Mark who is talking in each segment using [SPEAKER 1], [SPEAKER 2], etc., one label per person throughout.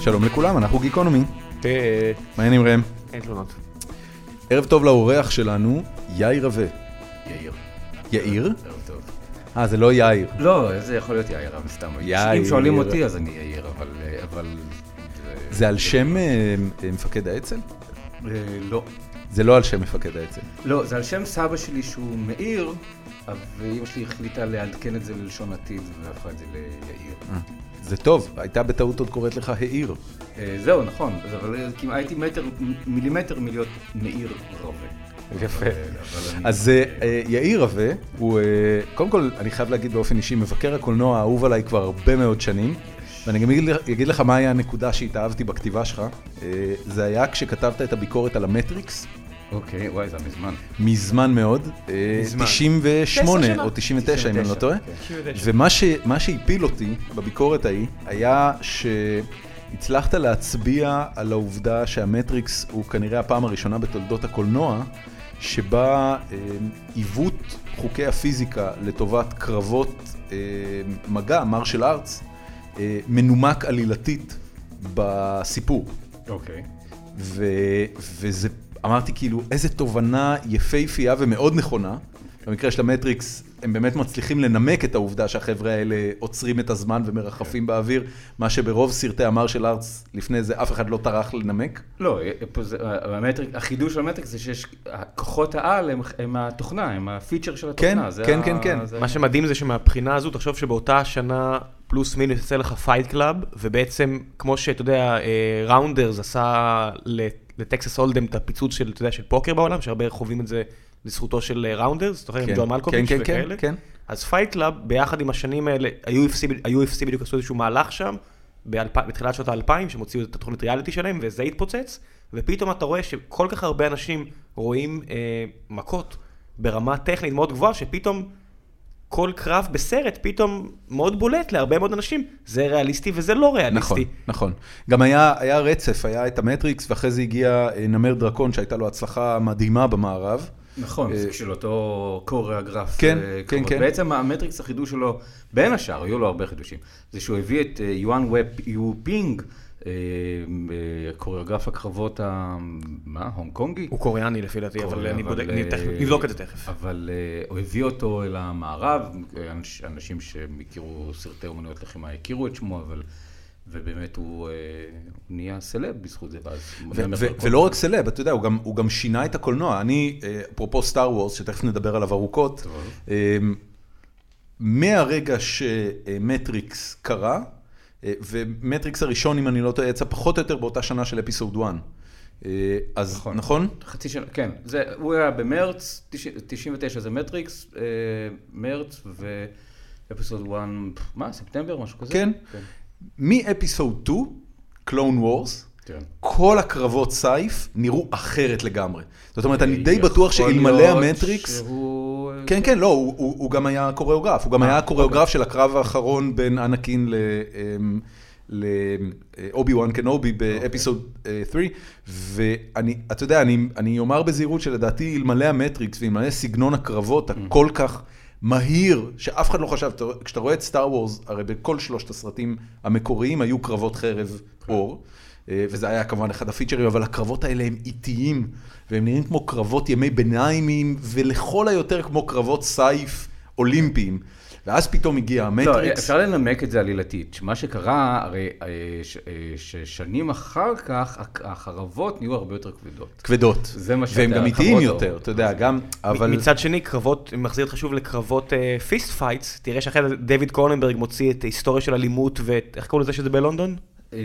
[SPEAKER 1] שלום לכולם, אנחנו גיקונומי.
[SPEAKER 2] אה,
[SPEAKER 1] מה העניינים ראם?
[SPEAKER 2] אין תלונות.
[SPEAKER 1] ערב טוב לאורח שלנו, יאיר רווה.
[SPEAKER 3] יאיר.
[SPEAKER 1] יאיר?
[SPEAKER 3] ערב טוב.
[SPEAKER 1] אה, זה לא יאיר.
[SPEAKER 3] לא, זה יכול להיות יאיר, אבל סתם.
[SPEAKER 1] יאיר.
[SPEAKER 3] אם שואלים אותי, אז אני יאיר, אבל... אה, אבל... אה,
[SPEAKER 1] זה על שם אה, אה, מפקד האצ"ל?
[SPEAKER 3] אה, לא.
[SPEAKER 1] זה לא על שם מפקד האצ"ל.
[SPEAKER 3] לא, זה על שם סבא שלי שהוא מאיר, ואימא שלי החליטה לעדכן את זה ללשון עתיד והפכה את זה ליאיר.
[SPEAKER 1] זה טוב, הייתה בטעות עוד קוראת לך העיר.
[SPEAKER 3] אה, זהו, נכון, אז אבל אה, כמעט הייתי מטר, מ- מילימטר מלהיות מאיר רווה.
[SPEAKER 2] יפה.
[SPEAKER 3] אה, אבל אני-
[SPEAKER 1] אז אה, אה, יאיר רווה, הוא, אה, קודם כל, אני חייב להגיד באופן אישי, מבקר הקולנוע האהוב עליי כבר הרבה מאוד שנים, ואני גם אגיד, לך- אגיד לך מה היה הנקודה שהתאהבתי בכתיבה שלך. אה, זה היה כשכתבת את הביקורת על המטריקס,
[SPEAKER 3] אוקיי, וואי, זה מזמן.
[SPEAKER 1] מזמן מאוד, אה,
[SPEAKER 2] מזמן.
[SPEAKER 1] 98
[SPEAKER 2] תשע שנה.
[SPEAKER 1] או 99 אם אני לא
[SPEAKER 3] 99,
[SPEAKER 1] טועה,
[SPEAKER 3] כן.
[SPEAKER 2] 99.
[SPEAKER 1] ומה ש- מה שהפיל אותי בביקורת ההיא היה שהצלחת להצביע על העובדה שהמטריקס הוא כנראה הפעם הראשונה בתולדות הקולנוע שבה אה, עיוות חוקי הפיזיקה לטובת קרבות אה, מגע, מרשל ארץ, מנומק עלילתית בסיפור.
[SPEAKER 3] אוקיי.
[SPEAKER 1] ו, וזה, אמרתי כאילו, איזה תובנה יפהפייה ומאוד נכונה. במקרה של המטריקס, הם באמת מצליחים לנמק את העובדה שהחבר'ה האלה עוצרים את הזמן
[SPEAKER 2] כן.
[SPEAKER 1] ומרחפים באוויר, מה שברוב סרטי המרשל ארץ לפני זה אף אחד לא טרח לנמק.
[SPEAKER 3] לא, פה זה- המטריק, החידוש של המטריק זה שיש, כוחות העל הם, הם התוכנה, הם הפיצ'ר של
[SPEAKER 1] כן,
[SPEAKER 3] התוכנה. זה
[SPEAKER 1] כן,
[SPEAKER 3] ה-
[SPEAKER 1] כן, כן.
[SPEAKER 3] זה-
[SPEAKER 2] מה שמדהים זה שמבחינה הזו, תחשוב שבאותה השנה פלוס מינוס יצא לך פייט קלאב, ובעצם, כמו שאתה יודע, אה, ראונדרס עשה לת- לטקסס הולדם את הפיצוץ של, אתה יודע, של פוקר בעולם, שהרבה חווים את זה לזכותו של אה, ראונדרס, אתה זוכר עם
[SPEAKER 1] כן.
[SPEAKER 2] ג'ון מלקוביץ'
[SPEAKER 1] כן, כן, כן,
[SPEAKER 2] וכאלה?
[SPEAKER 1] כן.
[SPEAKER 2] אז פייט קלאב, ביחד עם השנים האלה, ה-UFC ב- ה-UFC בדיוק עשו איזשהו מהלך שם, באלפ- בתחילת שנות האלפיים, שהם הוציאו את התוכנית ריאליטי שלהם, וזה התפוצץ, ופתאום אתה רואה שכל כך הרבה אנשים רואים אה, מכות ברמה טכנית מאוד גבוהה, שפתאום כל קרב בסרט פתאום מאוד בולט להרבה מאוד אנשים, זה ריאליסטי וזה לא ריאליסטי.
[SPEAKER 1] נכון, נכון. גם היה, היה רצף, היה את המטריקס, ואחרי זה הגיע אה, נמר דרקון, שהייתה לו הצלחה מדהימה במערב.
[SPEAKER 3] נכון, זה של אותו קוריאגרף.
[SPEAKER 1] אה, כן,
[SPEAKER 3] אה,
[SPEAKER 1] כן,
[SPEAKER 3] כמובן.
[SPEAKER 1] כן.
[SPEAKER 3] בעצם המטריקס החידוש שלו, בין השאר, היו לו הרבה חידושים, זה שהוא הביא את אה, יואן ווב יו פינג, אה, אה, קוריאוגרף הקרבות, ה... מה? הונג קונגי?
[SPEAKER 2] הוא קוריאני לפי דעתי,
[SPEAKER 1] אוקיי,
[SPEAKER 2] אבל אני בודק, אני
[SPEAKER 3] אה,
[SPEAKER 2] תכף- נבדוק את זה תכף.
[SPEAKER 3] אבל אה, הוא הביא אותו אל המערב, אנש- אנשים שהכירו סרטי אומנויות לחימה הכירו את שמו, אבל... ובאמת הוא, אה, הוא נהיה סלב בזכות זה, ואז... הוא
[SPEAKER 1] ו-
[SPEAKER 3] נמר
[SPEAKER 1] ו-
[SPEAKER 3] דרקון.
[SPEAKER 1] ולא רק סלב, אתה יודע, הוא גם, הוא גם שינה את הקולנוע. אני, אה, אפרופו סטאר וורס, שתכף נדבר עליו ארוכות, אה, מהרגע שמטריקס קרה, אה, ומטריקס הראשון, אם אני לא טועה, יצא פחות או יותר באותה שנה של אפיסוד 1. אה, אז נכון?
[SPEAKER 3] נכון. חצי שנה, כן. זה, הוא היה במרץ, 90 99 זה מטריקס, אה, מרץ ואפיסוד 1, מה, ספטמבר, משהו כזה?
[SPEAKER 1] כן. מאפיסוד 2, קלון וורס,
[SPEAKER 3] כן.
[SPEAKER 1] כל הקרבות סייף נראו אחרת לגמרי. זאת אומרת, אני די
[SPEAKER 3] אה, יכול
[SPEAKER 1] בטוח שאלמלא
[SPEAKER 3] להיות
[SPEAKER 1] המטריקס...
[SPEAKER 3] שהוא... אה,
[SPEAKER 1] כן, כן, לא, הוא, הוא, הוא גם היה קוריאוגרף, הוא גם היה הקוריאוגרף של הקרב האחרון בין אנקין אמ, לאובי וואן אה, קנובי באפיסוד אה, 3, ואני, אתה יודע, אני, אני אומר בזהירות שלדעתי אלמלא המטריקס ואלמלא סגנון הקרבות הכל כך מהיר, שאף אחד לא חשב, אתה רואה- כשאתה רואה את סטאר וורס, הרי בכל שלושת הסרטים המקוריים היו קרבות חרב אור. אה, וזה היה כמובן אחד הפיצ'רים, אבל הקרבות האלה הם איטיים, והם נראים כמו קרבות ימי ביניימים, ולכל היותר כמו קרבות סייף אולימפיים. ואז פתאום הגיע
[SPEAKER 3] לא,
[SPEAKER 1] המטריקס,
[SPEAKER 3] אפשר לנמק את זה עלילתית. מה שקרה, הרי אה, ש- אה, ששנים אחר כך, הק- החרבות נהיו הרבה יותר כבדות.
[SPEAKER 1] כבדות.
[SPEAKER 3] זה מה
[SPEAKER 1] והם
[SPEAKER 3] שאתה-
[SPEAKER 1] גם איטיים
[SPEAKER 3] הקרבות
[SPEAKER 1] יותר,
[SPEAKER 3] אור.
[SPEAKER 1] אתה יודע, גם,
[SPEAKER 2] אבל...
[SPEAKER 1] אבל...
[SPEAKER 2] מצד שני, קרבות, אם מחזיר אותך שוב לקרבות פיסט uh, פייטס, תראה שאחרי זה דויד קורננברג מוציא את ההיסטוריה של אלימות ואת, איך קראו לזה שזה בלונדון?
[SPEAKER 3] אה,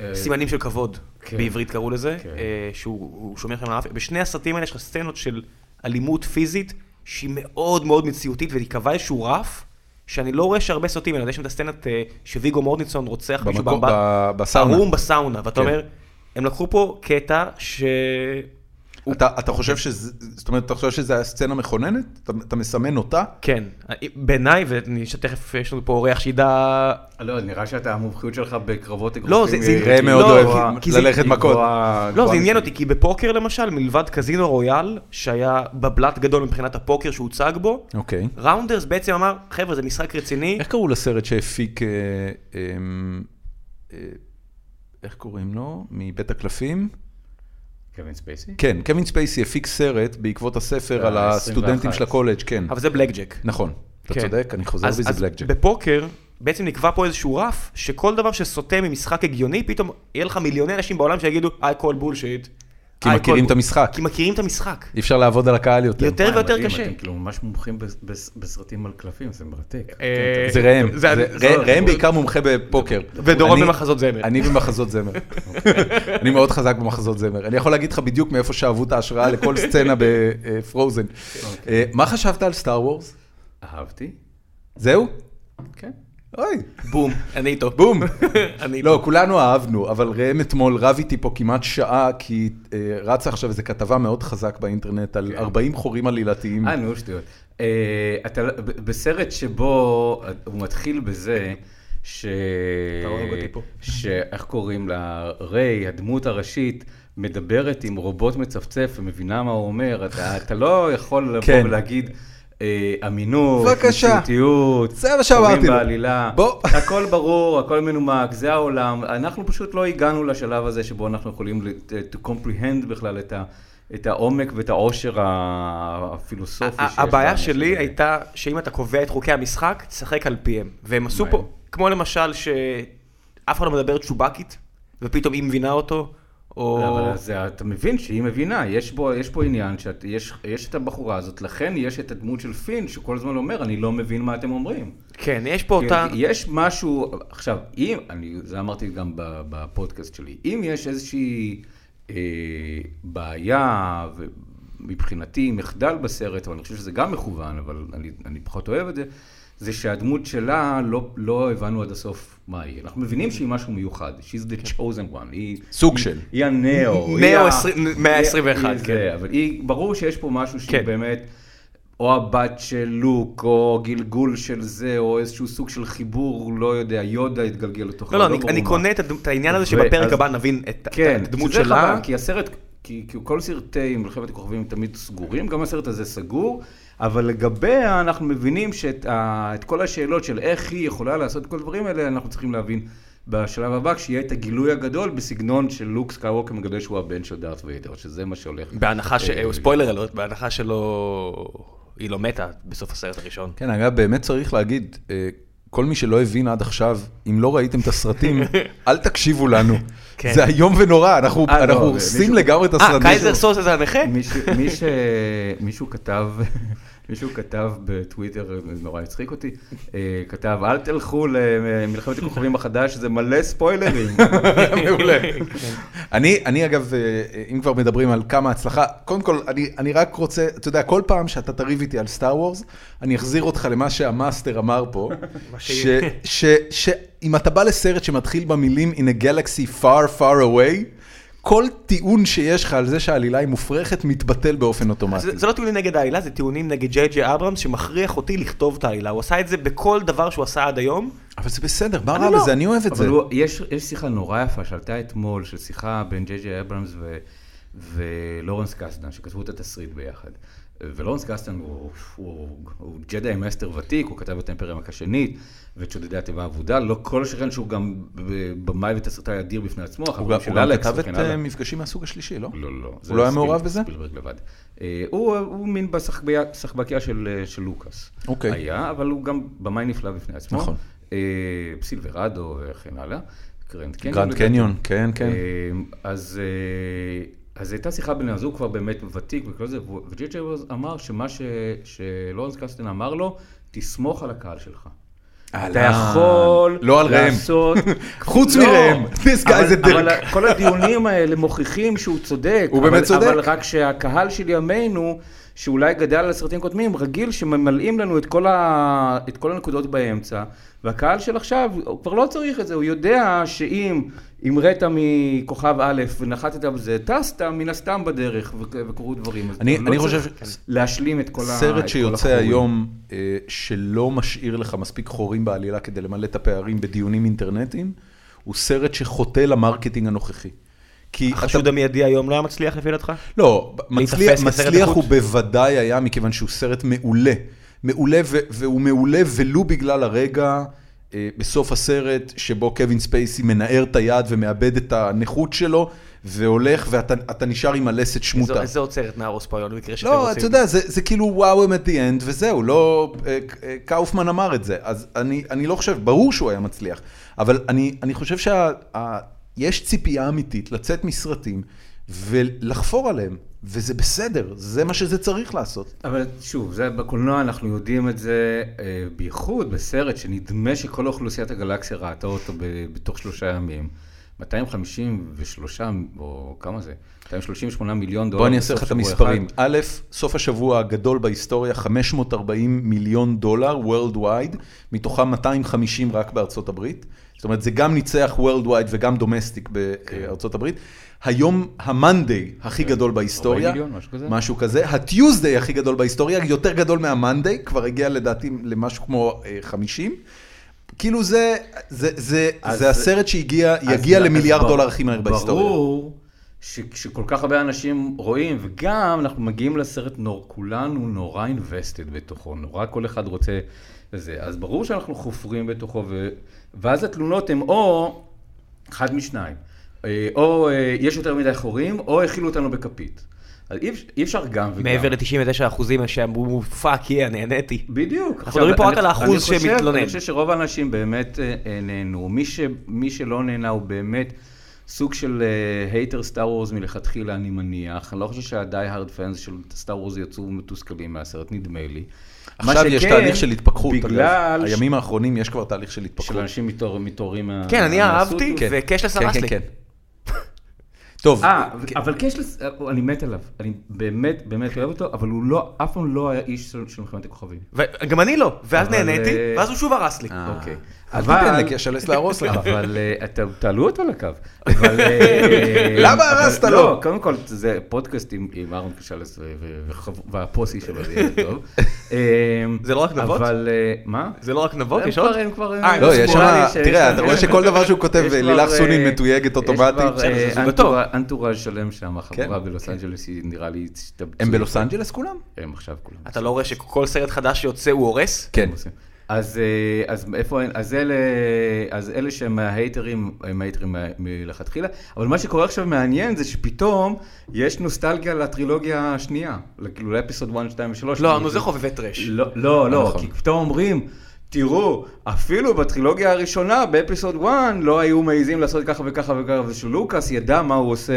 [SPEAKER 3] אה,
[SPEAKER 2] סימנים של כבוד,
[SPEAKER 3] כן.
[SPEAKER 2] בעברית קראו לזה,
[SPEAKER 3] כן.
[SPEAKER 2] אה, שהוא הוא שומר שם על האף. בשני הסרטים האלה יש לך סצנות של אלימות פיזית, שהיא מאוד מאוד מציאותית, והיא קבעה איזשהו רף, שאני לא רואה שהרבה סרטים, אלא יש שם את הסצנת אה, שוויגו מורניצון רוצח מישהו
[SPEAKER 1] במקום-
[SPEAKER 2] באמבט-
[SPEAKER 1] ב- בסאונה.
[SPEAKER 2] ערום בסאונה, ואתה
[SPEAKER 1] כן.
[SPEAKER 2] אומר, הם לקחו פה קטע ש...
[SPEAKER 1] אתה, אתה חושב שזה, זאת אומרת, אתה חושב שזה היה סצנה מכוננת? אתה, אתה מסמן אותה?
[SPEAKER 2] כן, בעיניי, ותכף יש לנו פה אורח שידע...
[SPEAKER 3] לא, נראה שאתה, המומחיות שלך בקרבות אגרופים.
[SPEAKER 2] לא,
[SPEAKER 3] אה,
[SPEAKER 2] זה- זה-
[SPEAKER 3] היא
[SPEAKER 1] ראה מאוד
[SPEAKER 2] לא,
[SPEAKER 1] אוהב
[SPEAKER 2] כי- כי זה-
[SPEAKER 1] ללכת מכות.
[SPEAKER 3] גבוהה-
[SPEAKER 2] לא,
[SPEAKER 3] גבוהה
[SPEAKER 2] זה עניין
[SPEAKER 3] מסוימת.
[SPEAKER 2] אותי, כי בפוקר למשל, מלבד קזינו רויאל, שהיה בבלת גדול מבחינת הפוקר שהוצג בו,
[SPEAKER 1] אוקיי.
[SPEAKER 2] ראונדרס בעצם אמר, חבר'ה, זה משחק רציני,
[SPEAKER 1] איך קראו לסרט שהפיק אה, אמ, אה, איך קוראים לו? מבית הקלפים?
[SPEAKER 3] קווין ספייסי?
[SPEAKER 1] כן, קווין ספייסי הפיק סרט בעקבות הספר על
[SPEAKER 3] ה-
[SPEAKER 1] הסטודנטים
[SPEAKER 3] 21.
[SPEAKER 1] של הקולג', כן.
[SPEAKER 2] אה, אבל זה בלק ג'ק.
[SPEAKER 1] נכון, אתה
[SPEAKER 2] כן.
[SPEAKER 1] צודק, אני חוזר
[SPEAKER 2] אז-
[SPEAKER 1] בזה
[SPEAKER 2] אז
[SPEAKER 1] בלק ג'ק.
[SPEAKER 2] בפוקר בעצם נקבע פה איזשהו רף, שכל דבר שסוטה ממשחק הגיוני, פתאום יהיה לך מיליוני אנשים בעולם שיגידו, I call bullshit.
[SPEAKER 1] כי
[SPEAKER 2] "I call
[SPEAKER 1] מכירים
[SPEAKER 2] bull-"
[SPEAKER 1] את המשחק.
[SPEAKER 2] כי מכירים את המשחק.
[SPEAKER 1] אי אפשר לעבוד על הקהל יותר.
[SPEAKER 2] יותר ויותר
[SPEAKER 3] מדהים,
[SPEAKER 2] קשה.
[SPEAKER 3] אתם כאילו ממש מומחים בס- בס- בסרטים על קלפים, זה מרתק. אוקיי,
[SPEAKER 2] אה,
[SPEAKER 1] זה ראם,
[SPEAKER 2] זה-
[SPEAKER 1] זה-
[SPEAKER 2] זה-
[SPEAKER 1] ראם-
[SPEAKER 3] זה-
[SPEAKER 1] ראם בעיקר מומחה בפוקר.
[SPEAKER 2] ודורון
[SPEAKER 1] אני-
[SPEAKER 2] במחזות זמר.
[SPEAKER 1] אני במחזות זמר. אוקיי. אני מאוד חזק במחזות זמר. אני יכול להגיד לך בדיוק מאיפה שאבו את ההשראה לכל סצנה בפרוזן.
[SPEAKER 2] אוקיי.
[SPEAKER 1] אה, מה חשבת על סטאר וורס?
[SPEAKER 3] אוקיי. אהבתי,
[SPEAKER 1] זהו?
[SPEAKER 3] כן.
[SPEAKER 1] אוי.
[SPEAKER 2] בום, אני איתו.
[SPEAKER 1] בום.
[SPEAKER 2] אני איתו.
[SPEAKER 1] לא, כולנו אהבנו, אבל ראם אתמול רב איתי פה כמעט שעה, כי אה, רצה עכשיו איזו כתבה מאוד חזק באינטרנט
[SPEAKER 3] כן.
[SPEAKER 1] על 40 חורים עלילתיים.
[SPEAKER 3] אה, נו, שטויות. אה, אתה לא- ב- בסרט שבו הוא מתחיל בזה ש...
[SPEAKER 2] אתה הורג אותי פה.
[SPEAKER 3] ש... איך קוראים לה? ריי, הדמות הראשית, מדברת עם רובוט מצפצף ומבינה מה הוא אומר. אתה, אתה לא יכול לבוא
[SPEAKER 1] כן.
[SPEAKER 3] ולהגיד... אה, אמינות,
[SPEAKER 1] בבקשה.
[SPEAKER 3] מציאותיות,
[SPEAKER 1] זה מה שאמרתי
[SPEAKER 3] חורים
[SPEAKER 1] לו.
[SPEAKER 3] בעלילה,
[SPEAKER 1] בוא.
[SPEAKER 3] הכל ברור, הכל מנומק, זה העולם. אנחנו פשוט לא הגענו לשלב הזה שבו אנחנו יכולים לת- to comprehend בכלל את, ה, את העומק ואת העושר ה- הפילוסופי
[SPEAKER 2] ה-
[SPEAKER 3] שיש.
[SPEAKER 2] הבעיה
[SPEAKER 3] לאנשים
[SPEAKER 2] שלי
[SPEAKER 3] האלה.
[SPEAKER 2] הייתה שאם אתה קובע את חוקי המשחק, תשחק על פיהם. והם עשו
[SPEAKER 3] מה
[SPEAKER 2] פה, כמו למשל שאף אחד לא מדבר צ'ובקית, ופתאום היא מבינה אותו, או...
[SPEAKER 3] לא, אבל אז אתה מבין שהיא מבינה, יש, בו, יש פה עניין שיש את הבחורה הזאת, לכן יש את הדמות של פין שכל הזמן אומר, אני לא מבין מה אתם אומרים.
[SPEAKER 2] כן, יש פה אותה...
[SPEAKER 3] כן, יש משהו, עכשיו, אם, אני, זה אמרתי גם ב- בפודקאסט שלי, אם יש איזושהי אה, בעיה, ו- מבחינתי מחדל בסרט, אבל אני חושב שזה גם מכוון, אבל אני, אני פחות אוהב את זה, זה שהדמות שלה, לא, לא הבנו עד הסוף מה היא. אנחנו מבינים שהיא משהו מיוחד, she's
[SPEAKER 2] כן.
[SPEAKER 3] the chosen one, היא...
[SPEAKER 1] סוג
[SPEAKER 3] היא-
[SPEAKER 1] של.
[SPEAKER 3] כן. היא הנאו.
[SPEAKER 2] נאו
[SPEAKER 3] היא ה-
[SPEAKER 2] עשרים- מאה עשרים ואחת,
[SPEAKER 3] היא זה,
[SPEAKER 2] כן.
[SPEAKER 3] אבל היא, ברור שיש פה משהו שהוא
[SPEAKER 2] כן.
[SPEAKER 3] באמת, או הבת של לוק, או גלגול של זה, או איזשהו סוג של חיבור, לא יודע, יודה התגלגל לתוכו.
[SPEAKER 2] לא, לא, אני-
[SPEAKER 3] ברור
[SPEAKER 2] אני
[SPEAKER 3] מה.
[SPEAKER 2] קונה את הד- את העניין הזה
[SPEAKER 3] ו-
[SPEAKER 2] שבפרק
[SPEAKER 3] אז-
[SPEAKER 2] הבא נבין את את
[SPEAKER 3] כן,
[SPEAKER 2] הדמות
[SPEAKER 3] שזה
[SPEAKER 2] שלה.
[SPEAKER 3] חבל, כי הסרט, כי, כי כל סרטי מלחמת הכוכבים תמיד סגורים, גם הסרט הזה סגור, אבל לגביה אנחנו מבינים שאת ה, את כל השאלות של איך היא יכולה לעשות את כל הדברים האלה, אנחנו צריכים להבין בשלב הבא, כשיהיה את הגילוי הגדול בסגנון של לוק סקאווקר מגלה שהוא הבן של דארט ויידר, שזה מה שהולך.
[SPEAKER 2] בהנחה ש...
[SPEAKER 3] אה,
[SPEAKER 2] אה, ספוילר אלרט, בהנחה שלא... היא לא מתה בסוף הסרט הראשון.
[SPEAKER 1] כן, אגב, באמת צריך להגיד, אה, כל מי שלא הבין עד עכשיו, אם לא ראיתם את הסרטים, אל תקשיבו לנו.
[SPEAKER 2] כן.
[SPEAKER 1] זה איום ונורא, אנחנו
[SPEAKER 3] אה, לא,
[SPEAKER 1] אנחנו
[SPEAKER 3] אה,
[SPEAKER 1] הורסים
[SPEAKER 3] מישהו-
[SPEAKER 1] לגמרי את
[SPEAKER 2] אה,
[SPEAKER 1] הסרטים.
[SPEAKER 2] קייזר סוס זה הנכה?
[SPEAKER 3] מישהו, מי ש... מישהו כתב, מישהו כתב בטוויטר, זה נורא הצחיק אותי, אה, כתב, אל תלכו למלחמת הכוכבים החדש, זה מלא ספוילרים.
[SPEAKER 1] מעולה.
[SPEAKER 3] כן.
[SPEAKER 1] אני, אני אגב, אה, אה, אם כבר מדברים על כמה הצלחה, קודם כל, אני, אני רק רוצה, אתה יודע, כל פעם שאתה תריב איתי על סטאר וורס, אני אחזיר אותך למה שהמאסטר אמר פה,
[SPEAKER 2] מה ש-
[SPEAKER 1] ש- ש- שאם אתה בא לסרט שמתחיל במילים In a galaxy far far away, כל טיעון שיש לך על זה שהעלילה היא מופרכת מתבטל באופן אוטומטי.
[SPEAKER 2] זה זה לא טיעונים נגד העילה, זה טיעונים נגד ג'יי ג'יי אברמס שמכריח אותי לכתוב את העילה. הוא עשה את זה בכל דבר שהוא עשה עד היום.
[SPEAKER 1] אבל זה בסדר, מה
[SPEAKER 2] אני
[SPEAKER 1] רע
[SPEAKER 2] לא.
[SPEAKER 1] בזה? אני אוהב את זה.
[SPEAKER 3] אבל הוא, יש, יש שיחה נורא יפה שעלתה אתמול, של שיחה בין ג'יי ג'יי אברמס ו, ולורנס קסטן, שכתבו את התסריט ביחד. ולורנס קסטן הוא, הוא, הוא ג'די מאסטר ותיק, הוא כתב את האימפריה השנית, ואת שודדי התיבה האבודה, לא כל שכן שהוא גם ב- במאי ותסריטאי אדיר בפני עצמו,
[SPEAKER 1] הוא
[SPEAKER 3] החברים
[SPEAKER 1] גם
[SPEAKER 3] של
[SPEAKER 1] הוא גם
[SPEAKER 3] אלכס
[SPEAKER 1] כתב את
[SPEAKER 3] וכן
[SPEAKER 1] אה,
[SPEAKER 3] הלאה.
[SPEAKER 1] מפגשים מהסוג השלישי, לא?
[SPEAKER 3] לא, לא.
[SPEAKER 1] הוא לא היה
[SPEAKER 3] ספיל-
[SPEAKER 1] מעורב בזה?
[SPEAKER 3] ספילברג לבד. אה, הוא, הוא מין בסחביה- סחבקיה של, אה, של לוקאס.
[SPEAKER 1] אוקיי.
[SPEAKER 3] היה, אבל הוא גם במאי נפלא בפני עצמו.
[SPEAKER 1] נכון.
[SPEAKER 3] אה, סילברדו וכן הלאה. גרנד קניון.
[SPEAKER 1] גרנד
[SPEAKER 3] לדעתי.
[SPEAKER 1] קניון, כן, כן.
[SPEAKER 3] אה, אז, אה, אז הייתה שיחה בין הזוג כבר באמת ותיק וכל זה, והוא- וג'י ג'י אברמס אמר שמה ש- שלורנס קסטן אמר לו, תסמוך על הקהל שלך. אתה
[SPEAKER 1] אהלן.
[SPEAKER 3] יכול
[SPEAKER 1] לא על ראם.
[SPEAKER 3] לעשות...
[SPEAKER 1] חוץ
[SPEAKER 3] לא.
[SPEAKER 1] מראם. This guy
[SPEAKER 3] אבל-
[SPEAKER 1] is a
[SPEAKER 3] אבל
[SPEAKER 1] dick.
[SPEAKER 3] כל הדיונים האלה מוכיחים שהוא צודק.
[SPEAKER 1] הוא
[SPEAKER 3] אבל-
[SPEAKER 1] באמת צודק.
[SPEAKER 3] אבל רק שהקהל של ימינו, שאולי גדל על סרטים קודמים, רגיל שממלאים לנו את כל, ה... את כל הנקודות באמצע, והקהל של עכשיו, הוא כבר לא צריך את זה, הוא יודע שאם המראת מכוכב א' ונחתת על זה, טסת מן הסתם בדרך ו- וקרו דברים. אז
[SPEAKER 1] אני-
[SPEAKER 3] אתה לא
[SPEAKER 1] אני
[SPEAKER 3] צריך
[SPEAKER 1] חושב ש-
[SPEAKER 3] להשלים את כל ה... את
[SPEAKER 1] סרט
[SPEAKER 3] כל
[SPEAKER 1] שיוצא
[SPEAKER 3] החורים.
[SPEAKER 1] היום, אה, שלא משאיר לך מספיק חורים בעלילה כדי למלא את הפערים בדיונים אינטרנטיים, הוא סרט שחוטא למרקטינג הנוכחי. כי אתה...
[SPEAKER 2] החשוד המיידי היום לא היה מצליח לפי דעתך?
[SPEAKER 1] לא, מצליח,
[SPEAKER 2] להיתפס כסרט
[SPEAKER 1] מצליח
[SPEAKER 2] איכות?
[SPEAKER 1] הוא בוודאי היה, מכיוון שהוא סרט מעולה. מעולה, ו- והוא מעולה ולו בגלל הרגע אה, בסוף הסרט, שבו קווין ספייסי מנער את היד ומאבד את הנכות שלו, והולך, ואתה אתה נשאר עם הלסת שמוטה.
[SPEAKER 2] איזה- איזה עוצרת נהרוס פה היום במקרה שאתם
[SPEAKER 1] לא,
[SPEAKER 2] רוצים.
[SPEAKER 1] אתה יודע, זה, זה כאילו וואו הם at the end, וזהו, לא... אה, אה, קאופמן אמר את זה, אז אני, אני לא חושב, ברור שהוא היה מצליח, אבל אני, אני חושב שיש ציפייה אמיתית לצאת מסרטים ולחפור עליהם, וזה בסדר, זה מה שזה צריך לעשות.
[SPEAKER 3] אבל שוב, זה בקולנוע אנחנו יודעים את זה, אה, בייחוד בסרט שנדמה שכל אוכלוסיית הגלקסיה ראתה אותו ב- בתוך שלושה ימים. 253, או כמה זה? 238 מיליון דולר.
[SPEAKER 1] בוא אני אעשה לך
[SPEAKER 3] בסוף
[SPEAKER 1] את
[SPEAKER 3] שבוע
[SPEAKER 1] המספרים.
[SPEAKER 3] אחד.
[SPEAKER 1] א', סוף השבוע הגדול בהיסטוריה, 540 מיליון דולר Worldwide, מתוכם 250 רק בארצות הברית. זאת אומרת, זה גם ניצח Worldwide וגם דומסטיק בארצות
[SPEAKER 3] כן.
[SPEAKER 1] הברית. היום המאנדיי הכי גדול בהיסטוריה,
[SPEAKER 3] 40 כן. מיליון, משהו כזה.
[SPEAKER 1] משהו כזה, הטיוזדיי הכי גדול בהיסטוריה, יותר גדול מהמאנדיי, כבר הגיע לדעתי למשהו כמו אה, 50. כאילו זה, זה, זה,
[SPEAKER 3] אז-
[SPEAKER 1] זה הסרט שהגיע,
[SPEAKER 3] אז- לא,
[SPEAKER 1] יגיע
[SPEAKER 3] אז
[SPEAKER 1] למיליארד
[SPEAKER 3] ברור-
[SPEAKER 1] דולר הכי מהר בהיסטוריה.
[SPEAKER 3] ברור שכשכל כך הרבה אנשים רואים, וגם אנחנו מגיעים לסרט, נור, כולנו נורא invested בתוכו, נורא כל אחד רוצה זה. אז ברור שאנחנו חופרים בתוכו, ו... ואז התלונות הן או אחד משניים, אה, או אה, יש יותר מדי חורים, או הכילו אותנו בכפית. אז אי, אפ- אי אפשר גם וגם.
[SPEAKER 2] מעבר ל-99% שאמרו, פאק, יא, נהניתי.
[SPEAKER 3] בדיוק. עכשיו,
[SPEAKER 2] מדברים פה
[SPEAKER 3] אני-
[SPEAKER 2] רק על האחוז
[SPEAKER 3] אני חושב-
[SPEAKER 2] שמתלונן.
[SPEAKER 3] אני חושב שרוב האנשים באמת אה, אה, נהנו. מי, ש, מי שלא נהנה הוא באמת סוג של אה, הייטר סטאר וורז מלכתחילה, אני מניח. אני לא חושב שהדי-הארד פאנס של סטאר וורז יצאו מתוסכלים מהסרט, נדמה לי. מה
[SPEAKER 1] עכשיו יש
[SPEAKER 3] שכן,
[SPEAKER 1] תהליך של התפכחות,
[SPEAKER 3] בגלל
[SPEAKER 1] בגלל... הימים האחרונים יש כבר תהליך של
[SPEAKER 3] ש- של
[SPEAKER 1] התפכחות.
[SPEAKER 3] אנשים מתעור- מתעוררים מה...
[SPEAKER 2] כן, אני
[SPEAKER 3] מהסוטות.
[SPEAKER 2] אהבתי,
[SPEAKER 1] כן.
[SPEAKER 2] וקשלס הרס לי.
[SPEAKER 1] טוב,
[SPEAKER 3] אה, אבל קשלס, אה, אני מת עליו, אני באמת באמת אוהב אותו, אבל הוא לא, אף פעם לא היה איש של של מלחמת הכוכבים.
[SPEAKER 2] וגם אני לא, ואז
[SPEAKER 3] אבל,
[SPEAKER 2] נהניתי,
[SPEAKER 3] אה,
[SPEAKER 2] ואז הוא שוב הרס לי.
[SPEAKER 3] אוקיי.
[SPEAKER 1] אה, אל תיתן לקשלס להרוס לך.
[SPEAKER 3] אבל אה, אתה- תעלו אותו לקו. אבל, אה,
[SPEAKER 1] למה
[SPEAKER 3] אבל
[SPEAKER 1] הרסת
[SPEAKER 3] לא,
[SPEAKER 1] לו?
[SPEAKER 3] קודם כל, זה פודקאסט עם עם אהרון קשלס ו- ו- וחב- והפוסי שלו, זה יהיה טוב. אה,
[SPEAKER 2] זה לא רק נבות?
[SPEAKER 3] אבל, אה, מה?
[SPEAKER 2] זה לא רק נבות,
[SPEAKER 3] הם
[SPEAKER 2] יש עוד?
[SPEAKER 3] כבר- הם כבר...
[SPEAKER 2] אה,
[SPEAKER 1] לא, יש שם,
[SPEAKER 3] ספורדי שיש
[SPEAKER 1] תראה,
[SPEAKER 3] להם-
[SPEAKER 1] אתה רואה שכל דבר שהוא כותב,
[SPEAKER 3] יש כבר,
[SPEAKER 1] לילך
[SPEAKER 3] אה,
[SPEAKER 1] סונין מתויגת אוטומטית.
[SPEAKER 3] יש כבר אה,
[SPEAKER 2] זה טוב.
[SPEAKER 3] אנטורה- אנטוראז' שלם שם, החבורה
[SPEAKER 1] כן,
[SPEAKER 3] בלוס אנג'לס, היא נראה לי... הצטבצו.
[SPEAKER 1] הם בלוס אנג'לס כולם?
[SPEAKER 3] הם עכשיו כולם.
[SPEAKER 2] אתה לא רואה שכל סרט חדש שיוצא הוא הורס?
[SPEAKER 1] כן.
[SPEAKER 3] עושים. אז, אה, אז איפה אין, אז אלה, אז אלה שהם ההייטרים, הם הייטרים מ- מלכתחילה, אבל מה שקורה עכשיו מעניין זה שפתאום יש נוסטלגיה לטרילוגיה השנייה, כאילו לאפיסוד 1, 2 ו-3.
[SPEAKER 2] לא, נו, זה חובבי טרש.
[SPEAKER 3] לא, לא, לא
[SPEAKER 1] נכון.
[SPEAKER 3] כי פתאום אומרים, תראו, אפילו בטרילוגיה הראשונה, באפיסוד 1, לא היו מעיזים לעשות ככה וככה וככה, ושלוקאס ידע מה הוא עושה,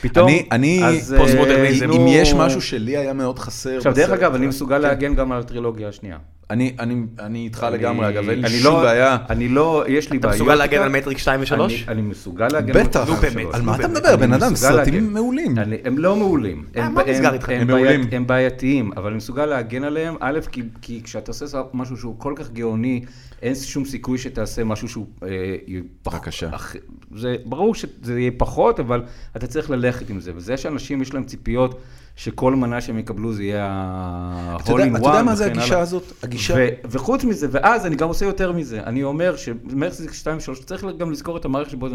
[SPEAKER 3] ופתאום,
[SPEAKER 1] אני, אני,
[SPEAKER 3] אז, אה,
[SPEAKER 1] פוסט-מודרניזם.
[SPEAKER 3] נו-
[SPEAKER 1] אם יש משהו שלי היה מאוד חסר.
[SPEAKER 3] עכשיו, דרך
[SPEAKER 1] בסרט,
[SPEAKER 3] אגב, אני מסוגל
[SPEAKER 1] כן.
[SPEAKER 3] להגן גם על הטרילוגיה השנייה.
[SPEAKER 1] אני, אני, אני איתך
[SPEAKER 3] אני-
[SPEAKER 1] אה, לגמרי, אגב, אין לי
[SPEAKER 3] אני
[SPEAKER 1] שום
[SPEAKER 3] לא-
[SPEAKER 1] בעיה.
[SPEAKER 3] אני לא, יש לי
[SPEAKER 2] אתה
[SPEAKER 3] בעיות.
[SPEAKER 2] מסוגל להגן
[SPEAKER 3] איתה.
[SPEAKER 2] על מטריק 2 ו-3?
[SPEAKER 3] אני- אני מסוגל להגן
[SPEAKER 1] בטח,
[SPEAKER 2] נו,
[SPEAKER 3] מטריק
[SPEAKER 2] באמת.
[SPEAKER 3] שלוש.
[SPEAKER 1] על מה אתה
[SPEAKER 2] באמת,
[SPEAKER 1] מדבר,
[SPEAKER 3] אני
[SPEAKER 1] בן אדם?
[SPEAKER 3] מסוגל להגן.
[SPEAKER 1] סרטים מעולים.
[SPEAKER 3] אני- הם לא מעולים.
[SPEAKER 2] אה,
[SPEAKER 3] הם-
[SPEAKER 2] מה
[SPEAKER 3] הם-
[SPEAKER 2] נסגר איתך?
[SPEAKER 3] הם
[SPEAKER 1] הם
[SPEAKER 3] בעיית-
[SPEAKER 1] מעולים.
[SPEAKER 3] הם בעייתיים, אבל אני מסוגל להגן עליהם, א', כי- כי כשאתה עושה משהו שהוא כל כך גאוני, אין שום סיכוי שתעשה משהו שהוא... אה, יהיה פח-
[SPEAKER 1] בבקשה.
[SPEAKER 3] אח- זה ברור שזה יהיה פחות, אבל אתה צריך ללכת עם זה. וזה שאנשים יש להם ציפיות שכל מנה שהם יקבלו זה יהיה ה-hole
[SPEAKER 1] אתה יודע-
[SPEAKER 3] in
[SPEAKER 1] אתה יודע
[SPEAKER 3] one
[SPEAKER 1] מה זה
[SPEAKER 3] וכן
[SPEAKER 1] הגישה
[SPEAKER 3] הלאה.
[SPEAKER 1] הזאת? הגישה...
[SPEAKER 3] ו- וחוץ מזה, ואז אני גם עושה יותר מזה, אני אומר שמרקסטריקס 2 ו-3, צריך גם לזכור את המערכת שבו זה...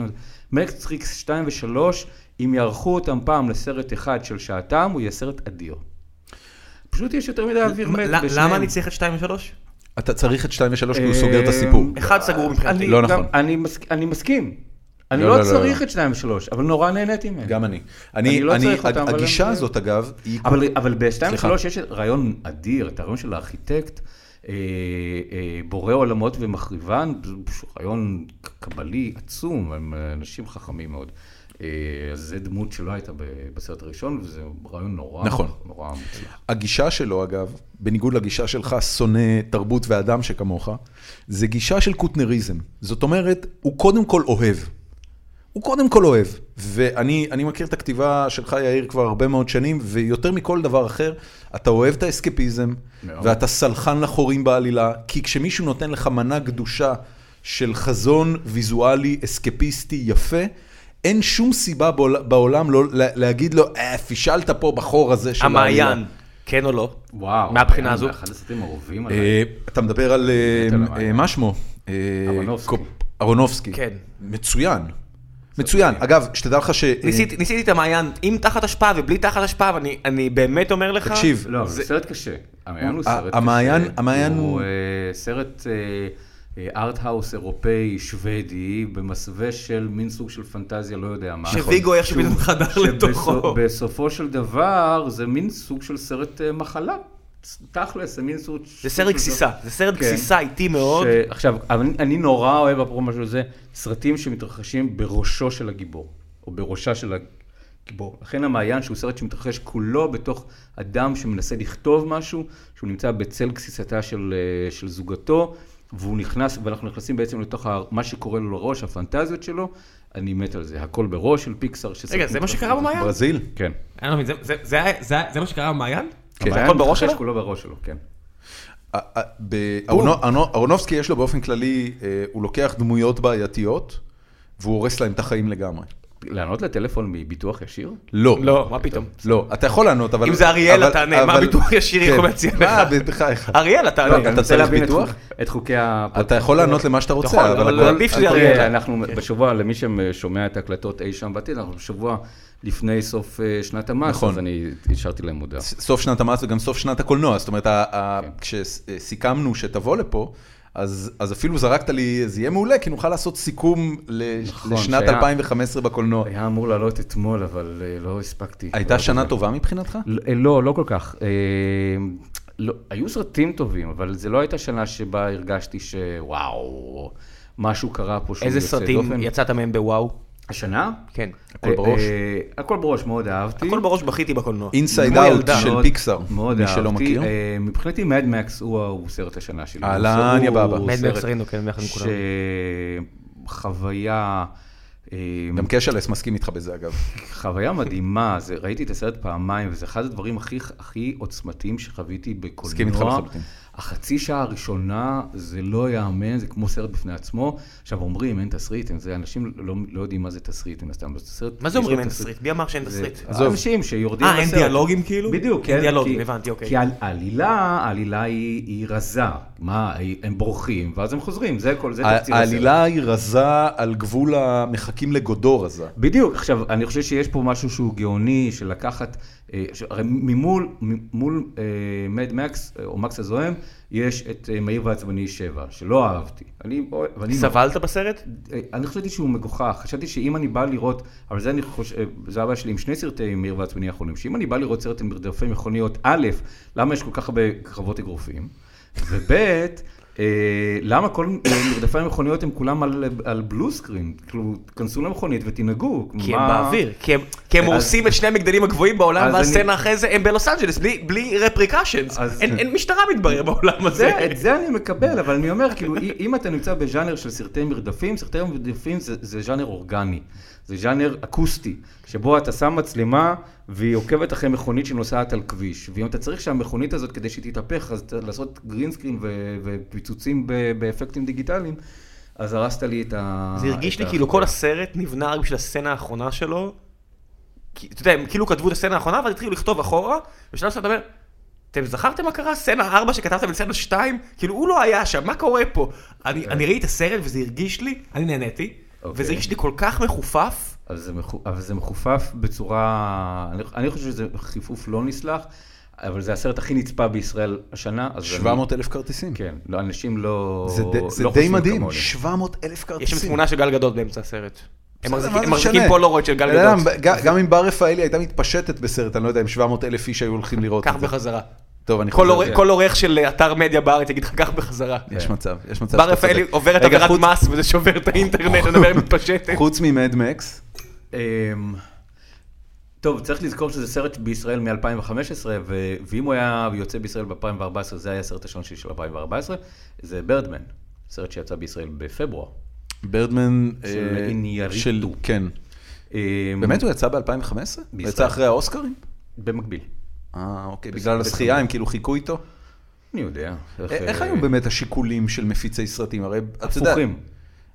[SPEAKER 3] מרקסטריקס 2 ו-3, אם יערכו אותם פעם לסרט אחד של שעתם, הוא יהיה סרט אדיר. פשוט יש יותר מדי אוויר מת
[SPEAKER 2] ל-
[SPEAKER 3] בשניהם.
[SPEAKER 2] למה אני צריך את 2 ו-3?
[SPEAKER 1] אתה צריך את 2 ו-3 כי הוא סוגר את הסיפור.
[SPEAKER 3] אה,
[SPEAKER 2] אחד סגור מבחינתי.
[SPEAKER 3] אני
[SPEAKER 1] לא
[SPEAKER 3] גם-
[SPEAKER 1] נכון.
[SPEAKER 3] אני מסכ- אני מסכים. אני
[SPEAKER 1] לא,
[SPEAKER 3] לא
[SPEAKER 1] לא, לא,
[SPEAKER 3] צריך
[SPEAKER 1] לא.
[SPEAKER 3] את 2 ו-3, אבל נורא נהניתי מהם.
[SPEAKER 1] גם אני.
[SPEAKER 3] כן. אני
[SPEAKER 1] אני,
[SPEAKER 3] לא
[SPEAKER 1] אני,
[SPEAKER 3] צריך אותם, אבל
[SPEAKER 1] הגישה
[SPEAKER 3] הם-
[SPEAKER 1] הזאת, אגב, היא...
[SPEAKER 3] אבל, אבל בשתיים
[SPEAKER 1] סליחה.
[SPEAKER 3] ושלוש יש רעיון אדיר, את הרעיון של הארכיטקט, אה, אה, בורא עולמות ומחריבן, זה פשוט רעיון קבלי עצום, הם אה, אנשים חכמים מאוד. אה, אז זו דמות שלא הייתה ב- בסרט הראשון, וזה רעיון נורא,
[SPEAKER 1] נכון.
[SPEAKER 3] נורא מוצלח.
[SPEAKER 1] הגישה שלו, אגב, בניגוד לגישה שלך, שונא תרבות ואדם שכמוך, זה גישה של קוטנריזם. זאת אומרת, הוא קודם כל אוהב. הוא קודם כל אוהב. ואני אני מכיר את הכתיבה שלך, יאיר, כבר הרבה מאוד שנים, ויותר מכל דבר אחר, אתה אוהב את האסקפיזם,
[SPEAKER 3] מאוד.
[SPEAKER 1] ואתה סלחן לחורים בעלילה, כי כשמישהו נותן לך מנה גדושה של חזון ויזואלי, אסקפיסטי, יפה, אין שום סיבה בעול- בעולם לא לה- להגיד לו, אה, פישלת פה בחור הזה של העלילה."
[SPEAKER 2] המעיין, כן או לא?
[SPEAKER 3] וואו.
[SPEAKER 2] מהבחינה
[SPEAKER 3] היה
[SPEAKER 2] הזו?
[SPEAKER 3] אחד הסרטים האהובים עליי.
[SPEAKER 1] אה, אתה מדבר על, אה,
[SPEAKER 3] נטע לבן.
[SPEAKER 1] אה, מה שמו? אה,
[SPEAKER 3] אהרונובסקי.
[SPEAKER 1] קופ- אהרונובסקי.
[SPEAKER 2] כן.
[SPEAKER 1] מצוין. מצוין. אגב, שתדע לך ש... אה,
[SPEAKER 2] ניסיתי ניסיתי את המעיין עם תחת השפעה ובלי תחת השפעה, ואני אני באמת אומר לך...
[SPEAKER 1] אה, תקשיב,
[SPEAKER 3] לא, אבל זה סרט קשה. המעיין הוא
[SPEAKER 1] ה-
[SPEAKER 3] סרט
[SPEAKER 1] המעיין-
[SPEAKER 3] קשה.
[SPEAKER 1] המעיין
[SPEAKER 3] הוא
[SPEAKER 1] הוא-
[SPEAKER 3] אה, סרט אה, ארט-האוס אירופאי, שוודי, במסווה של מין סוג של פנטזיה, לא יודע מה.
[SPEAKER 2] שוויגו איך
[SPEAKER 3] שהוא-
[SPEAKER 2] שפתאום חדר לתוכו.
[SPEAKER 3] שבסופו של דבר זה מין סוג של סרט אה, מחלה. תכלס, זה מין סוג...
[SPEAKER 2] זה סרט גסיסה, זה סרט
[SPEAKER 3] כן.
[SPEAKER 2] גסיסה איטי מאוד.
[SPEAKER 3] ש- עכשיו, אבל אני- אני נורא אוהב, אפרופו משהו זה, סרטים שמתרחשים בראשו של הגיבור, או בראשה של הגיבור. לכן המעיין, שהוא סרט שמתרחש כולו בתוך אדם שמנסה לכתוב משהו, שהוא נמצא בצל גסיסתה של, אה, של זוגתו, והוא נכנס, ואנחנו נכנסים בעצם לתוך ה- מה שקורה לו לראש, הפנטזיות שלו. אני מת על זה, הכל בראש של פיקסאר. שסרטים
[SPEAKER 2] זה מה
[SPEAKER 3] מתרחשים
[SPEAKER 2] שקרה במעיין?
[SPEAKER 1] ברזיל?
[SPEAKER 3] כן.
[SPEAKER 4] אני לא מבין, זה- זה- זה היה- זה היה- זה מה שקרה במעיין?
[SPEAKER 3] כן.
[SPEAKER 2] הכל בראש
[SPEAKER 3] מתרחש
[SPEAKER 2] שלו?
[SPEAKER 3] כולו בראש שלו, כן.
[SPEAKER 1] אה, אה, ב- אהרונו- אהרונו- אהרונובסקי יש לו באופן כללי, אה, הוא לוקח דמויות בעייתיות, והוא הורס להם את החיים לגמרי.
[SPEAKER 3] לענות לטלפון מביטוח ישיר?
[SPEAKER 1] לא.
[SPEAKER 2] לא, מה פתאום.
[SPEAKER 1] לא, אתה יכול לענות, אבל...
[SPEAKER 2] אם זה אריאל,
[SPEAKER 1] אבל-
[SPEAKER 2] אתה נענה, מה
[SPEAKER 1] אבל-
[SPEAKER 2] ביטוח ישיר יכול
[SPEAKER 1] כן.
[SPEAKER 2] להציע לך?
[SPEAKER 1] מה, בחייך.
[SPEAKER 2] אריאל, אתה...
[SPEAKER 1] לא,
[SPEAKER 2] אני-
[SPEAKER 1] אתה
[SPEAKER 3] אני מנסה
[SPEAKER 1] צריך
[SPEAKER 3] להבין את
[SPEAKER 1] ביטוח?
[SPEAKER 3] חוק- את חוקי הפודקאסט.
[SPEAKER 1] אתה יכול לענות למה שאתה
[SPEAKER 2] יכול,
[SPEAKER 1] רוצה,
[SPEAKER 2] אבל
[SPEAKER 1] הכל-
[SPEAKER 2] עדיף שזה
[SPEAKER 1] הכל- כן.
[SPEAKER 2] אריאל.
[SPEAKER 3] תראה, אנחנו בשבוע, למי ששומע את ההקלטות אי שם בעתיד, אנחנו בשבוע לפני סוף אה, שנת המס,
[SPEAKER 1] נכון.
[SPEAKER 3] אז אני השארתי להם מודעה.
[SPEAKER 1] ס- סוף שנת המס וגם סוף שנת הקולנוע, זאת אומרת, ה- ה-
[SPEAKER 3] אוקיי.
[SPEAKER 1] כשסיכמנו שתבוא לפה, אז אז אפילו זרקת לי, זה יהיה מעולה, כי נוכל לעשות סיכום ל-
[SPEAKER 3] נכון,
[SPEAKER 1] לשנת
[SPEAKER 3] שהיה-
[SPEAKER 1] 2015 בקולנוע.
[SPEAKER 3] היה אמור לעלות אתמול, אבל אה, לא הספקתי.
[SPEAKER 1] הייתה שנה טובה מבחינתך?
[SPEAKER 3] לא, אה, לא, לא כל כך. אה, לא, היו סרטים טובים, אבל זו לא הייתה שנה שבה הרגשתי שוואו, משהו קרה פה שהוא
[SPEAKER 2] איזה
[SPEAKER 3] יוצא
[SPEAKER 2] סרטים
[SPEAKER 3] דופן.
[SPEAKER 2] יצאת מהם בוואו?
[SPEAKER 3] השנה?
[SPEAKER 2] כן.
[SPEAKER 1] הכל בראש.
[SPEAKER 3] אה, הכל בראש, מאוד אהבתי.
[SPEAKER 2] הכל בראש בכיתי בקולנוע.
[SPEAKER 1] Inside
[SPEAKER 2] כמו
[SPEAKER 1] Out
[SPEAKER 2] ילדה.
[SPEAKER 1] של
[SPEAKER 3] לא מאוד-
[SPEAKER 1] פיקסאר,
[SPEAKER 3] מאוד
[SPEAKER 1] מי שלא
[SPEAKER 3] אהבתי.
[SPEAKER 1] מכיר.
[SPEAKER 3] אה, מבחינתי מדמקס הוא הוא סרט השנה שלי.
[SPEAKER 1] אהלן,
[SPEAKER 3] הוא-
[SPEAKER 1] יא בבא.
[SPEAKER 3] הוא
[SPEAKER 2] Mad Max
[SPEAKER 3] סרט
[SPEAKER 2] ראינו, כן, ביחד עם כולם.
[SPEAKER 3] שחוויה... אה,
[SPEAKER 1] גם קשלס מסכים איתך בזה, אגב.
[SPEAKER 3] חוויה מדהימה, זה, ראיתי את הסרט פעמיים, וזה אחד הדברים הכי, הכי עוצמתיים שחוויתי בקולנוע.
[SPEAKER 1] מסכים איתך לחלוטין.
[SPEAKER 3] החצי שעה הראשונה, זה לא ייאמן, זה כמו סרט בפני עצמו. עכשיו אומרים, אין תסריט, אין זה, אנשים לא, לא יודעים מה זה תסריט, מן הסתם. אבל זה סרט-
[SPEAKER 2] מה זה אומרים
[SPEAKER 3] יש לו
[SPEAKER 2] אין תסריט? מי אמר שאין תסריט?
[SPEAKER 3] זה אנשים שיורדים
[SPEAKER 4] אה, אין דיאלוגים כאילו?
[SPEAKER 3] בדיוק,
[SPEAKER 2] אין
[SPEAKER 3] כן,
[SPEAKER 2] דיאלוגים,
[SPEAKER 3] כי-
[SPEAKER 2] הבנתי, אוקיי.
[SPEAKER 3] כי העל- העלילה, העלילה היא היא רזה. מה, הם בורחים, ואז הם חוזרים, זה כל, זה תקציר הסרט.
[SPEAKER 1] העלילה היא רזה על גבול המחכים לגודו רזה.
[SPEAKER 3] בדיוק, עכשיו, אני חושב שיש פה משהו שהוא גאוני, של לקחת, אה, ש- הרי ממול, מול אה, מד מקס, אה, או מקס הזוהם, יש את אה, מהיר ועצבני 7, שלא אהבתי. אני, ואני
[SPEAKER 2] סבלת בסרט?
[SPEAKER 3] אה, אני חשבתי שהוא מגוחך, חשבתי שאם אני בא לראות, אבל זה אני חושב, אה, זה הבעיה שלי עם שני סרטי מאיר ועצבני האחרונים, שאם אני בא לראות סרט עם מרדפי מכוניות, א', למה יש כל כך הרבה קרבות אגרופים, וב', אה, למה כל אה, מרדפי המכוניות הם כולם על, על בלו סקרין? כאילו, כנסו למכונית ותנהגו.
[SPEAKER 2] כי הם
[SPEAKER 3] מה-
[SPEAKER 2] באוויר, כי הם- כי הם
[SPEAKER 3] אז-
[SPEAKER 2] הורסים את שני המגדלים הגבוהים בעולם,
[SPEAKER 3] אז
[SPEAKER 2] ואז
[SPEAKER 3] אני-
[SPEAKER 2] סצנה אחרי זה הם בלוס אנג'לס, בלי- בלי רפריקשנס.
[SPEAKER 3] אז-
[SPEAKER 2] אין משטרה מתברר בעולם הזה.
[SPEAKER 3] זה, את זה אני מקבל, אבל אני אומר, כאילו, אי- אם אתה נמצא בז'אנר של סרטי מרדפים, סרטי מרדפים זה, זה ז'אנר אורגני, זה ז'אנר אקוסטי, שבו אתה שם מצלמה והיא עוקבת אחרי מכונית שנוסעת על כביש, ואם אתה צריך שהמכונית הזאת, כדי שהיא תתהפך, אז ת- לעשות גרינסקרין ו- ופיצוצים ב- באפקטים דיגיטליים, אז הרסת לי את ה...
[SPEAKER 2] זה הרגיש
[SPEAKER 3] את
[SPEAKER 2] לי
[SPEAKER 3] ה-
[SPEAKER 2] כאילו כל הסרט נבנה רק בשביל הסצנה האחרונה שלו. כי, אתה יודע, הם כאילו כתבו את הסצנה האחרונה, ואז התחילו לכתוב אחורה, ובשלב מסוים אתה אומר, אתם זכרתם מה קרה? סצנה 4 שכתבתם לסצנה 2? כאילו, הוא לא היה שם, מה קורה פה? אני, אני ראיתי את הסרט וזה הרגיש לי, אני נהניתי,
[SPEAKER 3] כן. אוקיי.
[SPEAKER 2] וזה הרגיש לי כל כך מחופף.
[SPEAKER 3] אבל זה, מחו- אבל זה מחופף בצורה, אני, אני חושב שזה חיפוף לא נסלח, אבל זה הסרט הכי נצפה בישראל השנה. אז אני-
[SPEAKER 1] 700 אלף כרטיסים.
[SPEAKER 3] כן, לא, אנשים לא...
[SPEAKER 1] זה די- זה
[SPEAKER 3] לא
[SPEAKER 1] די
[SPEAKER 3] חושבים
[SPEAKER 1] מדהים,
[SPEAKER 3] כמוני.
[SPEAKER 1] 700 אלף כרטיסים.
[SPEAKER 2] יש שם תמונה של גל גדות באמצע הסרט.
[SPEAKER 1] בסדר,
[SPEAKER 2] הם מחזיקים-
[SPEAKER 1] מה זה
[SPEAKER 2] הם מחזיקים
[SPEAKER 1] משנה?
[SPEAKER 2] פולרויד של גל
[SPEAKER 1] אתה יודע,
[SPEAKER 2] גדות.
[SPEAKER 1] גם- גם אם בר רפאלי הייתה מתפשטת בסרט, אני לא יודע אם 700 אלף איש היו הולכים לראות
[SPEAKER 2] קח
[SPEAKER 1] את זה.
[SPEAKER 2] בחזרה.
[SPEAKER 1] טוב, אני
[SPEAKER 2] כל
[SPEAKER 1] חוזר.
[SPEAKER 2] עורך- כל עורך של אה, אתר מדיה בארץ יגיד לך, קח בחזרה.
[SPEAKER 1] יש מצב, יש מצב.
[SPEAKER 2] בר
[SPEAKER 1] שאתה
[SPEAKER 2] רפאלי
[SPEAKER 1] צודק.
[SPEAKER 2] עוברת
[SPEAKER 1] רגע,
[SPEAKER 2] עבירת
[SPEAKER 1] חוץ-
[SPEAKER 2] מס וזה שובר את האינטרנט, אני מדבר מתפשטת.
[SPEAKER 1] חוץ ממדמקס,
[SPEAKER 3] אמ, טוב, צריך לזכור שזה סרט בישראל מ-2015, ו... ואם הוא היה יוצא בישראל ב-2014, זה היה הסרט השעון שלי של 2014, זה ברדמן, סרט שיצא בישראל בפברואר.
[SPEAKER 1] ברדמן...
[SPEAKER 3] של
[SPEAKER 1] אה,
[SPEAKER 3] איניאריטו.
[SPEAKER 1] של- כן.
[SPEAKER 3] אמ,
[SPEAKER 1] באמת הוא יצא ב-2015? הוא יצא אחרי האוסקרים?
[SPEAKER 3] במקביל.
[SPEAKER 1] אה, אוקיי,
[SPEAKER 3] בס-
[SPEAKER 1] בגלל
[SPEAKER 3] בסדר.
[SPEAKER 1] הזכייה הם כאילו חיכו איתו?
[SPEAKER 3] אני יודע. אה,
[SPEAKER 1] א- איך היו באמת השיקולים של מפיצי סרטים? הרי אתה יודע...
[SPEAKER 3] הפוכים.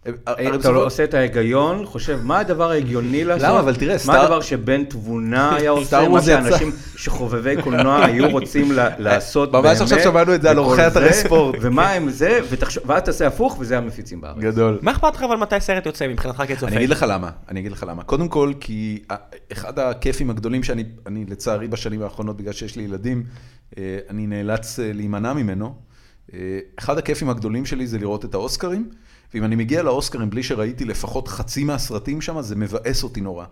[SPEAKER 1] הם-
[SPEAKER 3] אה,
[SPEAKER 1] הרי
[SPEAKER 3] אתה
[SPEAKER 1] בסופו-
[SPEAKER 3] לא עושה את ההיגיון, חושב מה הדבר ההגיוני לעשות.
[SPEAKER 1] למה? אבל תראה,
[SPEAKER 3] מה
[SPEAKER 1] סטאר-
[SPEAKER 3] הדבר שבן תבונה היה עושה,
[SPEAKER 1] סטאר
[SPEAKER 3] מה
[SPEAKER 1] וורז יצא.
[SPEAKER 3] שאנשים שחובבי קולנוע היו רוצים ל- לעשות
[SPEAKER 1] ממש
[SPEAKER 3] באמת.
[SPEAKER 1] עכשיו שמענו את זה על
[SPEAKER 3] וכל
[SPEAKER 1] עורכי אתרי
[SPEAKER 3] זה,
[SPEAKER 1] ספורט.
[SPEAKER 3] ומה עם זה, ותחשוב- ואז תעשה הפוך, וזה המפיצים בארץ.
[SPEAKER 1] גדול.
[SPEAKER 2] מה אכפת לך אבל מתי הסרט יוצא מבחינתך כצופה?
[SPEAKER 1] אני אגיד לך למה, אני אגיד לך למה. קודם כל, כי ה- אחד הכיפים הגדולים שאני, אני לצערי בשנים האחרונות, בגלל שיש לי ילדים, אה, אני נאלץ אה, להימנע ממנו, אה, אה, אחד הכיפים הגדולים שלי זה לראות את האוסקרים, ואם אני מגיע לאוסקרים בלי שראיתי לפחות חצי מהסרטים שם, זה מבאס אותי נורא.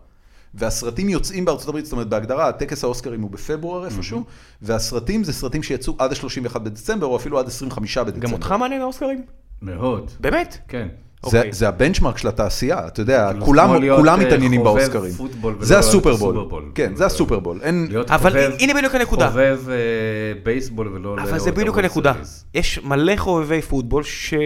[SPEAKER 1] והסרטים יוצאים בארצות הברית, זאת אומרת בהגדרה, הטקס האוסקרים הוא בפברואר איפשהו, והסרטים זה סרטים שיצאו עד ה-31 בדצמבר, או אפילו עד 25 בדצמבר.
[SPEAKER 2] גם אותך מעניין האוסקרים?
[SPEAKER 3] מאוד.
[SPEAKER 2] באמת?
[SPEAKER 3] כן.
[SPEAKER 1] זה,
[SPEAKER 2] אוקיי.
[SPEAKER 1] זה הבנצ'מרק של התעשייה, אתה יודע,
[SPEAKER 3] כאילו, כמו
[SPEAKER 1] כולם,
[SPEAKER 3] להיות,
[SPEAKER 1] כולם
[SPEAKER 3] אה,
[SPEAKER 1] מתעניינים
[SPEAKER 3] חובב
[SPEAKER 1] באוסקרים.
[SPEAKER 3] פוטבול ולא
[SPEAKER 1] זה הסופרבול.
[SPEAKER 3] סופרבול.
[SPEAKER 1] כן, זה הסופרבול. אין...
[SPEAKER 3] להיות
[SPEAKER 2] אבל
[SPEAKER 3] חובב-
[SPEAKER 2] הנה בדיוק הנקודה.
[SPEAKER 3] חובב אה, בייסבול ולא...
[SPEAKER 1] לא,
[SPEAKER 2] אבל
[SPEAKER 3] לראות
[SPEAKER 2] זה בדיוק
[SPEAKER 3] ערוץ
[SPEAKER 2] הנקודה.
[SPEAKER 3] סריז.
[SPEAKER 2] יש מלא חובבי פוטבול שלא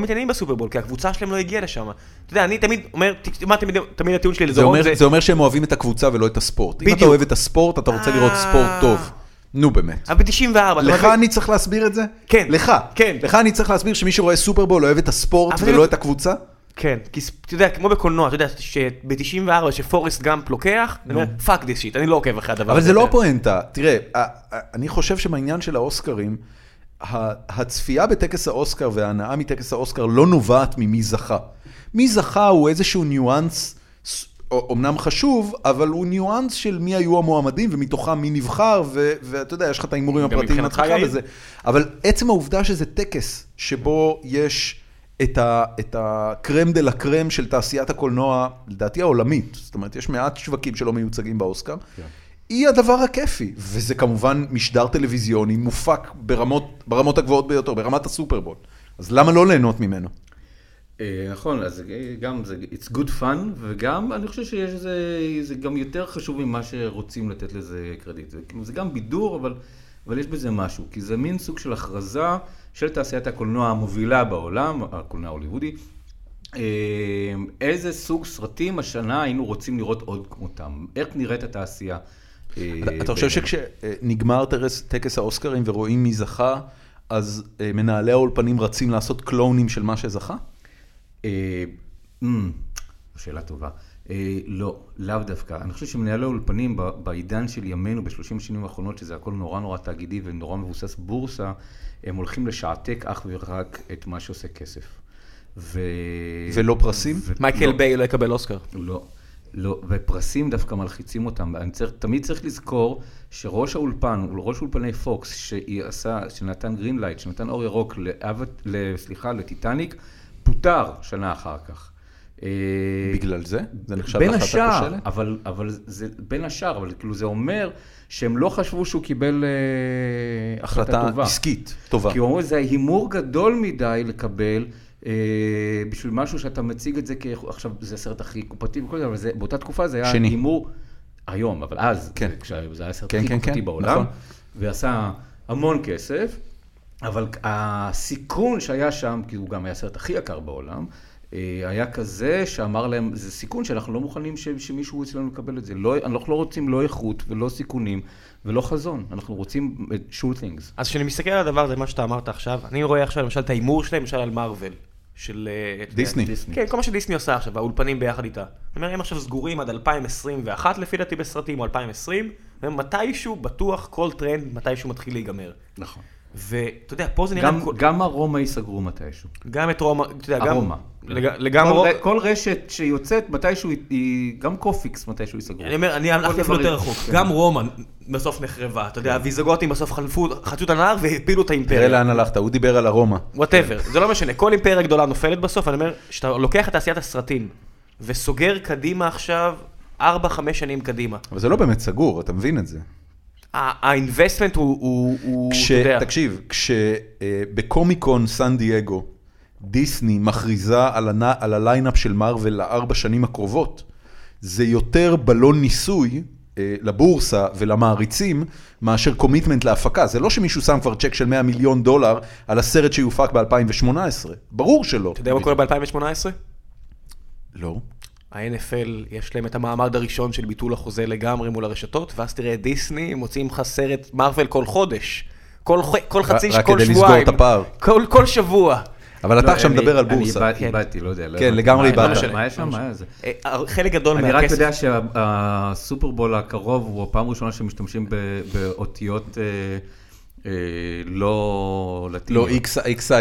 [SPEAKER 2] מתעניינים בסופרבול, כי הקבוצה שלהם לא הגיעה לשם. אתה יודע, אני תמיד אומר, ת- מה תמיד- תמיד הטיעון שלי
[SPEAKER 1] זה
[SPEAKER 2] לדורון
[SPEAKER 1] אומר,
[SPEAKER 2] זה...
[SPEAKER 1] זה אומר שהם אוהבים את הקבוצה ולא את הספורט. אם אתה
[SPEAKER 2] בדיוק.
[SPEAKER 1] אוהב את הספורט, אתה רוצה לראות
[SPEAKER 2] אה.
[SPEAKER 1] ספורט טוב. נו באמת.
[SPEAKER 2] אבל ב-94.
[SPEAKER 1] לך אני צריך להסביר את זה?
[SPEAKER 2] כן.
[SPEAKER 1] לך.
[SPEAKER 2] כן.
[SPEAKER 1] לך אני צריך להסביר שמי שרואה סופרבול אוהב את הספורט
[SPEAKER 2] אבל
[SPEAKER 1] ולא
[SPEAKER 2] זה-
[SPEAKER 1] את הקבוצה?
[SPEAKER 2] כן, כי ס- אתה יודע, כמו בקולנוע, אתה יודע, שב-94 שפורסט גאמפ לוקח, אני אומר, פאק דיס שיט, אני לא עוקב אחרי הדבר
[SPEAKER 1] אבל
[SPEAKER 2] הזה.
[SPEAKER 1] זה לא הפואנטה. תראה, ה- ה- אני חושב שבעניין של האוסקרים, ה- הצפייה בטקס האוסקר וההנאה מטקס האוסקר לא נובעת ממי זכה. מי זכה הוא איזשהו ניואנס, ס- א- אומנם חשוב, אבל הוא ניואנס של מי היו המועמדים ומתוכם מי נבחר, ו- ואתה יודע, יש לך את ההימורים הפרטיים עם
[SPEAKER 2] מבחינתך,
[SPEAKER 1] עצמך
[SPEAKER 2] יאיר?
[SPEAKER 1] וזה. אבל עצם העובדה שזה טקס שבו יש... את, ה, את הקרם דה לה קרם של תעשיית הקולנוע, לדעתי העולמית, זאת אומרת, יש מעט שווקים שלא מיוצגים באוסקר,
[SPEAKER 2] כן.
[SPEAKER 1] היא הדבר הכיפי, וזה כמובן משדר טלוויזיוני מופק ברמות, ברמות הגבוהות ביותר, ברמת הסופרבול. אז למה לא ליהנות ממנו?
[SPEAKER 3] אה, נכון, אז אה, גם זה, it's good fun, וגם אני חושב שיש איזה, זה גם יותר חשוב ממה שרוצים לתת לזה קרדיט. זה, כאילו, זה גם בידור, אבל, אבל יש בזה משהו, כי זה מין סוג של הכרזה של תעשיית הקולנוע המובילה בעולם, הקולנוע ההוליוודי. אה, איזה סוג סרטים השנה היינו רוצים לראות עוד כמותם? איך נראית התעשייה? אה,
[SPEAKER 1] אתה- אתה חושב
[SPEAKER 3] בעינינו?
[SPEAKER 1] שכשנגמר טרס- טקס האוסקרים ורואים מי זכה, אז אה, מנהלי האולפנים רצים לעשות קלונים של מה שזכה?
[SPEAKER 3] אה, אמ, שאלה טובה. אה, לא, לאו דווקא. אני חושב שמנהלי האולפנים ב- בעידן של ימינו, ב-30 השנים האחרונות, שזה הכל נורא נורא תאגידי ונורא מבוסס בורסה, הם הולכים לשעתק אך ורק את מה שעושה כסף. ו...
[SPEAKER 1] ולא פרסים?
[SPEAKER 3] ו-
[SPEAKER 2] מייקל
[SPEAKER 3] לא.
[SPEAKER 2] ביי לא יקבל אוסקר.
[SPEAKER 3] לא, לא, ופרסים דווקא מלחיצים אותם. אני צריך, תמיד צריך לזכור שראש האולפן, הוא ראש אולפני פוקס, שהיא עשה, שנתן גרינלייט, שנתן אור ירוק, לאבט, ל- סליחה, לטיטניק, פוטר שנה אחר כך. אה,
[SPEAKER 1] בגלל זה? זה נחשב
[SPEAKER 3] בין
[SPEAKER 1] להחלטה
[SPEAKER 3] השאר,
[SPEAKER 1] כושלת?
[SPEAKER 3] אבל, אבל זה בין השאר, אבל כאילו זה אומר שהם לא חשבו שהוא קיבל אה, החלטה,
[SPEAKER 1] החלטה
[SPEAKER 3] טובה.
[SPEAKER 1] עסקית טובה.
[SPEAKER 3] כי הוא אומר, זה הימור גדול מדי לקבל אה, בשביל משהו שאתה מציג את זה כ... עכשיו, זה הסרט הכי קופתי וכל זה, אבל זה, באותה תקופה זה היה
[SPEAKER 1] שני.
[SPEAKER 3] הימור... היום, אבל אז,
[SPEAKER 1] כן.
[SPEAKER 3] זה- כשזה היה הסרט
[SPEAKER 1] כן,
[SPEAKER 3] הכי
[SPEAKER 1] כן,
[SPEAKER 3] קופתי
[SPEAKER 1] כן,
[SPEAKER 3] בעולם,
[SPEAKER 1] נכון.
[SPEAKER 3] ועשה המון כסף, אבל הסיכון שהיה שם, כי הוא גם היה הסרט הכי יקר בעולם, אה, היה כזה שאמר להם, זה סיכון שאנחנו לא מוכנים ש, שמישהו אצלנו יקבל את זה. לא, אנחנו לא רוצים לא איכות ולא סיכונים ולא חזון, אנחנו רוצים אה, שולטינגס.
[SPEAKER 2] אז כשאני מסתכל על הדבר הזה, מה שאתה אמרת עכשיו, אני רואה עכשיו למשל את ההימור שלהם, למשל על מארוול. של... אה, אתה יודע,
[SPEAKER 1] דיסני.
[SPEAKER 3] דיסני.
[SPEAKER 2] כן, כל מה שדיסני עושה עכשיו, האולפנים ביחד איתה. אני אומר, הם עכשיו סגורים עד 2021 לפי דעתי בסרטים, או 2020, ומתישהו, בטוח, כל טרנד מתישהו מתחיל להיגמר.
[SPEAKER 3] נכון.
[SPEAKER 2] ואתה יודע, פה זה נראה...
[SPEAKER 3] גם,
[SPEAKER 2] כל-
[SPEAKER 3] גם הרומא ייסגרו מתישהו.
[SPEAKER 2] גם את רומא, אתה יודע, גם...
[SPEAKER 3] ארומה. לא,
[SPEAKER 2] לג- לגמרי...
[SPEAKER 3] כל,
[SPEAKER 2] רומא-
[SPEAKER 3] ר- כל רשת שיוצאת מתישהו, היא- היא, גם קופיקס מתישהו ייסגרו.
[SPEAKER 2] אני אומר, אני הלכתי אפילו
[SPEAKER 3] דברים.
[SPEAKER 2] יותר רחוק.
[SPEAKER 3] כן.
[SPEAKER 2] גם רומא בסוף נחרבה, אתה יודע, הוויזגוטים בסוף חלפו, חצו את הנהר והפילו את
[SPEAKER 1] תראה
[SPEAKER 2] האימפריה.
[SPEAKER 1] לאן הלכת, הוא דיבר על הרומא.
[SPEAKER 2] וואטאבר, זה לא משנה, כל אימפריה גדולה נופלת בסוף, אני אומר, כשאתה לוקח את תעשיית הסרטים וסוגר קדימה עכשיו 4-5 שנים קדימה,
[SPEAKER 1] אבל זה לא באמת סגור, אתה מבין את זה.
[SPEAKER 2] ה- האינבסטמנט הוא- הוא, הוא-
[SPEAKER 1] כש...
[SPEAKER 2] אתה יודע,
[SPEAKER 1] תקשיב, כשבקומיקון סן דייגו, דיסני מכריזה על, הנ... על הליינאפ של מארוול לארבע שנים הקרובות, זה יותר בלון ניסוי אה, לבורסה ולמעריצים, מאשר קומיטמנט להפקה. זה לא שמישהו שם כבר צ'ק של 100 מיליון דולר על הסרט שיופק ב-2018. ברור שלא.
[SPEAKER 2] אתה יודע מה קורה ב-2018?
[SPEAKER 1] לא.
[SPEAKER 2] ה-NFL יש להם את המעמד הראשון של ביטול החוזה לגמרי מול הרשתות, ואז תראה את דיסני, מוציאים לך סרט מארוול כל חודש. כל, ח- כל חצי,
[SPEAKER 1] רק
[SPEAKER 2] כל
[SPEAKER 1] כדי לסגור
[SPEAKER 2] שבועיים.
[SPEAKER 1] את הפער.
[SPEAKER 2] כל, כל שבוע.
[SPEAKER 1] אבל אתה
[SPEAKER 3] לא,
[SPEAKER 1] עכשיו
[SPEAKER 3] אני-
[SPEAKER 1] מדבר על
[SPEAKER 3] אני
[SPEAKER 1] בורסה.
[SPEAKER 3] איבד- איבדתי, לא יודע. לא
[SPEAKER 1] כן,
[SPEAKER 3] הבנתי.
[SPEAKER 1] לגמרי
[SPEAKER 3] מה-
[SPEAKER 1] איבדת.
[SPEAKER 3] מה- מה יש שם? מה היה זה?
[SPEAKER 2] אה, חלק גדול
[SPEAKER 3] אני
[SPEAKER 2] מהכסף.
[SPEAKER 3] רק יודע שהסופרבול הקרוב הוא הפעם הראשונה שמשתמשים ב- באותיות אה, אה, לא לטיני.
[SPEAKER 1] לא, XII,
[SPEAKER 3] כן, זה-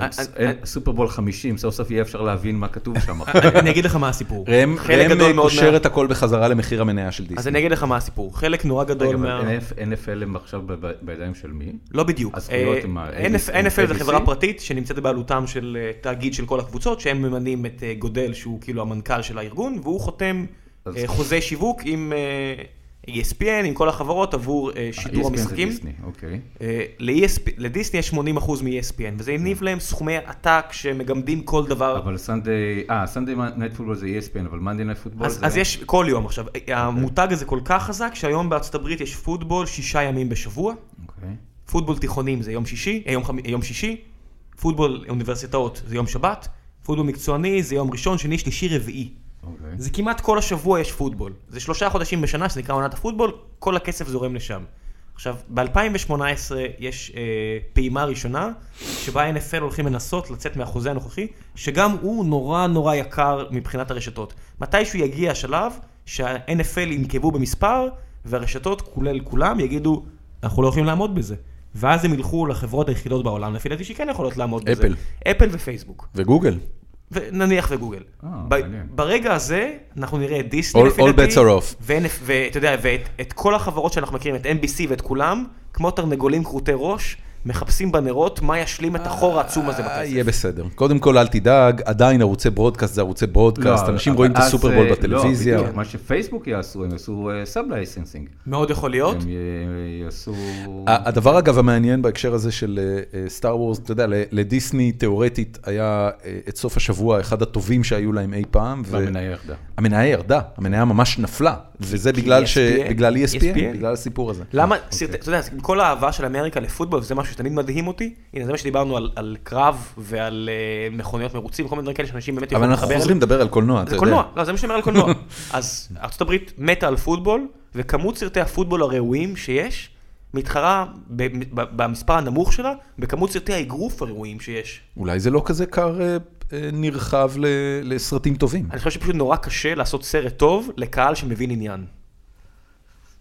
[SPEAKER 2] אה,
[SPEAKER 3] אין-
[SPEAKER 2] אה,
[SPEAKER 3] סופרבול 50, סוף סוף יהיה אפשר להבין מה כתוב שם. אחרי-
[SPEAKER 4] אני אגיד לך מה הסיפור.
[SPEAKER 1] ראם
[SPEAKER 2] חלק
[SPEAKER 1] ראם,
[SPEAKER 2] גדול מאוד
[SPEAKER 1] קושר
[SPEAKER 2] מה-
[SPEAKER 1] את הכל בחזרה למחיר המניה של
[SPEAKER 2] אז
[SPEAKER 1] דיסני.
[SPEAKER 2] אני אגיד לך מה הסיפור. חלק נורא גדול
[SPEAKER 3] רגע, אבל
[SPEAKER 2] מה...
[SPEAKER 3] NF NFL הם עכשיו ב- ב- בידיים של מי?
[SPEAKER 2] לא בדיוק.
[SPEAKER 3] הזכויות
[SPEAKER 2] אה,
[SPEAKER 3] עם ה-
[SPEAKER 2] NF-
[SPEAKER 3] עם
[SPEAKER 2] NFL זה
[SPEAKER 3] ABC?
[SPEAKER 2] חברה פרטית שנמצאת בבעלותם של אה, תאגיד של כל הקבוצות, שהם ממנים את אה, גודל, שהוא כאילו המנכ"ל של הארגון, והוא חותם
[SPEAKER 3] אז-
[SPEAKER 2] אה, חוזה שיווק עם אה, ESPN, עם כל החברות, עבור אה, שידור
[SPEAKER 3] ESPN זה
[SPEAKER 2] המשחקים.
[SPEAKER 3] דיסני, אוקיי.
[SPEAKER 2] אה, ל-ESP לדיסני יש 80% מ-ESPN, וזה הניב להם סכומי עתק שמגמדים כל דבר.
[SPEAKER 3] כן. אבל סנדיי, אה, סנדיי נייט פוטבול זה E ESPN, אבל מאנדי נייט פוטבול
[SPEAKER 2] אז,
[SPEAKER 3] זה... אוקיי.
[SPEAKER 2] אז יש כל יום עכשיו, המותג הזה כל כך חזק שהיום בארצות הברית יש פוטבול שישה ימים בשבוע,
[SPEAKER 3] אוקיי.
[SPEAKER 2] פוטבול תיכונים זה יום שישי, אה, יום, חמ... יום שישי, פוטבול אוניברסיטאות זה יום שבת, פוטבול מקצועני זה יום ראשון, שני, שלישי, רביעי.
[SPEAKER 3] אוקיי.
[SPEAKER 2] זה כמעט כל השבוע יש פוטבול. זה שלושה חודשים בשנה שזה נקרא עונת הפוטבול, כל הכסף זורם לשם. עכשיו, ב-2018 יש אה, פעימה ראשונה, שבה NFL הולכים לנסות לצאת מהחוזה הנוכחי, שגם הוא נורא נורא יקר מבחינת הרשתות. מתישהו יגיע השלב שה-NFL ינקבו במספר, והרשתות, כולל כולם, יגידו, אנחנו לא יכולים לעמוד בזה. ואז הם ילכו לחברות היחידות בעולם, לפי דעתי שכן יכולות לעמוד בזה.
[SPEAKER 1] אפל.
[SPEAKER 2] אפל ופייסבוק.
[SPEAKER 1] וגוגל,
[SPEAKER 2] ונניח וגוגל.
[SPEAKER 3] אה,
[SPEAKER 2] ב-
[SPEAKER 3] מעניין.
[SPEAKER 2] ברגע הזה, אנחנו נראה את דיסני
[SPEAKER 1] All-
[SPEAKER 2] לפי
[SPEAKER 1] all
[SPEAKER 2] דעתי,
[SPEAKER 1] bets are off.
[SPEAKER 2] ו-NF ואתה יודע, ואת את כל החברות שאנחנו מכירים, את NBC ואת כולם, כמו תרנגולים כרותי ראש, מחפשים בנרות מה ישלים את החור העצום הזה
[SPEAKER 1] אה,
[SPEAKER 2] בכסף.
[SPEAKER 1] יהיה בסדר. קודם כל, אל תדאג, עדיין ערוצי ברודקאסט זה ערוצי ברודקאסט,
[SPEAKER 3] לא,
[SPEAKER 1] אנשים
[SPEAKER 3] אבל
[SPEAKER 1] רואים את
[SPEAKER 3] אז, אה,
[SPEAKER 1] הסופרבול
[SPEAKER 3] לא,
[SPEAKER 1] בטלוויזיה.
[SPEAKER 3] בדיוק. מה שפייסבוק יעשו, הם יעשו אה, סאב לייסנסינג.
[SPEAKER 2] מאוד יכול להיות.
[SPEAKER 3] הם י- יעשו... אה,
[SPEAKER 1] ה- הדבר אגב המעניין בהקשר הזה של אה, סטאר וורס, אתה יודע, ל- לדיסני תיאורטית היה אה, את סוף השבוע אחד הטובים שהיו להם אי פעם. ו-
[SPEAKER 3] והמניה ירדה.
[SPEAKER 1] המניה ירדה, המניה ממש נפלה, וזה בגלל
[SPEAKER 3] E
[SPEAKER 1] ש...
[SPEAKER 2] ESPN.
[SPEAKER 1] בגלל E ESPN,
[SPEAKER 2] ESPN.
[SPEAKER 1] בגלל הסיפור הזה.
[SPEAKER 2] למה, סרט- אתה יודע, עם כל האהבה של אמריקה לפוטבול, וזה משהו שתמיד מדהים אותי, הנה זה מה שדיברנו על- על קרב ועל אה, מכוניות מרוצים, כל מיני דברים כאלה שאנשים באמת
[SPEAKER 1] אבל
[SPEAKER 2] יכולים
[SPEAKER 1] אנחנו
[SPEAKER 2] להתחבר אליהם.
[SPEAKER 1] חוזרים לדבר על קולנוע, אתה
[SPEAKER 2] זה
[SPEAKER 1] יודע.
[SPEAKER 2] קולנוע, לא, זה מה שאני אומר על קולנוע. אז ארה"ב מתה על פוטבול, וכמות סרטי הפוטבול הראויים שיש, מתחרה ב- ב- במספר הנמוך שלה, בכמות סרטי האגרוף הראויים שיש.
[SPEAKER 1] אולי זה לא כזה כר אה, אה, נרחב ל- לסרטים טובים.
[SPEAKER 2] אני חושב שפשוט נורא קשה לעשות סרט טוב לקהל שמבין עניין.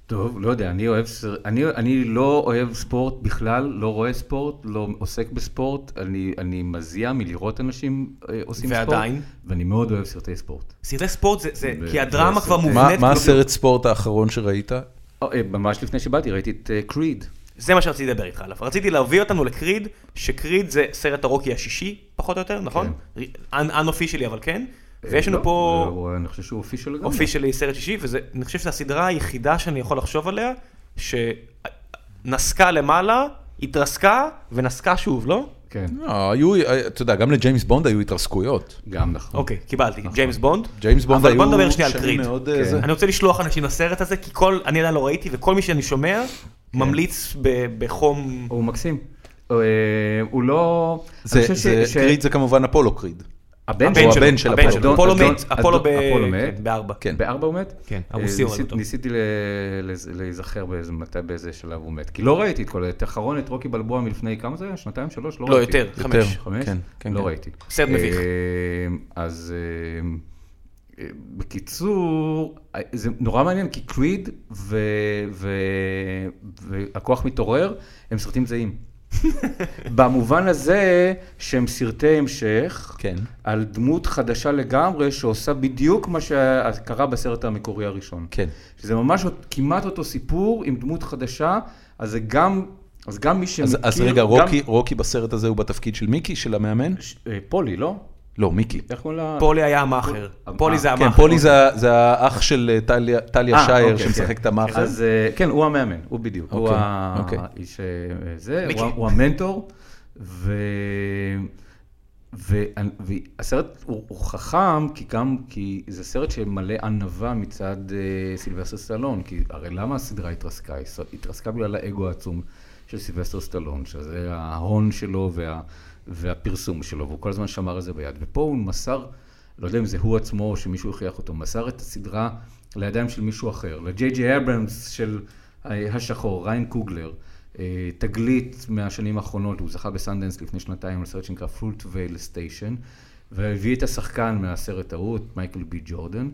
[SPEAKER 3] טוב, לא יודע, אני אוהב, סר- אני, אני לא אוהב ספורט בכלל, לא רואה ספורט, לא עוסק בספורט, אני, אני מזיע מלראות אנשים אה, עושים ספורט.
[SPEAKER 2] ועדיין?
[SPEAKER 3] ואני מאוד אוהב סרטי ספורט.
[SPEAKER 2] סרטי ספורט זה, זה
[SPEAKER 3] ב-
[SPEAKER 2] כי הדרמה כבר
[SPEAKER 3] בסרטי-
[SPEAKER 1] מה
[SPEAKER 2] מובנית.
[SPEAKER 1] מה
[SPEAKER 2] כבר-
[SPEAKER 1] הסרט ספורט האחרון שראית?
[SPEAKER 3] או, אה, ממש לפני שבאתי ראיתי את אה, קריד.
[SPEAKER 2] זה מה שרציתי לדבר איתך עליו. רציתי להביא אותנו לקריד, שקריד זה סרט הרוקי השישי, פחות או יותר, נכון? אנופי שלי, אבל כן. ויש לנו
[SPEAKER 3] לא,
[SPEAKER 2] פה...
[SPEAKER 3] לא, אני חושב שהוא אופישל לגמרי.
[SPEAKER 1] לא.
[SPEAKER 2] אופישלי סרט שישי, ואני חושב שזו הסדרה היחידה שאני יכול לחשוב עליה, שנסקה למעלה, התרסקה ונסקה שוב, לא?
[SPEAKER 3] כן,
[SPEAKER 1] לא, היו, אה, אתה יודע, גם לג'יימס בונד היו התרסקויות.
[SPEAKER 3] גם נכון.
[SPEAKER 2] אוקיי, קיבלתי, ג'יימס בונד.
[SPEAKER 1] ג'יימס בונד היו
[SPEAKER 2] אבל בוא נדבר שנייה על
[SPEAKER 1] שנים
[SPEAKER 2] קריד.
[SPEAKER 1] מאוד, אה,
[SPEAKER 3] כן.
[SPEAKER 1] זה.
[SPEAKER 2] אני רוצה לשלוח אנשים לסרט הזה, כי כל, אני עדיין לא ראיתי, וכל מי שאני שומע,
[SPEAKER 1] כן.
[SPEAKER 2] ממליץ ב- בחום...
[SPEAKER 3] הוא מקסים. אה, הוא לא...
[SPEAKER 1] זה-
[SPEAKER 3] אני חושב
[SPEAKER 1] זה-
[SPEAKER 3] ש- ש-
[SPEAKER 1] קריד זה כמובן אפולו קריד.
[SPEAKER 3] הבן
[SPEAKER 1] או
[SPEAKER 3] שלו.
[SPEAKER 1] הבן של
[SPEAKER 2] הבן
[SPEAKER 1] אפולו.
[SPEAKER 2] שלו.
[SPEAKER 1] אדון-
[SPEAKER 2] אפולו
[SPEAKER 3] אדון-
[SPEAKER 2] מת, אפולו ב-
[SPEAKER 3] אפולו מת.
[SPEAKER 2] כן, בארבע.
[SPEAKER 1] כן.
[SPEAKER 3] בארבע הוא מת?
[SPEAKER 2] כן,
[SPEAKER 3] אה,
[SPEAKER 2] הרוסי הורג
[SPEAKER 3] ניסי-
[SPEAKER 2] אותו.
[SPEAKER 3] ניסיתי ל- לז- להיזכר באיזה- מתי- באיזה שלב הוא מת, כי לא ראיתי את כל, את האחרון, את רוקי בלבוע מלפני כמה זה היה? שנתיים, שלוש? לא
[SPEAKER 2] לא,
[SPEAKER 3] ראיתי.
[SPEAKER 2] יותר,
[SPEAKER 1] יותר.
[SPEAKER 2] חמש.
[SPEAKER 3] חמש?
[SPEAKER 1] כן, כן, כן.
[SPEAKER 3] לא ראיתי.
[SPEAKER 2] סרט מביך.
[SPEAKER 3] אה, אז אה, אה, בקיצור, אה, זה נורא מעניין, כי קריד ו- ו- והכוח מתעורר, הם סרטים זהים. במובן הזה שהם סרטי המשך,
[SPEAKER 1] כן.
[SPEAKER 3] על דמות חדשה לגמרי שעושה בדיוק מה שקרה בסרט המקורי הראשון.
[SPEAKER 1] כן.
[SPEAKER 3] שזה ממש אות- כמעט אותו סיפור עם דמות חדשה, אז זה גם, אז גם מי שמכיר...
[SPEAKER 1] אז- אז רגע,
[SPEAKER 3] כאילו גם-
[SPEAKER 1] רוקי- רוקי בסרט הזה הוא בתפקיד של מיקי, של המאמן?
[SPEAKER 3] ש- אה, פולי, לא?
[SPEAKER 1] לא, מיקי.
[SPEAKER 3] איך קוראים לה?
[SPEAKER 2] פולי היה המאכר.
[SPEAKER 3] אה,
[SPEAKER 2] פולי זה
[SPEAKER 3] כן,
[SPEAKER 1] כן,
[SPEAKER 2] המאכר.
[SPEAKER 1] פולי זה- זה האח של אה, טליה- טליה
[SPEAKER 3] אה,
[SPEAKER 1] שייר
[SPEAKER 3] אוקיי,
[SPEAKER 1] שמשחק
[SPEAKER 3] כן.
[SPEAKER 1] את המאכר.
[SPEAKER 3] אז אה, כן, הוא המאמן, הוא בדיוק. הוא
[SPEAKER 1] אוקיי,
[SPEAKER 3] האיש אה, זה,
[SPEAKER 2] מיקי.
[SPEAKER 3] הוא ה- הוא המנטור, ו... ו- והסרט הוא, הוא חכם, כי גם, כי זה סרט שמלא ענווה מצד אה, סילבסטר סטלון, כי הרי למה הסדרה התרסקה? היא ס- התרסקה בגלל האגו העצום של סילבסטר סטלון, שזה ההון שלו וה, והפרסום שלו, והוא כל הזמן שמר את זה ביד. ופה הוא מסר, לא יודע אם זה הוא עצמו או שמישהו הכריח אותו, מסר את הסדרה לידיים של מישהו אחר, לג'יי ג'יי אברמס של אה, השחור, ריין קוגלר. אה, תגלית מהשנים האחרונות, הוא זכה בסנדנס לפני שנתיים על סרט שנקרא פרוט וייל סטיישן, והביא את השחקן מהסרט ההוא, את מייקל בי ג'ורדן,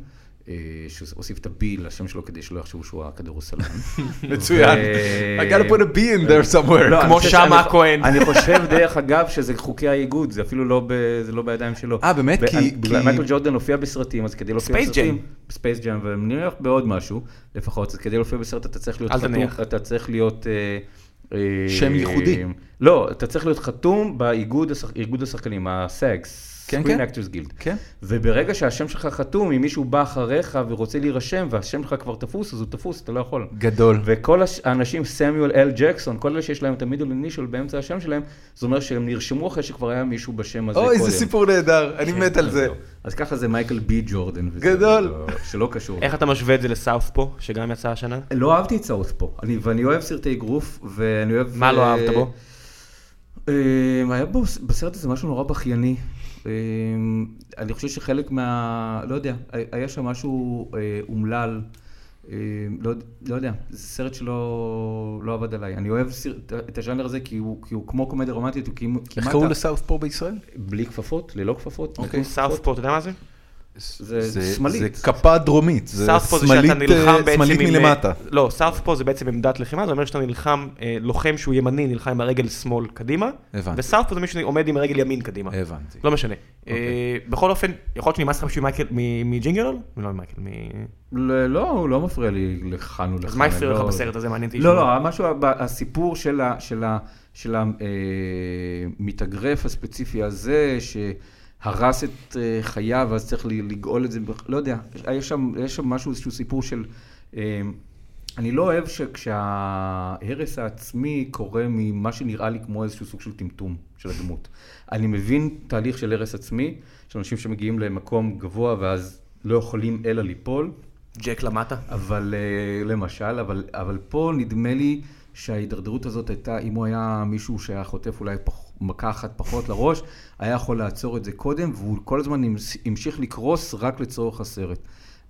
[SPEAKER 3] אה, אה, שהוסיף את הבי לשם שלו כדי שלא יחשבו שהוא הכדורסלן.
[SPEAKER 1] מצוין.
[SPEAKER 3] ו-
[SPEAKER 1] I gotta put a B in there somewhere.
[SPEAKER 3] לא, אני
[SPEAKER 2] כמו
[SPEAKER 3] חושב
[SPEAKER 2] שאמה
[SPEAKER 3] שאני-
[SPEAKER 2] הכהן.
[SPEAKER 3] אני חושב, דרך אגב, שזה חוקי האיגוד, זה אפילו לא ב- זה לא בידיים שלו.
[SPEAKER 1] אה, באמת?
[SPEAKER 3] ואני-
[SPEAKER 1] כי-
[SPEAKER 3] בגלל-
[SPEAKER 1] כי-
[SPEAKER 3] מייקל ג'ורדן הופיע בסרטים, אז כדי להופיע
[SPEAKER 2] Space
[SPEAKER 3] בסרטים...
[SPEAKER 2] Jam.
[SPEAKER 3] ספייס ג'אם. ונניח בעוד משהו, לפחות, אז כדי להופיע בסרט אתה צריך להיות
[SPEAKER 2] אל
[SPEAKER 3] חתום.
[SPEAKER 2] תניח.
[SPEAKER 3] אתה צריך להיות... אה, אה,
[SPEAKER 1] שם ייחודי.
[SPEAKER 3] לא, אתה צריך להיות חתום באיגוד השח- איגוד השחקנים, הסאגס.
[SPEAKER 1] כן,
[SPEAKER 3] Screen
[SPEAKER 1] כן.
[SPEAKER 3] Actors Guild.
[SPEAKER 1] כן.
[SPEAKER 3] וברגע שהשם שלך חתום, אם מישהו בא אחריך ורוצה להירשם והשם שלך כבר תפוס, אז הוא תפוס, אתה לא יכול.
[SPEAKER 1] גדול.
[SPEAKER 3] וכל הש- האנשים, סמיואל אל ג'קסון, כל אלה שיש להם את המידל אינישל באמצע השם שלהם, זה אומר שהם נרשמו אחרי שכבר היה מישהו בשם הזה קודם. כן,
[SPEAKER 1] אוי, איזה סיפור נהדר, אני מת על זה.
[SPEAKER 3] זהו. אז ככה זה מייקל בי ג'ורדן. וזה
[SPEAKER 1] גדול.
[SPEAKER 3] לא- שלא קשור.
[SPEAKER 2] איך אתה משווה את זה לסאות'פו, שגם יצא השנה?
[SPEAKER 3] לא אהבתי את סאות' פה, אני, ואני אוהב סרטי אגרוף, ואני אוהב...
[SPEAKER 2] מה לא
[SPEAKER 3] אה,
[SPEAKER 2] אהבת בו?
[SPEAKER 3] אה, היה בו, בסרט הזה משהו נורא בכייני. אה, אני חושב שחלק מה... לא יודע, היה שם משהו אה, אומלל. אה, לא, לא יודע, זה סרט שלא לא עבד עליי. אני אוהב סר, את הז'אנר הזה כי הוא, כי הוא כמו קומדיה רומנטית, הוא כמעט...
[SPEAKER 1] איך קראו לסאוף פה בישראל?
[SPEAKER 3] בלי כפפות, ללא כפפות.
[SPEAKER 1] אוקיי.
[SPEAKER 2] סאות'פו, אתה יודע מה זה?
[SPEAKER 3] זה שמאלית.
[SPEAKER 1] זה כפה דרומית, זה
[SPEAKER 2] סאות'פו זה
[SPEAKER 1] שמאלית
[SPEAKER 2] שאתה נלחם
[SPEAKER 1] אה,
[SPEAKER 2] בעצם
[SPEAKER 1] שמאלית
[SPEAKER 2] עם...
[SPEAKER 1] מלמטה.
[SPEAKER 2] לא, סאות'פו זה בעצם עמדת לחימה, זה אומר שאתה נלחם, אה, לוחם שהוא ימני נלחם עם הרגל שמאל קדימה,
[SPEAKER 1] הבנתי.
[SPEAKER 2] וסאות'פו זה מישהו שעומד עם הרגל ימין קדימה.
[SPEAKER 1] הבנתי. אוקיי.
[SPEAKER 2] לא משנה. אה, בכל אופן, יכול להיות שנמאס לך משהו ממייקל- מ- מג'ינגלול? לא ממייקל, מ...
[SPEAKER 3] לא, לא, הוא לא מפריע לי לכאן ולכאן.
[SPEAKER 2] אז מה הפריע
[SPEAKER 3] לא-
[SPEAKER 2] לך בסרט הזה? מעניין אותי.
[SPEAKER 3] לא,
[SPEAKER 2] לשמוע.
[SPEAKER 3] לא, משהו, ב- הסיפור של ה- של ה- של המתאגרף הספציפי הזה, שהרס את אה, חייו, אז צריך ל- לגאול את זה, בכ- לא יודע, יש שם, יש שם משהו, איזשהו סיפור של... אה, אני לא אוהב שכשההרס העצמי קורה ממה שנראה לי כמו איזשהו סוג של טמטום של הדמות. אני מבין תהליך של הרס עצמי, של אנשים שמגיעים למקום גבוה ואז לא יכולים אלא ליפול.
[SPEAKER 2] ג'ק למטה.
[SPEAKER 3] אבל אה, למשל, אבל, אבל פה נדמה לי שההידרדרות הזאת הייתה, אם הוא היה מישהו שהיה חוטף אולי פח, מכה אחת פחות לראש, היה יכול לעצור את זה קודם, והוא כל הזמן המס- המשיך לקרוס רק לצורך הסרט.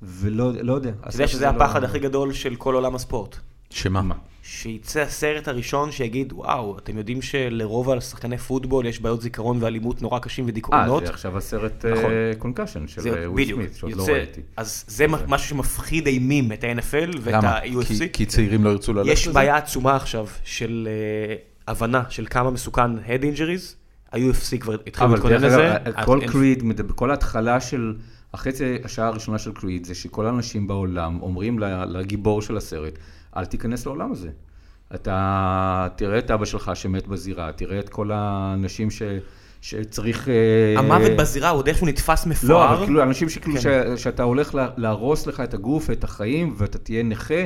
[SPEAKER 3] ולא לא יודע. לא-
[SPEAKER 2] אתה יודע שזה לא- הפחד הכי גדול של כל עולם הספורט.
[SPEAKER 1] שמה?
[SPEAKER 2] שיצא הסרט הראשון שיגיד, וואו, אתם יודעים שלרוב השחקני פוטבול יש בעיות זיכרון ואלימות נורא קשים
[SPEAKER 3] אה,
[SPEAKER 2] ודיכאונות.
[SPEAKER 3] זה עכשיו הסרט
[SPEAKER 2] נכון.
[SPEAKER 3] קונקשן של
[SPEAKER 2] זה-
[SPEAKER 3] אה, וויל
[SPEAKER 2] בדיוק,
[SPEAKER 3] סמית, שעוד לא
[SPEAKER 2] יוצא-
[SPEAKER 3] ראיתי.
[SPEAKER 2] אז זה מה- משהו שמפחיד אימים את ה-NFL ואת
[SPEAKER 1] למה?
[SPEAKER 2] ה-UFC.
[SPEAKER 1] כי- כי צעירים לא ירצו ללכת לזה?
[SPEAKER 2] יש בעיה עצומה עכשיו של אה, הבנה של כמה מסוכן Head Injuries. ה-UFC כבר התחילו
[SPEAKER 3] אבל
[SPEAKER 2] להתכונן
[SPEAKER 3] דרך
[SPEAKER 2] לזה.
[SPEAKER 3] אגב, כל
[SPEAKER 2] אין-
[SPEAKER 3] קריד, מדבר- כל ההתחלה של, החצי השעה הראשונה של קריד, זה שכל האנשים בעולם אומרים ל- לגיבור של הסרט, אל תיכנס לעולם הזה. אתה תראה את אבא שלך שמת בזירה, תראה את כל האנשים ש, שצריך... אה,
[SPEAKER 2] המוות בזירה הוא עוד איכשהו נתפס
[SPEAKER 3] לא,
[SPEAKER 2] מפואר.
[SPEAKER 3] אבל כאילו אנשים שכאילו,
[SPEAKER 2] כן.
[SPEAKER 3] ש- שאתה הולך לה- להרוס לך את הגוף, את החיים, ואתה תהיה נכה.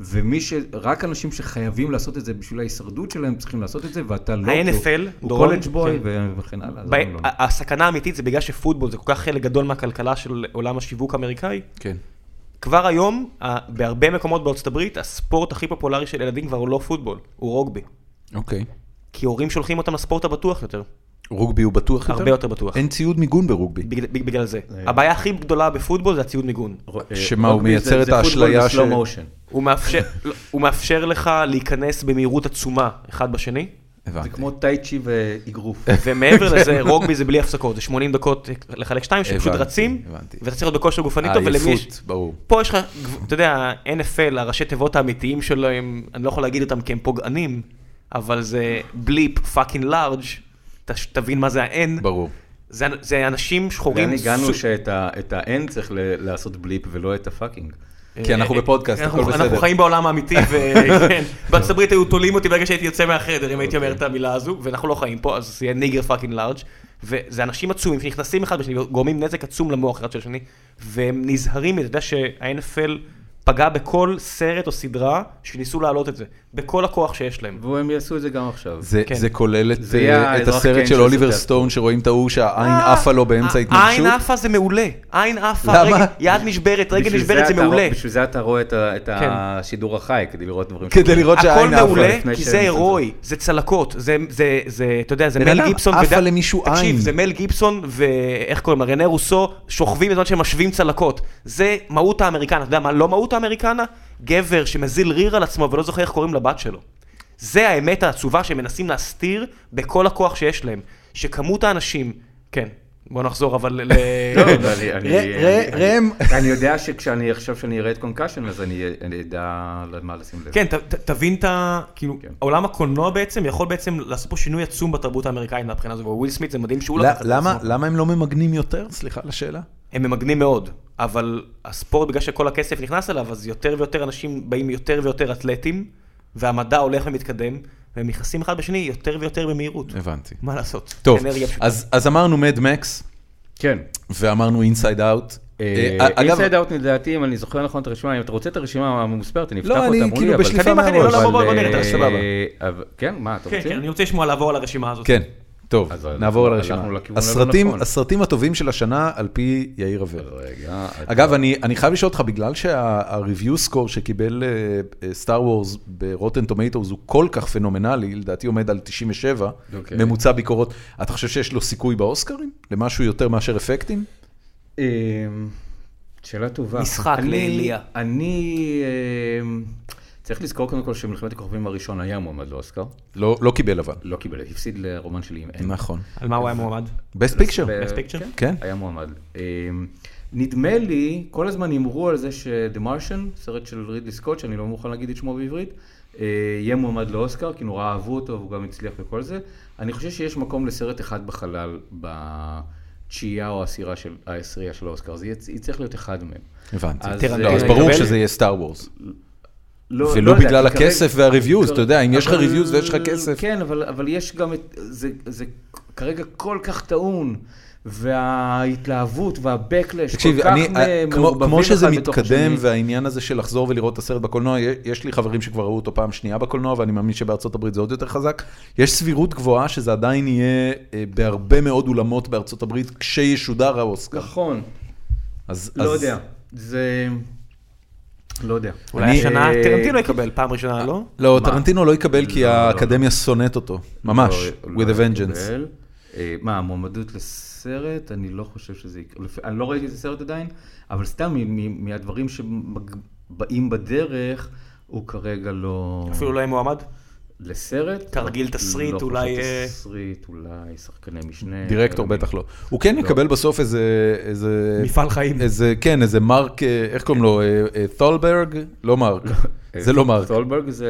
[SPEAKER 3] ומי ש... רק אנשים שחייבים לעשות את זה בשביל ההישרדות שלהם צריכים לעשות את זה, ואתה לא...
[SPEAKER 2] ה-NFL,
[SPEAKER 3] הוא
[SPEAKER 2] דורון,
[SPEAKER 3] קולג' בוי
[SPEAKER 2] כן.
[SPEAKER 3] ו- וכן הלאה. אז
[SPEAKER 2] ב-
[SPEAKER 3] אני לא-
[SPEAKER 2] ה- הסכנה האמיתית זה בגלל שפוטבול זה כל כך חלק גדול מהכלכלה של עולם השיווק האמריקאי.
[SPEAKER 1] כן.
[SPEAKER 2] כבר היום, ה- בהרבה מקומות בארצות הברית, הספורט הכי פופולרי של ילדים כבר הוא לא פוטבול, הוא רוגבי.
[SPEAKER 1] אוקיי.
[SPEAKER 2] כי הורים שולחים אותם לספורט הבטוח יותר,
[SPEAKER 1] רוגבי הוא בטוח יותר?
[SPEAKER 2] הרבה יותר בטוח.
[SPEAKER 1] אין ציוד מיגון ברוגבי.
[SPEAKER 2] בגלל, בגלל זה. הבעיה הכי גדולה בפוטבול זה הציוד מיגון.
[SPEAKER 1] שמה, הוא
[SPEAKER 3] רוגבי
[SPEAKER 1] מייצר
[SPEAKER 3] אה, אוקיי, זה-
[SPEAKER 1] את
[SPEAKER 3] זה פוטבול
[SPEAKER 1] האשליה
[SPEAKER 3] בסלואו
[SPEAKER 1] ש-
[SPEAKER 3] מושן.
[SPEAKER 2] הוא מאפשר, לא, הוא מאפשר לך להיכנס במהירות עצומה אחד בשני,
[SPEAKER 3] זה
[SPEAKER 1] הבנתי.
[SPEAKER 3] כמו טייצ'י ואגרוף.
[SPEAKER 2] ומעבר לזה, רוגבי זה בלי הפסקות, זה 80 דקות לחלק שתיים, שפשוט
[SPEAKER 1] הבנתי,
[SPEAKER 2] רצים,
[SPEAKER 1] הבנתי.
[SPEAKER 2] ואתה צריך להיות בכושר גופני טוב, ולמי יש...
[SPEAKER 1] עייפות, ברור.
[SPEAKER 2] פה יש לך, גב- אתה יודע, NFL, הראשי תיבות האמיתיים שלהם, אני לא יכול להגיד אותם כי הם פוגענים, אבל זה בליפ פאקינג לארג', תבין מה זה ה-N.
[SPEAKER 1] ברור.
[SPEAKER 2] זה, זה אנשים שחורים.
[SPEAKER 3] לאן הגענו
[SPEAKER 2] סו-
[SPEAKER 3] שאת ה- את ה-N צריך ל- לעשות בליפ ולא את הפאקינג.
[SPEAKER 1] כי אנחנו
[SPEAKER 2] אה,
[SPEAKER 1] בפודקאסט,
[SPEAKER 2] אנחנו-
[SPEAKER 1] הכל בסדר.
[SPEAKER 2] אנחנו חיים בעולם האמיתי, וכן, בארצות הברית היו תולים אותי ברגע שהייתי יוצא מהחדר, אם הייתי אומר את המילה הזו, ואנחנו לא חיים פה, אז זה יהיה ניגר פאקינג לארג', וזה אנשים עצומים שנכנסים אחד בשני, גורמים נזק עצום למוח אחד של השני, והם נזהרים, אתה יודע שה-NFL פגע בכל סרט או סדרה שניסו להעלות את זה, בכל הכוח שיש להם.
[SPEAKER 3] והם יעשו את זה גם עכשיו.
[SPEAKER 1] זה,
[SPEAKER 2] כן.
[SPEAKER 1] זה כולל את,
[SPEAKER 3] זה
[SPEAKER 1] אה,
[SPEAKER 3] יהיה
[SPEAKER 1] את
[SPEAKER 3] האזרח קיין
[SPEAKER 1] הסרט של
[SPEAKER 3] שעושה את
[SPEAKER 1] אוליבר
[SPEAKER 3] זה.
[SPEAKER 1] סטון, שרואים את ההוא שהעין
[SPEAKER 2] אה,
[SPEAKER 1] עפה לו באמצע
[SPEAKER 2] העין
[SPEAKER 1] התנגשות.
[SPEAKER 2] עפה זה מעולה, עין עפה,
[SPEAKER 1] למה?
[SPEAKER 2] רגל- יד נשברת, רגל
[SPEAKER 3] בשביל
[SPEAKER 2] נשברת זה
[SPEAKER 3] אתה לא- רוא-
[SPEAKER 2] מעולה.
[SPEAKER 3] בשביל זה אתה רואה את ה- את
[SPEAKER 2] כן.
[SPEAKER 3] השידור החי, כדי לראות דברים.
[SPEAKER 1] כדי לראות
[SPEAKER 2] הכל
[SPEAKER 1] שהעין עפה.
[SPEAKER 2] מעולה,
[SPEAKER 3] לפני
[SPEAKER 2] כי
[SPEAKER 3] שהם
[SPEAKER 2] זה
[SPEAKER 3] עשו את
[SPEAKER 2] הירואי, זה צלקות, זה, זה, זה, אתה יודע, זה
[SPEAKER 1] בן
[SPEAKER 2] מל
[SPEAKER 1] אדם
[SPEAKER 2] גיבסון.
[SPEAKER 1] עפה
[SPEAKER 2] ודן-
[SPEAKER 1] למישהו עין.
[SPEAKER 2] תקשיב, זה מל גיבסון ואיך קוראים לה, רנה רוסו, שוכבים בזמן שהם משווים צלקות. זה מהות האמריקנה, אתה יודע מה לא מהות האמריקנה? גבר שמזיל ריר על עצמו ולא זוכר איך קוראים לבת שלו. זה האמת העצובה שהם מנסים להסתיר בכל הכוח שיש להם. שכמות האנשים, כן. בוא נחזור אבל ל...
[SPEAKER 3] לא, אבל אני- אני-
[SPEAKER 1] ראה-
[SPEAKER 3] אני-
[SPEAKER 1] ראם.
[SPEAKER 3] אני יודע שכשאני עכשיו שאני אראה את קונקשן, אז אני אני אדע למה לשים לב.
[SPEAKER 2] כן, ת- ת- תבין את ה... כאילו,
[SPEAKER 3] כן.
[SPEAKER 2] עולם הקולנוע בעצם יכול בעצם לעשות פה שינוי עצום בתרבות האמריקאית מהבחינה הזו, וויל סמית זה מדהים שהוא לקח את זה
[SPEAKER 1] למה-
[SPEAKER 2] לעצמו.
[SPEAKER 1] למה הם לא ממגנים יותר? סליחה על השאלה.
[SPEAKER 2] הם ממגנים מאוד, אבל הספורט, בגלל שכל הכסף נכנס אליו, אז יותר ויותר אנשים באים יותר ויותר אתלטים, והמדע הולך ומתקדם, והם נכנסים אחד בשני יותר ויותר במהירות.
[SPEAKER 1] הבנתי.
[SPEAKER 2] מה לעשות?
[SPEAKER 1] טוב,
[SPEAKER 2] אנרגיה פשוטה.
[SPEAKER 1] אז אז אמרנו מד מקס,
[SPEAKER 3] כן.
[SPEAKER 1] ואמרנו אה, אינסייד אאוט.
[SPEAKER 3] אה,
[SPEAKER 1] אה,
[SPEAKER 3] אינסייד אאוט לדעתי, אם אני זוכר נכון את הרשימה, אם אתה רוצה את הרשימה המוספרת, אני אפתח
[SPEAKER 1] לא,
[SPEAKER 3] אותה
[SPEAKER 1] אני
[SPEAKER 3] מולי, אבל...
[SPEAKER 1] כאילו בשליפה
[SPEAKER 2] קדימה, קדימה,
[SPEAKER 1] מהראש.
[SPEAKER 2] לא, לא, בוא,
[SPEAKER 3] אבל,
[SPEAKER 2] בוא, בוא, נראה,
[SPEAKER 3] אה,
[SPEAKER 1] סבבה.
[SPEAKER 3] אבל- כן, מה, אתה
[SPEAKER 2] כן, כן,
[SPEAKER 3] רוצה?
[SPEAKER 2] אני רוצה לשמוע לעבור על הרשימה הזאת.
[SPEAKER 1] כן, טוב,
[SPEAKER 3] אז
[SPEAKER 1] נעבור על
[SPEAKER 3] הלכנו
[SPEAKER 1] הרשימה.
[SPEAKER 3] לכיוון הלא
[SPEAKER 1] הסרטים-
[SPEAKER 3] נכון. אה,
[SPEAKER 1] הסרטים הטובים של השנה על פי יאיר רווה.
[SPEAKER 3] רגע.
[SPEAKER 1] אגב, אני, אני חייב לשאול אותך, בגלל שה-review score שקיבל אה, סטאר וורס ברוטן טומטוס הוא כל כך פנומנלי, לדעתי עומד על 97,
[SPEAKER 3] אוקיי.
[SPEAKER 1] ממוצע ביקורות, אתה חושב שיש לו סיכוי באוסקרים? למשהו יותר מאשר אפקטים?
[SPEAKER 3] אמ, שאלה טובה.
[SPEAKER 2] משחק
[SPEAKER 3] אני-
[SPEAKER 2] לאליה.
[SPEAKER 3] אני... אמ, צריך לזכור קודם כל שמלחמת הכוכבים הראשון היה מועמד לאוסקר,
[SPEAKER 1] לא, לא קיבל אבל.
[SPEAKER 3] לא קיבל, הפסיד לרומן שלי עם אין.
[SPEAKER 1] נכון.
[SPEAKER 2] על מה הוא היה מועמד?
[SPEAKER 1] best picture.
[SPEAKER 3] ב-
[SPEAKER 2] Best Picture?
[SPEAKER 1] כן.
[SPEAKER 3] היה מועמד. אמ, נדמה לי, כל הזמן הימרו על זה ש-The Martian, סרט של רידלי סקוט, שאני לא מוכן להגיד את שמו בעברית, אה, יהיה מועמד לאוסקר, כי נורא אהבו אותו והוא גם הצליח בכל זה. אני חושב שיש מקום לסרט אחד בחלל בתשיעייה או העשירה של, העשירייה של האוסקר, זה יהיה- יצטרך להיות אחד מהם.
[SPEAKER 1] הבנתי.
[SPEAKER 3] אז,
[SPEAKER 1] לא,
[SPEAKER 3] אה,
[SPEAKER 1] אז ברור
[SPEAKER 3] יקבל-
[SPEAKER 1] שזה יהיה סטאר וורס.
[SPEAKER 3] לא,
[SPEAKER 1] ולו
[SPEAKER 3] יודע,
[SPEAKER 1] בגלל
[SPEAKER 3] כי כרגע-
[SPEAKER 1] הכסף והריוויוז, אתה יודע, אם יש לך
[SPEAKER 3] אבל-
[SPEAKER 1] ריוויוז ויש לך כסף.
[SPEAKER 3] כן, אבל, אבל יש גם את... זה, זה כרגע כל כך טעון, וההתלהבות והבקלש כל
[SPEAKER 1] תקשיב,
[SPEAKER 3] כך
[SPEAKER 1] אני, אה,
[SPEAKER 3] מ-
[SPEAKER 1] כמו,
[SPEAKER 3] מעורבבים
[SPEAKER 1] כמו שזה
[SPEAKER 3] אחד בתוך
[SPEAKER 1] מתקדם,
[SPEAKER 3] השני.
[SPEAKER 1] והעניין הזה של לחזור ולראות את הסרט בקולנוע, י- יש לי חברים שכבר ראו אותו פעם שנייה בקולנוע, ואני מאמין שבארצות הברית זה עוד יותר חזק. יש סבירות גבוהה שזה עדיין יהיה אה, בהרבה מאוד אולמות בארצות הברית, כשישודר האוסקר.
[SPEAKER 3] נכון,
[SPEAKER 1] אז,
[SPEAKER 3] לא
[SPEAKER 1] אז-
[SPEAKER 3] יודע. זה... לא יודע.
[SPEAKER 2] אולי השנה
[SPEAKER 3] אה,
[SPEAKER 2] טרנטינו יקבל, פעם ראשונה לא?
[SPEAKER 1] לא,
[SPEAKER 3] מה?
[SPEAKER 1] טרנטינו לא יקבל כי
[SPEAKER 3] לא, לא, לא.
[SPEAKER 1] האקדמיה שונאת אותו, ממש,
[SPEAKER 3] לא-
[SPEAKER 1] with
[SPEAKER 3] לא
[SPEAKER 1] a vengeance.
[SPEAKER 3] יקבל. אה, מה, המועמדות לסרט? אני לא חושב שזה יקרה. לפ- אני לא ראיתי את הסרט עדיין, אבל סתם מ- מ- מהדברים שבאים בדרך, הוא כרגע לא...
[SPEAKER 2] אפילו לא יהיה מועמד?
[SPEAKER 3] לסרט?
[SPEAKER 2] תרגיל תסריט,
[SPEAKER 3] לא חושב
[SPEAKER 2] אולי, אה,
[SPEAKER 3] תסריט, אולי שחקני משנה.
[SPEAKER 1] דירקטור
[SPEAKER 3] אולי-
[SPEAKER 1] בטח לא. הוא כן יקבל בסוף איזה... איזה-
[SPEAKER 2] מפעל חיים.
[SPEAKER 1] איזה, כן, איזה מרק, אה, איך קוראים לו? אה, אה, תולברג? לא מרק. זה לא מרק.
[SPEAKER 3] אה, סולברג זה...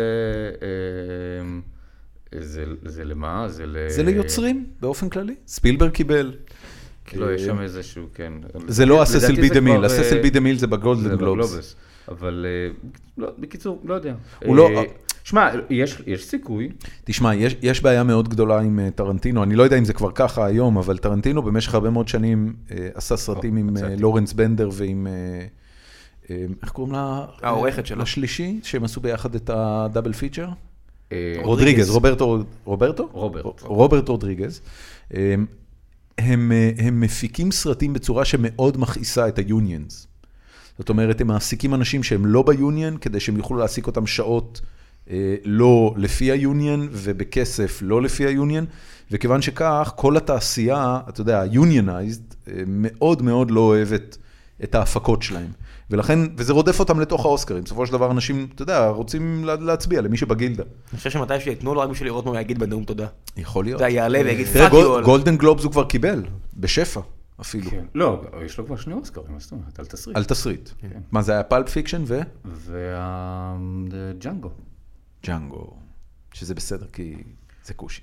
[SPEAKER 3] אה, זה זה למה? זה ל...
[SPEAKER 1] זה ליוצרים באופן כללי. ספילברג קיבל. אה,
[SPEAKER 3] לא, יש שם איזשהו, כן.
[SPEAKER 1] זה לא
[SPEAKER 3] לדעתי
[SPEAKER 1] הססל
[SPEAKER 3] זה
[SPEAKER 1] בי דה
[SPEAKER 3] כבר,
[SPEAKER 1] מיל,
[SPEAKER 3] אה,
[SPEAKER 1] הססל בי דה מיל זה
[SPEAKER 3] זה
[SPEAKER 1] בגולדן גלובס.
[SPEAKER 3] בגלובס. אבל אה, לא, בקיצור, לא יודע.
[SPEAKER 1] הוא לא-
[SPEAKER 3] אה, שמע, יש יש סיכוי.
[SPEAKER 1] תשמע, יש, יש בעיה מאוד גדולה עם אה, טרנטינו, אני לא יודע אם זה כבר ככה היום, אבל טרנטינו במשך הרבה מאוד שנים אה, עשה סרטים עם אה,
[SPEAKER 3] מצאתי.
[SPEAKER 1] לורנס בנדר ועם, אה, אה, איך קוראים לה?
[SPEAKER 2] העורכת שלו.
[SPEAKER 1] השלישי, שהם עשו ביחד את הדאבל פיצ'ר.
[SPEAKER 3] אה,
[SPEAKER 1] רודריגז, רוברטו, רוברטו?
[SPEAKER 3] רוברט.
[SPEAKER 1] רוברט רודריגז. הם, הם, אה, הם מפיקים סרטים בצורה שמאוד מכעיסה את היוניונס. זאת אומרת, הם מעסיקים אנשים שהם לא ביוניון, כדי שהם יוכלו להעסיק אותם שעות אה, לא לפי היוניון, ובכסף לא לפי היוניון, וכיוון שכך, כל התעשייה, אתה יודע, ה-unionized, אה, מאוד מאוד לא אוהבת את ההפקות שלהם. ולכן, וזה רודף אותם לתוך האוסקרים. בסופו של דבר אנשים, אתה יודע, רוצים לה- להצביע למי שבגילדה.
[SPEAKER 2] אני חושב שמתי שייתנו לו רק בשביל לראות מה הוא יגיד בנאום תודה.
[SPEAKER 1] יכול להיות.
[SPEAKER 2] אתה לא, יעלה
[SPEAKER 3] אה,
[SPEAKER 2] ויגיד
[SPEAKER 1] תראה,
[SPEAKER 2] פאק
[SPEAKER 1] גול-
[SPEAKER 2] יו.
[SPEAKER 1] גולדן גלובס הוא כבר קיבל, בשפע אפילו,
[SPEAKER 3] כן. לא, יש לו כבר שני אוסקרים, מה זאת אומרת? על תסריט.
[SPEAKER 1] על תסריט.
[SPEAKER 3] כן.
[SPEAKER 1] מה זה היה פלפ פיקשן
[SPEAKER 3] והג'אנגו.
[SPEAKER 1] וג'אנגו, שזה בסדר כי זה כושי.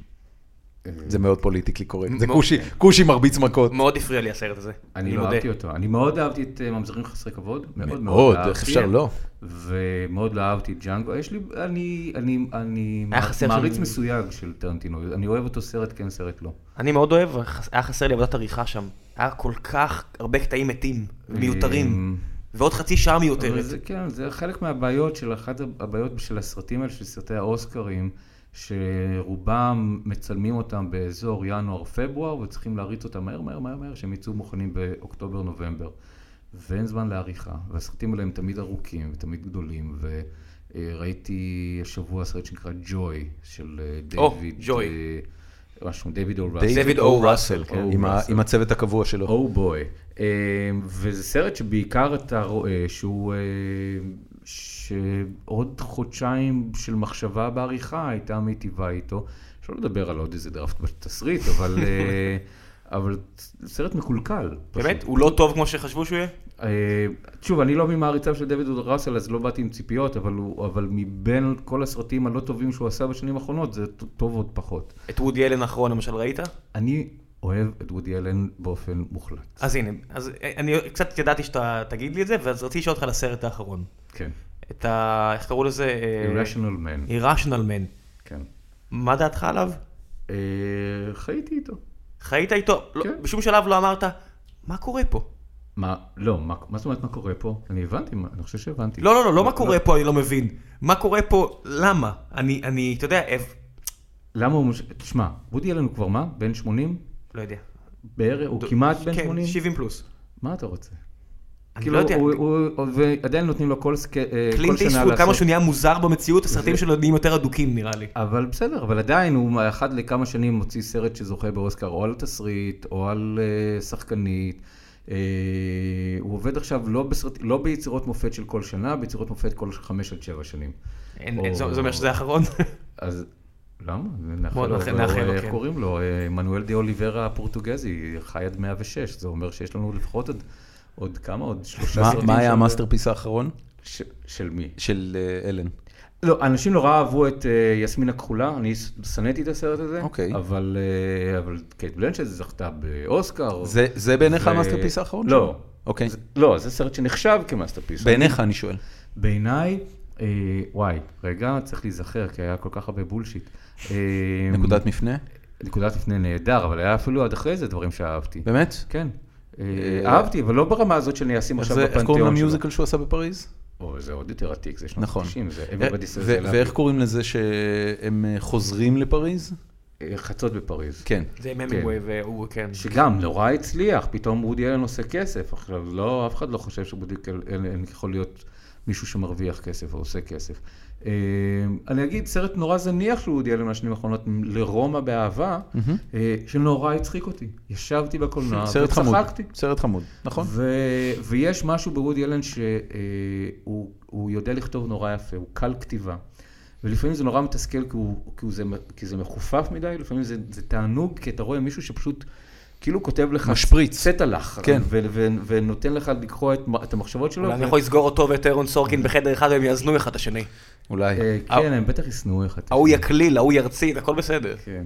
[SPEAKER 3] אה.
[SPEAKER 1] זה מאוד פוליטיקלי קורקט, זה
[SPEAKER 2] מאוד,
[SPEAKER 1] כושי,
[SPEAKER 3] כן.
[SPEAKER 1] כושי מרביץ מכות.
[SPEAKER 2] מאוד הפריע לי הסרט הזה.
[SPEAKER 3] אני לא
[SPEAKER 2] מודה.
[SPEAKER 3] אהבתי אותו. אני מאוד אהבתי את אה, ממזרים חסרי כבוד. מאוד
[SPEAKER 1] מאוד,
[SPEAKER 3] מאוד
[SPEAKER 1] איך
[SPEAKER 3] אהבתי.
[SPEAKER 1] אפשר לא?
[SPEAKER 3] ומאוד לא אהבתי את ג'אנגו. יש לי, אני, אני, אני
[SPEAKER 2] היה חסר
[SPEAKER 3] מעריץ
[SPEAKER 2] שם-
[SPEAKER 3] מסויג של טרנטינו. אני אוהב אותו סרט כן, סרט לא.
[SPEAKER 2] אני מאוד אוהב, היה חסר לי עבודת עריכה שם. היה כל כך הרבה קטעים מתים,
[SPEAKER 3] אה,
[SPEAKER 2] מיותרים. ועוד חצי שעה
[SPEAKER 3] אמ. אבל
[SPEAKER 2] מיותרת.
[SPEAKER 3] זה, כן, זה חלק מהבעיות של אחת הבעיות של הסרטים האלה, של סרטי האוסקרים, שרובם מצלמים אותם באזור ינואר-פברואר, וצריכים להריץ אותם מהר מהר מהר מהר, שהם יצאו מוכנים באוקטובר-נובמבר. ואין זמן לעריכה, והסרטים האלה הם תמיד ארוכים ותמיד גדולים, וראיתי השבוע סרט שנקרא ג'וי, של אה,
[SPEAKER 2] או,
[SPEAKER 3] דיוויד...
[SPEAKER 2] Joy.
[SPEAKER 3] אה, משהו, דיוויד אול ראסל.
[SPEAKER 1] דייוויד או ראסל, כן,
[SPEAKER 3] או
[SPEAKER 1] עם ה-
[SPEAKER 3] ראסל.
[SPEAKER 1] עם הצוות הקבוע שלו.
[SPEAKER 3] או בוי. Oh אמ, וזה סרט שבעיקר אתה רואה שהוא... אה, שעוד חודשיים של מחשבה בעריכה הייתה מיטיבה איתו. אפשר לדבר על עוד איזה דראפט בתסריט, אבל... אה, אבל זה סרט מקולקל. פשוט.
[SPEAKER 2] באמת? הוא לא טוב כמו שחשבו שהוא יהיה?
[SPEAKER 3] אה, שוב, אני לא ממעריציו של דויד או ראסל, אז לא באתי עם ציפיות, אבל, הוא, אבל מבין כל הסרטים הלא טובים שהוא עשה בשנים האחרונות, זה ט- טוב עוד פחות.
[SPEAKER 2] את וודי אלן האחרון למשל ראית?
[SPEAKER 3] אני אוהב את וודי אלן באופן מוחלט.
[SPEAKER 2] אז הנה, אז אה, אני קצת ידעתי שאתה תגיד לי את זה, ואז רציתי לשאול אותך על הסרט האחרון.
[SPEAKER 3] כן.
[SPEAKER 2] את ה... איך קראו לזה? אה,
[SPEAKER 3] Irrational Man.
[SPEAKER 2] Irrational Man.
[SPEAKER 3] כן.
[SPEAKER 2] מה דעתך עליו?
[SPEAKER 3] אה, חייתי איתו.
[SPEAKER 2] חיית איתו? לא,
[SPEAKER 3] כן.
[SPEAKER 2] בשום שלב לא אמרת, מה קורה פה?
[SPEAKER 3] מה, לא, מה, מה זאת אומרת מה קורה פה? אני הבנתי, מה- אני חושב שהבנתי.
[SPEAKER 2] לא, לא, לא, לא מה קורה פה, אני לא מבין. מה קורה פה, למה? אני, אני, אתה יודע, אב...
[SPEAKER 3] למה הוא... מש- תשמע, וודי אלן הוא כבר מה? בן 80?
[SPEAKER 2] לא יודע.
[SPEAKER 3] בערך, הוא כמעט בן
[SPEAKER 2] כן,
[SPEAKER 3] 80?
[SPEAKER 2] 70 פלוס.
[SPEAKER 3] מה אתה רוצה?
[SPEAKER 2] אני
[SPEAKER 3] כאילו,
[SPEAKER 2] לא יודע.
[SPEAKER 3] הוא- הוא- הוא- ועדיין נותנים לו כל סק- אה, כל
[SPEAKER 2] קלינט
[SPEAKER 3] שנה
[SPEAKER 2] איסטווד, כמה שהוא
[SPEAKER 3] לעשות.
[SPEAKER 2] נהיה מוזר במציאות, הסרטים שלו נהיים יותר אדוקים נראה לי.
[SPEAKER 3] אבל בסדר, אבל עדיין הוא אחת לכמה שנים מוציא סרט שזוכה באוסקר, או על תסריט, או על אה, שחקנית. אה, הוא עובד עכשיו לא, בסרט, לא ביצירות מופת של כל שנה, ביצירות מופת כל חמש עד שבע שנים.
[SPEAKER 2] אין-
[SPEAKER 3] או-
[SPEAKER 2] אין- זה זה אומר שזה האחרון.
[SPEAKER 3] אז למה? נאחל
[SPEAKER 2] בוא
[SPEAKER 3] לו,
[SPEAKER 2] נאחל-
[SPEAKER 3] אבל
[SPEAKER 2] נאחל לו,
[SPEAKER 3] איך
[SPEAKER 2] כן.
[SPEAKER 3] קוראים לו? אה, מנואל דה אוליברה הפורטוגזי, חי עד 106, זה אומר שיש לנו לפחות עוד, עוד כמה? עוד שלושה
[SPEAKER 1] מה-
[SPEAKER 3] סרטים.
[SPEAKER 1] מה
[SPEAKER 3] של-
[SPEAKER 1] היה המאסטרפיס האחרון?
[SPEAKER 3] ש- של מי?
[SPEAKER 1] של אה, אלן.
[SPEAKER 3] לא, אנשים נורא אהבו את אה, יסמין הכחולה, אני ס- שנאתי את הסרט הזה,
[SPEAKER 1] אוקיי.
[SPEAKER 3] אבל, אה, אבל קייט בלנצ'ט זכתה באוסקר.
[SPEAKER 1] זה- זה בעיניך
[SPEAKER 3] ו-
[SPEAKER 1] המאסטרפיס האחרון?
[SPEAKER 3] לא.
[SPEAKER 1] שלו? אוקיי.
[SPEAKER 3] זה- לא, זה סרט שנחשב כמאסטרפיס.
[SPEAKER 1] בעיניך אני שואל.
[SPEAKER 3] בעיניי, אה, וואי, רגע, צריך להיזכר, כי היה כל כך הרבה בולשיט. אה,
[SPEAKER 1] נקודת מפנה?
[SPEAKER 3] נקודת לפני נהדר, אבל היה אפילו עד אחרי זה דברים שאהבתי.
[SPEAKER 1] באמת?
[SPEAKER 3] כן. אה,
[SPEAKER 1] אה,
[SPEAKER 3] אהבתי, אבל לא ברמה הזאת שאני אשים
[SPEAKER 1] איך
[SPEAKER 3] עכשיו
[SPEAKER 1] זה-
[SPEAKER 3] בפנתיאון
[SPEAKER 1] איך קוראים
[SPEAKER 3] שלו.
[SPEAKER 1] למיוזיקל שהוא עשה בפריז?
[SPEAKER 3] או, זה עוד יותר עתיק, זה שנות
[SPEAKER 1] נכון.
[SPEAKER 3] ה-90, זה
[SPEAKER 1] ו-
[SPEAKER 3] Everybody says
[SPEAKER 1] ו-
[SPEAKER 3] I love
[SPEAKER 1] ואיך
[SPEAKER 3] you.
[SPEAKER 1] קוראים לזה שהם אה, חוזרים לפריז?
[SPEAKER 3] אה, חצות בפריז.
[SPEAKER 1] כן.
[SPEAKER 2] זה עם המינגווי והוא, כן.
[SPEAKER 3] שגם נורא הצליח, פתאום וודי אלן עושה כסף. עכשיו, לא, אף אחד לא חושב שוודי אלן יכול להיות מישהו שמרוויח כסף או עושה כסף. אה, אני אגיד, סרט נורא זניח של וודי אלן מהשנים האחרונות, לרומא באהבה, אה, שנורא הצחיק אותי. ישבתי בקולנוע
[SPEAKER 1] סרט חמוד.
[SPEAKER 3] אה, וצחקתי. אה,
[SPEAKER 1] סרט חמוד, נכון?
[SPEAKER 3] ו- ויש משהו בוודי אלן שהוא אה, הוא יודע לכתוב נורא יפה, הוא קל כתיבה. ולפעמים זה נורא מתסכל כי, הוא, כי, הוא זה, כי זה מחופף מדי, לפעמים זה, זה תענוג, כי אתה רואה מישהו שפשוט כאילו כותב לך...
[SPEAKER 1] משפריץ.
[SPEAKER 3] צטלח.
[SPEAKER 1] כן.
[SPEAKER 3] ו- ו- ו- ונותן לך לקרוא את, מ- את המחשבות שלו.
[SPEAKER 2] אולי אני
[SPEAKER 3] ו-
[SPEAKER 2] יכול לסגור אותו ואת אירון סורקין בחדר אחד והם יאזנו אחד את השני.
[SPEAKER 1] אולי.
[SPEAKER 3] אה, כן, הם בטח ישנאו איך אתה...
[SPEAKER 2] ההוא יקליל, ההוא ירציד, הכל בסדר.
[SPEAKER 3] כן.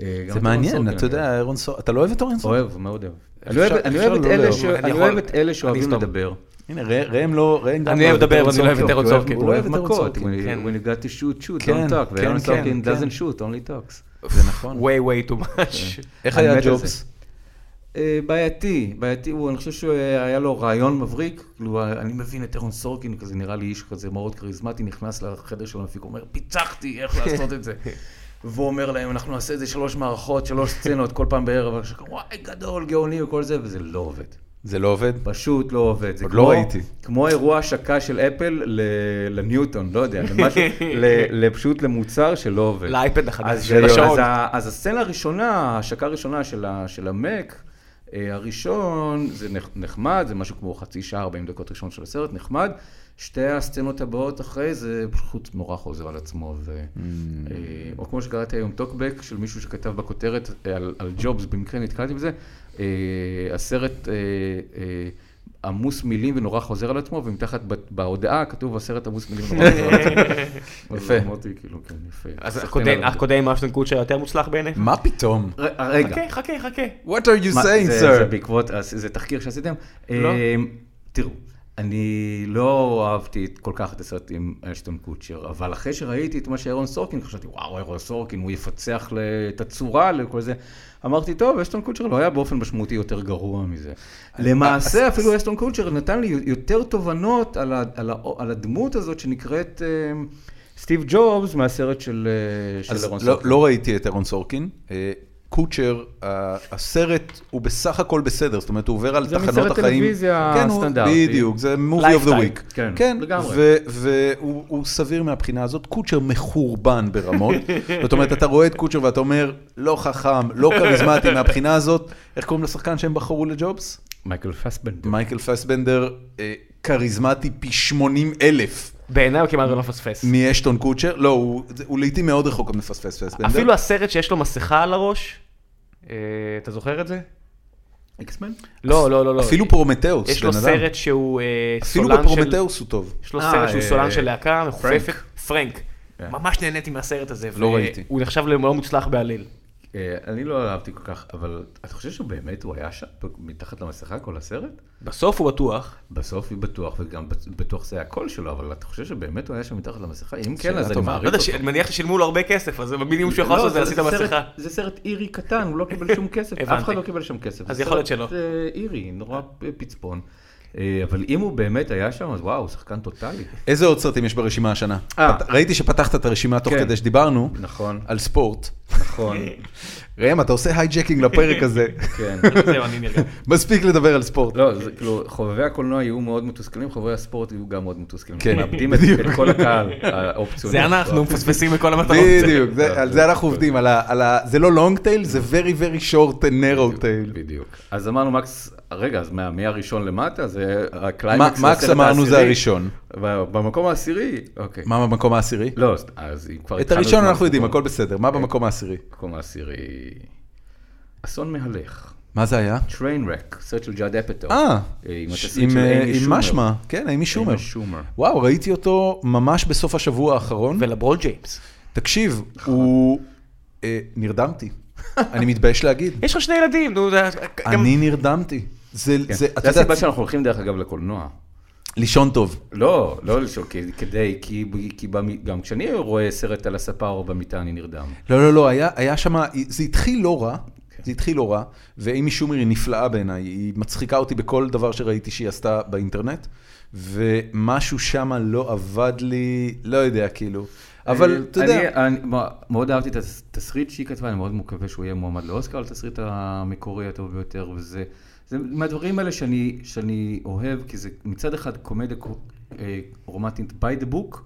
[SPEAKER 3] אה, גם
[SPEAKER 1] זה
[SPEAKER 3] את
[SPEAKER 1] מעניין,
[SPEAKER 3] אורן
[SPEAKER 1] אתה
[SPEAKER 3] סורקין,
[SPEAKER 1] יודע, אהרון סורקין, אתה לא אוהב את אהרון סורקין?
[SPEAKER 3] אוהב, מאוד אוהב. אני
[SPEAKER 1] אפשר-
[SPEAKER 3] אוהב- אני
[SPEAKER 1] אפשר
[SPEAKER 3] אוהב את
[SPEAKER 1] לא
[SPEAKER 3] אלה
[SPEAKER 1] לאהוב.
[SPEAKER 3] ש-
[SPEAKER 2] אני
[SPEAKER 3] אני
[SPEAKER 2] יכול-
[SPEAKER 3] אוהב את אלה שאוהבים
[SPEAKER 2] אסתום.
[SPEAKER 3] לדבר.
[SPEAKER 1] הנה, ר- ראם לא, ראם גם
[SPEAKER 2] אני אוהב לדבר, אבל אני לא אוהב
[SPEAKER 1] סורקין.
[SPEAKER 2] את אהרון
[SPEAKER 3] הוא אוהב-
[SPEAKER 2] סורקין.
[SPEAKER 3] הוא אוהב
[SPEAKER 1] את אהרון
[SPEAKER 3] מכות,
[SPEAKER 1] סורקין.
[SPEAKER 3] when
[SPEAKER 2] כן.
[SPEAKER 3] when you got to shoot, shoot,
[SPEAKER 1] כן,
[SPEAKER 3] don't talk,
[SPEAKER 1] כן, כן,
[SPEAKER 3] ואירון סורקין
[SPEAKER 1] כן.
[SPEAKER 3] doesn't shoot, only talks.
[SPEAKER 1] זה נכון.
[SPEAKER 2] way way too much.
[SPEAKER 1] איך
[SPEAKER 3] אני
[SPEAKER 1] היה
[SPEAKER 3] מת על
[SPEAKER 1] ג'ובס?
[SPEAKER 3] אה, בעייתי, בעייתי, הוא, אני חושב שהיה לו רעיון מבריק, כאילו, אני מבין את אירון סורקין, כזה נראה לי איש כזה מאוד כריזמטי, נכנס לחדר של המפיק, אומר, פיצחתי, איך לעשות את זה. והוא אומר להם, אנחנו נעשה את זה שלוש מערכות, שלוש סצנות, כל פעם בערב, עכשיו, וואי, גדול, גאוני וכל זה, וזה לא עובד.
[SPEAKER 1] זה לא עובד?
[SPEAKER 3] פשוט לא עובד. זה
[SPEAKER 1] עוד
[SPEAKER 3] כמו-
[SPEAKER 1] לא ראיתי.
[SPEAKER 3] כמו אירוע השקה של אפל ל- לניוטון, לא יודע, למשהו, ל- לפשוט למוצר שלא עובד.
[SPEAKER 2] לאייפד החדש,
[SPEAKER 3] אז- לא,
[SPEAKER 2] של השעון.
[SPEAKER 3] אז ה- אז הסצנה הראשונה, ההשקה הראשונה של ה- של המק, אה, הראשון, זה נח- נחמד, זה משהו כמו חצי שעה, 40 דקות ראשון של הסרט, נחמד. שתי הסצנות הבאות אחרי זה פשוט נורא חוזר על עצמו. ו... אה, או כמו שקראתי היום טוקבק של מישהו שכתב בכותרת אה, על, על ג'ובס, במקרה נתקלתי בזה, אה, הסרט אה, אה, עמוס מילים ונורא חוזר על עצמו, ומתחת ב- בהודעה כתוב הסרט עמוס מילים ונורא חוזר על עצמו.
[SPEAKER 1] יפה.
[SPEAKER 3] אז אמרתי, כאילו, כן, יפה.
[SPEAKER 2] אז
[SPEAKER 3] סחטין
[SPEAKER 2] הקודם-
[SPEAKER 3] עליו.
[SPEAKER 2] הקודם עם אשטון קוצ'ר יותר מוצלח בעיניך?
[SPEAKER 1] מה פתאום?
[SPEAKER 3] ר- רגע,
[SPEAKER 1] אוקיי.
[SPEAKER 2] חכה, חכה, חכה.
[SPEAKER 1] What are you
[SPEAKER 3] מה,
[SPEAKER 1] saying,
[SPEAKER 3] זה- זה
[SPEAKER 1] sir?
[SPEAKER 3] בעקבות, אז זה תחקיר שעשיתם.
[SPEAKER 2] לא.
[SPEAKER 3] אמ, תראו, אני לא אהבתי את- כל כך את הסרט עם אשטון קוצ'ר, אבל אחרי שראיתי את מה שאירון סורקין, חשבתי, וואו, אירון סורקין, הוא יפצח ל- את הצורה לכל זה. אמרתי, טוב, אשטון קוצ'ר לא היה באופן משמעותי יותר גרוע מזה. למעשה, אפילו אשטון קוצ'ר נתן לי יותר תובנות על ה- על ה- על הדמות הזאת שנקראת אמ, סטיב ג'ובס מהסרט של אה, של
[SPEAKER 1] אז
[SPEAKER 3] אירון
[SPEAKER 1] לא-
[SPEAKER 3] סורקין.
[SPEAKER 1] לא ראיתי את אירון סורקין. אה, קוצ'ר, ה- הסרט הוא בסך הכל בסדר, זאת אומרת, הוא עובר על
[SPEAKER 3] זה
[SPEAKER 1] תחנות החיים.
[SPEAKER 3] מסרט טלוויזיה
[SPEAKER 1] כן, הוא-
[SPEAKER 3] סטנדרטי.
[SPEAKER 1] בדיוק, זה movie of the
[SPEAKER 2] Lifetime,
[SPEAKER 1] week.
[SPEAKER 3] כן, לגמרי.
[SPEAKER 1] ו- והוא הוא סביר מהבחינה הזאת. קוצ'ר מחורבן ברמות. זאת אומרת, אתה רואה את קוצ'ר ואתה אומר, לא חכם, לא כריזמטי מהבחינה הזאת. איך קוראים לשחקן שהם בחרו לג'ובס?
[SPEAKER 3] מייקל פסבנדר.
[SPEAKER 1] מייקל פסבנדר, אה, כריזמטי פי 80 אלף.
[SPEAKER 2] בעיניי הוא כמעט ולא מפספס.
[SPEAKER 1] מאשטון קוצ'ר, לא, הוא, זה- הוא לעיתים מאוד רחוק גם לפספס פסבנדר.
[SPEAKER 2] אפילו הסרט שיש לו מסכה על הראש, אה, אתה זוכר את זה?
[SPEAKER 1] אקסמן?
[SPEAKER 2] לא, לא, לא, לא.
[SPEAKER 1] אפילו פרומטאוס,
[SPEAKER 2] יש לו
[SPEAKER 1] בן אדם.
[SPEAKER 2] סרט שהוא אה,
[SPEAKER 1] אפילו
[SPEAKER 2] סולן של...
[SPEAKER 1] בפרומטאוס הוא טוב.
[SPEAKER 2] יש לו
[SPEAKER 3] אה,
[SPEAKER 2] סרט שהוא
[SPEAKER 3] אה,
[SPEAKER 2] סולן של להקה מחופפת.
[SPEAKER 3] פרנק.
[SPEAKER 2] פרנק. ממש נהניתי מהסרט הזה.
[SPEAKER 1] לא
[SPEAKER 2] ו-
[SPEAKER 1] ראיתי.
[SPEAKER 2] הוא נחשב ללא מוצלח בעליל.
[SPEAKER 3] אה, אני לא אהבתי כל כך, אבל אתה חושב שבאמת הוא היה שם, מתחת למסכה כל הסרט?
[SPEAKER 2] בסוף הוא בטוח.
[SPEAKER 3] בסוף היא בטוח, וגם בט- בטוח זה הקול שלו, אבל אתה חושב שבאמת הוא היה שם מתחת למסכה? אם כן,
[SPEAKER 1] שאלה
[SPEAKER 3] אז אני
[SPEAKER 1] טובה.
[SPEAKER 2] לא
[SPEAKER 3] מעריך
[SPEAKER 2] יודע,
[SPEAKER 3] אותו.
[SPEAKER 2] ש- אני מניח ששילמו לו הרבה כסף, אז במינימום שהוא יכול
[SPEAKER 3] לא,
[SPEAKER 2] לעשות זה
[SPEAKER 3] זה-
[SPEAKER 2] לשים את
[SPEAKER 3] זה סרט-
[SPEAKER 2] המסכה.
[SPEAKER 3] זה סרט אירי קטן, הוא לא קיבל שום כסף, אף אחד
[SPEAKER 2] הבנתי.
[SPEAKER 3] לא קיבל שם כסף.
[SPEAKER 2] אז
[SPEAKER 3] זה
[SPEAKER 2] יכול להיות
[SPEAKER 3] סרט,
[SPEAKER 2] שלא.
[SPEAKER 3] אה, אירי, נורא אה, פצפון. אה, אבל אם הוא באמת היה שם, אז וואו, הוא שחקן טוטאלי.
[SPEAKER 1] איזה עוד סרטים יש ברשימה השנה?
[SPEAKER 3] אה.
[SPEAKER 1] פת- ראיתי שפתחת את הרשימה תוך
[SPEAKER 3] כן.
[SPEAKER 1] כדי שדיברנו,
[SPEAKER 3] נכון,
[SPEAKER 1] על ספורט.
[SPEAKER 3] נכון,
[SPEAKER 1] ראם, אתה עושה הייג'קינג לפרק הזה.
[SPEAKER 3] כן.
[SPEAKER 2] זהו, אני נרגע.
[SPEAKER 1] מספיק לדבר על ספורט.
[SPEAKER 3] לא, זה כאילו, חובבי הקולנוע יהיו מאוד מתוסכלים, חובבי הספורט יהיו גם מאוד מתוסכלים.
[SPEAKER 1] כן,
[SPEAKER 3] כן, מאבדים את
[SPEAKER 1] בדיוק.
[SPEAKER 3] את כל הקהל האופציוני.
[SPEAKER 4] זה אנחנו לא מפספסים את כל
[SPEAKER 3] לא
[SPEAKER 4] המטרות.
[SPEAKER 1] בדיוק, זה-
[SPEAKER 3] זה-
[SPEAKER 1] על זה אנחנו עובדים, על ה- על ה- זה לא long tail, זה very very short and narrow tail.
[SPEAKER 3] בדיוק. אז אמרנו, מקס, רגע, אז מה- מהראשון למטה, זה
[SPEAKER 1] מה-
[SPEAKER 3] הקליימקס.
[SPEAKER 1] מקס
[SPEAKER 3] לסרט
[SPEAKER 1] אמרנו זה
[SPEAKER 3] העשירי.
[SPEAKER 1] הראשון.
[SPEAKER 3] ב- במקום העשירי, אוקיי.
[SPEAKER 1] מה במקום העשירי?
[SPEAKER 3] לא, אז- אז אם כבר... כן.
[SPEAKER 1] את
[SPEAKER 3] התחלנו
[SPEAKER 1] הראשון אנחנו
[SPEAKER 3] במקום-
[SPEAKER 1] יודעים, הכל בסדר. מה במקום העשירי?
[SPEAKER 3] במקום העשירי... אסון מהלך.
[SPEAKER 1] מה זה היה?
[SPEAKER 3] טריין רק, סרט של ג'אד אפטו.
[SPEAKER 1] אה,
[SPEAKER 3] עם
[SPEAKER 1] ש-
[SPEAKER 3] התסריט
[SPEAKER 1] עם
[SPEAKER 3] של
[SPEAKER 1] אה,
[SPEAKER 3] אימי
[SPEAKER 1] עם
[SPEAKER 3] שומר.
[SPEAKER 1] משמע, כן, אימי שומר.
[SPEAKER 3] אימי שומר.
[SPEAKER 1] וואו, ראיתי אותו ממש בסוף השבוע האחרון.
[SPEAKER 2] ולברון ג'יימס.
[SPEAKER 1] תקשיב, הוא... אה, נרדמתי. אני מתבייש להגיד.
[SPEAKER 2] יש לך שני ילדים, נו, זה- גם-
[SPEAKER 1] אני נרדמתי. זה,
[SPEAKER 3] כן.
[SPEAKER 1] זה,
[SPEAKER 3] זה
[SPEAKER 1] אתה יודע,
[SPEAKER 3] הסיבה שאנחנו הולכים דרך אגב לקולנוע.
[SPEAKER 1] לישון טוב.
[SPEAKER 3] לא, לא לשאול, כי- כדי, כי, כי במ- גם כשאני רואה סרט על הספה או במיטה אני נרדם.
[SPEAKER 1] לא, לא, לא, היה, היה שם, זה התחיל לא רע,
[SPEAKER 3] כן.
[SPEAKER 1] זה התחיל לא רע, ואימי שומר היא נפלאה בעיניי, היא מצחיקה אותי בכל דבר שראיתי שהיא עשתה באינטרנט, ומשהו שם לא עבד לי, לא יודע, כאילו. אבל
[SPEAKER 3] אה,
[SPEAKER 1] אתה יודע,
[SPEAKER 3] אני, אני מה- מאוד אהבתי את התסריט שהיא כתבה, אני מאוד מקווה שהוא יהיה מועמד לאוסקר על התסריט המקורי הטוב ביותר, וזה זה מהדברים האלה שאני, שאני אוהב, כי זה מצד אחד קומדיה קו- אה, רומנטית by the book,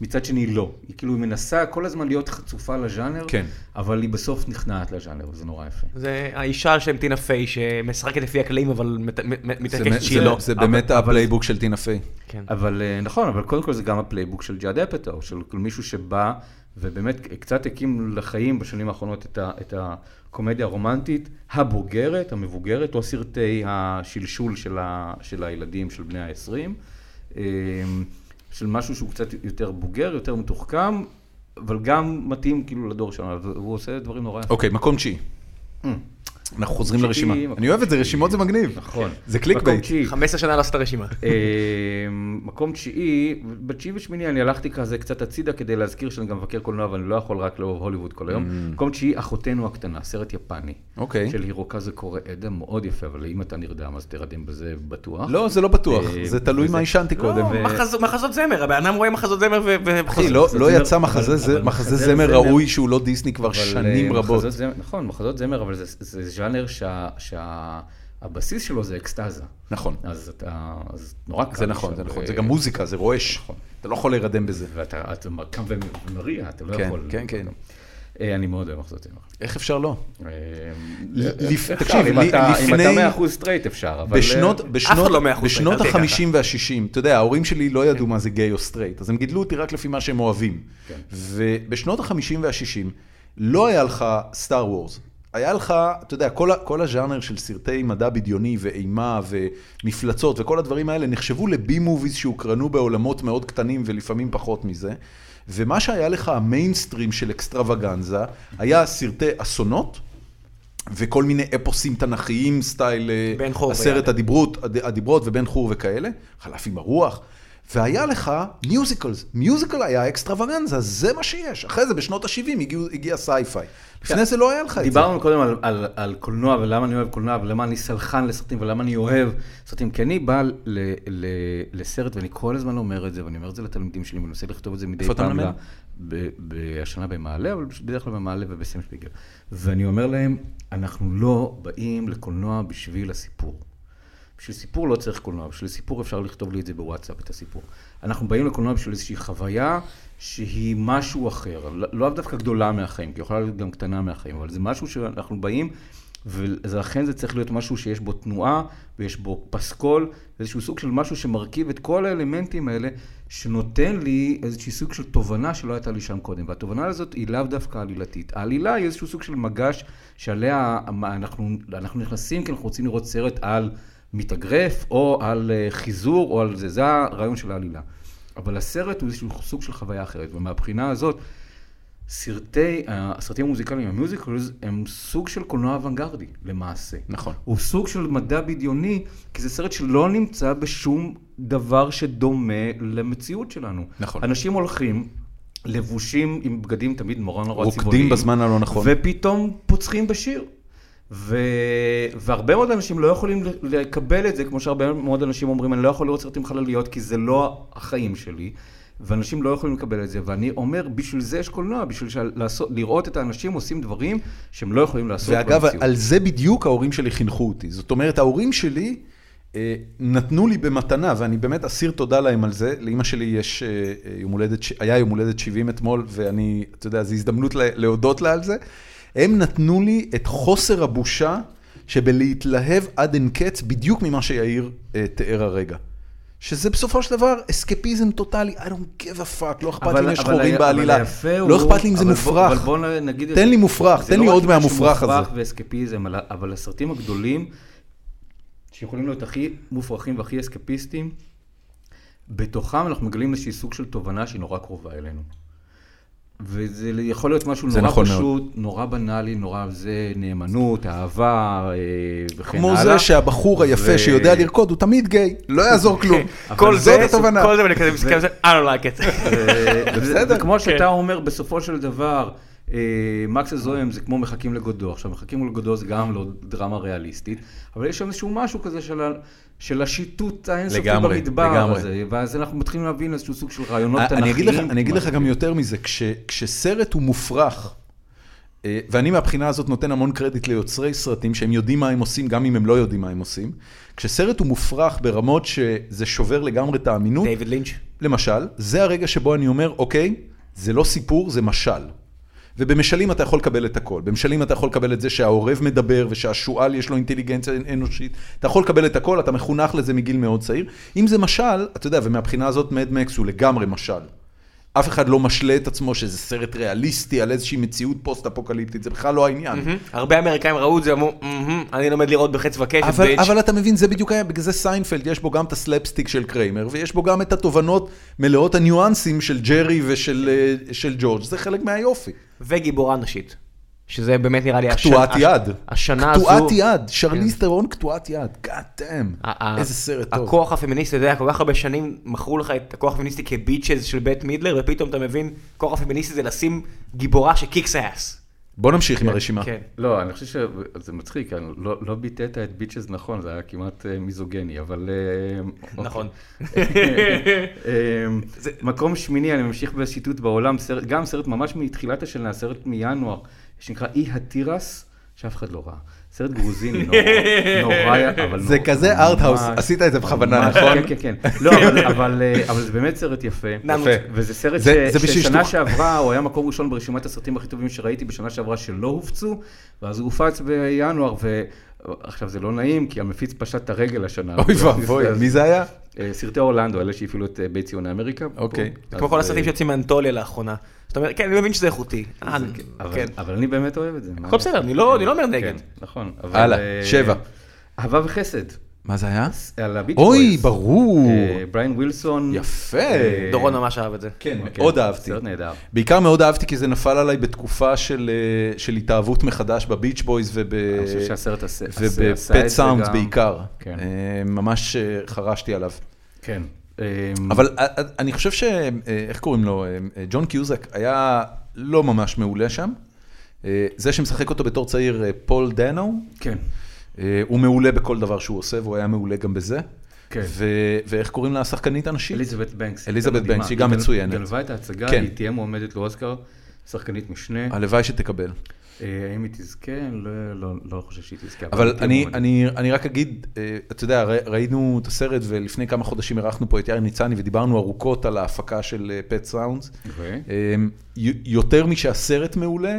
[SPEAKER 3] מצד שני לא. היא כאילו מנסה כל הזמן להיות חצופה לז'אנר,
[SPEAKER 1] כן.
[SPEAKER 3] אבל היא בסוף נכנעת לז'אנר, וזה נורא יפה.
[SPEAKER 2] זה האישה שלהם, טינה פיי, שמשחקת לפי הכללים, אבל מת- מת-
[SPEAKER 1] זה, זה,
[SPEAKER 2] מתעקשת שהיא
[SPEAKER 1] זה,
[SPEAKER 2] לא.
[SPEAKER 1] זה באמת
[SPEAKER 3] אבל-
[SPEAKER 1] הפלייבוק של טינה פיי.
[SPEAKER 2] כן.
[SPEAKER 3] אבל אה, נכון, אבל קודם כל זה גם הפלייבוק של ג'אד אפטו, של מישהו שבא ובאמת קצת הקים לחיים בשנים האחרונות את, ה, את הקומדיה הרומנטית הבוגרת, המבוגרת, או סרטי השלשול של, ה, של הילדים, של בני ה-20, של משהו שהוא קצת יותר בוגר, יותר מתוחכם, אבל גם מתאים כאילו לדור שלנו, והוא עושה דברים נורא יפים.
[SPEAKER 1] אוקיי, מקום תשיעי. אנחנו חוזרים
[SPEAKER 3] תשיעי,
[SPEAKER 1] לרשימה.
[SPEAKER 3] Mm. מקום
[SPEAKER 1] אני אוהב את זה,
[SPEAKER 3] תשיעי.
[SPEAKER 1] רשימות זה מגניב.
[SPEAKER 3] נכון.
[SPEAKER 1] אוקיי. זה קליק
[SPEAKER 3] מקום
[SPEAKER 1] בייט.
[SPEAKER 3] תשיעי.
[SPEAKER 2] 15 שנה לא לעשות את הרשימה.
[SPEAKER 3] אה, מקום תשיעי, בתשיעי ושמיני אני הלכתי כזה קצת הצידה כדי להזכיר שאני גם מבקר קולנוע ואני לא יכול רק לאהוב הוליווד כל היום. מקום תשיעי, אחותנו הקטנה, סרט יפני.
[SPEAKER 1] Mm. אוקיי.
[SPEAKER 3] של הירוקזה קורא עדה, מאוד יפה, אבל אם אתה נרדם אז תרדם בזה בטוח.
[SPEAKER 1] לא, זה לא בטוח,
[SPEAKER 3] אה,
[SPEAKER 1] זה תלוי
[SPEAKER 3] וזה-
[SPEAKER 1] מה עישנתי קודם. אה,
[SPEAKER 2] לא, מחזות- מחזות זמר, הבן אדם רואה מחזות זמר ו-
[SPEAKER 1] אחי,
[SPEAKER 2] וחוזר.
[SPEAKER 1] לא-
[SPEAKER 3] מחזה
[SPEAKER 1] לא
[SPEAKER 3] זמר,
[SPEAKER 1] יצא מחזה
[SPEAKER 3] אבל-
[SPEAKER 1] זה-
[SPEAKER 3] אבל
[SPEAKER 1] מחזה
[SPEAKER 3] מחזה
[SPEAKER 1] זמר
[SPEAKER 3] זמר-
[SPEAKER 1] ראוי שהוא לא דיסני כבר
[SPEAKER 3] אבל,
[SPEAKER 1] שנים
[SPEAKER 3] אה,
[SPEAKER 1] רבות.
[SPEAKER 3] מחזות זמר, נכון, מחזות זמר, אבל זה- זה ז'אנר שה- שה- הבסיס שלו זה אקסטזה.
[SPEAKER 1] נכון.
[SPEAKER 3] אז אתה, אז נורא קל.
[SPEAKER 1] זה נכון,
[SPEAKER 3] שם,
[SPEAKER 1] זה נכון,
[SPEAKER 3] ו-
[SPEAKER 1] זה גם מוזיקה, זה רועש.
[SPEAKER 3] נכון.
[SPEAKER 1] אתה לא יכול להירדם בזה.
[SPEAKER 3] ואתה אתה קם ומריע, אתה לא
[SPEAKER 1] כן,
[SPEAKER 3] יכול.
[SPEAKER 1] כן, כן.
[SPEAKER 3] אה, אני מאוד אוהב מחזות זמר.
[SPEAKER 1] איך אפשר לא?
[SPEAKER 3] אה,
[SPEAKER 1] לפ-
[SPEAKER 3] אפשר,
[SPEAKER 1] תקשיב,
[SPEAKER 3] אם
[SPEAKER 1] לי-
[SPEAKER 3] אתה- אם
[SPEAKER 1] לפני-
[SPEAKER 3] אתה 100% סטרייט אפשר, אבל...
[SPEAKER 1] בשנות,
[SPEAKER 3] אה,
[SPEAKER 2] אף אחד לא
[SPEAKER 1] בשנות,
[SPEAKER 2] מאה אחוז כן.
[SPEAKER 1] בשנות
[SPEAKER 2] סטרייט, אל תהיה
[SPEAKER 1] ה-50 וה-60, אתה יודע, ההורים שלי לא ידעו מה זה גיי או סטרייט, אז הם גידלו אותי רק לפי מה שהם אוהבים.
[SPEAKER 3] כן.
[SPEAKER 1] ובשנות ה-50 וה-60 לא היה לך סטאר וורס. היה לך, אתה יודע, כל, ה- כל הז'אנר של סרטי מדע בדיוני ואימה ומפלצות וכל הדברים האלה נחשבו לבי מוביז שהוקרנו בעולמות מאוד קטנים ולפעמים פחות מזה. ומה שהיה לך המיינסטרים של אקסטרווגנזה היה סרטי אסונות וכל מיני אפוסים תנכיים סטייל אה,
[SPEAKER 2] בן חור
[SPEAKER 1] עשרת
[SPEAKER 2] ויעלה.
[SPEAKER 1] הדיברות, הד- הדיברות ובן חור וכאלה, חלף עם הרוח. והיה לך מיוזיקלס, מיוזיקל היה אקסטרווגנזה, זה מה שיש. אחרי זה בשנות ה-70 הגיע סייפיי.
[SPEAKER 2] כן.
[SPEAKER 1] לפני זה לא היה לך את זה.
[SPEAKER 3] דיברנו קודם על, על, על קולנוע ולמה אני אוהב קולנוע ולמה אני סלחן לסרטים ולמה אני אוהב סרטים, כי אני בא ל, ל, לסרט ואני כל הזמן אומר את זה ואני אומר את זה לתלמידים שלי ואני מנסה לכתוב את זה מדי
[SPEAKER 1] איפה אתה
[SPEAKER 3] פעם,
[SPEAKER 1] מלמד?
[SPEAKER 3] ל- ב- ב- השנה במעלה, אבל בדרך כלל במעלה ובסמספיגר. ואני אומר להם, אנחנו לא באים לקולנוע בשביל הסיפור. בשביל סיפור לא צריך קולנוע, בשביל סיפור אפשר לכתוב לי את זה בוואטסאפ, את הסיפור. אנחנו באים לקולנוע בשביל איזושהי חוויה שהיא לא משהו אחר, לא- לאו דווקא גדולה מהחיים, כי היא יכולה להיות גם קטנה מהחיים, אבל זה משהו שאנחנו באים ולכן זה צריך להיות משהו שיש בו תנועה, ויש בו פסקול, איזשהו סוג של משהו שמרכיב את כל האלמנטים האלה, שנותן לי איזשהו סוג של תובנה שלא הייתה לי שם קודם. והתובנה הזאת היא לאו דווקא עלילתית. העלילה היא איזשהו סוג של מגש שעליה אנחנו, אנחנו נכנסים כי אנחנו רוצים לראות סרט על מתאגרף, או על אה, חיזור, או על זה. זה הרעיון של העלילה. אבל הסרט הוא איזשהו סוג של חוויה אחרת, ומהבחינה הזאת, סרטי, הסרטים המוזיקליים, המיוזיקלס, הם סוג של קולנוע אוונגרדי, למעשה.
[SPEAKER 2] נכון.
[SPEAKER 3] הוא סוג של מדע בדיוני, כי זה סרט שלא נמצא בשום דבר שדומה למציאות שלנו.
[SPEAKER 1] נכון.
[SPEAKER 3] אנשים הולכים, לבושים עם בגדים תמיד נורא נורא
[SPEAKER 1] רוקדים
[SPEAKER 3] צבעוניים.
[SPEAKER 1] בזמן הלא נכון.
[SPEAKER 3] ופתאום פוצחים בשיר. ו... והרבה מאוד אנשים לא יכולים ל- לקבל את זה, כמו שהרבה מאוד אנשים אומרים, אני לא יכול לראות סרטים חלליות כי זה לא החיים שלי, ואנשים לא יכולים לקבל את זה, ואני אומר, בשביל זה יש קולנוע, בשביל של... לעשות, לראות את האנשים עושים דברים שהם לא יכולים לעשות
[SPEAKER 1] ואגב,
[SPEAKER 3] במציאות.
[SPEAKER 1] על זה בדיוק ההורים שלי חינכו אותי. זאת אומרת, ההורים שלי אה, נתנו לי במתנה, ואני באמת אסיר תודה להם על זה. לאימא שלי יש אה, אה, יום הולדת, ש- היה יום הולדת 70 אתמול, ואני, אתה יודע, זו הזדמנות לה- להודות לה על זה. הם נתנו לי את חוסר הבושה שבלהתלהב עד אין קץ, בדיוק ממה שיאיר אה, תיאר הרגע. שזה בסופו של דבר אסקפיזם טוטאלי, I don't give a fuck, לא אכפת לי אם יש חורים
[SPEAKER 3] ה-
[SPEAKER 1] בעלילה,
[SPEAKER 3] היפה
[SPEAKER 1] לא
[SPEAKER 3] הוא-
[SPEAKER 1] אכפת לי אם זה
[SPEAKER 3] אבל בוא,
[SPEAKER 1] מופרך.
[SPEAKER 3] אבל בוא נ- נגיד... את
[SPEAKER 1] תן
[SPEAKER 3] זה.
[SPEAKER 1] לי מופרך,
[SPEAKER 3] זה
[SPEAKER 1] תן
[SPEAKER 3] לא
[SPEAKER 1] לי
[SPEAKER 3] רק
[SPEAKER 1] עוד
[SPEAKER 3] משהו
[SPEAKER 1] מהמופרך הזה.
[SPEAKER 3] מופרך ואסקפיזם, אבל, אבל הסרטים הגדולים, שיכולים להיות הכי מופרכים והכי אסקפיסטים, בתוכם אנחנו מגלים איזשהי סוג של תובנה שהיא נורא קרובה אלינו. וזה יכול להיות משהו
[SPEAKER 1] זה
[SPEAKER 3] נורא
[SPEAKER 1] נכון
[SPEAKER 3] פשוט, נורא בנאלי, נורא זה נאמנות, אהבה אה, וכן הלאה.
[SPEAKER 1] כמו זה שהבחור היפה
[SPEAKER 3] ו-
[SPEAKER 1] שיודע לרקוד הוא תמיד גיי, לא יעזור כלום.
[SPEAKER 3] אבל
[SPEAKER 2] כן. כל
[SPEAKER 1] זאת
[SPEAKER 2] זה,
[SPEAKER 1] התובנה.
[SPEAKER 2] כל זה, ואני כזה מסתכל על זה, I don't like it.
[SPEAKER 1] אה,
[SPEAKER 3] בסדר. וכמו
[SPEAKER 2] כן.
[SPEAKER 3] שאתה אומר, בסופו של דבר, אה, מקס הזוהם זה כמו מחכים לגודו. עכשיו, מחכים לגודו זה גם לא דרמה ריאליסטית, אבל יש שם איזשהו משהו כזה של ה- של השיטוט האינסופי
[SPEAKER 1] לגמרי,
[SPEAKER 3] במדבר
[SPEAKER 1] לגמרי.
[SPEAKER 3] הזה, ואז אנחנו מתחילים להבין איזשהו סוג של רעיונות
[SPEAKER 1] אני- אה, אני
[SPEAKER 3] תנכיים.
[SPEAKER 1] אגיד לך- אני אגיד לך גם יותר מזה, כש- כשסרט הוא מופרך, אה, ואני מהבחינה הזאת נותן המון קרדיט ליוצרי סרטים שהם יודעים מה הם עושים, גם אם הם לא יודעים מה הם עושים, כשסרט הוא מופרך ברמות שזה שובר לגמרי את האמינות,
[SPEAKER 2] דייוויד לינץ'.
[SPEAKER 1] למשל, זה הרגע שבו אני אומר, אוקיי, זה לא סיפור, זה משל. ובמשלים אתה יכול לקבל את הכל. במשלים אתה יכול לקבל את זה שהעורב מדבר ושהשועל יש לו אינטליגנציה אנושית. אתה יכול לקבל את הכל, אתה מחונך לזה מגיל מאוד צעיר. אם זה משל, אתה יודע, ומהבחינה הזאת מדמקס הוא לגמרי משל. אף אחד לא משלה את עצמו שזה סרט ריאליסטי על איזושהי מציאות פוסט-אפוקליפטית, זה בכלל לא העניין.
[SPEAKER 2] מהמם. Mm-hmm. הרבה אמריקאים ראו את זה, אמרו, "מהמם, אני לומד לראות בחץ וקשת,
[SPEAKER 1] אבל,
[SPEAKER 2] ביץ'.
[SPEAKER 1] אבל אתה מבין, זה בדיוק היה, בגלל זה סיינפלד, יש בו גם את הסלפסטיק של קריימר, ויש בו גם את התובנות מלאות הניואנסים של ג'רי ושל אה, של ג'ורג', זה חלק מהיופי.
[SPEAKER 2] וגיבורה נשית. שזה באמת נראה לי השנה-
[SPEAKER 1] קטועת יד.
[SPEAKER 2] השנה הזו...
[SPEAKER 1] קטועת יד, שרליסט תרון קטועת יד, God damn,
[SPEAKER 2] ה- ה-
[SPEAKER 1] איזה סרט טוב.
[SPEAKER 2] הכוח הפמיניסטי, אתה יודע, כל כך הרבה שנים מכרו לך את הכוח הפמיניסטי כביצ'ז של בית מידלר, ופתאום אתה מבין, כוח הפמיניסטי זה לשים גיבורה שקיקס אס.
[SPEAKER 1] בוא נמשיך עם הרשימה.
[SPEAKER 2] כן.
[SPEAKER 3] לא, אני חושב שזה מצחיק, אני לא, לא ביטאת את ביצ'ס נכון, זה היה כמעט אה, מיזוגני, אבל... אה,
[SPEAKER 2] נכון.
[SPEAKER 3] אוקיי. אה, מקום שמיני, אני ממשיך בשיטוט בעולם, סרט, גם סרט ממש מתחילת השנה, סרט מינואר, שנקרא אי התירס, שאף אחד לא ראה. סרט גרוזיני נורא, נורא, אבל
[SPEAKER 1] זה
[SPEAKER 3] נורא,
[SPEAKER 1] כזה
[SPEAKER 3] ממש-
[SPEAKER 1] ארטהאוס, עשית את זה בכוונה,
[SPEAKER 3] ממש,
[SPEAKER 1] נכון?
[SPEAKER 3] כן, כן, כן. לא, אבל- אבל אה, אבל זה באמת סרט יפה.
[SPEAKER 2] ננו.
[SPEAKER 1] יפה.
[SPEAKER 3] וזה סרט
[SPEAKER 1] זה-
[SPEAKER 3] ש-
[SPEAKER 1] זה בשביל
[SPEAKER 3] ששנה
[SPEAKER 1] שתוך-
[SPEAKER 3] שעברה הוא היה מקום ראשון ברשימת הסרטים הכי טובים שראיתי בשנה שעברה שלא הופצו, ואז הוא הופץ בינואר, ועכשיו זה לא נעים, כי המפיץ פשט את הרגל השנה.
[SPEAKER 1] אוי ואבוי,
[SPEAKER 3] אז-
[SPEAKER 1] מי זה היה?
[SPEAKER 3] אה, סרטי אורלנדו, אלה שהפעילו את אה, בית ציוני אמריקה.
[SPEAKER 1] אוקיי.
[SPEAKER 3] פה.
[SPEAKER 2] זה
[SPEAKER 3] אז,
[SPEAKER 2] כמו כל
[SPEAKER 3] אה,
[SPEAKER 2] הסרטים שיוצאים מאנטוליה לאחרונה. זאת אומרת, כן, אני מבין שזה איכותי. אה,
[SPEAKER 3] זה- אבל-
[SPEAKER 2] כן.
[SPEAKER 3] אבל אני באמת אוהב את זה. מה
[SPEAKER 2] הכל בסדר, אני לא- אני לא אומר
[SPEAKER 3] כן,
[SPEAKER 2] נגד.
[SPEAKER 3] נכון. אבל,
[SPEAKER 1] הלאה,
[SPEAKER 3] אה,
[SPEAKER 1] שבע.
[SPEAKER 3] אהבה וחסד.
[SPEAKER 1] מה זה היה?
[SPEAKER 3] על הביץ'
[SPEAKER 1] אוי,
[SPEAKER 3] בויז.
[SPEAKER 1] ברור.
[SPEAKER 3] אה, בריין ווילסון.
[SPEAKER 1] יפה.
[SPEAKER 2] דורון ממש אהב את זה.
[SPEAKER 1] כן,
[SPEAKER 3] אוקיי,
[SPEAKER 1] מאוד אהבתי.
[SPEAKER 3] סרט נהדר.
[SPEAKER 1] בעיקר מאוד אהבתי כי זה נפל עליי בתקופה של, אה, של התאהבות מחדש בביץ' בויז
[SPEAKER 3] אני חושב שהסרט עשה- עשה- עשה את זה
[SPEAKER 1] ובפט סאונדס
[SPEAKER 3] גם.
[SPEAKER 1] בעיקר.
[SPEAKER 3] כן.
[SPEAKER 1] אה, ממש אה, חרשתי עליו.
[SPEAKER 3] כן. אה,
[SPEAKER 1] אבל אה, אה, אני חושב ש... אה, איך קוראים לו? אה, אה, ג'ון קיוזק היה לא ממש מעולה שם. אה, זה שמשחק אותו בתור צעיר, אה, פול דנו,
[SPEAKER 3] כן.
[SPEAKER 1] אה, הוא מעולה בכל דבר שהוא עושה, והוא היה מעולה גם בזה.
[SPEAKER 3] כן.
[SPEAKER 1] ו- ואיך קוראים לה השחקנית הנשית?
[SPEAKER 3] אליזבת בנקס.
[SPEAKER 1] אליזבת
[SPEAKER 3] הייתה מדהימה.
[SPEAKER 1] בנקס, שהיא גם
[SPEAKER 3] גל-
[SPEAKER 1] מצוינת.
[SPEAKER 3] גנבה את ההצגה,
[SPEAKER 1] כן.
[SPEAKER 3] היא תהיה מועמדת לאוסקר, שחקנית משנה.
[SPEAKER 1] הלוואי שתקבל.
[SPEAKER 3] אה, האם היא תזכה? לא- לא- לא חושב שהיא תזכה.
[SPEAKER 1] אבל
[SPEAKER 3] היא תהיה
[SPEAKER 1] אני,
[SPEAKER 3] מועמדת.
[SPEAKER 1] אני, אני רק אגיד, אה, אתה יודע, ר- ראינו את הסרט ולפני כמה חודשים אירחנו פה את יאיר ניצני ודיברנו ארוכות על ההפקה של אה, פט סאונדס.
[SPEAKER 3] ו?
[SPEAKER 1] יותר משהסרט מעולה,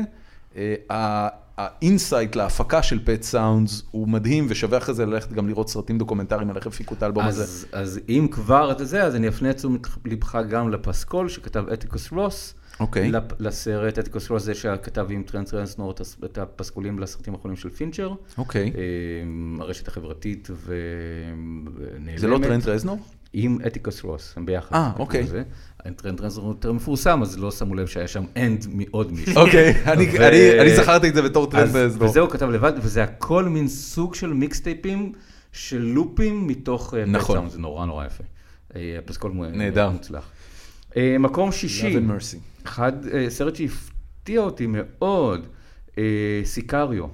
[SPEAKER 1] אה, ה- האינסייט להפקה של פט סאונדס הוא מדהים, ושווה אחרי זה ללכת גם לראות סרטים דוקומנטריים על איך הפיקו את האלבום הזה.
[SPEAKER 3] אז, אז אם כבר אתה זה, אז אני אפנה את תשומת לבך גם לפסקול שכתב אתיקוס רוס.
[SPEAKER 1] אוקיי.
[SPEAKER 3] לפ- לסרט אתיקוס רוס, זה שכתב עם טרנס רנסנור את הס- את הפסקולים לסרטים האחרונים של פינצ'ר.
[SPEAKER 1] אוקיי.
[SPEAKER 3] אמ, הרשת החברתית ונעלמת.
[SPEAKER 1] זה לא טרנט רזנור?
[SPEAKER 3] עם אתיקוס רוס, הם ביחד.
[SPEAKER 1] אה, אוקיי.
[SPEAKER 3] זה. טרנט רנסנור יותר מפורסם, אז לא שמו לב שהיה שם אנד מעוד מישהו.
[SPEAKER 1] אוקיי, אני-
[SPEAKER 3] ו-
[SPEAKER 1] אני- אני זכרתי את זה בתור טרנט
[SPEAKER 3] אז-
[SPEAKER 1] רזנור.
[SPEAKER 3] וזה הוא כתב לבד, וזה הכל מין סוג של מיקסטייפים של לופים מתוך אה,
[SPEAKER 1] נכון.
[SPEAKER 3] פט סאונד, זה נורא נורא יפה. אה, הפסקול מו-
[SPEAKER 1] נהדר.
[SPEAKER 3] מוצלח. אה, מקום שישי,
[SPEAKER 1] Love and Mercy.
[SPEAKER 3] אחד, אה, סרט שהפתיע אותי מאוד, אה, סיקריו,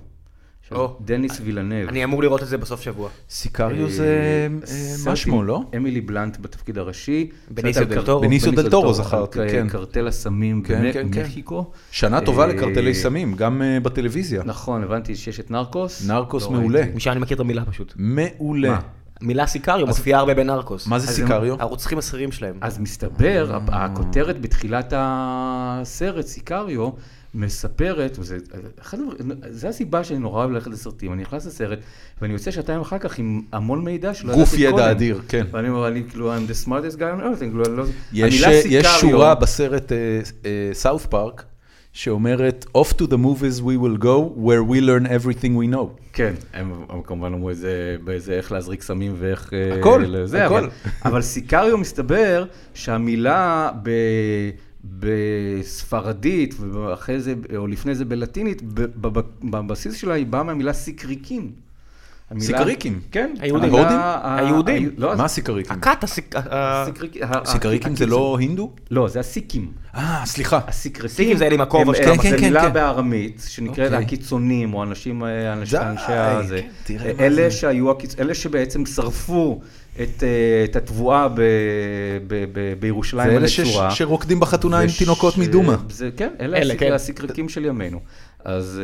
[SPEAKER 3] של
[SPEAKER 2] או.
[SPEAKER 3] דניס וילנב.
[SPEAKER 2] אני אמור לראות את זה בסוף שבוע.
[SPEAKER 1] סיקריו
[SPEAKER 3] אה,
[SPEAKER 1] זה
[SPEAKER 3] סרט
[SPEAKER 1] מה שמו,
[SPEAKER 3] עם
[SPEAKER 1] לא?
[SPEAKER 3] אמילי בלנט בתפקיד הראשי.
[SPEAKER 2] בניסו
[SPEAKER 3] סרט על
[SPEAKER 2] דל
[SPEAKER 3] קר-
[SPEAKER 2] טורו.
[SPEAKER 1] בניסו דל טורו זכרתי,
[SPEAKER 3] על, אה,
[SPEAKER 1] כן.
[SPEAKER 3] קרטל הסמים
[SPEAKER 1] כן, כן, כן.
[SPEAKER 3] במקסיקו.
[SPEAKER 1] שנה טובה
[SPEAKER 3] אה,
[SPEAKER 1] לקרטלי סמים, גם אה, בטלוויזיה.
[SPEAKER 3] נכון, הבנתי שיש את נרקוס.
[SPEAKER 1] נרקוס
[SPEAKER 3] לא
[SPEAKER 1] מעולה.
[SPEAKER 3] ראיתי.
[SPEAKER 2] משם אני מכיר את המילה פשוט.
[SPEAKER 1] מעולה.
[SPEAKER 3] מה?
[SPEAKER 2] המילה סיקריו מופיעה הרבה בנרקוס.
[SPEAKER 1] מה זה
[SPEAKER 3] אז הם-
[SPEAKER 1] סיקריו?
[SPEAKER 2] הרוצחים השכירים שלהם.
[SPEAKER 3] אז מסתבר, הפ- הכותרת בתחילת הסרט, סיקריו, מספרת, וזה אחד הדברים- זה הסיבה שאני נורא אוהב ללכת לסרטים, אני נכנס לסרט, ואני יוצא שעתיים אחר כך עם המון מידע שלא
[SPEAKER 1] גוף
[SPEAKER 3] ידעתי
[SPEAKER 1] ידע
[SPEAKER 3] קודם.
[SPEAKER 1] אדיר, כן.
[SPEAKER 3] ואני אומר, אני כאילו, I'm the smartest guy on earth, אני כאילו, אני לא...
[SPEAKER 1] יש, אה,
[SPEAKER 3] המילה
[SPEAKER 1] יש
[SPEAKER 3] סיקריו-
[SPEAKER 1] שורה בסרט אה, סאוף פארק שאומרת, Off to the movies we will go, where we learn everything we know.
[SPEAKER 3] כן, הם, הם כמובן אמרו איזה, באיזה איך להזריק סמים ואיך... אה,
[SPEAKER 1] הכל,
[SPEAKER 3] לזה,
[SPEAKER 1] הכל.
[SPEAKER 3] אבל, אבל סיקריו מסתבר שהמילה ב, בספרדית, ואחרי זה, או לפני זה בלטינית, ב, ב, ב, בבסיס שלה היא באה מהמילה סיקריקים. המילה-
[SPEAKER 1] סיקריקים?
[SPEAKER 3] כן.
[SPEAKER 2] היהודים.
[SPEAKER 3] המילה-
[SPEAKER 1] ההודים?
[SPEAKER 3] ה-
[SPEAKER 2] היהודים.
[SPEAKER 3] ה- לא,
[SPEAKER 1] מה הסיקריקים?
[SPEAKER 2] הכת הסיק... ה-
[SPEAKER 3] הסיקריקים? ה-
[SPEAKER 1] סיקריקים זה
[SPEAKER 3] הקיצים.
[SPEAKER 1] לא הינדו?
[SPEAKER 3] לא, זה הסיקים.
[SPEAKER 1] אה, סליחה.
[SPEAKER 3] הסיקריקים
[SPEAKER 2] סיקים זה אלה עם הכובע
[SPEAKER 3] הם-
[SPEAKER 2] שלהם.
[SPEAKER 1] כן,
[SPEAKER 3] זה
[SPEAKER 1] כן,
[SPEAKER 3] מילה
[SPEAKER 1] כן.
[SPEAKER 3] בארמית שנקראת
[SPEAKER 1] אוקיי.
[SPEAKER 3] הקיצונים, או אנשים, אה, אנש-
[SPEAKER 1] די,
[SPEAKER 3] אנשי הזה.
[SPEAKER 1] כן, תראה מה זה.
[SPEAKER 3] אלה שהיו, הקיצ- אלה שבעצם שרפו את אה, את התבואה ב- ב- ב-
[SPEAKER 1] זה
[SPEAKER 3] בירושלים
[SPEAKER 1] אלה שש-
[SPEAKER 3] הנצורה.
[SPEAKER 1] שרוקדים בחתונה עם
[SPEAKER 3] וש-
[SPEAKER 1] תינוקות מדומא.
[SPEAKER 3] זה- כן, אלה
[SPEAKER 2] אלה,
[SPEAKER 3] הסיק-
[SPEAKER 2] כן.
[SPEAKER 3] הסיקריקים של ימינו. אז,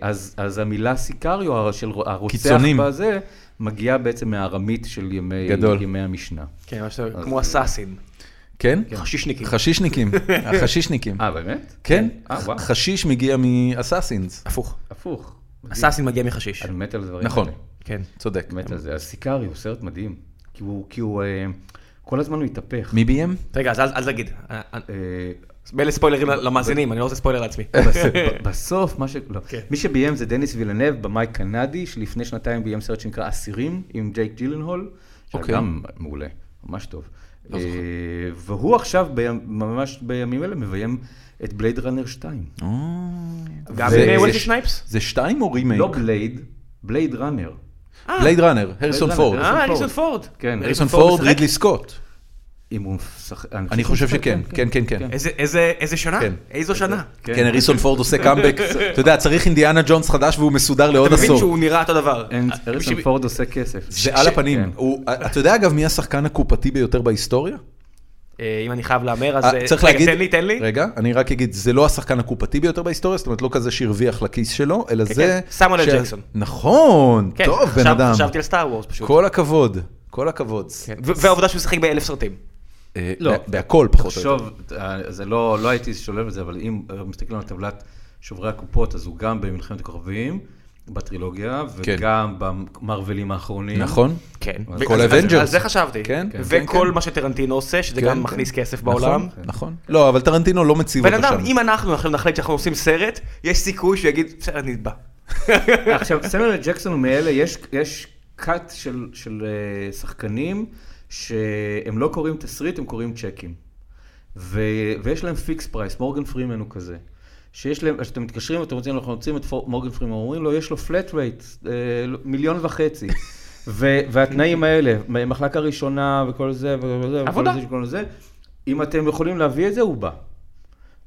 [SPEAKER 3] אה, אז, אז המילה סיקריו הר- של ר- הרוצח
[SPEAKER 1] קיצונים.
[SPEAKER 3] בזה, מגיעה בעצם מהארמית של ימי,
[SPEAKER 1] גדול.
[SPEAKER 3] ימי המשנה.
[SPEAKER 2] כן, מה שאתה- כמו אסאסין.
[SPEAKER 1] כן?
[SPEAKER 2] חשישניקים.
[SPEAKER 1] חשישניקים, החשישניקים.
[SPEAKER 3] אה, באמת?
[SPEAKER 1] כן?
[SPEAKER 3] אה, וואו.
[SPEAKER 1] חשיש מגיע מאסאסינס.
[SPEAKER 2] הפוך.
[SPEAKER 3] הפוך.
[SPEAKER 2] אסאסין מגיע מחשיש.
[SPEAKER 3] אני מת על הדברים
[SPEAKER 1] נכון,
[SPEAKER 3] האלה.
[SPEAKER 2] כן.
[SPEAKER 1] צודק.
[SPEAKER 3] מת על זה. הסיקארי הוא סרט מדהים. כי הוא, כי הוא, אה, כל הזמן הוא התהפך.
[SPEAKER 1] מי ביים?
[SPEAKER 2] רגע, אז אל אל תגיד. אה, אה,
[SPEAKER 3] אה,
[SPEAKER 2] מילא ספוילרים למאזינים, אני לא רוצה ספוילר לעצמי.
[SPEAKER 3] בס- בסוף, מה ש... לא.
[SPEAKER 2] כן.
[SPEAKER 3] מי שביים זה דניס וילנב, במאי קנדי, שלפני שנתיים ביים סרט שנקרא אסירים, עם ג'ייק ג'ילנהול,
[SPEAKER 1] אוקיי. לא
[SPEAKER 3] שגם מעולה, ממש טוב. אה, והוא עכשיו, בים- ממש בימים אלה, מביים את בלייד ראנר 2.
[SPEAKER 2] גם
[SPEAKER 1] זה-
[SPEAKER 2] עם
[SPEAKER 1] זה
[SPEAKER 2] וולטי
[SPEAKER 1] ש-
[SPEAKER 2] שנייפס?
[SPEAKER 1] זה שתיים או רימייק?
[SPEAKER 3] לא בלייד, בלייד ראנר.
[SPEAKER 1] בלייד ראנר, הריסון
[SPEAKER 3] Blade Runner,
[SPEAKER 1] פורד.
[SPEAKER 2] אה, הריסון
[SPEAKER 3] הריסון
[SPEAKER 2] פורד.
[SPEAKER 3] כן.
[SPEAKER 1] הריסון פורד,
[SPEAKER 2] משחק?
[SPEAKER 1] רידלי סקוט.
[SPEAKER 3] אם הוא משחק...
[SPEAKER 1] אני חושב שכן, כן, כן, כן.
[SPEAKER 2] איזה- איזה- איזה שנה?
[SPEAKER 1] כן.
[SPEAKER 2] איזו שנה?
[SPEAKER 3] כן.
[SPEAKER 1] כן, הריסון פורד עושה קאמבק. אתה יודע, צריך אינדיאנה ג'ונס חדש והוא מסודר לעוד
[SPEAKER 2] אתה מבין
[SPEAKER 1] עשור.
[SPEAKER 2] שהוא נראה אותו דבר.
[SPEAKER 3] אין-
[SPEAKER 2] אה,
[SPEAKER 3] הריסון
[SPEAKER 2] בשביל-
[SPEAKER 3] פורד עושה כסף.
[SPEAKER 1] זה על הפנים.
[SPEAKER 3] כן.
[SPEAKER 1] הוא- אתה יודע, אגב, מי השחקן הקופתי ביותר בהיסטוריה?
[SPEAKER 2] אה, אם אני חייב להמר, אז...
[SPEAKER 1] אה,
[SPEAKER 2] אה,
[SPEAKER 1] צריך
[SPEAKER 2] רגע,
[SPEAKER 1] להגיד...
[SPEAKER 2] תן לי, תן לי.
[SPEAKER 1] רגע, אני רק אגיד, זה לא השחקן הקופתי ביותר בהיסטוריה, זאת אומרת, לא כזה שהרוויח לכיס שלו, אלא
[SPEAKER 2] כן,
[SPEAKER 1] זה...
[SPEAKER 2] כן, סמואל
[SPEAKER 1] ש-
[SPEAKER 2] אל ג'קסון.
[SPEAKER 1] נכון,
[SPEAKER 2] כן,
[SPEAKER 1] טוב, בן
[SPEAKER 2] חשב-
[SPEAKER 1] אדם.
[SPEAKER 2] חשבתי על סטאר וורס פשוט.
[SPEAKER 1] כל הכבוד, כל הכבוד.
[SPEAKER 2] כן. ו- והעובדה שהוא שיחק באלף סרטים.
[SPEAKER 1] אה,
[SPEAKER 3] לא.
[SPEAKER 1] בה- בהכל פחות או יותר.
[SPEAKER 3] תחשוב, אה, זה לא, לא הייתי שולל את זה, אבל אם אה, מסתכלים על טבלת שוברי הקופות, אז הוא גם במלחמת הכוכבים, בטרילוגיה,
[SPEAKER 1] כן.
[SPEAKER 3] וגם במרבלים האחרונים.
[SPEAKER 1] נכון?
[SPEAKER 2] כן.
[SPEAKER 3] כל
[SPEAKER 2] אז- אז-
[SPEAKER 1] Avengers.
[SPEAKER 2] על זה חשבתי.
[SPEAKER 1] כן, כן,
[SPEAKER 2] וכל
[SPEAKER 1] כן.
[SPEAKER 2] מה שטרנטינו עושה, שזה
[SPEAKER 1] כן,
[SPEAKER 2] גם
[SPEAKER 1] כן.
[SPEAKER 2] מכניס כסף
[SPEAKER 1] נכון,
[SPEAKER 2] בעולם.
[SPEAKER 1] נכון. לא, אבל טרנטינו לא מציב
[SPEAKER 2] בן
[SPEAKER 1] אותו
[SPEAKER 2] אדם,
[SPEAKER 1] שם.
[SPEAKER 2] אם אנחנו עכשיו נחליט שאנחנו עושים סרט, יש סיכוי שהוא יגיד, בסדר, אני בא.
[SPEAKER 3] עכשיו, סמואל אל ג'קסון הוא מאלה, יש, יש קאט של, של אה, שחקנים שהם לא קוראים תסריט, הם קוראים צ'קים. ו, ויש להם פיקס פרייס, מורגן פרימן הוא כזה. שיש להם, כשאתם מתקשרים, אתם רוצים, אנחנו רוצים את פור- מורגן פרימן, אומרים לו, יש לו פלט רייט, מיליון וחצי. ו, והתנאים האלה, מ- מחלקה ראשונה וכל זה וכל זה,
[SPEAKER 2] עבודה.
[SPEAKER 3] וכל זה, וכל זה, אם אתם יכולים להביא את זה, הוא בא.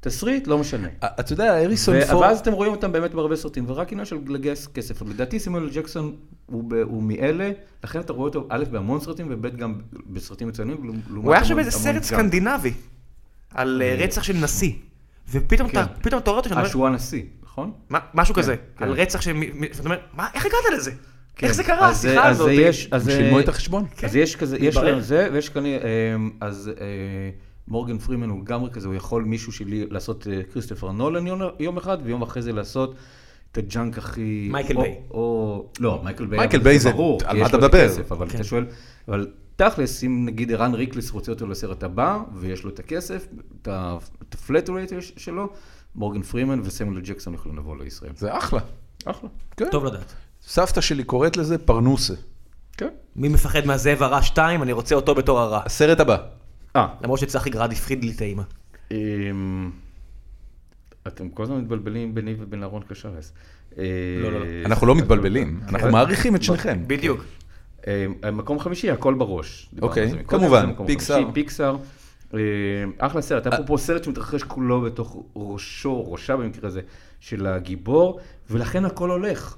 [SPEAKER 3] תסריט, לא משנה.
[SPEAKER 1] אה, אתה יודע, הריסון
[SPEAKER 3] ו-
[SPEAKER 1] פורד...
[SPEAKER 3] ואז אתם רואים אותם באמת בהרבה סרטים, ורק עניין של לגייס כסף. לדעתי סימואל ג'קסון הוא ב- הוא מאלה, לכן אתה רואה אותו א' בהמון סרטים, וב' גם בסרטים מצוינים. לעומת
[SPEAKER 2] הוא היה עכשיו
[SPEAKER 3] המון-
[SPEAKER 2] באיזה
[SPEAKER 3] המון
[SPEAKER 2] סרט
[SPEAKER 3] גם.
[SPEAKER 2] סקנדינבי, על אה, רצח של נשיא. ופתאום אתה
[SPEAKER 3] כן.
[SPEAKER 2] פתאום אתה רואה אותו שאתה
[SPEAKER 3] אה,
[SPEAKER 2] אומר,
[SPEAKER 3] שהוא הנשיא, נכון?
[SPEAKER 2] מה- משהו כזה,
[SPEAKER 3] כן.
[SPEAKER 2] על רצח של... מי- מי- ואתה אומר, מה, איך הגעת לזה?
[SPEAKER 3] כן.
[SPEAKER 2] איך זה קרה,
[SPEAKER 3] אז,
[SPEAKER 2] השיחה
[SPEAKER 3] אה, אז
[SPEAKER 2] הזאת? כן.
[SPEAKER 3] יש- אז,
[SPEAKER 1] הם
[SPEAKER 3] אה,
[SPEAKER 1] שילמו את החשבון.
[SPEAKER 3] אז יש כזה, יש
[SPEAKER 2] מתברר.
[SPEAKER 3] להם זה, ויש כאן, אה, אז אה, מורגן פרימן הוא לגמרי כזה, הוא יכול מישהו שלי לעשות אה, כריסטופר נולן יום- יום אחד, ויום אחרי זה לעשות את הג'אנק הכי...
[SPEAKER 2] מייקל
[SPEAKER 3] או-
[SPEAKER 2] ביי.
[SPEAKER 3] או... לא, מייקל ביי.
[SPEAKER 1] מייקל
[SPEAKER 3] אבל
[SPEAKER 1] ביי זה-
[SPEAKER 3] ברור, כי
[SPEAKER 1] על מה
[SPEAKER 3] יש
[SPEAKER 1] אתה
[SPEAKER 3] לו את
[SPEAKER 1] מדבר?
[SPEAKER 3] הכסף, אבל
[SPEAKER 2] כן.
[SPEAKER 3] אתה שואל, אבל תכלס, אם נגיד ערן ריקליס רוצה אותו לסרט הבא, ויש לו את הכסף, את ה- את הפלט רייט שלו, מורגן פרימן וסמואל ג'קסון יכולים לבוא לישראל.
[SPEAKER 1] זה אחלה.
[SPEAKER 3] אחלה.
[SPEAKER 1] כן.
[SPEAKER 2] טוב לדעת.
[SPEAKER 1] סבתא שלי קוראת לזה פרנוסה.
[SPEAKER 3] כן.
[SPEAKER 2] מי מפחד מהזאב הרע 2? אני רוצה אותו בתור הרע.
[SPEAKER 1] הסרט הבא.
[SPEAKER 3] אה,
[SPEAKER 2] למרות שצחי גרד הפחיד לי את האימא.
[SPEAKER 3] אמ, אתם כל הזמן מתבלבלים ביני ובין אהרון קשרס.
[SPEAKER 2] לא, לא.
[SPEAKER 1] אנחנו לא מתבלבלים, אנחנו מעריכים את שניכם.
[SPEAKER 2] בדיוק.
[SPEAKER 3] אה, מקום חמישי, הכל בראש. דיברנו
[SPEAKER 1] אוקיי,
[SPEAKER 3] על זה מקודם,
[SPEAKER 1] כמובן, אה.
[SPEAKER 3] זה מקום
[SPEAKER 1] פיקסאר.
[SPEAKER 3] חמישי, פיקסאר. אה, אחלה סרט, אפרופו סרט שמתרחש כולו בתוך ראשו, ראשה במקרה הזה, של הגיבור, ולכן הכל הולך.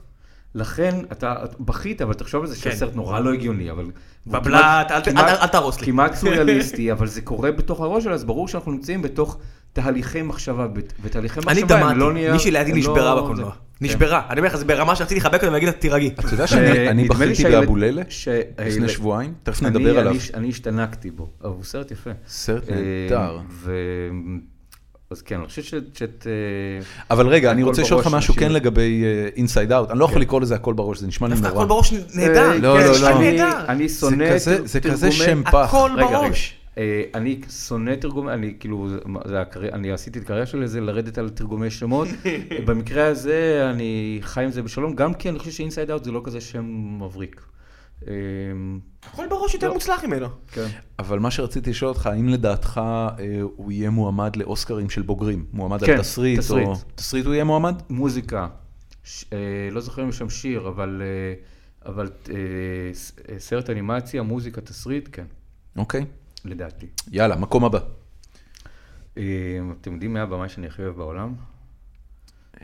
[SPEAKER 3] לכן, אתה את בכית, אבל תחשוב על זה
[SPEAKER 2] כן.
[SPEAKER 3] שהסרט נורא לא הגיוני, אבל... הוא
[SPEAKER 2] בבלת,
[SPEAKER 3] כמעט-
[SPEAKER 2] אל ת-
[SPEAKER 3] כמעט-
[SPEAKER 2] אל- אל תהרוס לי.
[SPEAKER 3] כמעט סוריאליסטי, אבל זה קורה בתוך הראש שלו, אז ברור שאנחנו נמצאים בתוך תהליכי מחשבה, בת- ותהליכי מחשבה
[SPEAKER 2] אני
[SPEAKER 3] הם לא
[SPEAKER 2] דמעתי,
[SPEAKER 3] נייר-
[SPEAKER 2] מישהי לידי
[SPEAKER 3] הם לא-
[SPEAKER 2] נשברה
[SPEAKER 3] זה-
[SPEAKER 2] בקולנוע.
[SPEAKER 3] כן.
[SPEAKER 2] נשברה. אני אומר לך, זה ברמה שרציתי לחבק אותה ולהגיד לה, תירגעי.
[SPEAKER 1] אתה יודע שאני
[SPEAKER 3] אה,
[SPEAKER 1] אני
[SPEAKER 3] נדמה לי
[SPEAKER 1] בכיתי
[SPEAKER 3] שהילד-
[SPEAKER 1] באבוללה
[SPEAKER 3] שהילד-
[SPEAKER 1] לפני שבועיים, תכף
[SPEAKER 3] אני-
[SPEAKER 1] נדבר
[SPEAKER 3] אני-
[SPEAKER 1] עליו.
[SPEAKER 3] אני השתנקתי בו, אבל הוא סרט יפה.
[SPEAKER 1] סרט
[SPEAKER 3] אה,
[SPEAKER 1] נהדר.
[SPEAKER 3] ו- אז כן, אני חושב ש- שאת... אה,
[SPEAKER 1] אבל רגע, אני
[SPEAKER 3] הכל
[SPEAKER 1] רוצה לשאול אותך
[SPEAKER 3] בראש, כן.
[SPEAKER 1] משהו
[SPEAKER 3] אנשים-
[SPEAKER 1] כן לגבי אינסייד אאוט, אני לא יכול לקרוא לזה הכל בראש, זה נשמע לי
[SPEAKER 2] דווקא הכל
[SPEAKER 1] נורא.
[SPEAKER 2] בראש נהדר.
[SPEAKER 1] לא,
[SPEAKER 3] אה, כן,
[SPEAKER 1] לא,
[SPEAKER 2] זה
[SPEAKER 1] לא.
[SPEAKER 2] נשמע
[SPEAKER 3] אני-
[SPEAKER 2] נהדר.
[SPEAKER 3] אני
[SPEAKER 1] זה
[SPEAKER 3] שונא...
[SPEAKER 1] כזה-
[SPEAKER 3] את
[SPEAKER 1] זה כזה
[SPEAKER 3] תרגומי-
[SPEAKER 1] שם פח.
[SPEAKER 2] הכל
[SPEAKER 3] רגע, רגע.
[SPEAKER 2] בראש.
[SPEAKER 3] אה, אני שונא תרגום, אני כאילו, זה- מה- זה הקרי- אני עשיתי את הקריירה שלי, זה לרדת על תרגומי שמות. במקרה הזה, אני חי עם זה בשלום, גם כי אני חושב שאינסייד אאוט זה לא כזה שם מבריק. אה,
[SPEAKER 2] הכל בראש יותר מוצלח ממנו.
[SPEAKER 3] כן.
[SPEAKER 1] אבל מה שרציתי לשאול אותך, האם לדעתך אה, הוא יהיה מועמד לאוסקרים של בוגרים? מועמד על
[SPEAKER 3] כן,
[SPEAKER 1] תסריט?
[SPEAKER 3] תסריט.
[SPEAKER 1] או- תסריט הוא יהיה מועמד?
[SPEAKER 3] מוזיקה, ש... אה, לא זוכר אם יש שם שיר, אבל, אה, אבל אה, ס- אה, סרט אנימציה, מוזיקה, תסריט, כן,
[SPEAKER 1] אוקיי,
[SPEAKER 3] לדעתי.
[SPEAKER 1] יאללה, מקום הבא.
[SPEAKER 3] אה, אתם יודעים מי הבמאי שאני הכי אוהב בעולם?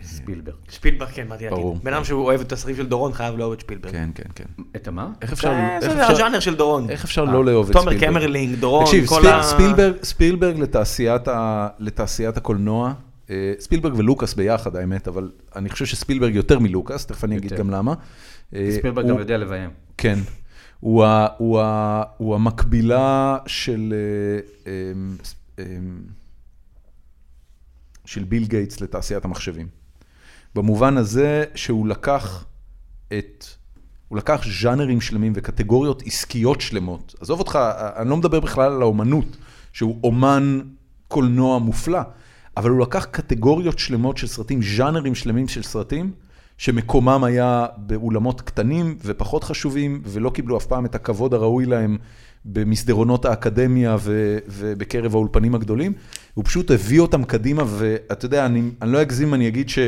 [SPEAKER 3] אה. ספילברג.
[SPEAKER 2] שפילברג, כן, באתי
[SPEAKER 1] ברור.
[SPEAKER 2] להגיד. בן אדם שהוא אוהב את הסרטים של דורון, חייב לאהוב את שפילברג.
[SPEAKER 1] כן, כן, כן.
[SPEAKER 3] את המה?
[SPEAKER 1] איך אפשר... לא-
[SPEAKER 2] זה
[SPEAKER 1] איך
[SPEAKER 2] זה
[SPEAKER 1] אפשר-
[SPEAKER 2] הז'אנר של דורון. אה.
[SPEAKER 1] איך אפשר
[SPEAKER 3] אה.
[SPEAKER 1] לא לאהוב את
[SPEAKER 2] תומר
[SPEAKER 1] ספילברג?
[SPEAKER 2] קמרלינג, דורון,
[SPEAKER 1] תקשיב,
[SPEAKER 2] כל
[SPEAKER 1] ספיל-
[SPEAKER 2] ה-
[SPEAKER 1] ספילברג, ספילברג לתעשיית, ה, לתעשיית הקולנוע, אה, ספילברג ולוקאס ביחד האמת, אבל אני חושב שספילברג יותר מלוקאס, תכף אני אגיד
[SPEAKER 3] יותר.
[SPEAKER 1] גם למה. אה,
[SPEAKER 3] ספילברג
[SPEAKER 1] הוא-
[SPEAKER 3] גם יודע לביים.
[SPEAKER 1] כן. הוא, ה, הוא, ה, הוא המקבילה של, אה, אמ, ס- אמ, של ביל גייטס לתעשיית המחשבים. במובן הזה שהוא לקח את, הוא לקח ז'אנרים שלמים וקטגוריות עסקיות שלמות. עזוב אותך, אני לא מדבר בכלל על האומנות, שהוא אומן קולנוע מופלא, אבל הוא לקח קטגוריות שלמות של סרטים, ז'אנרים שלמים של סרטים, שמקומם היה באולמות קטנים ופחות חשובים, ולא קיבלו אף פעם את הכבוד הראוי להם במסדרונות האקדמיה ו- ובקרב האולפנים הגדולים. הוא פשוט הביא אותם קדימה, ואתה יודע, אני, אני לא אגזים אם אני אגיד ש...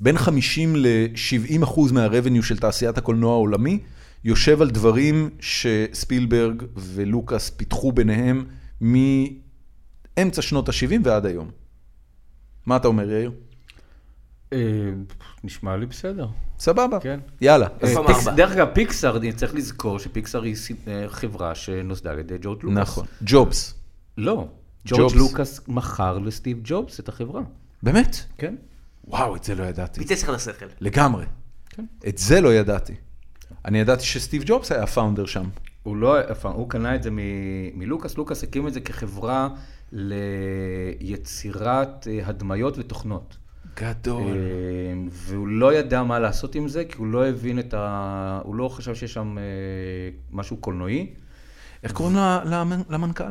[SPEAKER 1] בין 50 ל-70 אחוז מהרבניו של תעשיית הקולנוע העולמי, יושב על דברים שספילברג ולוקאס פיתחו ביניהם מאמצע שנות ה-70 ועד היום. מה אתה אומר, יאיר?
[SPEAKER 3] אה, נשמע לי בסדר.
[SPEAKER 1] סבבה.
[SPEAKER 3] כן.
[SPEAKER 1] יאללה.
[SPEAKER 2] איפה
[SPEAKER 1] אה,
[SPEAKER 2] אמרת?
[SPEAKER 3] פיקס- דרך אגב, פיקסאר, אני צריך לזכור שפיקסאר היא ס- אה, חברה שנוסדה על ידי ג'ורג' לוקאס.
[SPEAKER 1] נכון. ג'ובס.
[SPEAKER 3] לא,
[SPEAKER 1] ג'ובס.
[SPEAKER 3] ג'ורג' לוקאס מכר לסטיב ג'ובס את החברה.
[SPEAKER 1] באמת?
[SPEAKER 3] כן.
[SPEAKER 1] וואו, את זה לא ידעתי.
[SPEAKER 2] פיצץ לך את השכל.
[SPEAKER 1] לגמרי.
[SPEAKER 3] כן.
[SPEAKER 1] את זה לא ידעתי. אני ידעתי שסטיב ג'ובס היה הפאונדר שם.
[SPEAKER 3] הוא לא, אף פעם, הוא קנה את זה מ- מלוקאס, לוקאס הקים את זה כחברה ליצירת אה, הדמיות ותוכנות.
[SPEAKER 1] גדול.
[SPEAKER 3] אה, והוא לא ידע מה לעשות עם זה, כי הוא לא הבין את ה... הוא לא חשב שיש שם אה, משהו קולנועי.
[SPEAKER 1] איך קוראים ל- למ- למנכ"ל?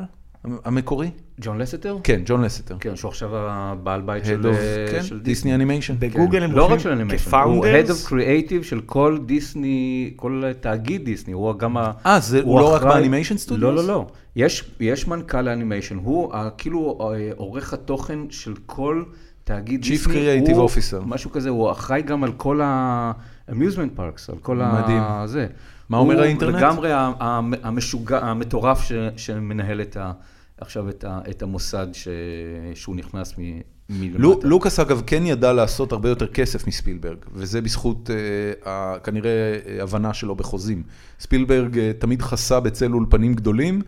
[SPEAKER 1] המ- המקורי?
[SPEAKER 3] ג'ון לסטר?
[SPEAKER 1] כן, ג'ון לסטר.
[SPEAKER 3] כן, שהוא עכשיו הבעל בית
[SPEAKER 1] Head
[SPEAKER 3] של, אה,
[SPEAKER 1] of,
[SPEAKER 3] של
[SPEAKER 1] כן, דיסני אנימיישן.
[SPEAKER 2] בגוגל הם
[SPEAKER 3] לא רק
[SPEAKER 2] רושמים
[SPEAKER 3] של אנימיישן, הוא Head
[SPEAKER 2] כפאונדרס.
[SPEAKER 3] of Creative של כל דיסני, כל תאגיד דיסני, הוא גם ה...
[SPEAKER 1] אה, זה- הוא לא רק באנימיישן סטודיוס?
[SPEAKER 3] לא, לא, לא. יש, יש מנכ"ל לאנימיישן, הוא ה- כאילו אה, עורך התוכן של כל תאגיד
[SPEAKER 1] Chief
[SPEAKER 3] דיסני.
[SPEAKER 1] Creative
[SPEAKER 3] הוא-
[SPEAKER 1] Officer.
[SPEAKER 3] משהו כזה, הוא אחראי גם על כל ה-amusement parks, על כל
[SPEAKER 1] מדהים.
[SPEAKER 3] ה... זה.
[SPEAKER 1] מה אומר
[SPEAKER 3] הוא
[SPEAKER 1] האינטרנט?
[SPEAKER 3] לגמרי ה- המ- המשוגע, המטורף ש- שמנהל את ה... עכשיו את, ה, את המוסד ש, שהוא נכנס מ, מלמטה.
[SPEAKER 1] לו- לוקאס אגב כן ידע לעשות הרבה יותר כסף מספילברג, וזה בזכות אה, ה- כנראה אה, הבנה שלו בחוזים. ספילברג אה, תמיד חסה בצל אולפנים גדולים,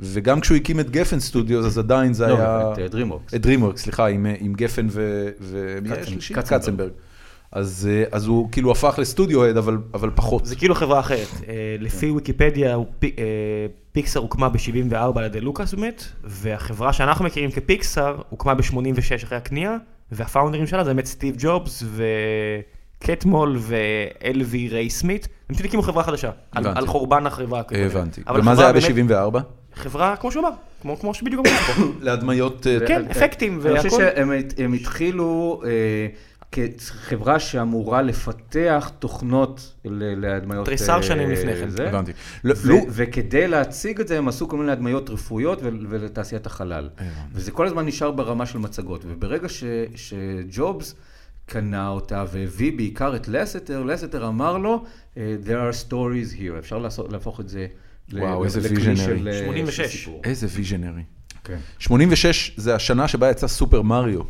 [SPEAKER 1] וגם כשהוא הקים את גפן סטודיוס, אז עדיין זה
[SPEAKER 3] לא,
[SPEAKER 1] היה...
[SPEAKER 3] את, אה, DreamWorks.
[SPEAKER 1] את DreamWorks, סליחה, עם, אה, עם גפן ו... ו... מי היה
[SPEAKER 3] קצנ-
[SPEAKER 1] השלישי?
[SPEAKER 3] קצנברג.
[SPEAKER 1] קצנברג. אז, אה, אז הוא כאילו הפך לסטודיו-הד, אבל, אבל פחות.
[SPEAKER 2] זה כאילו חברה אחרת. אה, לפי ויקיפדיה, הוא פי- אה, פיקסאר הוקמה ב-74 על ידי לוקאס באמת, והחברה שאנחנו מכירים כפיקסאר הוקמה ב-86 אחרי הקנייה, והפאונדרים שלה זה באמת סטיב ג'ובס וקטמול ואלווי ריי סמית, הם פשוט הקימו חברה חדשה, על,
[SPEAKER 1] הבנתי. אה,
[SPEAKER 2] על חורבן החברה. כנראה.
[SPEAKER 1] הבנתי.
[SPEAKER 2] אבל
[SPEAKER 1] ומה זה
[SPEAKER 2] החברה
[SPEAKER 1] היה
[SPEAKER 2] באמת-
[SPEAKER 1] ב-74?
[SPEAKER 2] חברה, כמו שהוא אמר, כמו, כמו שבדיוק אמרו פה.
[SPEAKER 1] להדמיות... אה,
[SPEAKER 2] כן, אפקטים
[SPEAKER 3] אני חושב
[SPEAKER 2] והכל.
[SPEAKER 3] שהם הת- הם התחילו אה, כחברה שאמורה לפתח תוכנות ל- להדמיות...
[SPEAKER 2] תריסר
[SPEAKER 3] אה,
[SPEAKER 2] שנים לפני כן.
[SPEAKER 3] זה.
[SPEAKER 1] הבנתי.
[SPEAKER 3] ו-
[SPEAKER 1] לא, לו-
[SPEAKER 3] וכדי להציג את זה, הם עשו כל מיני הדמיות רפואיות ול- ולתעשיית החלל. וזה כל הזמן נשאר ברמה של מצגות. וברגע ש- שג'ובס קנה אותה והביא בעיקר את לסטר, לסטר אמר לו, אה, There are stories here, אפשר לעשות- להפוך את זה ל-
[SPEAKER 1] וואו, איזה
[SPEAKER 3] לכלי
[SPEAKER 1] visionary.
[SPEAKER 3] של, אה, של
[SPEAKER 2] 86.
[SPEAKER 3] סיפור.
[SPEAKER 1] איזה ויז'נרי.
[SPEAKER 3] כן.
[SPEAKER 1] 86 זה השנה שבה יצא סופר מריו.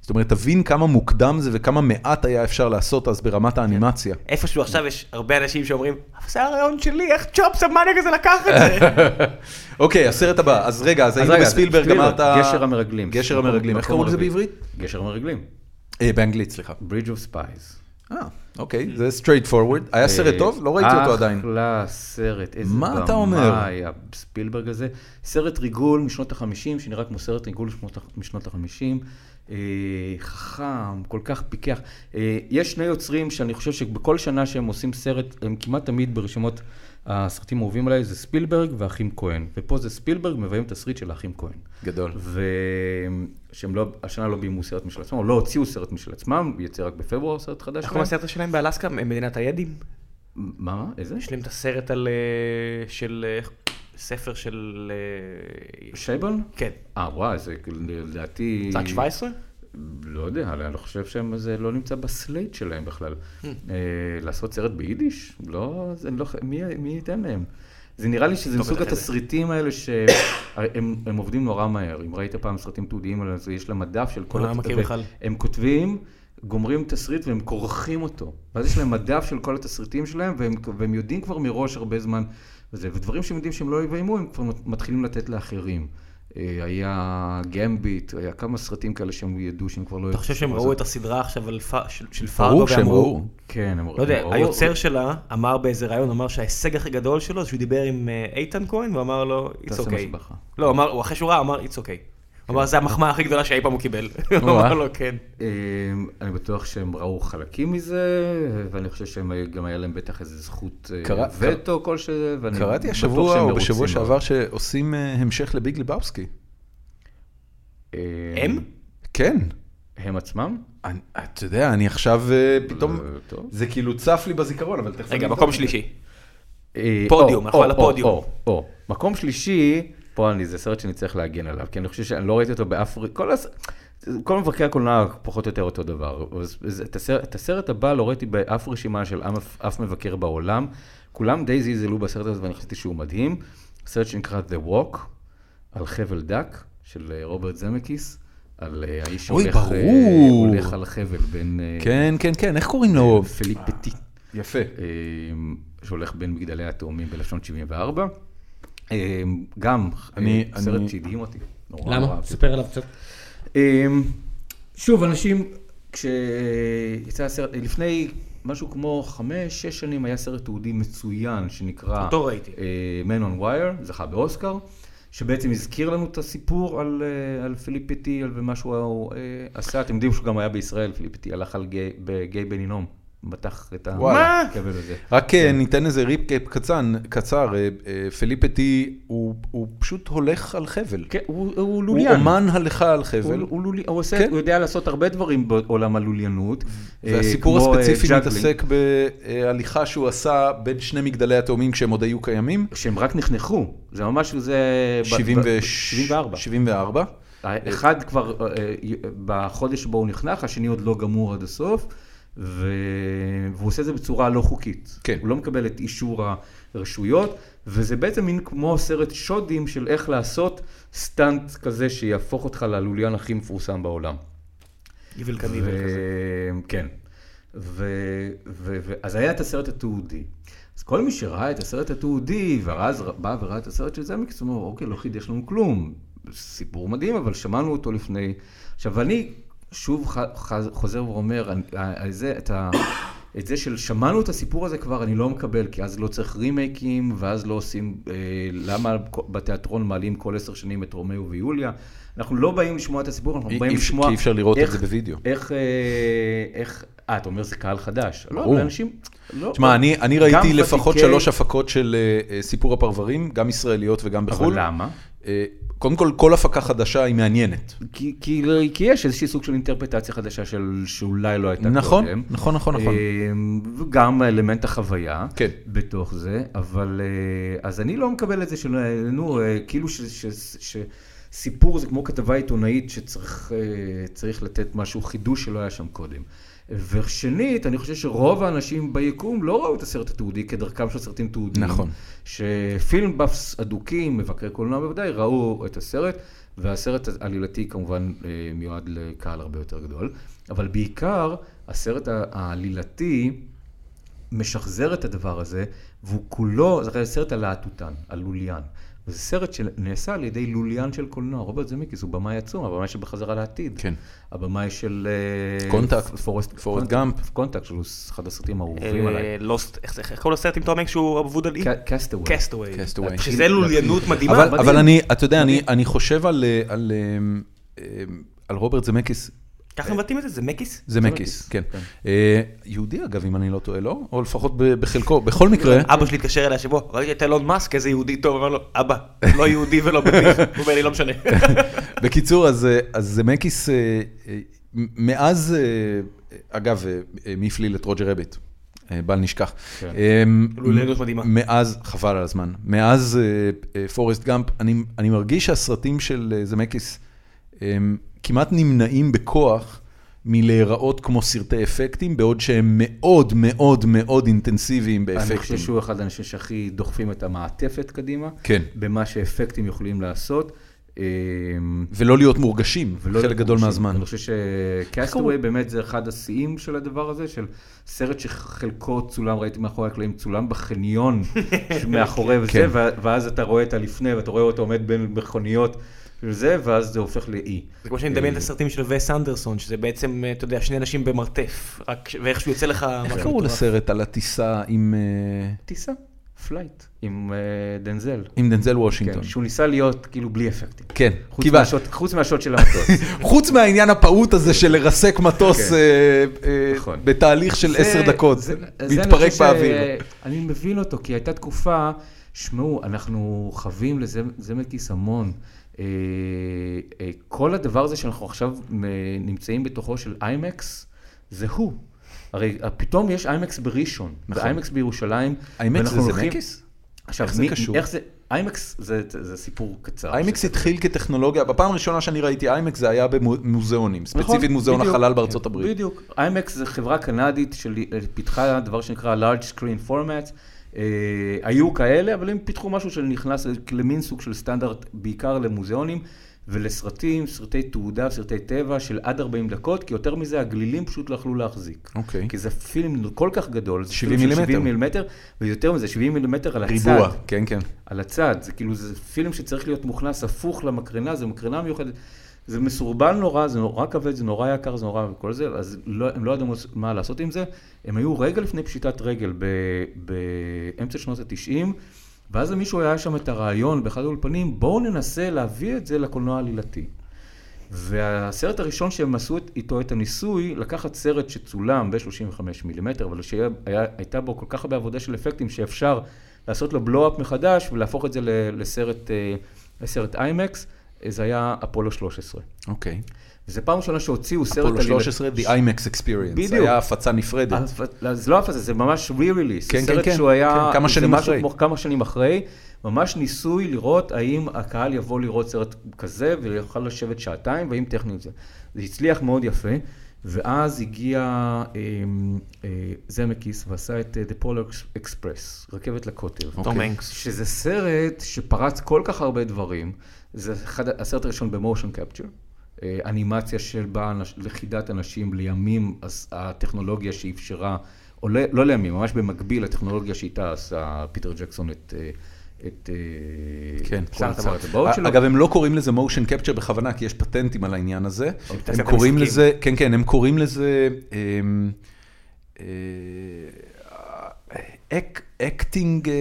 [SPEAKER 1] זאת אומרת, תבין כמה מוקדם זה וכמה מעט היה אפשר לעשות אז ברמת האנימציה.
[SPEAKER 2] איפשהו עכשיו יש הרבה אנשים שאומרים, אבל זה הרעיון שלי, איך ג'ובס המאניאק הזה לקח את זה?
[SPEAKER 1] אוקיי, הסרט הבא. אז רגע, אז
[SPEAKER 3] אז
[SPEAKER 1] היינו
[SPEAKER 3] רגע,
[SPEAKER 1] בספילברג,
[SPEAKER 3] ספילברג,
[SPEAKER 1] אמרת...
[SPEAKER 3] גשר המרגלים.
[SPEAKER 1] גשר
[SPEAKER 3] מקום-
[SPEAKER 1] המרגלים. איך
[SPEAKER 3] מקום
[SPEAKER 1] קראו לזה
[SPEAKER 3] רביעי.
[SPEAKER 1] בעברית?
[SPEAKER 3] גשר המרגלים.
[SPEAKER 1] אה, באנגלית, סליחה.
[SPEAKER 3] Bridge of Spies.
[SPEAKER 1] אה, אוקיי, זה straight forward. היה סרט
[SPEAKER 3] אה,
[SPEAKER 1] טוב? לא ראיתי אותו עדיין.
[SPEAKER 3] אחלה סרט, איזה
[SPEAKER 1] מה
[SPEAKER 3] במה
[SPEAKER 1] אתה אומר?
[SPEAKER 3] היה ספילברג הזה. סרט ריגול משנות ה-50, שנראה כמו סרט ריגול שמות- משנות ה-50. חכם, כל כך פיקח. אה, יש שני יוצרים שאני חושב שבכל שנה שהם עושים סרט, הם כמעט תמיד ברשימות הסרטים האהובים עליי, זה ספילברג והאחים כהן. ופה זה ספילברג, מביים תסריט של האחים כהן.
[SPEAKER 1] גדול.
[SPEAKER 3] ושהם לא, השנה לא ביימו סרט משל עצמם, או לא הוציאו סרט משל עצמם, יצא רק בפברואר סרט חדש.
[SPEAKER 2] איך
[SPEAKER 3] שלהם.
[SPEAKER 2] קוראים לסרט שלהם באלסקה? מדינת הידים?
[SPEAKER 3] מה? מה? איזה?
[SPEAKER 2] יש להם את הסרט על... אה, של... אה, ספר של... אה,
[SPEAKER 3] שייבון?
[SPEAKER 2] כן.
[SPEAKER 3] אה, וואי, זה לדעתי...
[SPEAKER 2] צעק 17?
[SPEAKER 3] לא יודע, אני לא חושב שזה לא נמצא בסלייט שלהם בכלל.
[SPEAKER 2] Hmm.
[SPEAKER 3] אה, לעשות סרט ביידיש? לא, זה לא... ח- מי מי ייתן להם? זה נראה לי שזה
[SPEAKER 2] טוב,
[SPEAKER 3] מסוג
[SPEAKER 2] בטח איזה.
[SPEAKER 3] התסריטים האלה שהם הם עובדים נורא מהר. אם ראית פעם סרטים תיעודיים על זה, יש להם מדף של כל
[SPEAKER 2] לא מכיר בכלל.
[SPEAKER 3] הם כותבים, גומרים תסריט והם כורכים אותו. ואז יש להם מדף של כל התסריטים שלהם, והם, והם יודעים כבר מראש הרבה זמן. וזה, ודברים שהם יודעים שהם לא יביימו, הם כבר מתחילים לתת לאחרים. אה, היה גמביט, היה כמה סרטים כאלה שהם ידעו שהם כבר לא...
[SPEAKER 2] אתה חושב שהם ראו את הסדרה עכשיו על פ- של- של פארגו
[SPEAKER 1] ברור שהם ראו.
[SPEAKER 3] כן, הם הם ראו...
[SPEAKER 2] לא יודע, היוצר שלה אמר באיזה ראיון, אמר שההישג הכי גדול שלו זה שהוא דיבר עם אה, איתן כהן, והוא אמר לו, it's
[SPEAKER 3] תעשה
[SPEAKER 2] okay.
[SPEAKER 3] משבחה.
[SPEAKER 2] לא, הוא אמר, הוא אחרי שהוא ראה, אמר, it's okay. הוא אמר, זה המחמאה הכי גדולה שאי פעם הוא קיבל. הוא
[SPEAKER 1] וואה.
[SPEAKER 2] אמר לו, כן.
[SPEAKER 3] אה, אני בטוח שהם ראו חלקים מזה, ואני חושב שהם היו- גם היה להם בטח איזה זכות אה,
[SPEAKER 1] קרא-
[SPEAKER 3] וטו כלשהו, ואני בטוח
[SPEAKER 1] קראתי
[SPEAKER 3] שהם
[SPEAKER 1] השבוע או
[SPEAKER 3] מרוצים
[SPEAKER 1] בשבוע
[SPEAKER 3] מאוד.
[SPEAKER 1] שעבר שעושים אה, המשך לביג ליבאוסקי.
[SPEAKER 3] אה,
[SPEAKER 2] הם?
[SPEAKER 1] כן.
[SPEAKER 3] הם עצמם?
[SPEAKER 1] אני- אתה יודע, אני עכשיו אה, פתאום...
[SPEAKER 3] אה, טוב.
[SPEAKER 1] זה כאילו צף לי בזיכרון, אבל תכף...
[SPEAKER 2] רגע,
[SPEAKER 1] אני
[SPEAKER 2] מקום
[SPEAKER 1] אבדוק.
[SPEAKER 2] שלישי.
[SPEAKER 3] אה,
[SPEAKER 2] פודיום,
[SPEAKER 3] או,
[SPEAKER 2] אנחנו
[SPEAKER 3] או,
[SPEAKER 2] על
[SPEAKER 3] או,
[SPEAKER 2] הפודיום.
[SPEAKER 3] או, או. מקום שלישי, פה אני, זה סרט שאני צריך להגן עליו, כי אני חושב שאני לא ראיתי אותו באף... ר- כל הס... כל מבקרי הקולנוע פחות או יותר אותו דבר. אז- אז את הסרט, את הסרט הבא לא ראיתי באף רשימה של אף, אף מבקר בעולם. כולם די זלזלו בסרט הזה ואני חשבתי שהוא מדהים. סרט שנקרא The Walk, על חבל דק, של אה, רוברט זמקיס, על אה, האיש
[SPEAKER 1] אוי,
[SPEAKER 3] שהולך אה,
[SPEAKER 1] ברור.
[SPEAKER 3] הולך על חבל בין אה,
[SPEAKER 1] כן, כן, כן, איך קוראים לו?
[SPEAKER 3] פליפ פטי.
[SPEAKER 1] יפה.
[SPEAKER 3] אה, שהולך בין מגדלי התאומים ב-1974. אה, גם
[SPEAKER 1] אני-
[SPEAKER 3] אה, סרט
[SPEAKER 1] אני-
[SPEAKER 3] שהדהים אותי. נורא נורא
[SPEAKER 4] למה?
[SPEAKER 3] אהבתי.
[SPEAKER 4] ספר עליו קצת.
[SPEAKER 3] אה, שוב, אנשים, כשיצא הסרט, לפני משהו כמו חמש, שש שנים היה סרט תיעודי מצוין שנקרא...
[SPEAKER 2] אותו ראיתי.
[SPEAKER 3] אה, Man on Wire, זכה באוסקר, שבעצם הזכיר לנו את הסיפור על, אה, על פיליפיטי ומה שהוא אה, עשה. אתם יודעים שהוא גם היה בישראל, פיליפיטי הלך על גיי- בגיי בן הינום, מתח את
[SPEAKER 1] וואלה.
[SPEAKER 3] הכבל הזה.
[SPEAKER 1] רק אה,
[SPEAKER 3] כן.
[SPEAKER 1] ניתן איזה ריפקאפ קצן, קצר, אה, אה, פליפטי הוא הוא פשוט הולך על חבל.
[SPEAKER 3] כן, הוא הוא
[SPEAKER 1] הוא
[SPEAKER 3] לוליין.
[SPEAKER 1] אומן הליכה על חבל.
[SPEAKER 3] הוא- הוא לולי- הוא עושה-
[SPEAKER 1] כן.
[SPEAKER 3] הוא יודע לעשות הרבה דברים בעולם הלוליינות.
[SPEAKER 1] והסיפור
[SPEAKER 3] אה, כמו, אה,
[SPEAKER 1] הספציפי
[SPEAKER 3] ג'אגלינג.
[SPEAKER 1] מתעסק בהליכה שהוא עשה בין שני מגדלי התאומים כשהם עוד היו קיימים.
[SPEAKER 3] שהם רק נחנכו, זה ממש, זה... ב- ב-
[SPEAKER 1] 74.
[SPEAKER 3] 74.
[SPEAKER 1] 74.
[SPEAKER 3] האחד כבר אה, אה, בחודש שבו הוא נחנך, השני עוד לא גמור עד הסוף, ו... והוא עושה את זה בצורה לא חוקית.
[SPEAKER 1] כן.
[SPEAKER 3] הוא לא מקבל את אישור הרשויות, וזה בעצם מין כמו סרט שודים של איך לעשות סטנט כזה שיהפוך אותך ללוליין הכי מפורסם בעולם.
[SPEAKER 2] איוויל קניבל כזה.
[SPEAKER 3] כן. ו... ו... ו... אז היה את הסרט התיעודי. אז כל מי שראה את הסרט התיעודי, ואז ר- בא וראה את הסרט של זמקס, הוא אומר, אוקיי, לא חידש לנו כלום. סיפור מדהים, אבל שמענו אותו לפני. עכשיו, אני שוב ח... ח... חוזר ואומר, אני- אה, אה, זה, את ה... את זה של שמענו את הסיפור הזה כבר, אני לא מקבל, כי אז לא צריך רימייקים, ואז לא עושים, אה, למה בתיאטרון מעלים כל עשר שנים את רומאו ויוליה. אנחנו לא באים לשמוע את הסיפור, אנחנו
[SPEAKER 1] אי-
[SPEAKER 3] באים
[SPEAKER 1] אי-
[SPEAKER 3] לשמוע...
[SPEAKER 1] כי אי אפשר לראות את
[SPEAKER 3] איך-
[SPEAKER 1] זה בווידאו.
[SPEAKER 3] איך... אה, איך... אה, אתה אומר זה קהל חדש. לא,
[SPEAKER 1] ברור.
[SPEAKER 3] אבל אנשים... לא.
[SPEAKER 1] תשמע, אני, אני
[SPEAKER 3] גם
[SPEAKER 1] ראיתי לפחות
[SPEAKER 3] ותיקי-
[SPEAKER 1] שלוש הפקות של אה, אה, סיפור הפרברים, גם ישראליות וגם בחו"ל.
[SPEAKER 3] אבל למה?
[SPEAKER 1] אה, קודם כל, כל הפקה חדשה היא מעניינת.
[SPEAKER 3] כי, כי, לא, כי יש איזשהי סוג של אינטרפטציה חדשה של, שאולי לא הייתה
[SPEAKER 1] נכון,
[SPEAKER 3] קודם.
[SPEAKER 1] נכון, נכון, נכון.
[SPEAKER 3] אה, וגם אלמנט החוויה
[SPEAKER 1] כן.
[SPEAKER 3] בתוך זה, אבל אה, אז אני לא מקבל את זה של, אה, נו, אה, כאילו ש- ש- ש- שסיפור זה כמו כתבה עיתונאית שצריך אה, צריך לתת משהו, חידוש שלא היה שם קודם. ושנית, אני חושב שרוב האנשים ביקום לא ראו את הסרט התיעודי כדרכם של סרטים תיעודיים.
[SPEAKER 1] נכון.
[SPEAKER 3] שפילם בפס אדוקים, מבקרי קולנוע בוודאי, ראו את הסרט, והסרט העלילתי כמובן אה, מיועד לקהל הרבה יותר גדול, אבל בעיקר הסרט ה- העלילתי משחזר את הדבר הזה, והוא כולו, זה הרי סרט על להטוטן, על לוליין. וזה סרט שנעשה על ידי לוליין של קולנוע, רוברט זמיקיס הוא במאי עצום, הבמאי של בחזרה לעתיד.
[SPEAKER 1] כן.
[SPEAKER 3] הבמאי של... אה,
[SPEAKER 1] קונטקט,
[SPEAKER 3] פ- פורסט
[SPEAKER 1] פורסט
[SPEAKER 3] קונטקט,
[SPEAKER 1] גאמפ.
[SPEAKER 3] קונטקט, שהוא אחד הסרטים האהובים
[SPEAKER 2] אה,
[SPEAKER 3] עליי.
[SPEAKER 2] לוסט, איך איך קוראים לסרט עם תום הנק שהוא אבוד על אי?
[SPEAKER 3] ק- קסטווי.
[SPEAKER 2] קסטווי.
[SPEAKER 1] כן. Castaway.
[SPEAKER 2] שזה לוליינות מדהימה.
[SPEAKER 1] אבל,
[SPEAKER 3] מדהים.
[SPEAKER 1] אבל אני, אתה יודע, אני, אני חושב על, אה, על, אה, אה, על רוברט זמקיס,
[SPEAKER 2] ככה מבטאים את זה? זה מקיס?
[SPEAKER 1] זמקיס, כן. אה, יהודי אגב, אם אני לא טועה, לא? או לפחות ב- בחלקו. בכל מקרה,
[SPEAKER 2] אבא שלי התקשר אליי שבו, ראיתי את אילון מאסק, איזה יהודי טוב, אמר לו, אבא, לא יהודי ולא בטיח. הוא אומר לי, לא משנה.
[SPEAKER 1] בקיצור, אז, אה, אז זמקיס, אה, אה, מאז, אה, אגב, אה, אה, מי הפליל את רוג'ר רביט? אה, בל נשכח.
[SPEAKER 3] כן.
[SPEAKER 1] אה,
[SPEAKER 2] לוליינות מדהימה.
[SPEAKER 1] מאז, חבל על הזמן, מאז אה, אה, פורסט גאמפ, אני, אני מרגיש שהסרטים של אה, זמקיס אה, כמעט נמנעים בכוח מלהיראות כמו סרטי אפקטים, בעוד שהם מאוד מאוד מאוד אינטנסיביים באפקטים.
[SPEAKER 3] אני חושב שהוא אחד האנשים שהכי דוחפים את המעטפת קדימה.
[SPEAKER 1] כן.
[SPEAKER 3] במה שאפקטים יכולים לעשות. אה,
[SPEAKER 1] ולא להיות מורגשים,
[SPEAKER 3] ולא
[SPEAKER 1] חלק גדול
[SPEAKER 3] לחושים.
[SPEAKER 1] מהזמן.
[SPEAKER 3] אני חושב שקסטווי באמת זה אחד השיאים של הדבר הזה, של סרט שחלקו צולם, ראיתי מאחורי הקלעים, צולם בחניון מאחורי וזה,
[SPEAKER 1] כן.
[SPEAKER 3] ו- ואז אתה רואה את הלפני, ואתה רואה אותו עומד בין מכוניות וזה, ואז זה הופך לאי.
[SPEAKER 2] זה כמו שאני מדמיין את הסרטים של וס אנדרסון, שזה בעצם, אה, אתה יודע, שני אנשים במרתף, רק ש- ואיכשהו יוצא לך
[SPEAKER 1] כן. איך
[SPEAKER 2] משהו
[SPEAKER 1] קראו
[SPEAKER 2] מטורף.
[SPEAKER 1] לסרט על הטיסה עם... אה,
[SPEAKER 3] טיסה, פלייט, עם אה, דנזל.
[SPEAKER 1] עם דנזל
[SPEAKER 3] כן,
[SPEAKER 1] וושינגטון.
[SPEAKER 3] שהוא ניסה להיות כאילו בלי אפקטים.
[SPEAKER 1] כן,
[SPEAKER 3] חוץ
[SPEAKER 1] כמעט.
[SPEAKER 3] מהשוט- חוץ מהשוט של המטוס.
[SPEAKER 1] חוץ מהעניין הפעוט הזה של לרסק מטוס
[SPEAKER 3] כן.
[SPEAKER 1] אה, אה,
[SPEAKER 3] נכון.
[SPEAKER 1] בתהליך של
[SPEAKER 3] זה-
[SPEAKER 1] עשר דקות,
[SPEAKER 3] זה- זה אני
[SPEAKER 1] מתפרק
[SPEAKER 3] חושב
[SPEAKER 1] באוויר.
[SPEAKER 3] ש- אני מבין אותו, כי הייתה תקופה, שמעו, אנחנו חווים לזמקיס המון. אה, אה, כל הדבר הזה שאנחנו עכשיו מ- נמצאים בתוכו של איימקס, זה הוא. הרי אה, פתאום יש איימקס בראשון,
[SPEAKER 1] נכון.
[SPEAKER 3] ואיימקס בירושלים.
[SPEAKER 1] האמת
[SPEAKER 3] ואנחנו
[SPEAKER 1] שזה
[SPEAKER 3] הולכים-
[SPEAKER 1] זמקיס?
[SPEAKER 3] עכשיו,
[SPEAKER 1] איך זה
[SPEAKER 3] מי-
[SPEAKER 1] קשור?
[SPEAKER 3] איך זה, איימקס זה זה סיפור קצר.
[SPEAKER 1] איימקס
[SPEAKER 3] שזה-
[SPEAKER 1] התחיל כטכנולוגיה, בפעם הראשונה שאני ראיתי איימקס זה היה במוזיאונים, ספציפית
[SPEAKER 3] נכון,
[SPEAKER 1] מוזיאון
[SPEAKER 3] בדיוק.
[SPEAKER 1] החלל בארצות
[SPEAKER 3] כן,
[SPEAKER 1] הברית.
[SPEAKER 3] בדיוק. איימקס זו חברה קנדית שפיתחה דבר שנקרא large screen format. אה, היו כאלה, אבל הם פיתחו משהו שנכנס למין סוג של סטנדרט, בעיקר למוזיאונים ולסרטים, סרטי תעודה, סרטי טבע של עד 40 דקות, כי יותר מזה הגלילים פשוט לא יכלו להחזיק.
[SPEAKER 1] אוקיי.
[SPEAKER 3] כי זה פילם כל כך גדול, זה
[SPEAKER 1] 70
[SPEAKER 3] פילם של
[SPEAKER 1] מילימטר.
[SPEAKER 3] 70 מילימטר, ויותר מזה, 70 מילימטר על הצד.
[SPEAKER 1] ריבוע, כן, כן.
[SPEAKER 3] על הצד, זה כאילו, זה פילם שצריך להיות מוכנס הפוך למקרנה, זו מקרנה מיוחדת. זה מסורבל נורא, זה נורא כבד, זה נורא יקר, זה נורא וכל זה, אז לא, הם לא ידעו מה לעשות עם זה. הם היו רגע לפני פשיטת רגל ב, באמצע שנות ה-90, ואז למישהו היה שם את הרעיון באחד האולפנים, בואו ננסה להביא את זה לקולנוע העלילתי. והסרט הראשון שהם עשו את- איתו את הניסוי, לקחת סרט שצולם ב-35 מילימטר, אבל שהייתה בו כל כך הרבה עבודה של אפקטים שאפשר לעשות לו בלו-אפ מחדש ולהפוך את זה ל- לסרט, אה, לסרט איימקס, אה, זה היה אפולו 13.
[SPEAKER 1] אוקיי.
[SPEAKER 3] וזו פעם ראשונה שהוציאו סרט...
[SPEAKER 1] אפולו
[SPEAKER 3] עלילתי-
[SPEAKER 1] 13, The IMAX Experience,
[SPEAKER 3] בדיוק.
[SPEAKER 1] היה הפצה נפרדת.
[SPEAKER 3] הפ- אז לא הפצה, זה ממש re-release.
[SPEAKER 1] כן, כן,
[SPEAKER 3] סרט
[SPEAKER 1] כן.
[SPEAKER 3] שהוא היה...
[SPEAKER 1] כן, כמה
[SPEAKER 3] זה
[SPEAKER 1] שנים
[SPEAKER 3] משהו
[SPEAKER 1] אחרי.
[SPEAKER 3] כמו כמה שנים אחרי, ממש ניסוי לראות האם הקהל יבוא לראות סרט כזה ויוכל לשבת שעתיים, והאם טכנית זה. זה הצליח מאוד יפה, ואז הגיע אה, אה, זמקיס ועשה את אה, The Polar Express, רכבת לקוטב.
[SPEAKER 1] אוקיי.
[SPEAKER 2] תום הנקס.
[SPEAKER 3] שזה סרט שפרץ כל כך הרבה דברים. זה אחד, הסרט הראשון במושן קפצ'ר. אה, אנימציה של בה אנש- לכידת אנשים לימים, אז הטכנולוגיה שאפשרה, או לא, לא לימים, ממש במקביל לטכנולוגיה שאיתה עשה פיטר ג'קסון את, אה, את אה,
[SPEAKER 1] כן,
[SPEAKER 3] כל
[SPEAKER 1] סרט
[SPEAKER 3] הצעת הבאות שלו.
[SPEAKER 1] אגב, הם לא קוראים לזה מושן קפצ'ר בכוונה, כי יש פטנטים על העניין הזה.
[SPEAKER 2] אוקיי.
[SPEAKER 1] הם
[SPEAKER 2] אתם
[SPEAKER 1] קוראים
[SPEAKER 2] משחקים.
[SPEAKER 1] לזה, כן, כן, הם קוראים לזה אמ, אה, אקטינג, אה,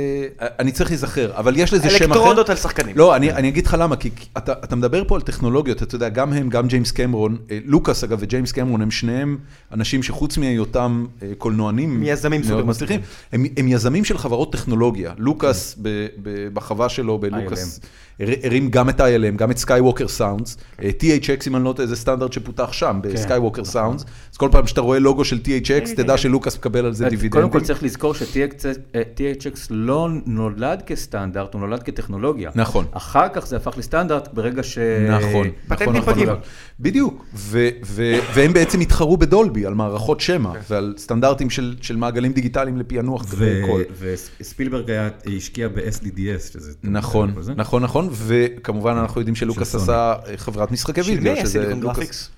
[SPEAKER 1] אני צריך להיזכר, אבל יש לזה שם אחר.
[SPEAKER 2] אלקטרודות על שחקנים.
[SPEAKER 1] לא, אני, אני אגיד לך למה, כי כי אתה, אתה מדבר פה על טכנולוגיות, אתה יודע, גם הם, גם ג'יימס קמרון, אה, לוקאס אגב וג'יימס קמרון, הם שניהם אנשים שחוץ מהיותם אה, קולנוענים,
[SPEAKER 2] הם יזמים
[SPEAKER 1] מאוד
[SPEAKER 2] סופר
[SPEAKER 1] מצליחים, הם, הם יזמים של חברות טכנולוגיה. לוקאס, ב, ב, בחווה שלו, בלוקאס, הר- הרים גם את ILM, גם את סקייווקר סאונדס, THX, אם אני לא טועה, זה סטנדרט שפותח שם, בסקייווקר סאונדס, אז כל פעם שאתה רואה לוגו של THX, תדע שלוקאס מקבל על
[SPEAKER 3] אה,
[SPEAKER 1] זה דיווידנדים.
[SPEAKER 5] קודם כל צריך לזכור ש-THX לא נולד כסטנדרט, הוא נולד כטכנולוגיה.
[SPEAKER 1] נכון.
[SPEAKER 5] אחר כך זה הפך לסטנדרט ברגע ש...
[SPEAKER 1] נכון, נכון,
[SPEAKER 2] אה, פטנטים
[SPEAKER 1] נכון,
[SPEAKER 2] פרטיים.
[SPEAKER 1] נכון. בדיוק, ו- ו- והם בעצם התחרו בדולבי על מערכות שמע
[SPEAKER 2] כן.
[SPEAKER 1] ועל סטנדרטים של של מעגלים דיגיטליים לפענוח כזה קול.
[SPEAKER 3] וספילברג השקיע ב-SDDS, שזה...
[SPEAKER 1] נכון,
[SPEAKER 3] כל זה.
[SPEAKER 1] נכון, נכון, וכמובן אנחנו יודעים שלוקאס
[SPEAKER 3] של סוני.
[SPEAKER 1] עשה אה, חברת משחקי
[SPEAKER 2] של מי
[SPEAKER 1] וידאו,
[SPEAKER 2] היה
[SPEAKER 1] שזה לא
[SPEAKER 2] סיליקון
[SPEAKER 1] לוקאס-
[SPEAKER 2] גרפיקס?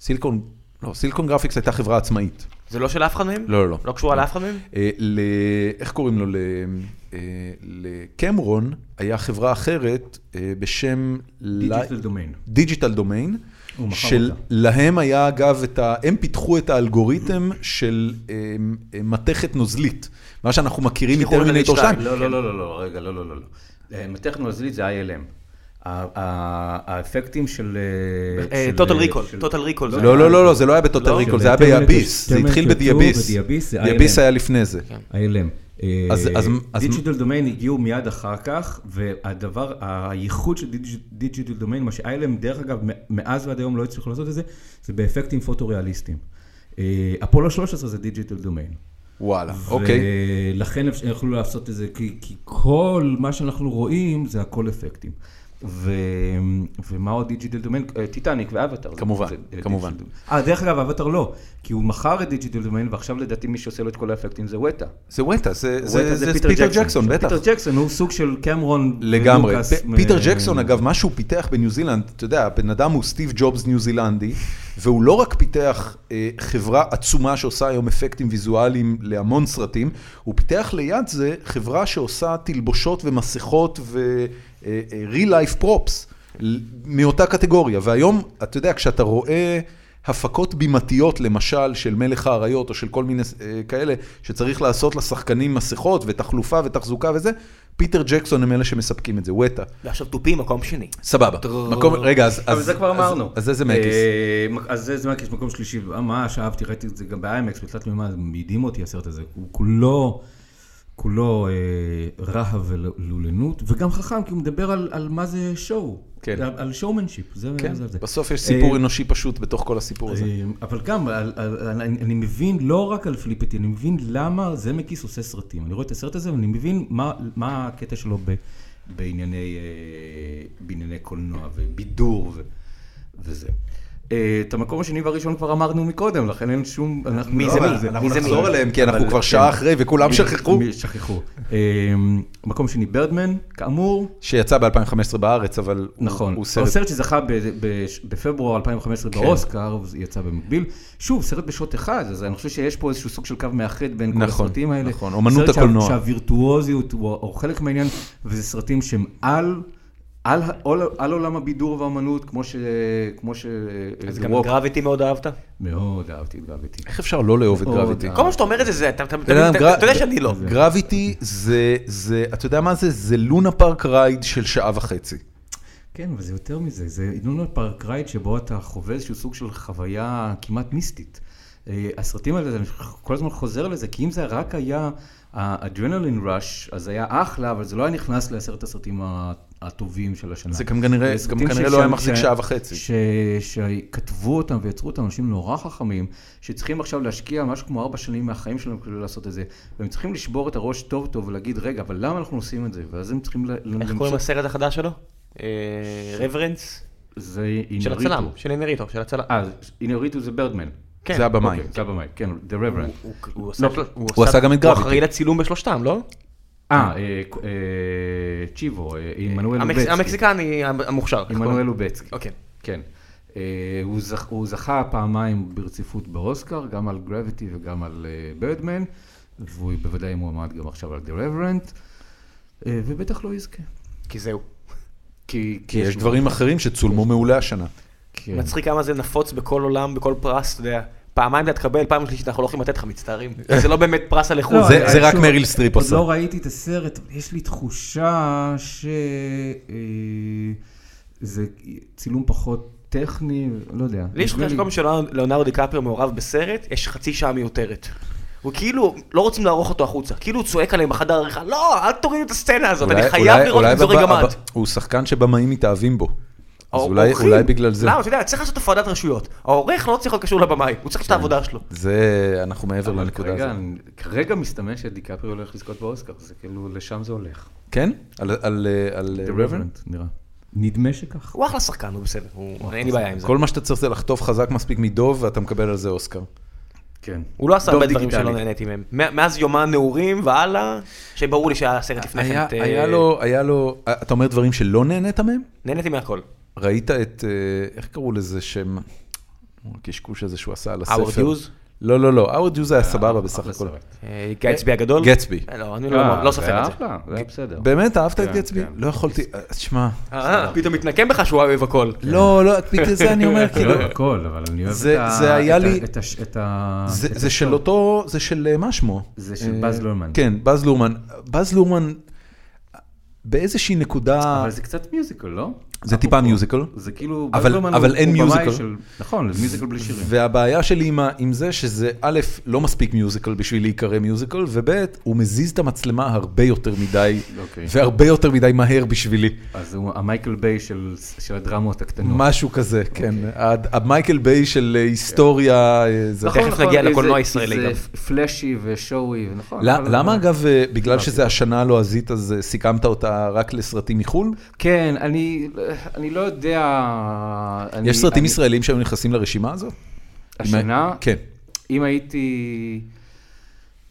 [SPEAKER 1] סיליקון, לא, סיליקון גרפיקס הייתה חברה עצמאית.
[SPEAKER 2] זה לא של אף אחד מהם?
[SPEAKER 1] לא, לא, לא.
[SPEAKER 2] לא קשורה לאף אחד מהם?
[SPEAKER 1] אה, ל... איך קוראים לו? ל... אה, לקמרון היה חברה אחרת אה, בשם...
[SPEAKER 3] Digital Domain.
[SPEAKER 1] דיג'יטל דומיין.
[SPEAKER 3] הוא מכר אותה.
[SPEAKER 1] שלהם היה אגב את ה... הם פיתחו את האלגוריתם של אה, אה, מתכת נוזלית. מה שאנחנו מכירים
[SPEAKER 2] שחרור
[SPEAKER 1] מטרמינטור
[SPEAKER 2] נגד
[SPEAKER 1] 2.
[SPEAKER 2] שתיים.
[SPEAKER 5] לא, לא, לא, לא, לא, רגע, לא, לא, לא. לא. אה, מתכת נוזלית זה ILM. ה- ה- האפקטים של... אה,
[SPEAKER 2] אה,
[SPEAKER 5] של-
[SPEAKER 2] Total Recall,
[SPEAKER 5] של-
[SPEAKER 2] Total Recall. זה
[SPEAKER 1] לא,
[SPEAKER 2] היה.
[SPEAKER 1] לא, לא, לא, זה לא היה בטוטל
[SPEAKER 2] לא,
[SPEAKER 1] ריקול,
[SPEAKER 3] זה
[SPEAKER 1] זה היה
[SPEAKER 3] בטרמינטור-
[SPEAKER 1] ביאביס. זה התחיל
[SPEAKER 3] טרמינטור two
[SPEAKER 1] בדיאביס.
[SPEAKER 3] ודיאביס זה
[SPEAKER 1] ביאביס
[SPEAKER 3] ILM.
[SPEAKER 1] היה לפני זה.
[SPEAKER 3] ILM.
[SPEAKER 1] אז- אז- אז-
[SPEAKER 3] דיג'יטל דומיין אה, הגיעו מיד אחר כך, והדבר, הייחוד של דיג'יטל דומיין, מה ש-ILM, דרך אגב, מ- מאז ועד היום לא הצליחו לעשות את זה, זה באפקטים פוטו-ריאליסטיים. אה, אפולו 13 זה דיג'יטל דומיין.
[SPEAKER 1] וואלה, אוקיי.
[SPEAKER 3] ולכן אפשר- יכלו לעשות את זה, כי, כי כל מה שאנחנו רואים זה הכל אפקטים. ו... ומה עוד דיג'יטל דומיין?
[SPEAKER 5] אה, טיטניק ואבטר. זה-
[SPEAKER 1] כמובן,
[SPEAKER 5] זה- זה
[SPEAKER 1] כמובן.
[SPEAKER 5] Digital Domain.
[SPEAKER 3] אה, דרך אגב, אבטר לא, כי הוא מכר את
[SPEAKER 5] דיגיטל דומיין, ועכשיו לדעתי מי שעושה לו את כל האפקטים זה וטה.
[SPEAKER 1] זה וטה, זה
[SPEAKER 5] וטה
[SPEAKER 1] זה- זה פיטר ג'קסון, בטח.
[SPEAKER 3] פיטר ג'קסון, הוא סוג של קמרון
[SPEAKER 1] לגמרי.
[SPEAKER 3] ולוקאס,
[SPEAKER 1] פ- פיטר
[SPEAKER 3] אה,
[SPEAKER 1] ג'קסון, אגב, מה שהוא פיתח בניו זילנד, אתה יודע, הבן אדם הוא סטיב ג'ובס ניו זילנדי, והוא לא רק פיתח אה, חברה עצומה שעושה היום אפקטים ויזואליים להמון סרטים, הוא פיתח ליד זה חברה שעושה תלבושות ומסכות אה, ו-real-life props ל- מאותה קטגוריה. והיום, אתה יודע, כשאתה רואה... הפקות בימתיות, למשל, של מלך האריות או של כל מיני אה, כאלה, שצריך לעשות לשחקנים מסכות ותחלופה ותחזוקה וזה, פיטר ג'קסון הם אלה שמספקים את זה, וטה.
[SPEAKER 2] ועכשיו תופים מקום שני.
[SPEAKER 1] סבבה. מקום, רגע, אז...
[SPEAKER 5] אבל
[SPEAKER 1] אז-
[SPEAKER 5] זה כבר
[SPEAKER 1] אז-
[SPEAKER 5] אמרנו.
[SPEAKER 1] אז איזה מקיס?
[SPEAKER 3] אה, מק- אז זה זמקיס, מקום שלישי, ממש אהבתי, ראיתי את זה גם באיימקס, בתלת מימד, מדהים אותי הסרט הזה, הוא כולו, כולו אה, רהב ולולנות, וגם חכם, כי הוא מדבר על, על מה זה שואו,
[SPEAKER 1] כן.
[SPEAKER 3] על, על שואומנשיפ, זה,
[SPEAKER 1] כן,
[SPEAKER 3] זה, זה.
[SPEAKER 1] בסוף יש
[SPEAKER 3] אה,
[SPEAKER 1] סיפור אנושי פשוט בתוך כל הסיפור הזה.
[SPEAKER 3] אה, אבל גם, על, על, על, אני, אני מבין לא רק על פליפטי, אני מבין למה זמקיס עושה סרטים. אני רואה את הסרט הזה ואני מבין מה, מה הקטע שלו ב,
[SPEAKER 5] בענייני, אה, בענייני קולנוע ובידור ו, וזה. אה, את המקום השני והראשון כבר אמרנו מקודם, לכן אין שום... אנחנו
[SPEAKER 2] מי
[SPEAKER 5] לא,
[SPEAKER 2] זה
[SPEAKER 5] אבל
[SPEAKER 2] מי?
[SPEAKER 1] אנחנו
[SPEAKER 2] מי זה
[SPEAKER 1] נחזור
[SPEAKER 2] מי?
[SPEAKER 1] אליהם, כי אנחנו
[SPEAKER 5] אבל-
[SPEAKER 1] כבר
[SPEAKER 5] כן.
[SPEAKER 1] שעה אחרי וכולם שכחו,
[SPEAKER 5] מי- שכחו.
[SPEAKER 3] אה,
[SPEAKER 5] מקום שני, ברדמן, כאמור,
[SPEAKER 1] שיצא ב-2015 בארץ, אבל הוא-
[SPEAKER 3] נכון.
[SPEAKER 1] הוא
[SPEAKER 3] אבל
[SPEAKER 1] סרט...
[SPEAKER 3] סרט שזכה ב- ב- בפברואר 2015
[SPEAKER 1] כן.
[SPEAKER 3] באוסקר, הוא יצא במקביל. שוב, סרט בשעות אחד, אז אני חושב שיש פה איזשהו סוג של קו מאחד בין כל
[SPEAKER 1] נכון,
[SPEAKER 3] הסרטים האלה.
[SPEAKER 1] נכון, אומנות
[SPEAKER 3] סרט שה-
[SPEAKER 1] הקולנוע.
[SPEAKER 3] שהווירטואוזיות הוא הוא חלק מהעניין, וזה סרטים שהם על... על, ה- על, על עולם הבידור והאמנות, כמו ש... כמו ש...
[SPEAKER 2] אז
[SPEAKER 3] The
[SPEAKER 2] גם
[SPEAKER 3] Walk.
[SPEAKER 2] גרביטי מאוד
[SPEAKER 1] אה.
[SPEAKER 2] אהבת?
[SPEAKER 3] מאוד אהבתי את גרביטי.
[SPEAKER 1] איך אפשר לא לאהוב את
[SPEAKER 3] מאוד
[SPEAKER 1] גרביטי?
[SPEAKER 2] כל פעם שאתה אומר את זה, זה, אתה אתה- אתה-
[SPEAKER 1] בן אדם,
[SPEAKER 2] אתה-
[SPEAKER 1] גרא-
[SPEAKER 2] אתה יודע שאני לא.
[SPEAKER 1] גרביטי זה, זה, אתה יודע מה זה? זה לונה פארק רייד של שעה וחצי.
[SPEAKER 3] כן, אבל זה יותר מזה, זה עינון פארק רייד שבו אתה חווה איזשהו סוג של חוויה כמעט מיסטית. אה, הסרטים האלה, אני כל הזמן חוזר לזה, כי אם זה רק היה האדרנלין ראש, אז היה אחלה, אבל זה לא היה נכנס לעשרת הסרטים ה- הטובים של השנה.
[SPEAKER 1] זה גם כנראה-
[SPEAKER 3] זה סרטים
[SPEAKER 1] גם כנראה
[SPEAKER 3] ש-
[SPEAKER 1] לא היה
[SPEAKER 3] ש-
[SPEAKER 1] מחזיק
[SPEAKER 3] ש-
[SPEAKER 1] שעה וחצי.
[SPEAKER 3] ש- שכתבו אותם ויצרו אותם אנשים נורא חכמים, שצריכים עכשיו להשקיע משהו כמו ארבע שנים מהחיים שלהם כדי לעשות את זה, והם צריכים לשבור את הראש טוב טוב ולהגיד, רגע, אבל למה אנחנו עושים את זה? ואז הם צריכים ל-
[SPEAKER 2] איך
[SPEAKER 3] למצוא-
[SPEAKER 2] קוראים לסרט החדש שלו? אה, רברנס?
[SPEAKER 3] זה
[SPEAKER 2] של
[SPEAKER 3] אינריטו.
[SPEAKER 2] הצלם, של אינריטו, של הצלם.
[SPEAKER 3] אה, אינוריטו זה ברדמן.
[SPEAKER 2] כן.
[SPEAKER 1] זה הבמאי.
[SPEAKER 3] אוקיי, זה הבמאי, כן, The Reverend.
[SPEAKER 2] הוא
[SPEAKER 3] לא,
[SPEAKER 2] עשה-
[SPEAKER 1] הוא עשה גם את גרביטי.
[SPEAKER 2] הוא אחראי לצילום בשלושתם, לא?
[SPEAKER 3] אה, אה, ק- אה, צ'יבו, אה, עמנואל
[SPEAKER 2] המקס-
[SPEAKER 3] לובצקי.
[SPEAKER 2] המקסיקני המוכשר. איך
[SPEAKER 3] עמנואל
[SPEAKER 2] קוראים לו?
[SPEAKER 3] לובצקי.
[SPEAKER 2] אוקיי.
[SPEAKER 3] כן. אה, הוא זכ- הוא זכה פעמיים ברציפות באוסקר, גם על גרביטי וגם על ברדמן, והוא בוודאי מועמד גם עכשיו על The Reverend, אה, ובטח לא יזכה.
[SPEAKER 2] כי זהו.
[SPEAKER 3] כי
[SPEAKER 1] כי יש דברים אחרים שצולמו מעולה השנה.
[SPEAKER 3] כן.
[SPEAKER 2] מצחיק כמה זה נפוץ בכל עולם, בכל פרס, אתה יודע. פעמיים אתה תקבל, פעם שלישית אנחנו לא יכולים לתת לך, מצטערים. זה לא באמת פרס על איכות.
[SPEAKER 6] לא,
[SPEAKER 1] זה-
[SPEAKER 6] אני-
[SPEAKER 1] זה רק
[SPEAKER 6] שוב,
[SPEAKER 1] מריל סטריפ עושה.
[SPEAKER 6] עוד לא ראיתי את הסרט, אבל יש לי תחושה שזה צילום פחות טכני, לא יודע.
[SPEAKER 2] לי יש
[SPEAKER 6] נדמה
[SPEAKER 2] חושב שכל פעם שלאונרדו דיקפריו מעורב בסרט, יש חצי שעה מיותרת. הוא כאילו, לא רוצים לערוך אותו החוצה. כאילו הוא צועק עליהם בחדר העריכה, לא, אל תורידו את הסצנה הזאת, אני
[SPEAKER 1] אולי-
[SPEAKER 2] חייב
[SPEAKER 1] אולי-
[SPEAKER 2] לראות
[SPEAKER 1] אולי
[SPEAKER 2] את זורי
[SPEAKER 1] בבא-
[SPEAKER 2] גמד.
[SPEAKER 1] הבא- הוא שחקן שבמאים מתאהבים בו. אז
[SPEAKER 2] האור-
[SPEAKER 1] אולי-
[SPEAKER 2] האורחים.
[SPEAKER 1] אולי בגלל זה.
[SPEAKER 2] אוקיי. למה, אתה יודע, צריך לעשות הפרדת רשויות. העורך לא צריך להיות קשור לבמאי,
[SPEAKER 1] כן.
[SPEAKER 2] הוא צריך לעשות את העבודה שלו.
[SPEAKER 1] זה, אנחנו מעבר
[SPEAKER 3] אבל
[SPEAKER 1] לנקודה
[SPEAKER 3] כרגע,
[SPEAKER 1] הזאת.
[SPEAKER 3] כרגע מסתמן שדיקפרי הולך לזכות באוסקר, זה כאילו, לשם זה הולך.
[SPEAKER 1] כן? על- על אה, על,
[SPEAKER 6] The
[SPEAKER 1] אה,
[SPEAKER 6] Reverend, נראה. נדמה שכך.
[SPEAKER 2] הוא אחלה שחקן, הוא בסדר, הוא- אין לי בעיה עם זה.
[SPEAKER 1] כל מה שאתה צריך זה לחטוף חזק מספיק מדוב, ואתה מקבל על זה אוסקר.
[SPEAKER 3] כן.
[SPEAKER 2] הוא לא עשה
[SPEAKER 3] דוב
[SPEAKER 2] הרבה דברים
[SPEAKER 3] דיגיטלי.
[SPEAKER 2] שלא נהניתי מהם. מא- מאז יומן נעורים והלאה, שברור לי שהיה סרט לפני כן.
[SPEAKER 1] היה
[SPEAKER 2] את, אה,
[SPEAKER 1] היה לו, היה לו, אה, אתה אומר דברים שלא נהנית מהם?
[SPEAKER 2] נהניתי מהכל.
[SPEAKER 1] ראית את, אה, איך קראו לזה שם? הקשקוש הזה שהוא עשה על הספר.
[SPEAKER 2] Howard Hughes?
[SPEAKER 1] לא, לא, לא, האוורד יוז היה סבבה בסך
[SPEAKER 3] אחלה
[SPEAKER 1] הכל.
[SPEAKER 3] סרט.
[SPEAKER 2] אה, גצבי הגדול?
[SPEAKER 1] גצבי.
[SPEAKER 2] אה, לא, אני לא לא סופר את זה.
[SPEAKER 3] זה. אחלה, זה היה בסדר.
[SPEAKER 1] באמת, אהבת את
[SPEAKER 3] כן,
[SPEAKER 1] גצבי?
[SPEAKER 3] כן.
[SPEAKER 1] לא יכולתי, אה, שמע.
[SPEAKER 2] אה, פתאום מתנקם בך שהוא אוהב הכל.
[SPEAKER 1] לא, לא, בגלל זה אני
[SPEAKER 3] כן,
[SPEAKER 1] אומר,
[SPEAKER 6] אני
[SPEAKER 1] כאילו,
[SPEAKER 6] אוהב הכל, אבל אני אוהב
[SPEAKER 1] זה-
[SPEAKER 6] את ה-
[SPEAKER 1] זה היה
[SPEAKER 6] את ה-
[SPEAKER 1] לי-
[SPEAKER 6] את הש- את ה...
[SPEAKER 1] זה-
[SPEAKER 6] את
[SPEAKER 1] זה של
[SPEAKER 6] הסוף.
[SPEAKER 1] אותו, זה של אה, מה שמו?
[SPEAKER 6] זה של באז לורמן.
[SPEAKER 1] כן, באז לורמן. באז לורמן, באיזושהי נקודה,
[SPEAKER 3] אבל זה קצת מיוזיקל, לא?
[SPEAKER 1] זה טיפה מיוזיקל.
[SPEAKER 3] זה כאילו,
[SPEAKER 1] אבל-
[SPEAKER 3] ברומן
[SPEAKER 1] אבל
[SPEAKER 3] הוא-
[SPEAKER 1] אין
[SPEAKER 3] הוא במאי
[SPEAKER 1] מיוזיקל.
[SPEAKER 3] של- נכון, זה מיוזיקל בלי שירים.
[SPEAKER 1] והבעיה שלי עם, ה- עם זה שזה א', לא מספיק מיוזיקל בשביל להיקרא מיוזיקל, וב', הוא מזיז את המצלמה הרבה יותר מדי,
[SPEAKER 3] אוקיי.
[SPEAKER 1] והרבה יותר מדי מהר בשבילי.
[SPEAKER 3] אז הוא המייקל ביי של של הדרמות הקטנות.
[SPEAKER 1] משהו כזה, כן.
[SPEAKER 3] אוקיי.
[SPEAKER 1] הד- המייקל ביי של אה, היסטוריה, אה, זה...
[SPEAKER 2] נכון. תכף נגיע
[SPEAKER 3] זה-
[SPEAKER 2] לקולנוע
[SPEAKER 3] זה-
[SPEAKER 2] הישראלי גם.
[SPEAKER 3] זה פלאשי ושואוי, נכון. אוקיי.
[SPEAKER 1] ל-
[SPEAKER 3] אבל-
[SPEAKER 1] למה אגב, אה, בגלל שזה השנה הלועזית, אז אה, סיכמת אותה רק לסרטים מחו"ל?
[SPEAKER 3] כן, אני אני לא יודע... אני-
[SPEAKER 1] יש סרטים
[SPEAKER 3] אני-
[SPEAKER 1] ישראלים שהיו נכנסים לרשימה הזאת?
[SPEAKER 3] השנה?
[SPEAKER 1] כן.
[SPEAKER 3] אם הייתי...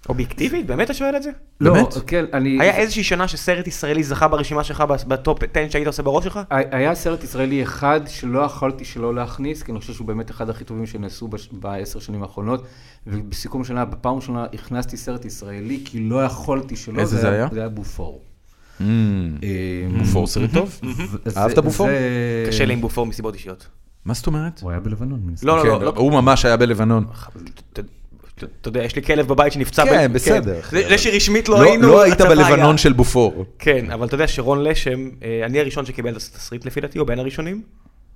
[SPEAKER 2] אובייקטיבית? באמת אתה שואל את זה?
[SPEAKER 3] לא,
[SPEAKER 1] באמת?
[SPEAKER 3] כן, אני...
[SPEAKER 2] היה איזושהי שנה שסרט ישראלי זכה ברשימה שלך, בס- בטופ 10 שהיית עושה בראש
[SPEAKER 3] אה.
[SPEAKER 2] שלך?
[SPEAKER 3] היה סרט ישראלי אחד שלא יכולתי שלא להכניס, כי אני חושב שהוא באמת אחד הכי טובים שנעשו בש- בעשר שנים האחרונות. ובסיכום שנה, בפעם הראשונה הכנסתי סרט ישראלי, כי לא יכולתי שלא.
[SPEAKER 1] איזה זה היה? Mm-hmm.
[SPEAKER 3] זה היה בופור. Mm. אמ,
[SPEAKER 1] בופור סרט טוב?
[SPEAKER 3] Mm-hmm.
[SPEAKER 6] אז
[SPEAKER 1] אהבת
[SPEAKER 6] זה-
[SPEAKER 1] בופור?
[SPEAKER 6] זה-
[SPEAKER 2] קשה לי עם בופור מסיבות אישיות.
[SPEAKER 1] מה זאת אומרת?
[SPEAKER 6] הוא היה בלבנון, מן הסתם.
[SPEAKER 2] לא, לא,
[SPEAKER 1] כן,
[SPEAKER 2] לא, לא.
[SPEAKER 1] הוא ממש היה בלבנון.
[SPEAKER 2] ת- ת- אתה יודע, יש לי כלב בבית שנפצע.
[SPEAKER 1] כן,
[SPEAKER 2] ב-
[SPEAKER 1] בסדר.
[SPEAKER 2] זה זה שרשמית לא
[SPEAKER 1] לא
[SPEAKER 2] היינו,
[SPEAKER 1] לא היית
[SPEAKER 2] הצבא
[SPEAKER 1] בלבנון
[SPEAKER 2] היה.
[SPEAKER 1] של בופור.
[SPEAKER 2] כן, אבל אתה יודע שרון לשם, אה, אני הראשון שקיבל את התסריט לפי דעתי, או בין הראשונים.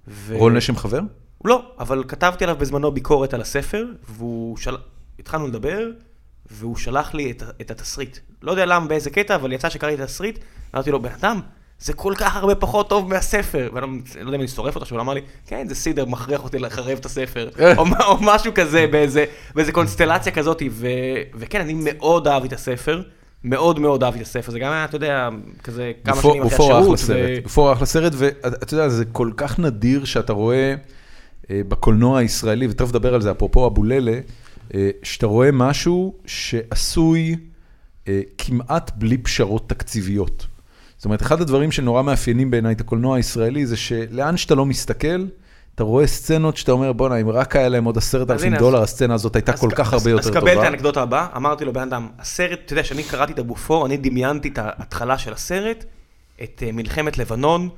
[SPEAKER 2] ו-
[SPEAKER 1] רון לשם חבר?
[SPEAKER 2] לא, אבל כתבתי עליו בזמנו ביקורת על הספר, והוא של... התחלנו לדבר, והוא שלח לי את, ה- את התסריט. לא יודע למה, באיזה קטע, אבל יצא שקראתי את התסריט, אמרתי לו, בן אדם, זה כל כך הרבה פחות טוב מהספר. ואני לא- לא יודע אם אני שורף אותו, שהוא אמר לי, כן, זה סידר מכריח אותי לחרב את הספר. או, מה- או משהו כזה, באיזה, באיזה קונסטלציה כזאת. ו, וכן, אני מאוד אהבתי את הספר. מאוד מאוד אהבתי את הספר, זה גם היה, אתה יודע, כזה כמה
[SPEAKER 1] בופור-
[SPEAKER 2] שנים אחרי
[SPEAKER 1] בופור
[SPEAKER 2] השירות.
[SPEAKER 1] אחלה סרט. בופור אחלה סרט, ואתה יודע, זה כל כך נדיר שאתה רואה אה, בקולנוע הישראלי, ותכף נדבר על זה, אפרופו אבוללה, אה, שאתה רואה משהו שעשוי אה, כמעט בלי פשרות תקציביות. זאת אומרת, אחד הדברים שנורא מאפיינים בעיניי את הקולנוע הישראלי, זה שלאן שאתה לא מסתכל, אתה רואה סצנות שאתה אומר, בואנה, אם רק היה להם עוד עשרת אלפים
[SPEAKER 2] הנה, אז-
[SPEAKER 1] דולר, הסצנה הזאת הייתה כל
[SPEAKER 2] אז-
[SPEAKER 1] כך
[SPEAKER 2] אז-
[SPEAKER 1] הרבה יותר
[SPEAKER 2] אז קבל את
[SPEAKER 1] טובה.
[SPEAKER 2] האנקדוטה הבאה, אמרתי לו, בן אדם, הסרט, אתה יודע, כשאני קראתי את הבופור, אני דמיינתי את ההתחלה של הסרט, את אה, מלחמת לבנון,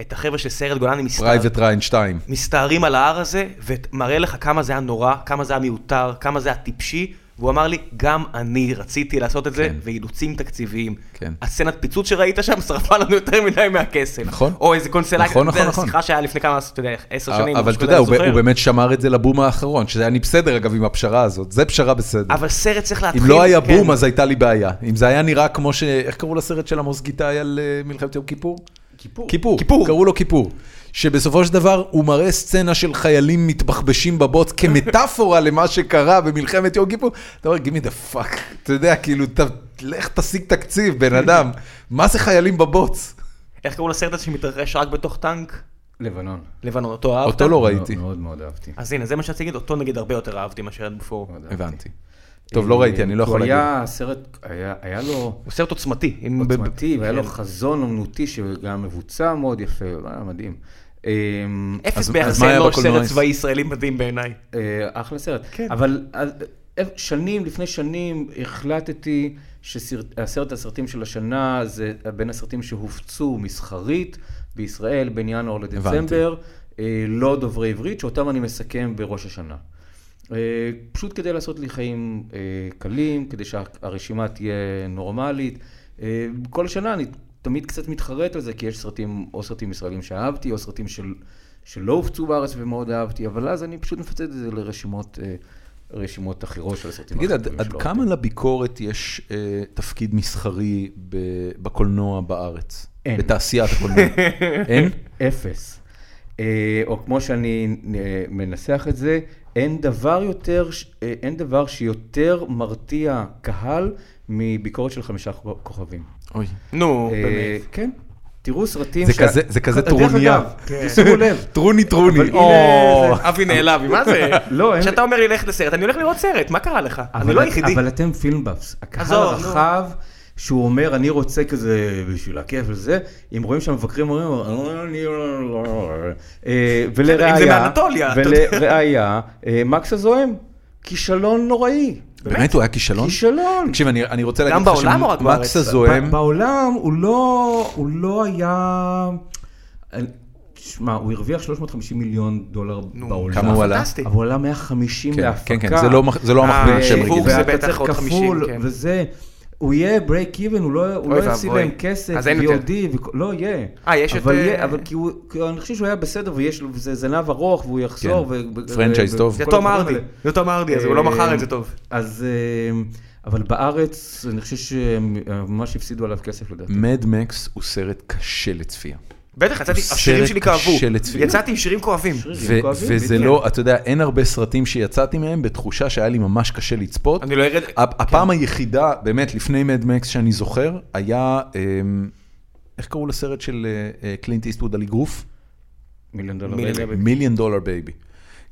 [SPEAKER 2] את החבר'ה של סיירת גולני מסתער-
[SPEAKER 1] פרייבט ריין 2.
[SPEAKER 2] מסתערים על ההר הזה, ומראה לך כמה זה היה נורא, כמה זה היה מיותר, כמה זה היה טיפשי, והוא אמר לי, גם אני רציתי לעשות את זה,
[SPEAKER 1] כן.
[SPEAKER 2] ואילוצים תקציביים.
[SPEAKER 1] כן.
[SPEAKER 2] הסצנת פיצוץ שראית שם שרפה לנו יותר מדי מהכסף.
[SPEAKER 1] נכון.
[SPEAKER 2] או איזה קונסלציה,
[SPEAKER 1] נכון, נכון, נכון. אה,
[SPEAKER 2] שיחה שהיה לפני כמה, אתה יודע, עשר שנים.
[SPEAKER 1] אבל
[SPEAKER 2] משהו
[SPEAKER 1] אתה יודע, הוא
[SPEAKER 2] כזה, אני
[SPEAKER 1] הוא
[SPEAKER 2] זוכר.
[SPEAKER 1] באמת שמר את זה לבום האחרון, שזה היה לי בסדר אגב עם הפשרה הזאת, זה פשרה בסדר.
[SPEAKER 2] אבל סרט צריך להתחיל...
[SPEAKER 1] אם לא היה
[SPEAKER 2] כן.
[SPEAKER 1] בום אז הייתה לי בעיה. אם זה היה נראה כמו ש... איך קראו לסרט של עמוס גיטאי על אה, מלחמת יום כיפור?
[SPEAKER 3] כיפור.
[SPEAKER 1] כיפור, קראו לו כיפור. שבסופו של דבר הוא מראה סצנה של חיילים מתבחבשים בבוץ כמטאפורה למה שקרה במלחמת יום כיפור. אתה אומר, גימי דה פאק. אתה יודע, כאילו, ת... לך תשיג תקציב, בן אדם. מה זה חיילים בבוץ?
[SPEAKER 2] איך קראו לסרט הזה שמתרחש רק בתוך טנק?
[SPEAKER 3] לבנון.
[SPEAKER 2] לבנון, אותו אהבת?
[SPEAKER 1] אותו לא ראיתי.
[SPEAKER 3] מאוד מאוד אהבתי.
[SPEAKER 2] אז הנה, זה מה שרציתי להגיד, אותו נגיד הרבה יותר אהבתי מאשר את בופור.
[SPEAKER 3] מאוד אהבתי.
[SPEAKER 1] הבנתי. טוב, לא ראיתי, אני לא יכול להגיד.
[SPEAKER 3] הוא היה סרט, היה היה לו
[SPEAKER 2] הוא סרט עוצמתי. עם-
[SPEAKER 3] עוצמתי, והיה לו
[SPEAKER 2] כן.
[SPEAKER 3] חזון אומנותי שגם מבוצע מאוד יפה, הוא היה מדהים. אה,
[SPEAKER 2] אפס
[SPEAKER 1] אז- אז
[SPEAKER 2] ביחסי
[SPEAKER 1] מה היה
[SPEAKER 2] לא
[SPEAKER 1] בקולנוע
[SPEAKER 2] סרט
[SPEAKER 1] היש-
[SPEAKER 2] צבאי ישראלי מדהים בעיניי.
[SPEAKER 3] אה, אחלה סרט.
[SPEAKER 2] כן.
[SPEAKER 3] אבל אז, אה, שנים, לפני שנים, החלטתי שהסרט הסרטים של השנה זה בין הסרטים שהופצו מסחרית בישראל בין ינואר לדצמבר, אה, לא דוברי עברית, שאותם אני מסכם בראש השנה. אה, פשוט כדי לעשות לי חיים אה, קלים, כדי שהרשימה תהיה נורמלית. אה, כל שנה אני תמיד קצת מתחרט על זה, כי יש סרטים, או סרטים ישראלים שאהבתי, או סרטים של, שלא הופצו בארץ ומאוד אהבתי, אבל אז אני פשוט מפצל את זה לרשימות אה, רשימות אחרות של הסרטים.
[SPEAKER 1] תגיד, עד,
[SPEAKER 3] האחרים
[SPEAKER 1] עד
[SPEAKER 3] שלא
[SPEAKER 1] כמה לביקורת יש אה, תפקיד מסחרי ב, בקולנוע בארץ?
[SPEAKER 3] אין.
[SPEAKER 1] בתעשיית הקולנוע. אין?
[SPEAKER 3] אפס. אה, או כמו שאני אה, מנסח את זה, אין דבר יותר, ש- אה, אין דבר שיותר מרתיע קהל מביקורת של חמישה כוכ- כוכבים.
[SPEAKER 1] אוי.
[SPEAKER 2] נו,
[SPEAKER 3] אה,
[SPEAKER 2] באמת.
[SPEAKER 3] כן. תראו סרטים
[SPEAKER 1] זה כזה- זה כזה
[SPEAKER 3] דרך
[SPEAKER 1] טרוניה.
[SPEAKER 3] אגב, כן. שימו לב.
[SPEAKER 1] טרוני
[SPEAKER 3] אבל
[SPEAKER 1] טרוני.
[SPEAKER 3] הנה
[SPEAKER 1] או.
[SPEAKER 3] זה-
[SPEAKER 2] אבי נעלב, מה זה?
[SPEAKER 3] לא, אין-
[SPEAKER 2] כשאתה אומר לי ללכת לסרט, אני הולך לראות סרט, מה קרה לך? אני
[SPEAKER 6] אבל-
[SPEAKER 2] לא היחידי.
[SPEAKER 6] אבל אתם פילמבאפס. הקהל
[SPEAKER 2] עזוב, נו.
[SPEAKER 6] הרחב, שהוא אומר, אני רוצה כזה בשביל הכיף וזה, אם רואים שהמבקרים אומרים, "אה, אני... לא, לא, לא."
[SPEAKER 3] אה,
[SPEAKER 2] בסדר,
[SPEAKER 3] ולראיה,
[SPEAKER 2] כן, אם זה מאנטוליה, אתה יודע.
[SPEAKER 3] ולראיה, אה, מקס הזוהם, כישלון נוראי.
[SPEAKER 1] באמת הוא היה
[SPEAKER 2] לא?
[SPEAKER 1] כישלון?
[SPEAKER 3] כישלון.
[SPEAKER 1] תקשיב, אני אני רוצה להגיד
[SPEAKER 2] גם
[SPEAKER 1] לך
[SPEAKER 2] בעולם או רק בארץ?
[SPEAKER 1] שמקס הזוהם,
[SPEAKER 6] ב- בעולם הוא לא, הוא לא היה... שמע, הוא הרוויח 350 מיליון דולר
[SPEAKER 2] נו,
[SPEAKER 6] בעולם.
[SPEAKER 1] כמה הוא עלה?
[SPEAKER 2] פנטסטי.
[SPEAKER 6] אבל הוא עלה 150
[SPEAKER 1] כן,
[SPEAKER 6] להפקה.
[SPEAKER 1] כן, כן, זה לא מח- זה לא
[SPEAKER 2] אה,
[SPEAKER 1] המכפיל שהם
[SPEAKER 2] שיווק
[SPEAKER 1] רגילים.
[SPEAKER 2] זה
[SPEAKER 6] ואתה
[SPEAKER 2] בטח
[SPEAKER 6] צריך
[SPEAKER 2] עוד 50,
[SPEAKER 6] כפול,
[SPEAKER 2] כן.
[SPEAKER 6] וזה, הוא יהיה break even, הוא לא הוא
[SPEAKER 2] אוי
[SPEAKER 6] לא יפסיד
[SPEAKER 2] ואבוי.
[SPEAKER 6] להם כסף,
[SPEAKER 2] אז אין
[SPEAKER 6] VOD, וכו- לא יהיה.
[SPEAKER 2] אה, יש את,
[SPEAKER 6] אבל
[SPEAKER 2] אה,
[SPEAKER 6] יהיה, אבל כי הוא, כי אני חושב שהוא היה בסדר, ויש לו, וזה זנב ארוך, והוא יחזור.
[SPEAKER 1] כן.
[SPEAKER 6] ו- ו-
[SPEAKER 1] פרנצ'ייז
[SPEAKER 6] ו-
[SPEAKER 1] טוב.
[SPEAKER 2] זה
[SPEAKER 6] וכל
[SPEAKER 2] תום
[SPEAKER 6] הדברים
[SPEAKER 2] ארדי,
[SPEAKER 6] האלה.
[SPEAKER 2] זה תום ארדי, אז הוא לא
[SPEAKER 6] אה,
[SPEAKER 2] מכר את זה טוב.
[SPEAKER 6] אז, אה, אבל בארץ, אני חושב שהם אה, ממש הפסידו עליו כסף לדעתי.
[SPEAKER 1] מדמקס הוא סרט קשה לצפייה.
[SPEAKER 6] אה,
[SPEAKER 2] בטח, יצאתי,
[SPEAKER 1] סרט
[SPEAKER 2] השירים שלי כאבו.
[SPEAKER 1] קשה לצפייה.
[SPEAKER 2] יצאתי עם שירים כואבים.
[SPEAKER 3] כן,
[SPEAKER 1] ו-
[SPEAKER 6] כואבים, כן.
[SPEAKER 1] וזה
[SPEAKER 6] בדיוק.
[SPEAKER 1] לא, אתה יודע, אין הרבה סרטים שיצאתי מהם בתחושה שהיה לי ממש קשה לצפות.
[SPEAKER 2] אני לא ארד...
[SPEAKER 1] הפ- הפעם היחידה, באמת, לפני מדמקס שאני זוכר, היה, אמ, איך קראו לסרט של אה, אה, קלינט איסטווד על אגרוף?
[SPEAKER 3] מיליון דולר.
[SPEAKER 1] מיליון דולר בייבי.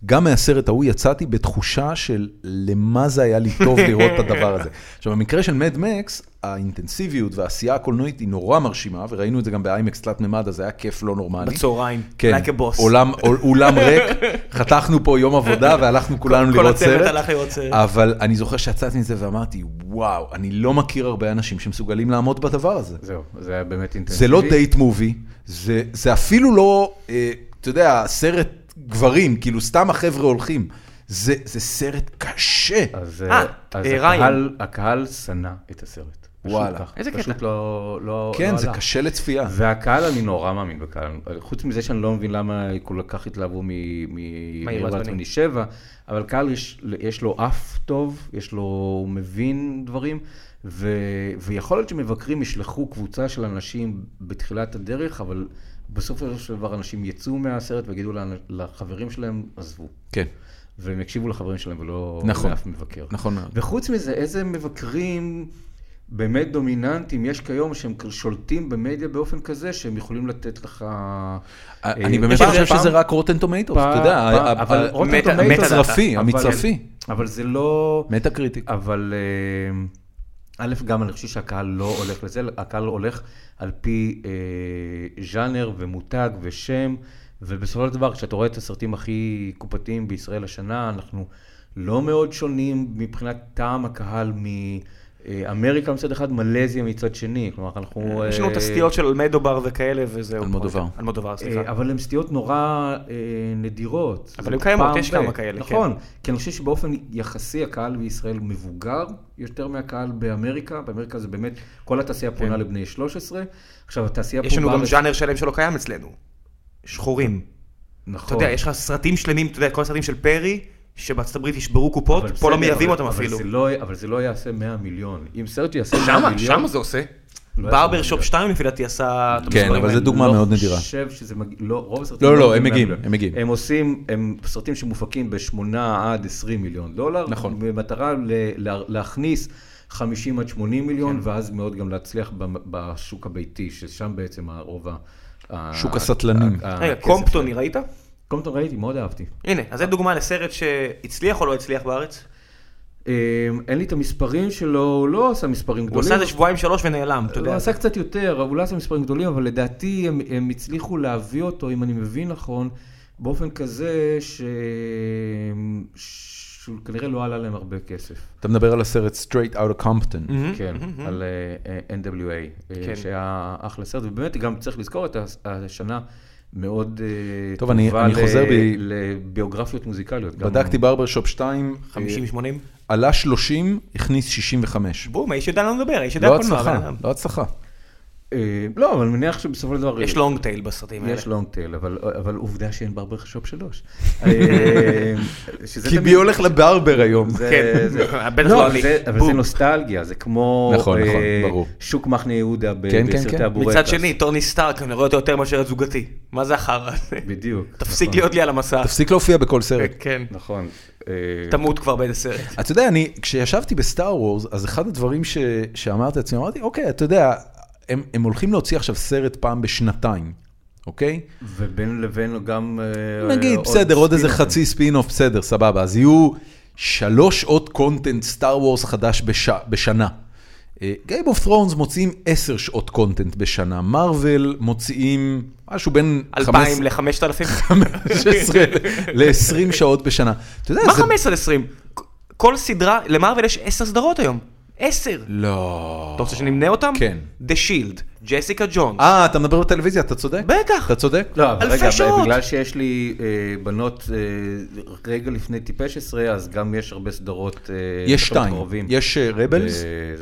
[SPEAKER 1] גם מהסרט ההוא יצאתי בתחושה של למה זה היה לי טוב לראות את הדבר הזה. עכשיו, במקרה של מד מקס, האינטנסיביות והעשייה הקולנועית היא נורא מרשימה, וראינו את זה גם באיימקס תלת-ממד, אז זה היה כיף לא נורמלי.
[SPEAKER 2] בצהריים.
[SPEAKER 1] כן,
[SPEAKER 2] Like a boss.
[SPEAKER 1] אולם, אול- אולם ריק, חתכנו פה יום עבודה והלכנו כולנו
[SPEAKER 2] כל
[SPEAKER 1] לראות
[SPEAKER 2] הצוות
[SPEAKER 1] סרט.
[SPEAKER 2] הלך לראות סרט.
[SPEAKER 1] אבל אני זוכר שיצאתי מזה ואמרתי, וואו, אני לא מכיר הרבה אנשים שמסוגלים לעמוד בדבר הזה.
[SPEAKER 3] זהו, זה היה באמת אינטנסיבי.
[SPEAKER 1] זה לא דייט מובי, זה, זה אפילו לא, אה, אתה יודע, סרט גברים, כאילו סתם החבר'ה הולכים. זה, זה סרט קשה.
[SPEAKER 3] אז,
[SPEAKER 2] אה,
[SPEAKER 3] אה, אז
[SPEAKER 2] אה,
[SPEAKER 3] הקהל, הקהל שנא את הסרט. פשוט
[SPEAKER 1] וואלה.
[SPEAKER 3] כך.
[SPEAKER 2] איזה
[SPEAKER 3] פשוט
[SPEAKER 2] קטע.
[SPEAKER 3] לא, לא,
[SPEAKER 1] כן,
[SPEAKER 3] לא
[SPEAKER 1] זה
[SPEAKER 3] הלך.
[SPEAKER 1] קשה לצפייה.
[SPEAKER 3] והקהל, אני נורא מאמין בקהל. חוץ מזה שאני לא מבין למה כל כך התלהבו
[SPEAKER 2] מהעיר
[SPEAKER 3] מעיר
[SPEAKER 2] ועצבני.
[SPEAKER 3] ועצבני שבע, אבל קהל יש, יש לו אף טוב, יש לו, הוא מבין דברים, ו, ויכול להיות שמבקרים ישלחו קבוצה של אנשים בתחילת הדרך, אבל בסופו של דבר אנשים יצאו מהסרט ויגידו לאנ- לחברים שלהם, עזבו.
[SPEAKER 1] כן,
[SPEAKER 3] והם יקשיבו לחברים שלהם ולא
[SPEAKER 1] נכון.
[SPEAKER 3] לאף מבקר.
[SPEAKER 1] נכון מאוד.
[SPEAKER 3] וחוץ מזה, איזה מבקרים באמת דומיננטיים יש כיום שהם שולטים במדיה באופן כזה שהם יכולים לתת לך...
[SPEAKER 1] אני
[SPEAKER 3] אה,
[SPEAKER 1] באמת
[SPEAKER 3] פעם-
[SPEAKER 1] חושב
[SPEAKER 3] פעם-
[SPEAKER 1] שזה רק רוטן טומטוס,
[SPEAKER 3] פעם-
[SPEAKER 1] אתה יודע, אה,
[SPEAKER 3] פעם-
[SPEAKER 1] ה- ה-
[SPEAKER 3] אבל
[SPEAKER 1] ה-
[SPEAKER 3] Rotten
[SPEAKER 2] מטה-
[SPEAKER 3] Tomatoes-
[SPEAKER 1] המצרפי,
[SPEAKER 3] אבל-
[SPEAKER 1] המצרפי.
[SPEAKER 3] אבל זה לא...
[SPEAKER 1] מטה קריטיק.
[SPEAKER 3] אבל אה, א', גם אני חושב שהקהל לא הולך לזה, הקהל הולך על פי אה, ז'אנר ומותג ושם, ובסופו של דבר, כשאתה רואה את הסרטים הכי קופתיים בישראל השנה, אנחנו לא מאוד שונים מבחינת טעם הקהל מ... אה, אמריקה מצד אחד, מלזיה מצד שני, כלומר אנחנו... אה,
[SPEAKER 2] יש לנו את הסטיות של אלמדובר וכאלה וזהו.
[SPEAKER 1] אלמודובר.
[SPEAKER 2] אלמודובר, סליחה.
[SPEAKER 3] אה, אבל הן סטיות נורא אה, נדירות.
[SPEAKER 2] אבל
[SPEAKER 3] זה
[SPEAKER 2] הן קיימות,
[SPEAKER 3] פעם
[SPEAKER 2] יש
[SPEAKER 3] ב-
[SPEAKER 2] כמה כאלה, כן.
[SPEAKER 3] נכון, כי אני חושב שבאופן יחסי הקהל בישראל מבוגר יותר מהקהל באמריקה, באמריקה זה באמת, כל התעשייה פונה לבני 13. עכשיו, התעשייה פה
[SPEAKER 2] כן. יש לנו גם
[SPEAKER 3] בארץ-
[SPEAKER 2] ז'אנר שלם שלא קיים אצלנו. שחורים. אתה
[SPEAKER 3] נכון.
[SPEAKER 2] יודע, יש לך סרטים שלמים, אתה יודע, כל הסרטים של פרי, שבארצות הברית ישברו קופות,
[SPEAKER 3] אבל
[SPEAKER 2] פה
[SPEAKER 3] בסדר,
[SPEAKER 2] לא מייבאים
[SPEAKER 3] אבל-
[SPEAKER 2] אותם
[SPEAKER 3] אבל
[SPEAKER 2] אפילו.
[SPEAKER 3] זה לא- אבל זה לא יעשה 100 מיליון. אם סרט יעשה 100 מיליון...
[SPEAKER 2] שמה, שמה זה עושה.
[SPEAKER 3] לא
[SPEAKER 2] ברבר
[SPEAKER 3] יעשה
[SPEAKER 2] שופ 2 לפי דעתי עשה... את
[SPEAKER 1] כן,
[SPEAKER 2] המספרים
[SPEAKER 1] אבל זה
[SPEAKER 2] האלה.
[SPEAKER 1] דוגמה
[SPEAKER 3] לא
[SPEAKER 1] מאוד נדירה.
[SPEAKER 3] אני חושב שזה מגיע, לא, רוב הסרטים...
[SPEAKER 1] לא, לא, הם
[SPEAKER 3] מגיעים
[SPEAKER 1] מגיעים,
[SPEAKER 3] להם.
[SPEAKER 1] הם מגיעים.
[SPEAKER 3] הם עושים, הם סרטים שמופקים ב-8 עד 20 מיליון דולר.
[SPEAKER 1] נכון.
[SPEAKER 3] במטרה ל- לה- להכניס 50 עד 80 מיליון,
[SPEAKER 1] כן.
[SPEAKER 3] ואז מאוד גם להצליח ב- בשוק הביתי, ששם בעצם הרוב ה... ה-
[SPEAKER 1] שוק הסטלנים.
[SPEAKER 3] ה- ה-
[SPEAKER 2] רגע,
[SPEAKER 3] הכסף.
[SPEAKER 2] קומפטוני, אה, ראית?
[SPEAKER 3] קומפטון ראיתי, מאוד אהבתי.
[SPEAKER 2] הנה, אז זו דוגמה לסרט שהצליח או לא הצליח בארץ.
[SPEAKER 3] אמ, אין לי את המספרים שלו, הוא לא עשה מספרים
[SPEAKER 2] הוא
[SPEAKER 3] גדולים.
[SPEAKER 2] עשה איזה שבועיים שלוש ונעלם, אתה
[SPEAKER 3] הוא
[SPEAKER 2] יודע.
[SPEAKER 3] עשה קצת יותר, אבל הוא לא עשה מספרים גדולים, אבל לדעתי הם, הם הצליחו להביא אותו, אם אני מבין נכון, באופן כזה ש... שהוא כנראה לא עלה להם הרבה כסף.
[SPEAKER 1] אתה מדבר על הסרט Straight Out of Compton.
[SPEAKER 3] כן, על אה, אה, NWA, אה,
[SPEAKER 2] Mm-hmm, כן.
[SPEAKER 3] שהיה אחלה סרט, ובאמת גם צריך לזכור את הש- השנה מאוד אה,
[SPEAKER 1] טוב, אני-
[SPEAKER 3] טובה
[SPEAKER 1] אני
[SPEAKER 3] ל-
[SPEAKER 1] חוזר בי-
[SPEAKER 3] לביוגרפיות מוזיקליות. גם-
[SPEAKER 1] בדקתי ברבר שופ 2,
[SPEAKER 2] 50-80?
[SPEAKER 1] עלה 30, הכניס 65.
[SPEAKER 2] בום, האיש יודע לנו לדבר, האיש יודע
[SPEAKER 1] לא
[SPEAKER 2] הכל מה, הבן
[SPEAKER 1] הצלחה,
[SPEAKER 2] אדם.
[SPEAKER 1] לא הצלחה.
[SPEAKER 3] אה, לא, אבל אני מניח שבסופו של דבר...
[SPEAKER 2] יש לונג טייל בסרטים האלה.
[SPEAKER 3] לא. יש לונג טייל, אבל, אבל עובדה שאין ברבר שופ שלוש. אה, שזה
[SPEAKER 1] כי
[SPEAKER 3] תמיד-
[SPEAKER 1] מי הולך לברבר היום?
[SPEAKER 2] כן,
[SPEAKER 3] זה, זה,
[SPEAKER 2] בטח לא אני.
[SPEAKER 3] זה- אבל זה נוסטלגיה, זה כמו
[SPEAKER 1] נכון, נכון,
[SPEAKER 3] אה,
[SPEAKER 1] ברור.
[SPEAKER 3] שוק מחנה יהודה ב-
[SPEAKER 1] כן, כן,
[SPEAKER 3] בסרטי
[SPEAKER 1] כן.
[SPEAKER 3] הבורקס.
[SPEAKER 2] מצד שני, טוני סטארק, אני רואה אותו יותר מאשר את זוגתי. מה זה החרא הזה?
[SPEAKER 3] בדיוק.
[SPEAKER 2] תפסיק
[SPEAKER 3] נכון,
[SPEAKER 2] להיות לי על המסך.
[SPEAKER 1] תפסיק להופיע בכל סרט.
[SPEAKER 2] כן.
[SPEAKER 3] נכון. אה,
[SPEAKER 2] תמות כבר באיזה סרט.
[SPEAKER 1] אתה יודע, אני, כשישבתי בסטאר וורס, אז אחד הדברים ש, שאמרתי לעצמי, אמרתי, אוקיי, אתה יודע, הם, הם הולכים להוציא עכשיו סרט פעם בשנתיים, אוקיי?
[SPEAKER 3] ובין לבין גם... אה,
[SPEAKER 1] נגיד,
[SPEAKER 3] עוד
[SPEAKER 1] בסדר, עוד איזה
[SPEAKER 3] ספין-אופים.
[SPEAKER 1] חצי ספין-אוף, בסדר, סבבה. אז יהיו שלוש שעות קונטנט סטאר וורס חדש בש, בשנה. אה, גייב אוף ת'רונס מוציאים עשר שעות קונטנט בשנה, מארוול מוציאים משהו בין
[SPEAKER 2] 2,000 ל-5,000?
[SPEAKER 1] 15 ל-20 שעות בשנה. אתה יודע,
[SPEAKER 2] מה
[SPEAKER 1] זה...
[SPEAKER 2] 15 20? כל סדרה, למרוויל יש 10 סדרות היום. 10.
[SPEAKER 1] לא.
[SPEAKER 2] אתה רוצה שנמנה אותם?
[SPEAKER 1] כן.
[SPEAKER 2] The Shield, ג'סיקה ג'ונס.
[SPEAKER 1] אה, אתה מדבר בטלוויזיה, אתה צודק.
[SPEAKER 2] בטח.
[SPEAKER 1] אתה צודק.
[SPEAKER 3] לא, אבל
[SPEAKER 2] אלפי
[SPEAKER 3] רגע,
[SPEAKER 2] שעות.
[SPEAKER 3] בגלל שיש לי אה, בנות אה, רגע לפני טיפש עשרה, אז גם יש הרבה סדרות... אה,
[SPEAKER 1] יש
[SPEAKER 3] סדרות
[SPEAKER 1] שתיים,
[SPEAKER 3] ערבים.
[SPEAKER 1] יש אה, רבלס,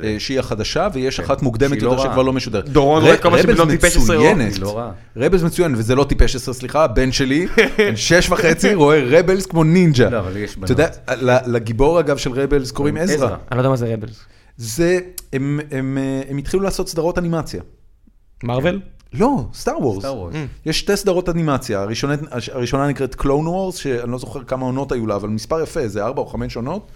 [SPEAKER 3] זה-
[SPEAKER 1] שהיא החדשה, ויש אחת מוקדמת
[SPEAKER 3] שהיא לא
[SPEAKER 1] יותר
[SPEAKER 3] רעה.
[SPEAKER 1] שכבר לא משודרת.
[SPEAKER 2] דורון
[SPEAKER 1] ר-
[SPEAKER 2] רואה כמה שבלון
[SPEAKER 1] רבלס
[SPEAKER 2] טיפש עשרה הוא.
[SPEAKER 1] מצוינת.
[SPEAKER 3] היא לא רעה.
[SPEAKER 1] רבלס מצוין, וזה לא טיפש עשרה, סליחה, הבן שלי, בן שש וחצי, רואה רבלס כמו נינג'ה.
[SPEAKER 3] לא, אבל יש בנות.
[SPEAKER 1] אתה יודע, ל- לגיבור אגב של רבלס קוראים עזרא.
[SPEAKER 3] עזרא.
[SPEAKER 2] אני לא יודע מה זה רבלס.
[SPEAKER 1] כן. זה, הם- הם אה, הם התחילו לעשות סדרות אנימציה.
[SPEAKER 2] מרוויל?
[SPEAKER 1] לא, סטאר וורס.
[SPEAKER 3] Star Wars.
[SPEAKER 2] Mm.
[SPEAKER 1] יש שתי סדרות אנימציה, הראשונה, הראשונה נקראת קלון וורס, שאני לא זוכר כמה עונות היו לה, אבל מספר יפה, איזה ארבע או חמש עונות,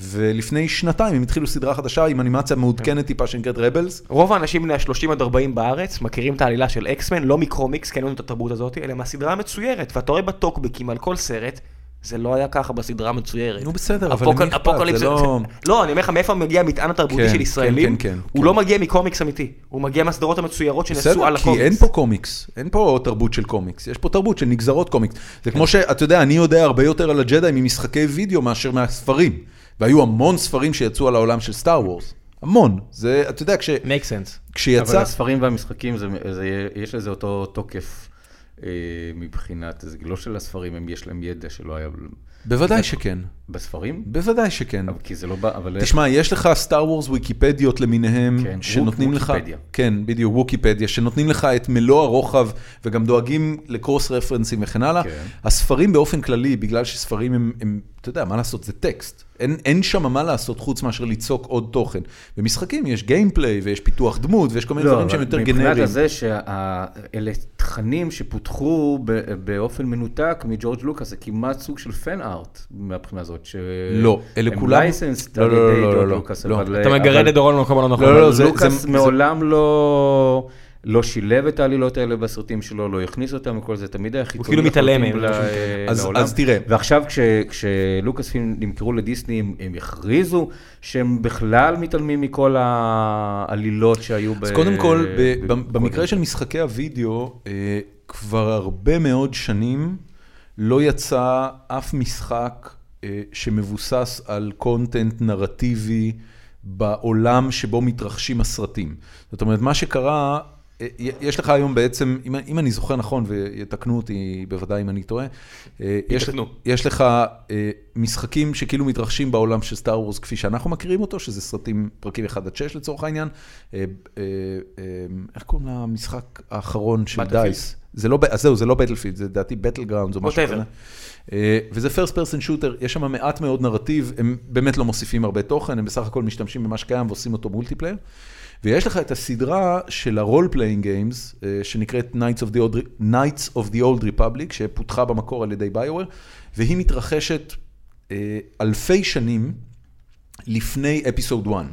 [SPEAKER 1] ולפני שנתיים הם התחילו סדרה חדשה עם אנימציה מעודכנת טיפה שנקראת רבלס.
[SPEAKER 2] רוב האנשים בני ה-30 עד 40 בארץ מכירים את העלילה של אקסמן, לא מקרומיקס, כי אין לנו את התרבות הזאת, אלא מהסדרה המצוירת, ואתה רואה בטוקבקים על כל סרט, זה לא היה ככה בסדרה המצוירת.
[SPEAKER 1] נו, בסדר, אבל למי אכפת?
[SPEAKER 2] אפוקליפס...
[SPEAKER 1] זה לא-
[SPEAKER 2] לא, אני אומר לך, מאיפה מגיע המטען התרבותי
[SPEAKER 1] כן,
[SPEAKER 2] של ישראלים?
[SPEAKER 1] כן, כן, כן,
[SPEAKER 2] הוא
[SPEAKER 1] כן.
[SPEAKER 2] לא מגיע מקומיקס אמיתי, הוא מגיע מהסדרות המצוירות שנעשו על
[SPEAKER 1] בסדר,
[SPEAKER 2] הקומיקס.
[SPEAKER 1] כי אין פה קומיקס, אין פה תרבות של קומיקס, יש פה תרבות של נגזרות קומיקס. זה כמו שאתה יודע, אני יודע הרבה יותר על הג'די ממשחקי וידאו מאשר מהספרים, והיו המון ספרים שיצאו על העולם של סטאר וורס, המון. זה, אתה יודע, כש-
[SPEAKER 2] make sense.
[SPEAKER 1] כשיצא...
[SPEAKER 3] אבל הספרים והמשחקים, זה, זה, יש לזה אותו תוקף אה, מבחינת, זה לא של הספרים, הם יש להם ידע שלא היה
[SPEAKER 1] בוודאי שכן,
[SPEAKER 3] בספרים,
[SPEAKER 1] בוודאי שכן.
[SPEAKER 3] אבל כי זה לא בא, אבל...
[SPEAKER 1] תשמע, יש לך סטאר וורס ויקיפדיות למיניהם,
[SPEAKER 3] כן,
[SPEAKER 1] שנותנים לך,
[SPEAKER 3] ויקיפדיה.
[SPEAKER 1] כן, בדיוק, ווקיפדיה, שנותנים לך את מלוא הרוחב, וגם דואגים לקרוס רפרנסים וכן הלאה.
[SPEAKER 3] כן.
[SPEAKER 1] הספרים באופן כללי, בגלל שספרים הם, הם, אתה יודע, מה לעשות, זה טקסט. אין, אין שם מה לעשות חוץ מאשר ליצוק עוד תוכן. במשחקים יש גיימפליי, ויש פיתוח דמות, ויש כל מיני דברים שהם
[SPEAKER 3] לא, אבל
[SPEAKER 1] יותר
[SPEAKER 3] מבחינת
[SPEAKER 1] גנריים.
[SPEAKER 3] הזה שאלה תכנים שפותחו ב- באופן מנותק מג'ורג' לוקאס, זה כמעט סוג של פן ארט מהבחינה הזאת. ש-
[SPEAKER 1] לא, אלה
[SPEAKER 3] הם
[SPEAKER 1] כולם-
[SPEAKER 3] licensed
[SPEAKER 1] לא,
[SPEAKER 3] על
[SPEAKER 1] לא, לא,
[SPEAKER 3] ידי
[SPEAKER 1] לא,
[SPEAKER 3] ג'ורג'
[SPEAKER 1] לא,
[SPEAKER 3] לוקאס,
[SPEAKER 1] לא.
[SPEAKER 3] אבל... אה,
[SPEAKER 4] אתה
[SPEAKER 3] אבל-
[SPEAKER 4] מגרד את דורון במקום הלא נכון.
[SPEAKER 1] לא, לא,
[SPEAKER 3] אבל
[SPEAKER 1] זה-
[SPEAKER 3] לוקאס
[SPEAKER 1] זה-
[SPEAKER 3] מעולם לא... לא שילב את העלילות האלה בסרטים שלו, לא הכניס אותם וכל זה, תמיד היה חיצוני.
[SPEAKER 2] כאילו מתעלם
[SPEAKER 3] לחלוטין
[SPEAKER 2] מהם,
[SPEAKER 3] ל-
[SPEAKER 1] אז-
[SPEAKER 3] לעולם.
[SPEAKER 1] לא אז תראה.
[SPEAKER 3] ועכשיו כש, כשלוקאס פילם נמכרו לדיסני, הם, הם הכריזו שהם בכלל מתעלמים מכל העלילות שהיו ב...
[SPEAKER 1] אז קודם כל, ב-
[SPEAKER 3] ב-
[SPEAKER 1] במקרה של משחקי הוידאו, אה, כבר הרבה מאוד שנים לא יצא אף משחק אה, שמבוסס על קונטנט נרטיבי בעולם שבו מתרחשים הסרטים. זאת אומרת, מה שקרה, אה, יש לך היום בעצם, אם, אם אני זוכר נכון, ויתקנו אותי בוודאי אם אני טועה, אה, יש,
[SPEAKER 2] יתקנו.
[SPEAKER 1] יש לך אה, משחקים שכאילו מתרחשים בעולם של סטאר וורס כפי שאנחנו מכירים אותו, שזה סרטים פרקים 1 עד 6 לצורך העניין. אה, אה, אה, איך קוראים למשחק האחרון של
[SPEAKER 2] Battlefield.
[SPEAKER 1] דייס? זה לא, ב- אז זהו, זה לא בטלפילד, זה לדעתי בטל גראונד או משהו
[SPEAKER 2] Whatever.
[SPEAKER 1] כזה. אה, וזה פרס פרסן שוטר, יש שם מעט מאוד נרטיב, הם באמת לא מוסיפים הרבה תוכן, הם בסך הכל משתמשים במה שקיים ועושים אותו מולטיפלייר. ויש לך את הסדרה של ה-role playing games, אה, שנקראת Knights of, the Old, Re- Knights of the Old Republic, שפותחה במקור על ידי ביואר, והיא מתרחשת אה, אלפי שנים לפני אפיסוד 1.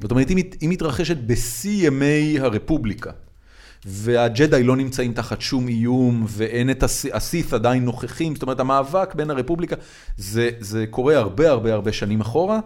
[SPEAKER 1] זאת אומרת, היא מת- היא מתרחשת בשיא ימי הרפובליקה. והג'די לא נמצאים תחת שום איום, ואין את הס- הסית עדיין נוכחים, זאת אומרת, המאבק בין הרפובליקה, זה, זה קורה הרבה הרבה הרבה שנים אחורה,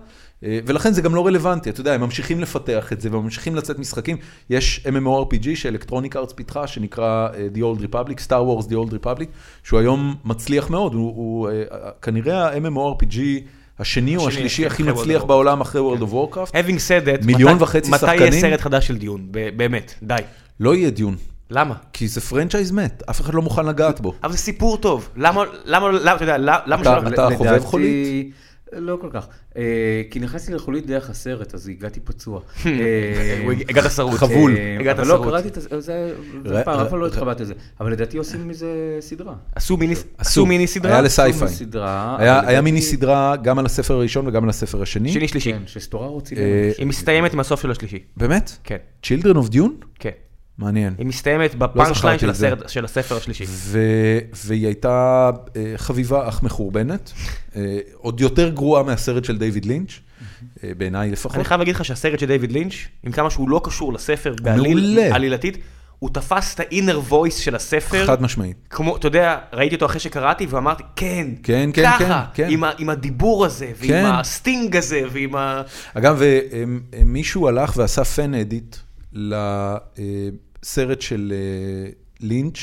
[SPEAKER 1] אה, ולכן זה גם לא רלוונטי, אתה יודע, הם ממשיכים לפתח את זה, וממשיכים לצאת משחקים. יש MMORPG שאלקטרוניק ארץ פיתחה, שנקרא אה, The Old Republic, Star Wars The Old Republic, שהוא היום מצליח מאוד, הוא, הוא אה, אה, כנראה ה-MMORPG השני או
[SPEAKER 2] השני, כן,
[SPEAKER 1] השלישי הכי
[SPEAKER 2] אחרי World
[SPEAKER 1] מצליח
[SPEAKER 2] of כן.
[SPEAKER 1] בעולם אחרי World of Warcraft.
[SPEAKER 2] Having said that,
[SPEAKER 1] מיליון
[SPEAKER 2] מתי-
[SPEAKER 1] וחצי
[SPEAKER 2] מתי יהיה
[SPEAKER 1] שחקנים?
[SPEAKER 2] סרט חדש של דיון? ב- באמת, די.
[SPEAKER 1] לא יהיה דיון.
[SPEAKER 2] למה?
[SPEAKER 1] כי זה פרנצ'ייז מת, אף אחד לא מוכן לגעת בו.
[SPEAKER 2] אבל זה סיפור טוב. למה, למה, למה, אתה יודע, למה
[SPEAKER 1] אתה-
[SPEAKER 2] שלא...
[SPEAKER 1] אתה-
[SPEAKER 3] לדעתי-
[SPEAKER 1] חובב חולית?
[SPEAKER 3] לא כל כך. אה, כי נכנסתי לחולית דרך הסרט, אז הגעתי פצוע. אה,
[SPEAKER 2] הוא הג- הגעת שרוט.
[SPEAKER 1] חבול.
[SPEAKER 3] אה,
[SPEAKER 2] הגעת
[SPEAKER 3] אבל לא,
[SPEAKER 2] שרוט.
[SPEAKER 3] קראתי את זה, זה
[SPEAKER 1] ר-
[SPEAKER 3] זה פעם, אף פעם לא
[SPEAKER 1] ר-
[SPEAKER 3] התחבטתי לזה. אבל לדעתי עושים מזה סדרה.
[SPEAKER 2] עשו מיני-
[SPEAKER 1] אה, עשו.
[SPEAKER 2] עשו מיני
[SPEAKER 1] היה
[SPEAKER 2] סדרה?
[SPEAKER 1] לסייפיי.
[SPEAKER 3] עשו סדרה,
[SPEAKER 1] היה-
[SPEAKER 3] אבל
[SPEAKER 1] היה
[SPEAKER 3] לדעתי-
[SPEAKER 1] מיני סדרה גם על הספר הראשון וגם על הספר השני.
[SPEAKER 2] שני שלישי.
[SPEAKER 3] כן, שסטורה רוצים.
[SPEAKER 1] אה,
[SPEAKER 2] היא מסתיימת עם הסוף של השלישי.
[SPEAKER 1] באמת?
[SPEAKER 2] כן,
[SPEAKER 1] Children of Dune?
[SPEAKER 2] כן.
[SPEAKER 1] מעניין.
[SPEAKER 2] היא מסתיימת בפאנץ'
[SPEAKER 1] לא זכרתי
[SPEAKER 2] ליין של
[SPEAKER 1] את זה. אה.
[SPEAKER 2] הסרט- של הספר השלישי.
[SPEAKER 1] ו- והיא הייתה אה, חביבה אך מחורבנת, אה, עוד יותר גרועה מהסרט של דיוויד לינץ', אה, בעיניי לפחות.
[SPEAKER 2] אני חייב להגיד לך שהסרט של דיוויד לינץ', עם כמה שהוא לא קשור לספר בעליל,
[SPEAKER 1] מעולה.
[SPEAKER 2] עלילתית, הוא תפס את ה-inner voice של הספר.
[SPEAKER 1] חד משמעית.
[SPEAKER 2] כמו, אתה יודע, ראיתי אותו אחרי שקראתי ואמרתי, כן,
[SPEAKER 1] כן, כן,
[SPEAKER 2] ככה,
[SPEAKER 1] כן, כן.
[SPEAKER 2] עם, ה, עם הדיבור הזה, ועם
[SPEAKER 1] כן.
[SPEAKER 2] הסטינג הזה, ועם ה...
[SPEAKER 1] אגב, אה, אה, מישהו הלך ועשה פן אדיט לסרט של אה, לינץ',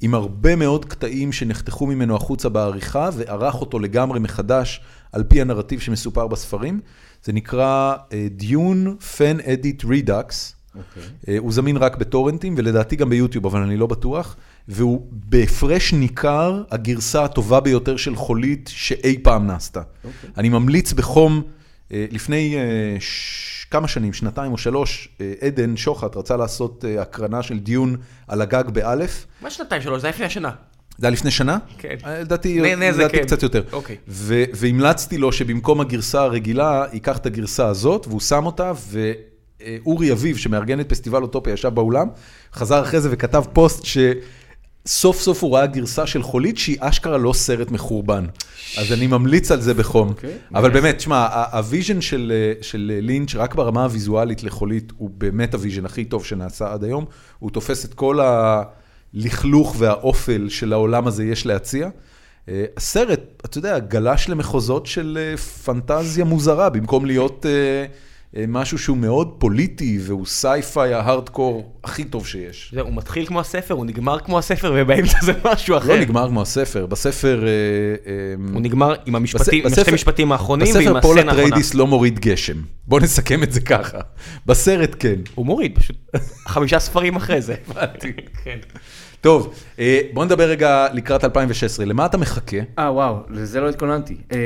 [SPEAKER 1] עם הרבה מאוד קטעים שנחתכו ממנו החוצה בעריכה, וערך אותו לגמרי מחדש על פי הנרטיב שמסופר בספרים. זה נקרא אה, דיון פן אדיט רידאקס. אה, הוא זמין רק בטורנטים, ולדעתי גם ביוטיוב, אבל אני לא בטוח. והוא בהפרש ניכר הגרסה הטובה ביותר של חולית שאי פעם נעשתה. אני ממליץ בחום אה, לפני אה, ש... כמה שנים, שנתיים או שלוש, אה, עדן שוחט רצה לעשות אה, הקרנה של דיון על הגג באלף.
[SPEAKER 2] מה שנתיים שלוש? זה היה לפני השנה.
[SPEAKER 1] זה היה לפני שנה?
[SPEAKER 2] כן.
[SPEAKER 1] אה, לדעתי,
[SPEAKER 2] נה- נה, זה
[SPEAKER 1] לדעתי
[SPEAKER 2] כן.
[SPEAKER 1] קצת יותר.
[SPEAKER 2] אוקיי.
[SPEAKER 1] ו- והמלצתי לו שבמקום הגרסה הרגילה, ייקח את הגרסה הזאת, והוא שם אותה, ואורי אביב, שמארגן את פסטיבל אוטופיה, ישב באולם, חזר אחרי זה וכתב פוסט ש... סוף סוף הוא ראה גרסה של חולית שהיא אשכרה לא סרט מחורבן. אז אני ממליץ על זה בחום.
[SPEAKER 2] אוקיי.
[SPEAKER 1] אבל באמת, שמע, ה- הוויז'ן של, אה, של אה, לינץ', רק ברמה הוויזואלית לחולית, הוא באמת הוויז'ן הכי טוב שנעשה עד היום. הוא תופס את כל הלכלוך והאופל שלעולם הזה יש להציע. אה, הסרט, אתה יודע, גלש למחוזות של אה, פנטזיה מוזרה, במקום להיות אה, אה, משהו שהוא מאוד פוליטי, והוא סייפיי ההארדקור הכי טוב שיש.
[SPEAKER 2] זה, הוא מתחיל כמו הספר, הוא נגמר כמו הספר, ובאמצע זה משהו אחר.
[SPEAKER 1] לא נגמר כמו הספר, בספר... אה, אה,
[SPEAKER 2] הוא נגמר עם המשפטים, עם
[SPEAKER 1] בספר-
[SPEAKER 2] שתי משפטים האחרונים, ועם
[SPEAKER 1] בספר פול
[SPEAKER 2] הסצנה האחרונה.
[SPEAKER 1] אטריידיס לא מוריד גשם. בוא נסכם את זה ככה. בסרט כן.
[SPEAKER 2] הוא מוריד, פשוט חמישה ספרים אחרי זה. כן.
[SPEAKER 1] טוב, אה, בוא נדבר רגע לקראת 2016. למה אתה מחכה?
[SPEAKER 3] אה, וואו, לזה לא התכוננתי. אה,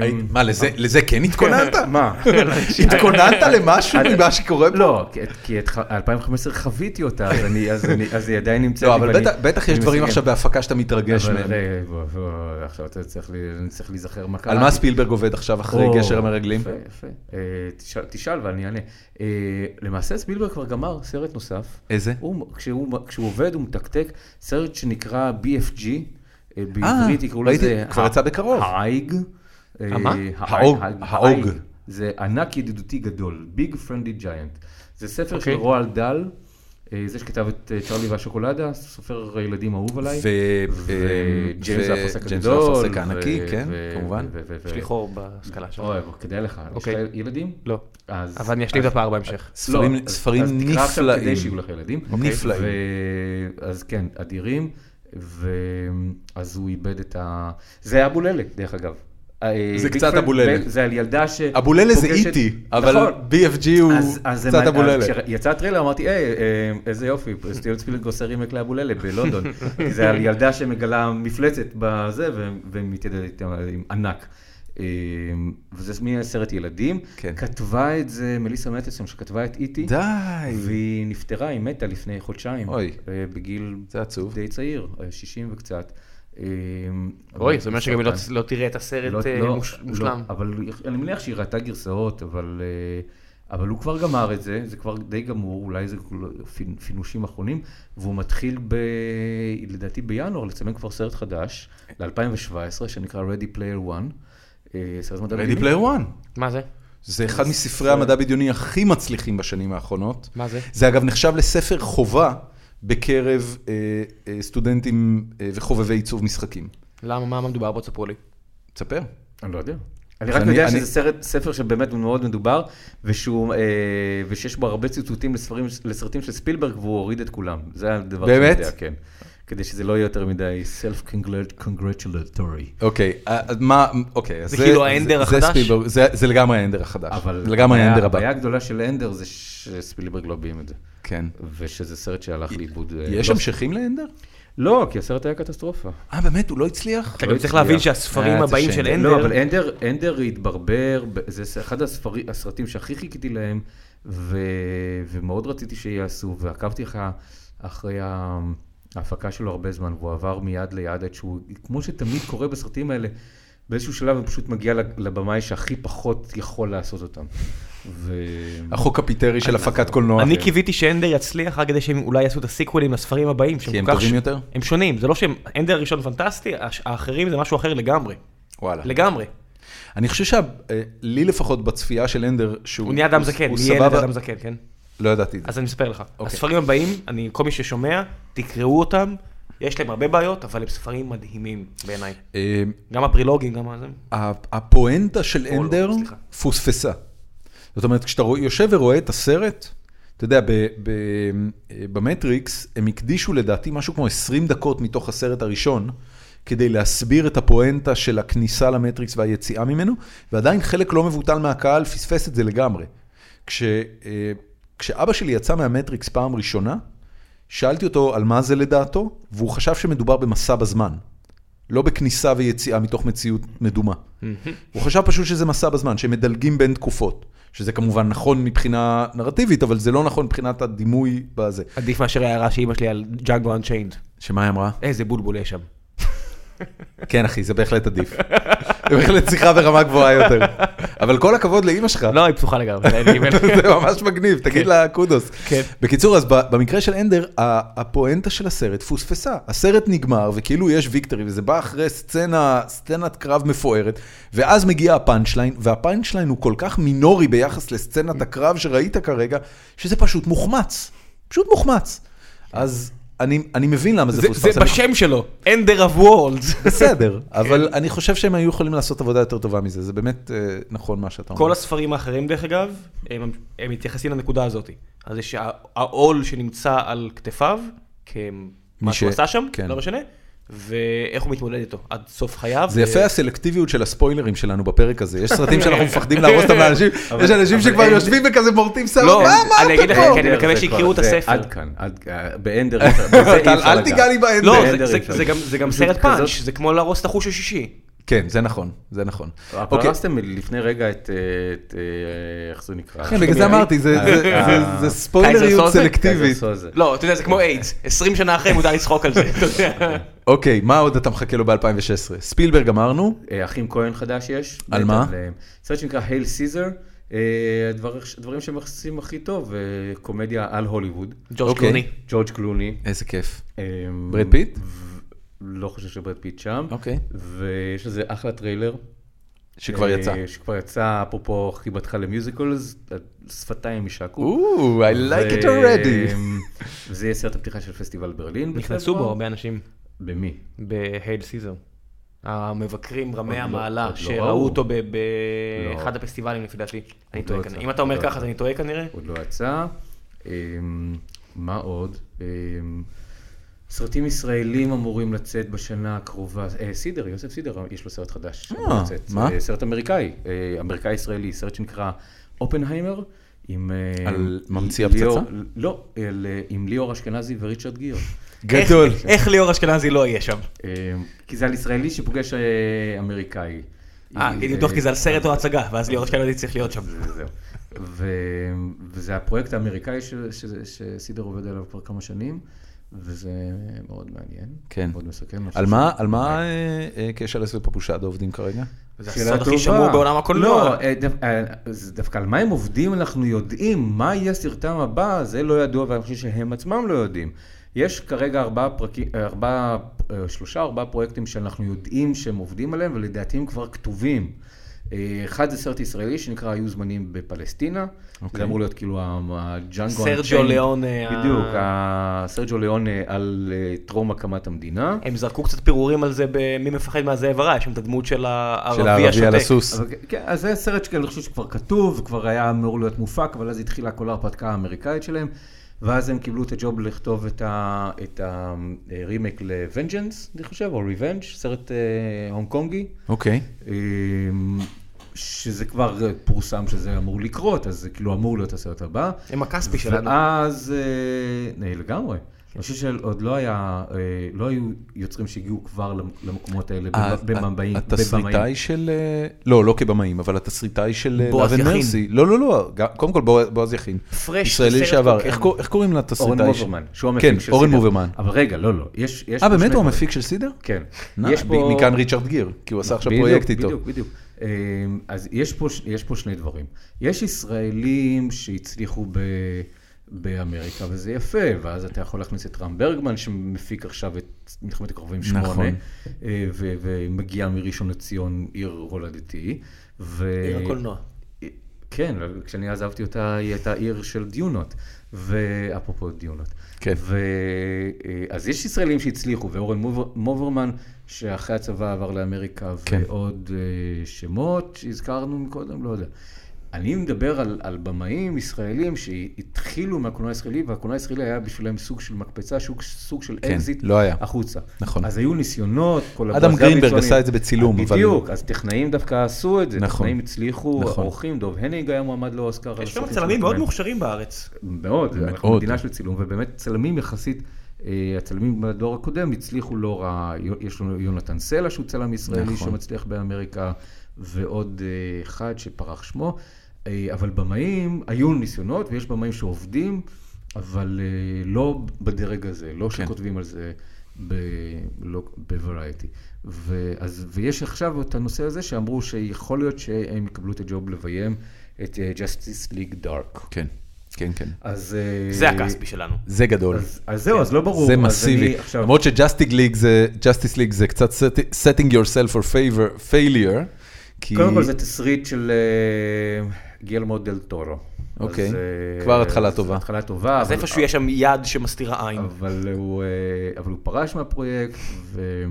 [SPEAKER 1] היי, מה, לזה- לזה כן התכוננת?
[SPEAKER 3] מה?
[SPEAKER 1] התכוננת למשהו ממה שקורה פה?
[SPEAKER 3] לא, כי- כי את ח- 2015 חוויתי אותה, אז אני- אז אני- אז היא עדיין נמצאת.
[SPEAKER 1] לא,
[SPEAKER 3] לי
[SPEAKER 1] אבל
[SPEAKER 3] ואני-
[SPEAKER 1] בטח- בטח יש
[SPEAKER 3] אני
[SPEAKER 1] דברים
[SPEAKER 3] מסיים.
[SPEAKER 1] עכשיו בהפקה שאתה מתרגש
[SPEAKER 3] אבל
[SPEAKER 1] מהם.
[SPEAKER 3] רגע, בוא, בוא, עכשיו אתה צריך ל- אני צריך להיזכר מה קרה.
[SPEAKER 1] על מה ספילברג עובד עכשיו אחרי
[SPEAKER 3] או,
[SPEAKER 1] גשר המרגלים?
[SPEAKER 3] יפה, יפה. אה, תשאל- תשאל ואני אענה. אה, למעשה ספילברג כבר גמר סרט נוסף.
[SPEAKER 1] איזה?
[SPEAKER 3] הוא- כשהוא כשהוא עובד הוא מתקתק, סרט שנקרא BFG, אה, בעברית יקראו
[SPEAKER 1] ראיתי,
[SPEAKER 3] לזה...
[SPEAKER 1] כבר
[SPEAKER 3] ה-
[SPEAKER 1] יצא בקרוב.
[SPEAKER 3] האייג. אה,
[SPEAKER 2] המה?
[SPEAKER 3] האייג-
[SPEAKER 1] האוג,
[SPEAKER 3] האייג.
[SPEAKER 1] האוג.
[SPEAKER 3] זה ענק ידידותי גדול, ביג פרנדלי ג'יינט. זה ספר של
[SPEAKER 2] אוקיי.
[SPEAKER 3] רועל דל, אה, זה שכתב את אה, צ'רלי והשוקולדה, סופר ילדים אהוב עליי.
[SPEAKER 1] אה,
[SPEAKER 3] וג'יימס האפרסק הגדול.
[SPEAKER 1] האפרסק
[SPEAKER 3] ו-
[SPEAKER 1] הענקי, כן,
[SPEAKER 3] ו-
[SPEAKER 1] כמובן.
[SPEAKER 3] ו- ו- ו-
[SPEAKER 2] יש לי חור בהשכלה שלו.
[SPEAKER 3] אוי, אבל כדאי לך. יש
[SPEAKER 2] אוקיי.
[SPEAKER 3] לך ילדים?
[SPEAKER 2] לא.
[SPEAKER 3] אז...
[SPEAKER 2] אבל אני אשלים את
[SPEAKER 3] אז-
[SPEAKER 2] הפער בהמשך.
[SPEAKER 1] ספרים-
[SPEAKER 3] לא, אז-
[SPEAKER 1] ספרים
[SPEAKER 3] אז תקרא עכשיו
[SPEAKER 1] נפלאים.
[SPEAKER 3] כדי שיהיו לך ילדים.
[SPEAKER 1] אוקיי. נפלאים.
[SPEAKER 3] ו- אז כן, אדירים. ואז הוא איבד את ה... זה היה אבוללה, דרך אגב. אה,
[SPEAKER 1] זה
[SPEAKER 3] ביג
[SPEAKER 1] קצת
[SPEAKER 3] פרנד-
[SPEAKER 1] אבוללה.
[SPEAKER 3] זה על ילדה ש...
[SPEAKER 1] אבוללה זה
[SPEAKER 3] פוגשת-
[SPEAKER 1] איטי, אבל
[SPEAKER 3] נכון.
[SPEAKER 1] BFG
[SPEAKER 3] אז-
[SPEAKER 1] הוא
[SPEAKER 3] אז זה
[SPEAKER 1] קצת
[SPEAKER 3] מה-
[SPEAKER 1] אבוללה.
[SPEAKER 3] אז כשיצא הטריילר אמרתי, היי, אה, איזה יופי, סטיון ספילג עושה רימק לאבוללה בלונדון. כי זה על ילדה שמגלה מפלצת בזה, ו- ומתיידדת איתה עם ענק. אה, וזה מין סרט ילדים.
[SPEAKER 1] כן.
[SPEAKER 3] כתבה את זה מליסה מטלסון, שכתבה את איטי.
[SPEAKER 1] די.
[SPEAKER 3] והיא נפטרה, היא מתה לפני חודשיים.
[SPEAKER 1] אוי.
[SPEAKER 3] אה, בגיל
[SPEAKER 1] זה עצוב.
[SPEAKER 3] די צעיר, אה, 60 וקצת. אה,
[SPEAKER 2] אוי, זאת אומרת שגם היא לא-
[SPEAKER 3] סרטן.
[SPEAKER 2] לא תראה את
[SPEAKER 3] לא-
[SPEAKER 2] הסרט אה,
[SPEAKER 3] לא,
[SPEAKER 2] מוש-
[SPEAKER 3] לא,
[SPEAKER 2] מושלם.
[SPEAKER 3] אבל אני מניח שהיא ראתה גרסאות, אבל, אה, אבל הוא כבר גמר את זה, זה כבר די גמור, אולי זה כולו- פינ- פינושים אחרונים, והוא מתחיל ב... לדעתי בינואר לצלם כבר סרט חדש,
[SPEAKER 2] אה.
[SPEAKER 3] ל-2017, שנקרא Ready Player One. אה, סרט מדע
[SPEAKER 1] רדי
[SPEAKER 3] בדיוני.
[SPEAKER 1] פלייר 1.
[SPEAKER 2] מה זה?
[SPEAKER 1] זה אחד מספרי
[SPEAKER 3] נכון.
[SPEAKER 1] המדע הבדיוני הכי מצליחים בשנים האחרונות.
[SPEAKER 2] מה זה?
[SPEAKER 1] זה אגב נחשב לספר חובה בקרב אה, אה, סטודנטים אה, וחובבי עיצוב משחקים.
[SPEAKER 2] למה, מה מה מדובר? בוא תספרו לי.
[SPEAKER 1] תספר.
[SPEAKER 3] אני לא יודע. אני
[SPEAKER 1] אז
[SPEAKER 3] רק
[SPEAKER 1] אני-
[SPEAKER 3] יודע
[SPEAKER 1] אני-
[SPEAKER 3] שזה סרט, ספר שבאמת הוא מאוד מדובר, ושהוא, אה, ושיש בו הרבה ציטוטים לספרים, לסרטים של ספילברג, והוא הוריד את כולם. זה הדבר
[SPEAKER 1] באמת?
[SPEAKER 3] שאני יודע, כן. כדי שזה לא יהיה יותר מדי self-congratulatory.
[SPEAKER 1] אוקיי, אז מה, אוקיי. אז
[SPEAKER 2] זה כאילו האנדר
[SPEAKER 1] זה
[SPEAKER 2] החדש?
[SPEAKER 1] ספילברג, זה- זה לגמרי האנדר החדש.
[SPEAKER 3] אבל
[SPEAKER 1] זה לגמרי
[SPEAKER 3] הבעיה-
[SPEAKER 1] האנדר הבא.
[SPEAKER 3] הבעיה הגדולה של אנדר זה שספילברג לא ביים את זה.
[SPEAKER 1] כן.
[SPEAKER 3] ושזה סרט שהלך לאיבוד. אה,
[SPEAKER 1] יש
[SPEAKER 3] לא-
[SPEAKER 1] המשכים לאנדר?
[SPEAKER 3] לא, כי הסרט היה קטסטרופה.
[SPEAKER 1] אה, באמת? הוא לא הצליח?
[SPEAKER 3] כן.
[SPEAKER 2] אתה גם צריך להבין שהספרים
[SPEAKER 1] אה, זה
[SPEAKER 2] הבאים
[SPEAKER 1] שם.
[SPEAKER 2] של
[SPEAKER 3] לא,
[SPEAKER 2] אנדר,
[SPEAKER 3] אבל אנדר, אנדר התברבר, ב- זה ס- אחד הספרי, הסרטים שהכי חיכיתי להם, ו, ומאוד רציתי שיעשו, ועקבתי לך אחרי ה- ההפקה שלו הרבה זמן, והוא עבר מיד ליד עד שהוא, כמו שתמיד קורה בסרטים האלה, באיזשהו שלב הוא פשוט מגיע לג- לבמאי שהכי פחות יכול לעשות אותם. ו...
[SPEAKER 1] החוק הפיטרי של הפקת קולנוע. כן.
[SPEAKER 2] אני קיוויתי שאנדר יצליח רק כדי שהם אולי יעשו את הסיקוולים לספרים הבאים. שהם
[SPEAKER 1] כי הם
[SPEAKER 2] כל כך
[SPEAKER 1] טובים
[SPEAKER 2] ש-
[SPEAKER 1] יותר?
[SPEAKER 2] הם שונים, זה לא שהם, אנדר הראשון פנטסטי, הש- האחרים זה משהו אחר לגמרי.
[SPEAKER 1] וואלה.
[SPEAKER 2] לגמרי.
[SPEAKER 1] אני חושב שלי לפחות בצפייה של אנדר, שהוא...
[SPEAKER 2] הוא נהיה אדם
[SPEAKER 1] הוא-
[SPEAKER 2] זקן,
[SPEAKER 1] הוא
[SPEAKER 2] נהיה
[SPEAKER 1] סבבה.
[SPEAKER 2] אדם זקן, כן?
[SPEAKER 1] לא ידעתי את זה.
[SPEAKER 2] אז אני מספר לך.
[SPEAKER 1] אוקיי.
[SPEAKER 2] הספרים הבאים, אני, כל מי ששומע, תקראו אותם, יש להם הרבה בעיות, אבל הם ספרים מדהימים בעיניי.
[SPEAKER 1] אה,
[SPEAKER 2] גם הפרילוגים, גם הזה.
[SPEAKER 1] ה- הפואנטה של
[SPEAKER 2] פרולוג,
[SPEAKER 1] אנדר
[SPEAKER 2] סליחה.
[SPEAKER 1] פוספסה. זאת אומרת, כשאתה רוא- יושב ורואה את הסרט, אתה יודע, ב- ב- אה, במטריקס הם הקדישו לדעתי משהו כמו 20 דקות מתוך הסרט הראשון. כדי להסביר את הפואנטה של הכניסה למטריקס והיציאה ממנו, ועדיין חלק לא מבוטל מהקהל פספס את זה לגמרי. כש, אה, כשאבא שלי יצא מהמטריקס פעם ראשונה, שאלתי אותו על מה זה לדעתו, והוא חשב שמדובר במסע בזמן. לא בכניסה ויציאה מתוך מציאות מדומה. הוא חשב פשוט שזה מסע בזמן, שהם מדלגים בין תקופות. שזה כמובן נכון מבחינה נרטיבית, אבל זה לא נכון מבחינת הדימוי בזה.
[SPEAKER 2] עדיף מאשר ההערה של אמא שלי על ג'אגו אנצ'יינד.
[SPEAKER 1] שמה היא אמרה?
[SPEAKER 2] איזה בולבול יש שם.
[SPEAKER 1] כן, אחי, זה בהחלט עדיף. זה בהחלט שיחה ברמה גבוהה יותר. אבל כל הכבוד לאימא שלך.
[SPEAKER 2] לא, היא פתוחה לגמרי. זה אני-
[SPEAKER 1] זה ממש מגניב, תגיד לה קודוס.
[SPEAKER 2] כן.
[SPEAKER 1] בקיצור, אז ב- במקרה של אנדר, ה- הפואנטה של הסרט פוספסה. הסרט נגמר, וכאילו יש ויקטורי, וזה בא אחרי סצנה, סצנת קרב מפוארת, ואז מגיע הפאנצ' ליין, והפאנצ' ליין הוא כל כך מינורי ביחס לסצנת הקרב שראית כרגע, שזה פשוט מוחמץ. פשוט מוחמץ. אז אני, אני מבין למה זה,
[SPEAKER 2] זה-
[SPEAKER 1] פוספס.
[SPEAKER 2] זה
[SPEAKER 1] אני-
[SPEAKER 2] בשם כן. שלו, Ender of Worlds.
[SPEAKER 1] בסדר, אבל אני חושב שהם היו יכולים לעשות עבודה יותר טובה מזה, זה באמת אה, נכון מה שאתה אומר.
[SPEAKER 2] כל הספרים האחרים, דרך אגב, הם הם מתייחסים לנקודה הזאת. אז יש ה- העול שנמצא על כתפיו, כמה
[SPEAKER 1] ש-
[SPEAKER 2] שהוא עשה שם,
[SPEAKER 1] כן.
[SPEAKER 2] לא משנה, ואיך הוא מתמודד איתו עד סוף חייו. אה,
[SPEAKER 1] זה
[SPEAKER 2] ו-
[SPEAKER 1] יפה הסלקטיביות של הספוילרים שלנו בפרק הזה. יש סרטים שאנחנו מפחדים להרוס אותם לאנשים, יש אנשים שכבר יושבים וכזה מורטים סם,
[SPEAKER 2] לא,
[SPEAKER 1] מה, מה
[SPEAKER 2] אני אגיד
[SPEAKER 1] אתה
[SPEAKER 2] לך,
[SPEAKER 1] פה?
[SPEAKER 2] כן, אני מקווה
[SPEAKER 3] זה
[SPEAKER 2] שיקראו
[SPEAKER 3] כבר-
[SPEAKER 2] את
[SPEAKER 3] זה
[SPEAKER 2] הספר.
[SPEAKER 3] עד כאן, עד- אה, באנדר, אי אפשר- בזה אי
[SPEAKER 1] טל,
[SPEAKER 3] אפשר
[SPEAKER 1] אל
[SPEAKER 3] לגעת.
[SPEAKER 1] תיגע לי באנדר.
[SPEAKER 2] לא, זה-
[SPEAKER 3] באנדר
[SPEAKER 2] זה-
[SPEAKER 3] אפשר.
[SPEAKER 2] זה גם- זה גם
[SPEAKER 3] פשוט
[SPEAKER 2] סרט פאנץ',
[SPEAKER 3] כזאת-
[SPEAKER 2] זה כמו להרוס את החוש השישי.
[SPEAKER 1] כן, זה נכון, זה נכון.
[SPEAKER 3] אבל לא
[SPEAKER 1] אוקיי,
[SPEAKER 3] הרסתם לפני רגע את, אה, את, אה, איך זה נקרא?
[SPEAKER 1] כן, בגלל זה אמרתי, זה-
[SPEAKER 3] אה,
[SPEAKER 1] זה- זה-
[SPEAKER 3] אה,
[SPEAKER 1] זה ספוילריות
[SPEAKER 2] סולזה?
[SPEAKER 1] סלקטיבית.
[SPEAKER 3] קייזר סוזה.
[SPEAKER 2] לא, אתה יודע, זה כמו איידס, 20 שנה אחרי מותר לצחוק על זה, אתה יודע.
[SPEAKER 1] אוקיי, מה עוד אתה מחכה לו ב-2016? ספילברג אמרנו,
[SPEAKER 3] אה, אחים כהן חדש יש.
[SPEAKER 1] על
[SPEAKER 3] מת
[SPEAKER 1] מה?
[SPEAKER 3] עליהם. סרט שנקרא הייל סיזר, הדברים שמכסים הכי טוב, אה, קומדיה על הוליווד.
[SPEAKER 2] ג'ורג'
[SPEAKER 1] אוקיי.
[SPEAKER 2] קלוני.
[SPEAKER 3] ג'ורג' קלוני.
[SPEAKER 1] איזה כיף.
[SPEAKER 3] אה,
[SPEAKER 1] ברד פיט?
[SPEAKER 3] ו- לא חושב שברד פיט שם.
[SPEAKER 1] אוקיי.
[SPEAKER 3] ויש לזה אחלה טריילר.
[SPEAKER 1] שכבר
[SPEAKER 3] אה,
[SPEAKER 1] יצא.
[SPEAKER 3] שכבר יצא, אפרופו חיבתך למיוזיקלס, השפתיים יישקו.
[SPEAKER 1] או, I like
[SPEAKER 3] אה,
[SPEAKER 1] it already.
[SPEAKER 3] ו- וזה יהיה סרט הפתיחה של פסטיבל ברלין.
[SPEAKER 2] נכנסו בו
[SPEAKER 3] בפברואר.
[SPEAKER 2] הרבה אנשים
[SPEAKER 3] במי?
[SPEAKER 2] בהייל סיזר. המבקרים רמי
[SPEAKER 3] עוד לא-
[SPEAKER 2] המעלה,
[SPEAKER 3] עוד לא
[SPEAKER 2] שראו
[SPEAKER 3] ראו.
[SPEAKER 2] אותו ב-
[SPEAKER 3] לא.
[SPEAKER 2] באחד הפסטיבלים לפי דעתי. אני טועה
[SPEAKER 3] לא
[SPEAKER 2] כנראה.
[SPEAKER 3] יצא,
[SPEAKER 2] אם אתה אומר
[SPEAKER 3] לא
[SPEAKER 2] ככה
[SPEAKER 3] יצא.
[SPEAKER 2] אז אני טועה כנראה.
[SPEAKER 3] עוד לא יצא. אמ, מה עוד? אמ, סרטים ישראלים אמורים לצאת בשנה הקרובה. אה, סידר, יוסף סידר, יש לו סרט חדש.
[SPEAKER 1] אה,
[SPEAKER 3] אמור לצאת.
[SPEAKER 1] מה?
[SPEAKER 3] אה, סרט אמריקאי, אה, אמריקאי-ישראלי, סרט שנקרא אופנהיימר. עם... אה,
[SPEAKER 1] על ממציא
[SPEAKER 3] ליאור-
[SPEAKER 1] הפצצה?
[SPEAKER 3] לא, אל- אה, עם ליאור אשכנזי וריצ'רד גיר.
[SPEAKER 1] גדול.
[SPEAKER 2] איך- איך ליאור אשכנזי לא יהיה שם?
[SPEAKER 3] אה, כי זה על ישראלי שפוגש אה, אמריקאי.
[SPEAKER 2] אה, נבדוק כי זה על סרט או הצגה, ואז ליאור אשכנזי צריך להיות שם.
[SPEAKER 3] וזהו. ו- וזה הפרויקט האמריקאי ש- ש- שסידר עובד עליו כבר כמה שנים, וזה מאוד מעניין.
[SPEAKER 1] כן.
[SPEAKER 3] מאוד מסכן. אני
[SPEAKER 1] על
[SPEAKER 3] חושב
[SPEAKER 1] מה,
[SPEAKER 3] ש-
[SPEAKER 1] על מה אה, אה, קשלס ופפושדו עובדים כרגע?
[SPEAKER 2] זה
[SPEAKER 3] שאלה
[SPEAKER 2] הסוד הכי
[SPEAKER 3] טובה.
[SPEAKER 2] שמור בעולם הקולנוע.
[SPEAKER 3] לא, אה, דו- אה, זה דווקא על מה הם עובדים אנחנו יודעים, מה יהיה סרטם הבא, זה לא ידוע, ואני חושב שהם עצמם לא יודעים. יש כרגע ארבעה פרקים, ארבעה, אה, שלושה, ארבעה פרויקטים שאנחנו יודעים שהם עובדים עליהם, ולדעתי הם כבר כתובים. אה, אחד זה סרט ישראלי שנקרא היו זמנים בפלסטינה, זה אמור להיות כאילו הג'אנגו...
[SPEAKER 2] סרג'יו אוקיי. ליאון, אה,
[SPEAKER 3] בדיוק, ה- סרג'יו ליאון אה, על אה, טרום הקמת המדינה.
[SPEAKER 2] הם זרקו קצת פירורים על זה במי מפחד מהזאב הרע, יש שם את הדמות של
[SPEAKER 1] של
[SPEAKER 2] הערבי
[SPEAKER 1] הערבי על
[SPEAKER 2] השותק.
[SPEAKER 1] הסוס.
[SPEAKER 3] אבל כן, אז זה סרט שאני חושב שכבר כתוב, כבר היה אמור להיות מופק, אבל אז התחילה כל ההרפתקה האמריקאית שלהם. ואז הם קיבלו את הג'וב לכתוב את הרימק ל-Vengeance, אני חושב, או Revenge, סרט אה, הונג קונגי.
[SPEAKER 1] אוקיי.
[SPEAKER 3] אמ, שזה כבר אה, פורסם שזה אמור לקרות, אז זה כאילו אמור להיות הסרט הבא.
[SPEAKER 2] הם הכספי שלנו.
[SPEAKER 3] ואז, אה, אה, לגמרי. אני חושב שעוד לא היה, אה, לא היו יוצרים שהגיעו כבר למ- למקומות האלה
[SPEAKER 1] ה-
[SPEAKER 3] במ- במאים.
[SPEAKER 1] אה, התסריטאי של... אה, לא, לא כבמאים, אבל התסריטאי של אה,
[SPEAKER 2] בועז
[SPEAKER 1] Love and
[SPEAKER 2] יכין.
[SPEAKER 1] Mercy. לא, לא, לא, גם- קודם כל בועז- בועז יכין.
[SPEAKER 2] פרש,
[SPEAKER 1] ישראלי
[SPEAKER 2] סרט
[SPEAKER 1] לשעבר.
[SPEAKER 2] חוקר.
[SPEAKER 1] איך קור- איך קוראים
[SPEAKER 3] אורן
[SPEAKER 1] לתסריטאי? ש-
[SPEAKER 3] מוברמן, שהוא המפיק
[SPEAKER 1] כן,
[SPEAKER 3] של
[SPEAKER 1] אורן
[SPEAKER 3] סידר.
[SPEAKER 1] מוברמן.
[SPEAKER 3] אבל רגע, לא, לא. יש, יש
[SPEAKER 1] אה,
[SPEAKER 3] פה שני
[SPEAKER 1] באמת הוא
[SPEAKER 3] דברים.
[SPEAKER 1] המפיק של סידר?
[SPEAKER 3] כן.
[SPEAKER 1] נא, ב- מכאן ריצ'רד גיר, כי הוא עשה עכשיו
[SPEAKER 3] בדיוק,
[SPEAKER 1] פרויקט איתו.
[SPEAKER 3] בדיוק, בדיוק. אמ, אז יש פה, ש- יש פה שני דברים. יש ישראלים שהצליחו ב... באמריקה, וזה יפה, ואז אתה יכול להכניס את רם ברגמן, שמפיק עכשיו את מלחמת הקרובים שמונה,
[SPEAKER 1] נכון.
[SPEAKER 3] אה, ו- ומגיע מראשון לציון, עיר הולדתי. ו...
[SPEAKER 2] עיר הקולנוע.
[SPEAKER 3] כן, אבל כשאני עזבתי אותה, היא הייתה עיר של דיונות, ואפרופו דיונות.
[SPEAKER 1] כן.
[SPEAKER 3] ו... אה, אז יש ישראלים שהצליחו, ואורן מובר... מוברמן, שאחרי הצבא עבר לאמריקה,
[SPEAKER 1] כן.
[SPEAKER 3] כן. ועוד אה, שמות שהזכרנו מקודם, לא יודע. אני מדבר על, על במאים ישראלים שהתחילו מהקולנוע הישראלי, והקולנוע הישראלי היה בשבילם סוג של מקפצה, סוג, סוג של
[SPEAKER 1] כן,
[SPEAKER 3] אקזיט
[SPEAKER 1] לא היה.
[SPEAKER 3] החוצה.
[SPEAKER 1] נכון.
[SPEAKER 3] אז היו ניסיונות, כל
[SPEAKER 1] אדם
[SPEAKER 3] הבועז
[SPEAKER 1] גרינברג
[SPEAKER 3] דוידסונים.
[SPEAKER 1] עשה את זה בצילום, אבל-
[SPEAKER 3] בדיוק, אז טכנאים דווקא עשו את זה,
[SPEAKER 1] נכון.
[SPEAKER 3] טכנאים הצליחו,
[SPEAKER 1] נכון.
[SPEAKER 3] עורכים, דוב הניג היה מועמד לאוסקר. על
[SPEAKER 2] יש שם
[SPEAKER 3] הסרטים
[SPEAKER 2] צלמים
[SPEAKER 3] שהוא
[SPEAKER 2] מאוד
[SPEAKER 3] קיבל.
[SPEAKER 2] מוכשרים בארץ.
[SPEAKER 3] מאוד,
[SPEAKER 1] מאוד.
[SPEAKER 3] אנחנו מדינה של צילום, ובאמת צלמים יחסית, אה, הצלמים בדור הקודם הצליחו לא רע, יש לנו יונתן סלע שהוא צלם ישראלי
[SPEAKER 1] נכון.
[SPEAKER 3] שמצליח באמריקה, ועוד אה, אחד שפרח שמו, אה, אבל במאים, היו ניסיונות ויש במאים שעובדים, אבל אה, לא בדרג הזה, לא שכותבים על זה. ב- לא- בוורייטי. ואז- ויש עכשיו את הנושא הזה שאמרו שיכול להיות שהם יקבלו את הג'וב לביים את אה, Justice League Dark.
[SPEAKER 1] כן, כן, כן.
[SPEAKER 3] אז... אה,
[SPEAKER 2] זה הכספי שלנו.
[SPEAKER 1] זה גדול.
[SPEAKER 3] אז, אז זהו, אז לא ברור.
[SPEAKER 1] זה
[SPEAKER 3] אז
[SPEAKER 1] מסיבי.
[SPEAKER 3] אני עכשיו-
[SPEAKER 1] למרות שג'סטיג ליג זה, Justice League זה קצת set- setting yourself for favor, failure, כי...
[SPEAKER 3] קודם כל זה תסריט של אה, גילמו דל טורו.
[SPEAKER 1] אוקיי.
[SPEAKER 3] אז, אה,
[SPEAKER 1] כבר התחלה
[SPEAKER 3] אז
[SPEAKER 1] טובה.
[SPEAKER 3] התחלה טובה.
[SPEAKER 2] אז
[SPEAKER 3] אבל-
[SPEAKER 2] איפשהו יש שם יד שמסתירה עין.
[SPEAKER 3] אבל הוא, אה, אבל הוא פרש מהפרויקט, ו...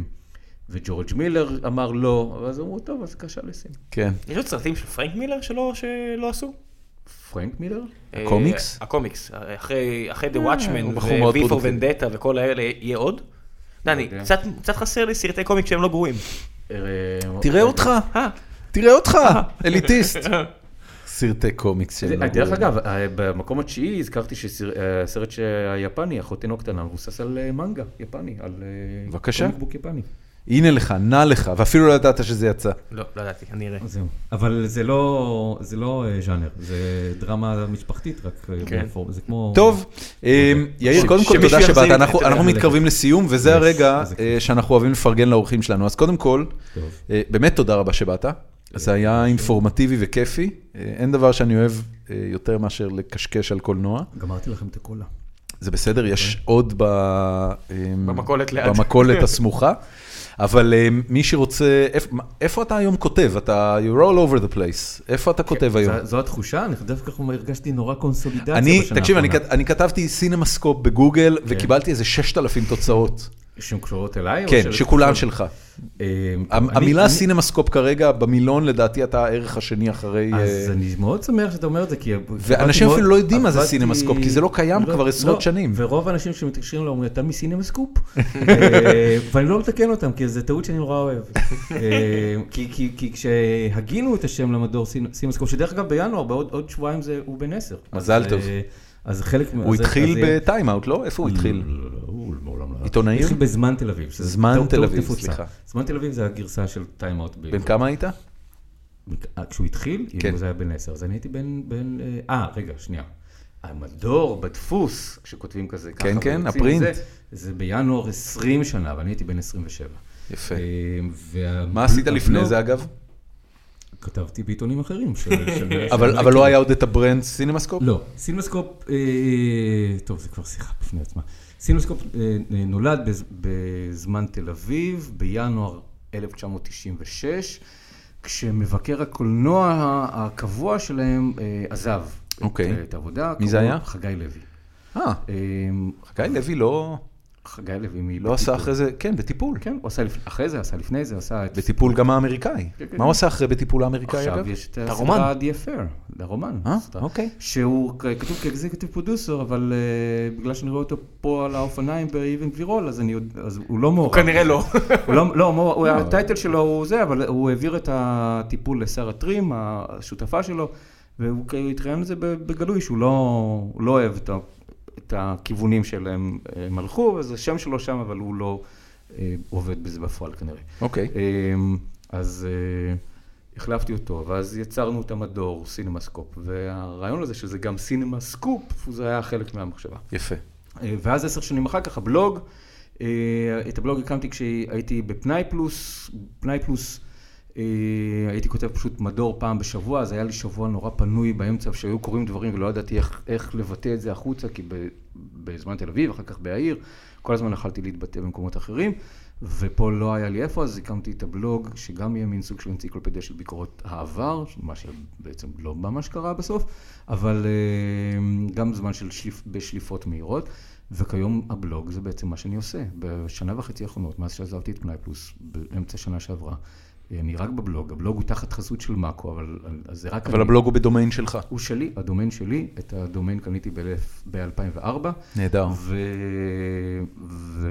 [SPEAKER 3] וג'ורג' מילר אמר לא, ואז אמרו, טוב, אז קשה לסין.
[SPEAKER 1] כן.
[SPEAKER 2] יש עוד סרטים של פרנק מילר שלא שלא עשו?
[SPEAKER 3] פרנק מילר?
[SPEAKER 1] הקומיקס?
[SPEAKER 2] אה, הקומיקס. אחרי אחרי The Watchmen
[SPEAKER 1] הוא בחור מאוד
[SPEAKER 2] ו-V for
[SPEAKER 1] פרודוקטיבי.
[SPEAKER 2] Vendetta וכל האלה, יהיה עוד? דני,
[SPEAKER 3] יודע.
[SPEAKER 2] קצת- קצת חסר לי סרטי קומיקס שהם לא גרועים.
[SPEAKER 3] אה,
[SPEAKER 1] תראה אותך,
[SPEAKER 2] אה,
[SPEAKER 1] תראה אותך, אליטיסט. סרטי קומיקס
[SPEAKER 3] זה-
[SPEAKER 1] של... לא
[SPEAKER 3] דרך
[SPEAKER 1] גרועים.
[SPEAKER 3] אגב, אה, במקום התשיעי הזכרתי אה, שהסרט היפני, החותנו קטנה, מבוסס על אה, מנגה יפני, על אה,
[SPEAKER 1] בבקשה.
[SPEAKER 3] קומיק בוק יפני.
[SPEAKER 1] הנה לך, נע לך, ואפילו לא ידעת שזה יצא.
[SPEAKER 2] לא, לא ידעתי, אני אראה.
[SPEAKER 7] זהו. אבל זה לא, זה לא אה, ז'אנר, זה דרמה משפחתית, רק אה,
[SPEAKER 2] כן.
[SPEAKER 7] בפורום. זה כמו...
[SPEAKER 1] טוב, אה, יאיר, קודם כל
[SPEAKER 2] שמישהו
[SPEAKER 1] תודה
[SPEAKER 2] יחזיר
[SPEAKER 1] שבאת,
[SPEAKER 2] את זה,
[SPEAKER 1] אנחנו
[SPEAKER 2] אתה יודע,
[SPEAKER 1] אנחנו
[SPEAKER 7] ללכת.
[SPEAKER 1] מתקרבים לסיום, וזה
[SPEAKER 7] Yes,
[SPEAKER 1] הרגע
[SPEAKER 7] איזה כיף.
[SPEAKER 1] אה, שאנחנו אוהבים לפרגן לאורחים שלנו. אז קודם כל,
[SPEAKER 7] טוב.
[SPEAKER 1] אה, באמת תודה רבה שבאת, זה היה אינפורמטיבי וכיפי, אה, אין דבר שאני אוהב אה, יותר מאשר לקשקש על קולנוע.
[SPEAKER 7] גמרתי לכם את הקולה.
[SPEAKER 1] זה בסדר, יש עוד ב... אמ,
[SPEAKER 2] במכולת ליד.
[SPEAKER 1] במכולת הסמוכה. אבל אמ, מי שרוצה, איפ- מה- איפה אתה היום כותב? אתה, you roll over the place. איפה
[SPEAKER 3] כן,
[SPEAKER 1] אתה כותב היום?
[SPEAKER 7] כן, זו- זו התחושה, אני דווקא הרגשתי נורא קונסולידציה בשנה
[SPEAKER 1] אני,
[SPEAKER 7] האחרונה.
[SPEAKER 1] תקשיב, אני כת- אני כתבתי סינמסקופ בגוגל וקיבלתי איזה 6,000 תוצאות.
[SPEAKER 3] שהן קשורות אליי? או
[SPEAKER 1] כן,
[SPEAKER 3] של-
[SPEAKER 1] שכולן שלך.
[SPEAKER 3] אה, טוב,
[SPEAKER 1] המ-
[SPEAKER 3] אני-
[SPEAKER 1] המילה
[SPEAKER 3] אני-
[SPEAKER 1] סינמסקופ כרגע, במילון לדעתי אתה הערך השני אחרי...
[SPEAKER 7] אז
[SPEAKER 1] אה,
[SPEAKER 7] אני מאוד שמח שאתה אומר את זה, כי...
[SPEAKER 1] ואנשים
[SPEAKER 7] עבדתי
[SPEAKER 1] אפילו לא יודעים מה זה
[SPEAKER 7] עבדתי-
[SPEAKER 1] סינמסקופ, כי זה לא קיים כבר עשרות שנים.
[SPEAKER 7] ורוב האנשים שמתקשרים אליי אומרים, אתה מסינמסקופ? אה, ואני לא מתקן אותם, כי זו טעות שאני נורא אוהב. אה, כי- כי כי כשהגינו את השם למדור סינ- סינמסקופ, שדרך אגב בינואר, בעוד עוד שבועיים זה- הוא בן עשר.
[SPEAKER 1] מזל
[SPEAKER 7] אז,
[SPEAKER 1] טוב.
[SPEAKER 7] אה, אז חלק...
[SPEAKER 1] הוא
[SPEAKER 7] אז- אז-
[SPEAKER 1] התחיל בטיימאוט, לא? איפה הוא התחיל?
[SPEAKER 7] לא, לא, לא, הוא מעולם לא...
[SPEAKER 1] עיתונאי?
[SPEAKER 7] התחיל בזמן תל אביב. שזה
[SPEAKER 1] זמן
[SPEAKER 7] טעות-
[SPEAKER 1] תל
[SPEAKER 7] טעות
[SPEAKER 1] אביב,
[SPEAKER 7] נפוצה.
[SPEAKER 1] סליחה.
[SPEAKER 7] זמן תל אביב זה הגרסה של טיימאוט.
[SPEAKER 1] בן כמה היית?
[SPEAKER 7] כשהוא התחיל,
[SPEAKER 1] כן.
[SPEAKER 7] אם זה היה בן עשר, אז אני הייתי בן... בן, אה, אה, רגע, שנייה.
[SPEAKER 3] המדור בדפוס, כשכותבים כזה ככה.
[SPEAKER 1] כן, כן,
[SPEAKER 3] ורוצים
[SPEAKER 1] הפרינט.
[SPEAKER 3] זה,
[SPEAKER 7] זה בינואר 20 שנה, ואני הייתי בן 27.
[SPEAKER 1] יפה.
[SPEAKER 7] אה, וה-
[SPEAKER 3] לא,
[SPEAKER 1] מה עשית לפני
[SPEAKER 7] הבלוג-
[SPEAKER 1] זה אגב?
[SPEAKER 7] כתבתי בעיתונים אחרים. של- של-
[SPEAKER 1] אבל
[SPEAKER 7] של-
[SPEAKER 1] אבל לא היה עוד את הברנד סינמסקופ?
[SPEAKER 7] לא, סינמסקופ, אה, אה, טוב, זה כבר שיחה בפני עצמה. סינמסקופ אה, אה, נולד בז- בזמן תל אביב, בינואר
[SPEAKER 3] 1996, כשמבקר הקולנוע ה- הקבוע שלהם אה, עזב
[SPEAKER 1] אוקיי.
[SPEAKER 3] את, את העבודה.
[SPEAKER 1] מי זה
[SPEAKER 3] קראו לו
[SPEAKER 1] היה?
[SPEAKER 3] חגי לוי.
[SPEAKER 1] אה,
[SPEAKER 3] אה,
[SPEAKER 1] חגי לוי לא...
[SPEAKER 8] חגי לוי מ...
[SPEAKER 1] לא עשה אחרי זה, כן, בטיפול.
[SPEAKER 8] כן, הוא עשה לפ- אחרי זה, עשה לפני זה, עשה את...
[SPEAKER 1] בטיפול גם האמריקאי.
[SPEAKER 8] כן.
[SPEAKER 1] מה הוא עשה אחרי בטיפול האמריקאי, אגב?
[SPEAKER 8] עכשיו יש את
[SPEAKER 2] הרומן.
[SPEAKER 8] הסדרה The Affair, הרומן.
[SPEAKER 1] אה,
[SPEAKER 8] סדרה.
[SPEAKER 1] אוקיי.
[SPEAKER 8] שהוא... כ-
[SPEAKER 3] כתוב כאקזקטיב פרודוסר, אבל אה, בגלל שאני רואה אותו פה על האופניים באבן גבירול, אז אני יודע, אז הוא לא
[SPEAKER 2] הוא
[SPEAKER 3] מעורב.
[SPEAKER 2] כנראה לא.
[SPEAKER 3] הוא לא, לא, הוא- הוא- הטייטל שלו הוא זה, אבל הוא העביר את הטיפול לשרה טרים, השותפה שלו, והוא כאילו התראיין לזה בגלוי, שהוא לא, הוא לא אוהב את, ה, את הכיוונים שלהם הם הלכו, אז השם שלו שם, אבל הוא לא אה, עובד בזה בפועל כנראה.
[SPEAKER 1] אוקיי.
[SPEAKER 3] אמ, אז אה, החלפתי אותו, ואז יצרנו את המדור, סינמסקופ, והרעיון הזה שזה גם סינמסקופ, זה היה חלק מהמחשבה.
[SPEAKER 1] יפה.
[SPEAKER 3] אה, ואז עשר שנים אחר כך הבלוג, אה, את הבלוג הקמתי כשהייתי בפנאי פלוס, פנאי פלוס אה, הייתי כותב פשוט מדור פעם בשבוע, אז היה לי שבוע נורא פנוי באמצע, שהיו קורים דברים ולא ידעתי איך, איך לבטא את זה החוצה, כי ב, בזמן תל אביב, אחר כך בהעיר, כל הזמן יכלתי להתבטא במקומות אחרים, ופה לא היה לי איפה, אז הקמתי את הבלוג, שגם יהיה מין סוג של אנציקלופדיה של ביקורות העבר, מה שבעצם לא ממש קרה בסוף, אבל אה, גם זמן של שליפ, בשליפות מהירות. וכיום הבלוג זה בעצם מה שאני עושה. בשנה וחצי האחרונות, מאז שעזבתי את פנאי פלוס, באמצע שנה שעברה, אני רק בבלוג. הבלוג הוא תחת חסות של מאקו, אבל אז זה רק...
[SPEAKER 1] אבל
[SPEAKER 3] אני.
[SPEAKER 1] הבלוג הוא בדומיין שלך.
[SPEAKER 3] הוא שלי, הדומיין שלי, את הדומיין קניתי ב-2004.
[SPEAKER 1] נהדר.
[SPEAKER 3] ו... ו...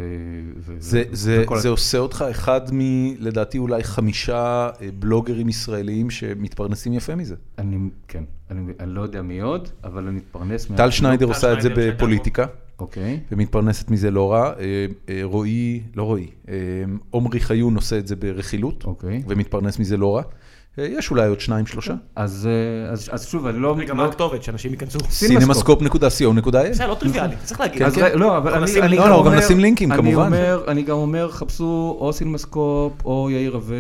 [SPEAKER 3] ו...
[SPEAKER 1] זה, זה,
[SPEAKER 3] וכל-
[SPEAKER 1] זה עושה אותך אחד מלדעתי אולי חמישה אה, בלוגרים ישראלים שמתפרנסים יפה מזה.
[SPEAKER 3] אני, כן, אני, אני לא יודע מי עוד, אבל אני מתפרנס מה...
[SPEAKER 1] טל שניידר עושה את זה
[SPEAKER 2] שניידר,
[SPEAKER 1] בפוליטיקה,
[SPEAKER 3] אוקיי.
[SPEAKER 1] ומתפרנסת מזה לא רע. אה, אה, רועי, לא רועי, אה, עומרי חיון עושה את זה ברכילות,
[SPEAKER 3] אוקיי.
[SPEAKER 1] ומתפרנס מזה לא רע. אה, יש אולי עוד שניים, שלושה.
[SPEAKER 3] אז, אה, אז, אז שוב, אני לא...
[SPEAKER 2] רגע,
[SPEAKER 3] לא-
[SPEAKER 2] מה הכתובת? שאנשים ייכנסו.
[SPEAKER 1] cinemascope.co.il
[SPEAKER 2] זה לא טריוויאלי, צריך להגיד.
[SPEAKER 3] כן, אז ר- לא, אבל
[SPEAKER 2] אנחנו
[SPEAKER 3] אני,
[SPEAKER 2] נשים
[SPEAKER 3] אני
[SPEAKER 2] לינק.
[SPEAKER 1] לא, לא,
[SPEAKER 3] גם
[SPEAKER 1] גם
[SPEAKER 3] אומר-
[SPEAKER 1] נשים לינקים,
[SPEAKER 3] אני
[SPEAKER 1] כמובן.
[SPEAKER 3] אומר, אני גם אומר, חפשו או סינמסקופ או יאיר רווה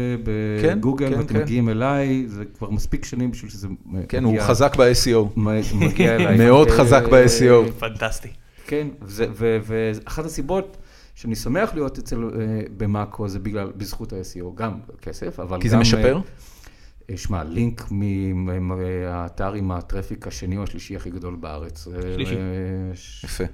[SPEAKER 1] כן,
[SPEAKER 3] בגוגל,
[SPEAKER 1] כן,
[SPEAKER 3] ואתם
[SPEAKER 1] כן.
[SPEAKER 3] מגיעים אליי, זה כבר מספיק שנים בשביל שזה מ-
[SPEAKER 1] כן, הוא
[SPEAKER 3] מגיע-
[SPEAKER 1] חזק ב-SEO.
[SPEAKER 3] מ- מגיע אליי.
[SPEAKER 1] מאוד
[SPEAKER 3] אה,
[SPEAKER 1] חזק E ב-SEO.
[SPEAKER 2] פנטסטי.
[SPEAKER 3] כן, וזה- ו- ואחת הסיבות שאני שמח להיות אצל, אה, במאקו זה בגלל, בזכות ה-SEO, גם כסף, אבל גם...
[SPEAKER 1] כי זה
[SPEAKER 3] אה,
[SPEAKER 1] משפר?
[SPEAKER 3] אה, שמע, לינק מהאתר עם הטראפיק השני או השלישי הכי גדול בארץ. אה,
[SPEAKER 9] שלישי.
[SPEAKER 3] אה, ש-
[SPEAKER 1] יפה.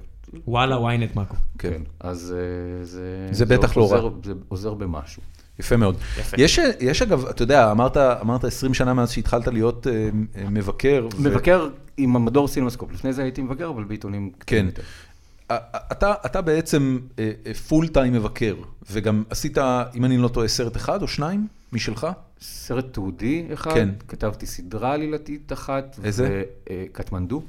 [SPEAKER 9] וואלה, ynet מאקו.
[SPEAKER 1] כן.
[SPEAKER 3] כן, אז אה, זה...
[SPEAKER 1] זה בטח לא
[SPEAKER 3] עוזר-
[SPEAKER 1] רע.
[SPEAKER 3] זה עוזר במשהו.
[SPEAKER 1] יפה מאוד.
[SPEAKER 2] יפה.
[SPEAKER 1] יש, יש אגב, אתה יודע, אמרת, אמרת 20 שנה מאז שהתחלת להיות אה, אה, מבקר. ו-
[SPEAKER 3] מבקר עם המדור סינמסקופ, לפני זה הייתי מבקר, אבל בעיתונים
[SPEAKER 1] כן.
[SPEAKER 3] קטנים יותר.
[SPEAKER 1] אה, אה, אתה, אתה בעצם פול טיים מבקר, וגם עשית, אם אני לא טועה, סרט אחד או שניים משלך?
[SPEAKER 3] סרט תיעודי אחד,
[SPEAKER 1] כן.
[SPEAKER 3] כתבתי סדרה עלילתית אחת.
[SPEAKER 1] איזה?
[SPEAKER 3] ו- אה, קטמנדו,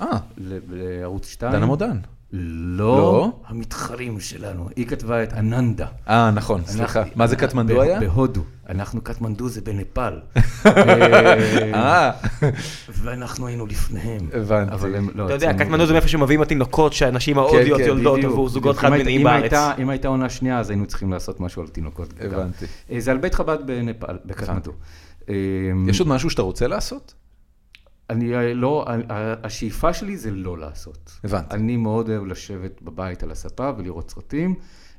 [SPEAKER 1] אה,
[SPEAKER 3] ל- לערוץ 2.
[SPEAKER 1] דנה מודן. לא.
[SPEAKER 3] לא, המתחרים שלנו. היא כתבה את אננדה.
[SPEAKER 1] אה, נכון, סליחה.
[SPEAKER 3] אנחנו-
[SPEAKER 1] מה זה
[SPEAKER 3] ב-
[SPEAKER 1] קטמנדו היה?
[SPEAKER 3] בהודו. אנחנו קטמנדו זה בנפאל. אה,
[SPEAKER 1] אה,
[SPEAKER 3] ואנחנו היינו לפניהם.
[SPEAKER 1] הבנתי.
[SPEAKER 3] אבל הם לא...
[SPEAKER 2] אתה יודע,
[SPEAKER 3] אצלנו-
[SPEAKER 2] קטמנדו זה מאיפה שמביאים התינוקות שהנשים ההודיות
[SPEAKER 1] כן,
[SPEAKER 2] יולדות
[SPEAKER 3] בדיוק,
[SPEAKER 2] עבור זוגות
[SPEAKER 3] בדיוק. אם
[SPEAKER 2] חד
[SPEAKER 3] היית-
[SPEAKER 2] מיניים
[SPEAKER 3] אם
[SPEAKER 2] בארץ.
[SPEAKER 3] הייתה- אם הייתה עונה שנייה, אז היינו צריכים לעשות משהו על תינוקות. גם.
[SPEAKER 1] הבנתי.
[SPEAKER 3] אה, זה על בית חב"ד בנפאל, בקטמנדו. אה,
[SPEAKER 1] יש עוד משהו שאתה רוצה לעשות?
[SPEAKER 3] אני אה, לא, אה, אה, השאיפה שלי זה לא לעשות.
[SPEAKER 1] הבנתי.
[SPEAKER 3] אני מאוד אוהב לשבת בבית על הספה ולראות סרטים,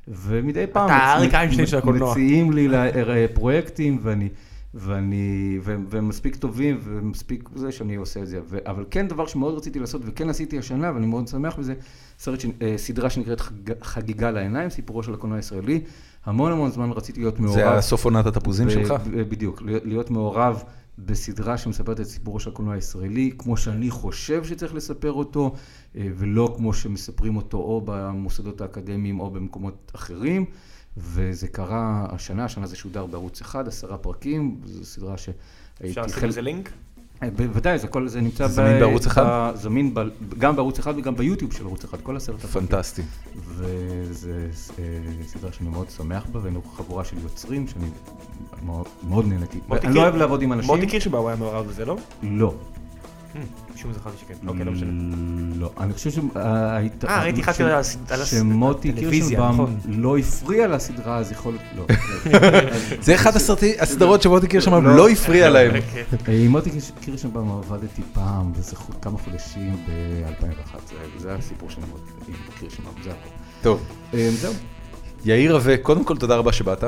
[SPEAKER 3] ומדי פעם...
[SPEAKER 9] אתה
[SPEAKER 3] מצ-
[SPEAKER 9] האריק איינשטיין
[SPEAKER 3] מצ-
[SPEAKER 9] של הקולנוע.
[SPEAKER 3] מציעים לי ל- אה, פרויקטים, ואני... ואני, והם, והם מספיק טובים, ומספיק זה שאני עושה את זה. ו, אבל כן דבר שמאוד רציתי לעשות, וכן עשיתי השנה, ואני מאוד שמח בזה, סרט, ש, אה, סדרה שנקראת חג, חגיגה לעיניים, סיפורו של הקולנוע הישראלי. המון המון זמן רציתי להיות מעורב.
[SPEAKER 1] זה היה סוף עונת התפוזים
[SPEAKER 3] ב-
[SPEAKER 1] שלך?
[SPEAKER 3] ב- בדיוק, להיות- להיות מעורב בסדרה שמספרת את סיפורו של הקולנוע הישראלי, כמו שאני חושב שצריך לספר אותו, אה, ולא כמו שמספרים אותו או במוסדות האקדמיים או במקומות אחרים. וזה קרה השנה, השנה זה שודר בערוץ אחד, עשרה פרקים, זו סדרה שהייתי
[SPEAKER 2] אפשר לשים לזה לינק?
[SPEAKER 3] אה, בוודאי, זה כל זה נמצא
[SPEAKER 1] זמין
[SPEAKER 3] ב-
[SPEAKER 1] בערוץ אחד?
[SPEAKER 3] ב- זמין ב- גם בערוץ אחד וגם ביוטיוב של ערוץ אחד, כל עשרת הפרקים.
[SPEAKER 1] פנטסטי.
[SPEAKER 3] וזו סדרה שאני מאוד שמח בה, והיינו חבורה של יוצרים שאני מאוד, מאוד נהניתי.
[SPEAKER 2] מוטי
[SPEAKER 3] אני לא
[SPEAKER 2] קיר-
[SPEAKER 3] אוהב לעבוד עם אנשים.
[SPEAKER 2] מוטי קירשנבאום היה מעורב בזה, לא?
[SPEAKER 3] לא.
[SPEAKER 2] שום זכרתי שכן. אוקיי, לא משנה.
[SPEAKER 3] לא. Hmm. אני חושב שהיית...
[SPEAKER 2] אה, ראיתי אחד
[SPEAKER 3] ש-
[SPEAKER 2] כזה על הס- על הס-
[SPEAKER 3] שמוטי
[SPEAKER 2] הטלוויזיה,
[SPEAKER 3] קירשנבאום
[SPEAKER 2] נכון.
[SPEAKER 3] לא הפריע לסדרה, אז יכול להיות... לא.
[SPEAKER 1] זה אחד הסרטי- הסדרות שמוטי קירשנבאום לא הפריע להם.
[SPEAKER 3] עם אה, מוטי קירש- קירשנבאום עבדתי פעם, וזה חו- כמה חודשים ב-2001. זה הסיפור של מוטי עם קירשנבאום, זה הכל.
[SPEAKER 1] טוב,
[SPEAKER 3] אה, זהו.
[SPEAKER 1] יאיר רווה, קודם כל תודה רבה שבאת.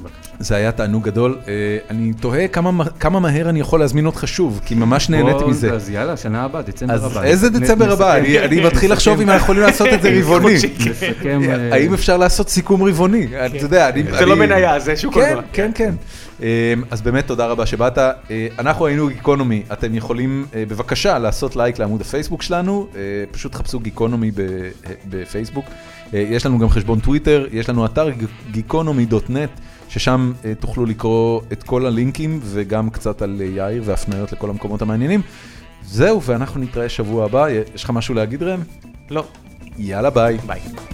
[SPEAKER 3] בבקשה.
[SPEAKER 1] זה היה תענוג גדול. אה, אני תוהה כמה מה- כמה מהר אני יכול להזמין אותך שוב, כי ממש נהניתי
[SPEAKER 6] בוא,
[SPEAKER 1] מזה.
[SPEAKER 6] אז יאללה, שנה הבאה, דצמבר הבא.
[SPEAKER 1] אז איזה דצמבר הבא? אני- אני מתחיל לחשוב אם אנחנו יכולים לעשות את זה רבעוני. é
[SPEAKER 6] נסכם... אה,
[SPEAKER 1] האם אפשר לעשות סיכום רבעוני? אתה יודע, אני...
[SPEAKER 2] זה לא
[SPEAKER 1] אני-
[SPEAKER 2] מניה, זה שוק
[SPEAKER 1] כן,
[SPEAKER 2] ההון.
[SPEAKER 1] כן, כן. אמ, אז באמת תודה רבה שבאת. אה, אנחנו היינו גיקונומי, אתם יכולים אה, בבקשה לעשות לייק לעמוד הפייסבוק שלנו, אה, פשוט חפשו גיקונומי ב- אה, בפייסבוק. אה, יש לנו גם חשבון טוויטר, יש לנו אתר גיקונומי.נט, ששם אה, תוכלו לקרוא את כל הלינקים וגם קצת על אה, יאיר והפניות לכל המקומות המעניינים. זהו, ואנחנו נתראה שבוע הבא. יש לך משהו להגיד ראם?
[SPEAKER 2] לא,
[SPEAKER 1] יאללה ביי.
[SPEAKER 2] ביי.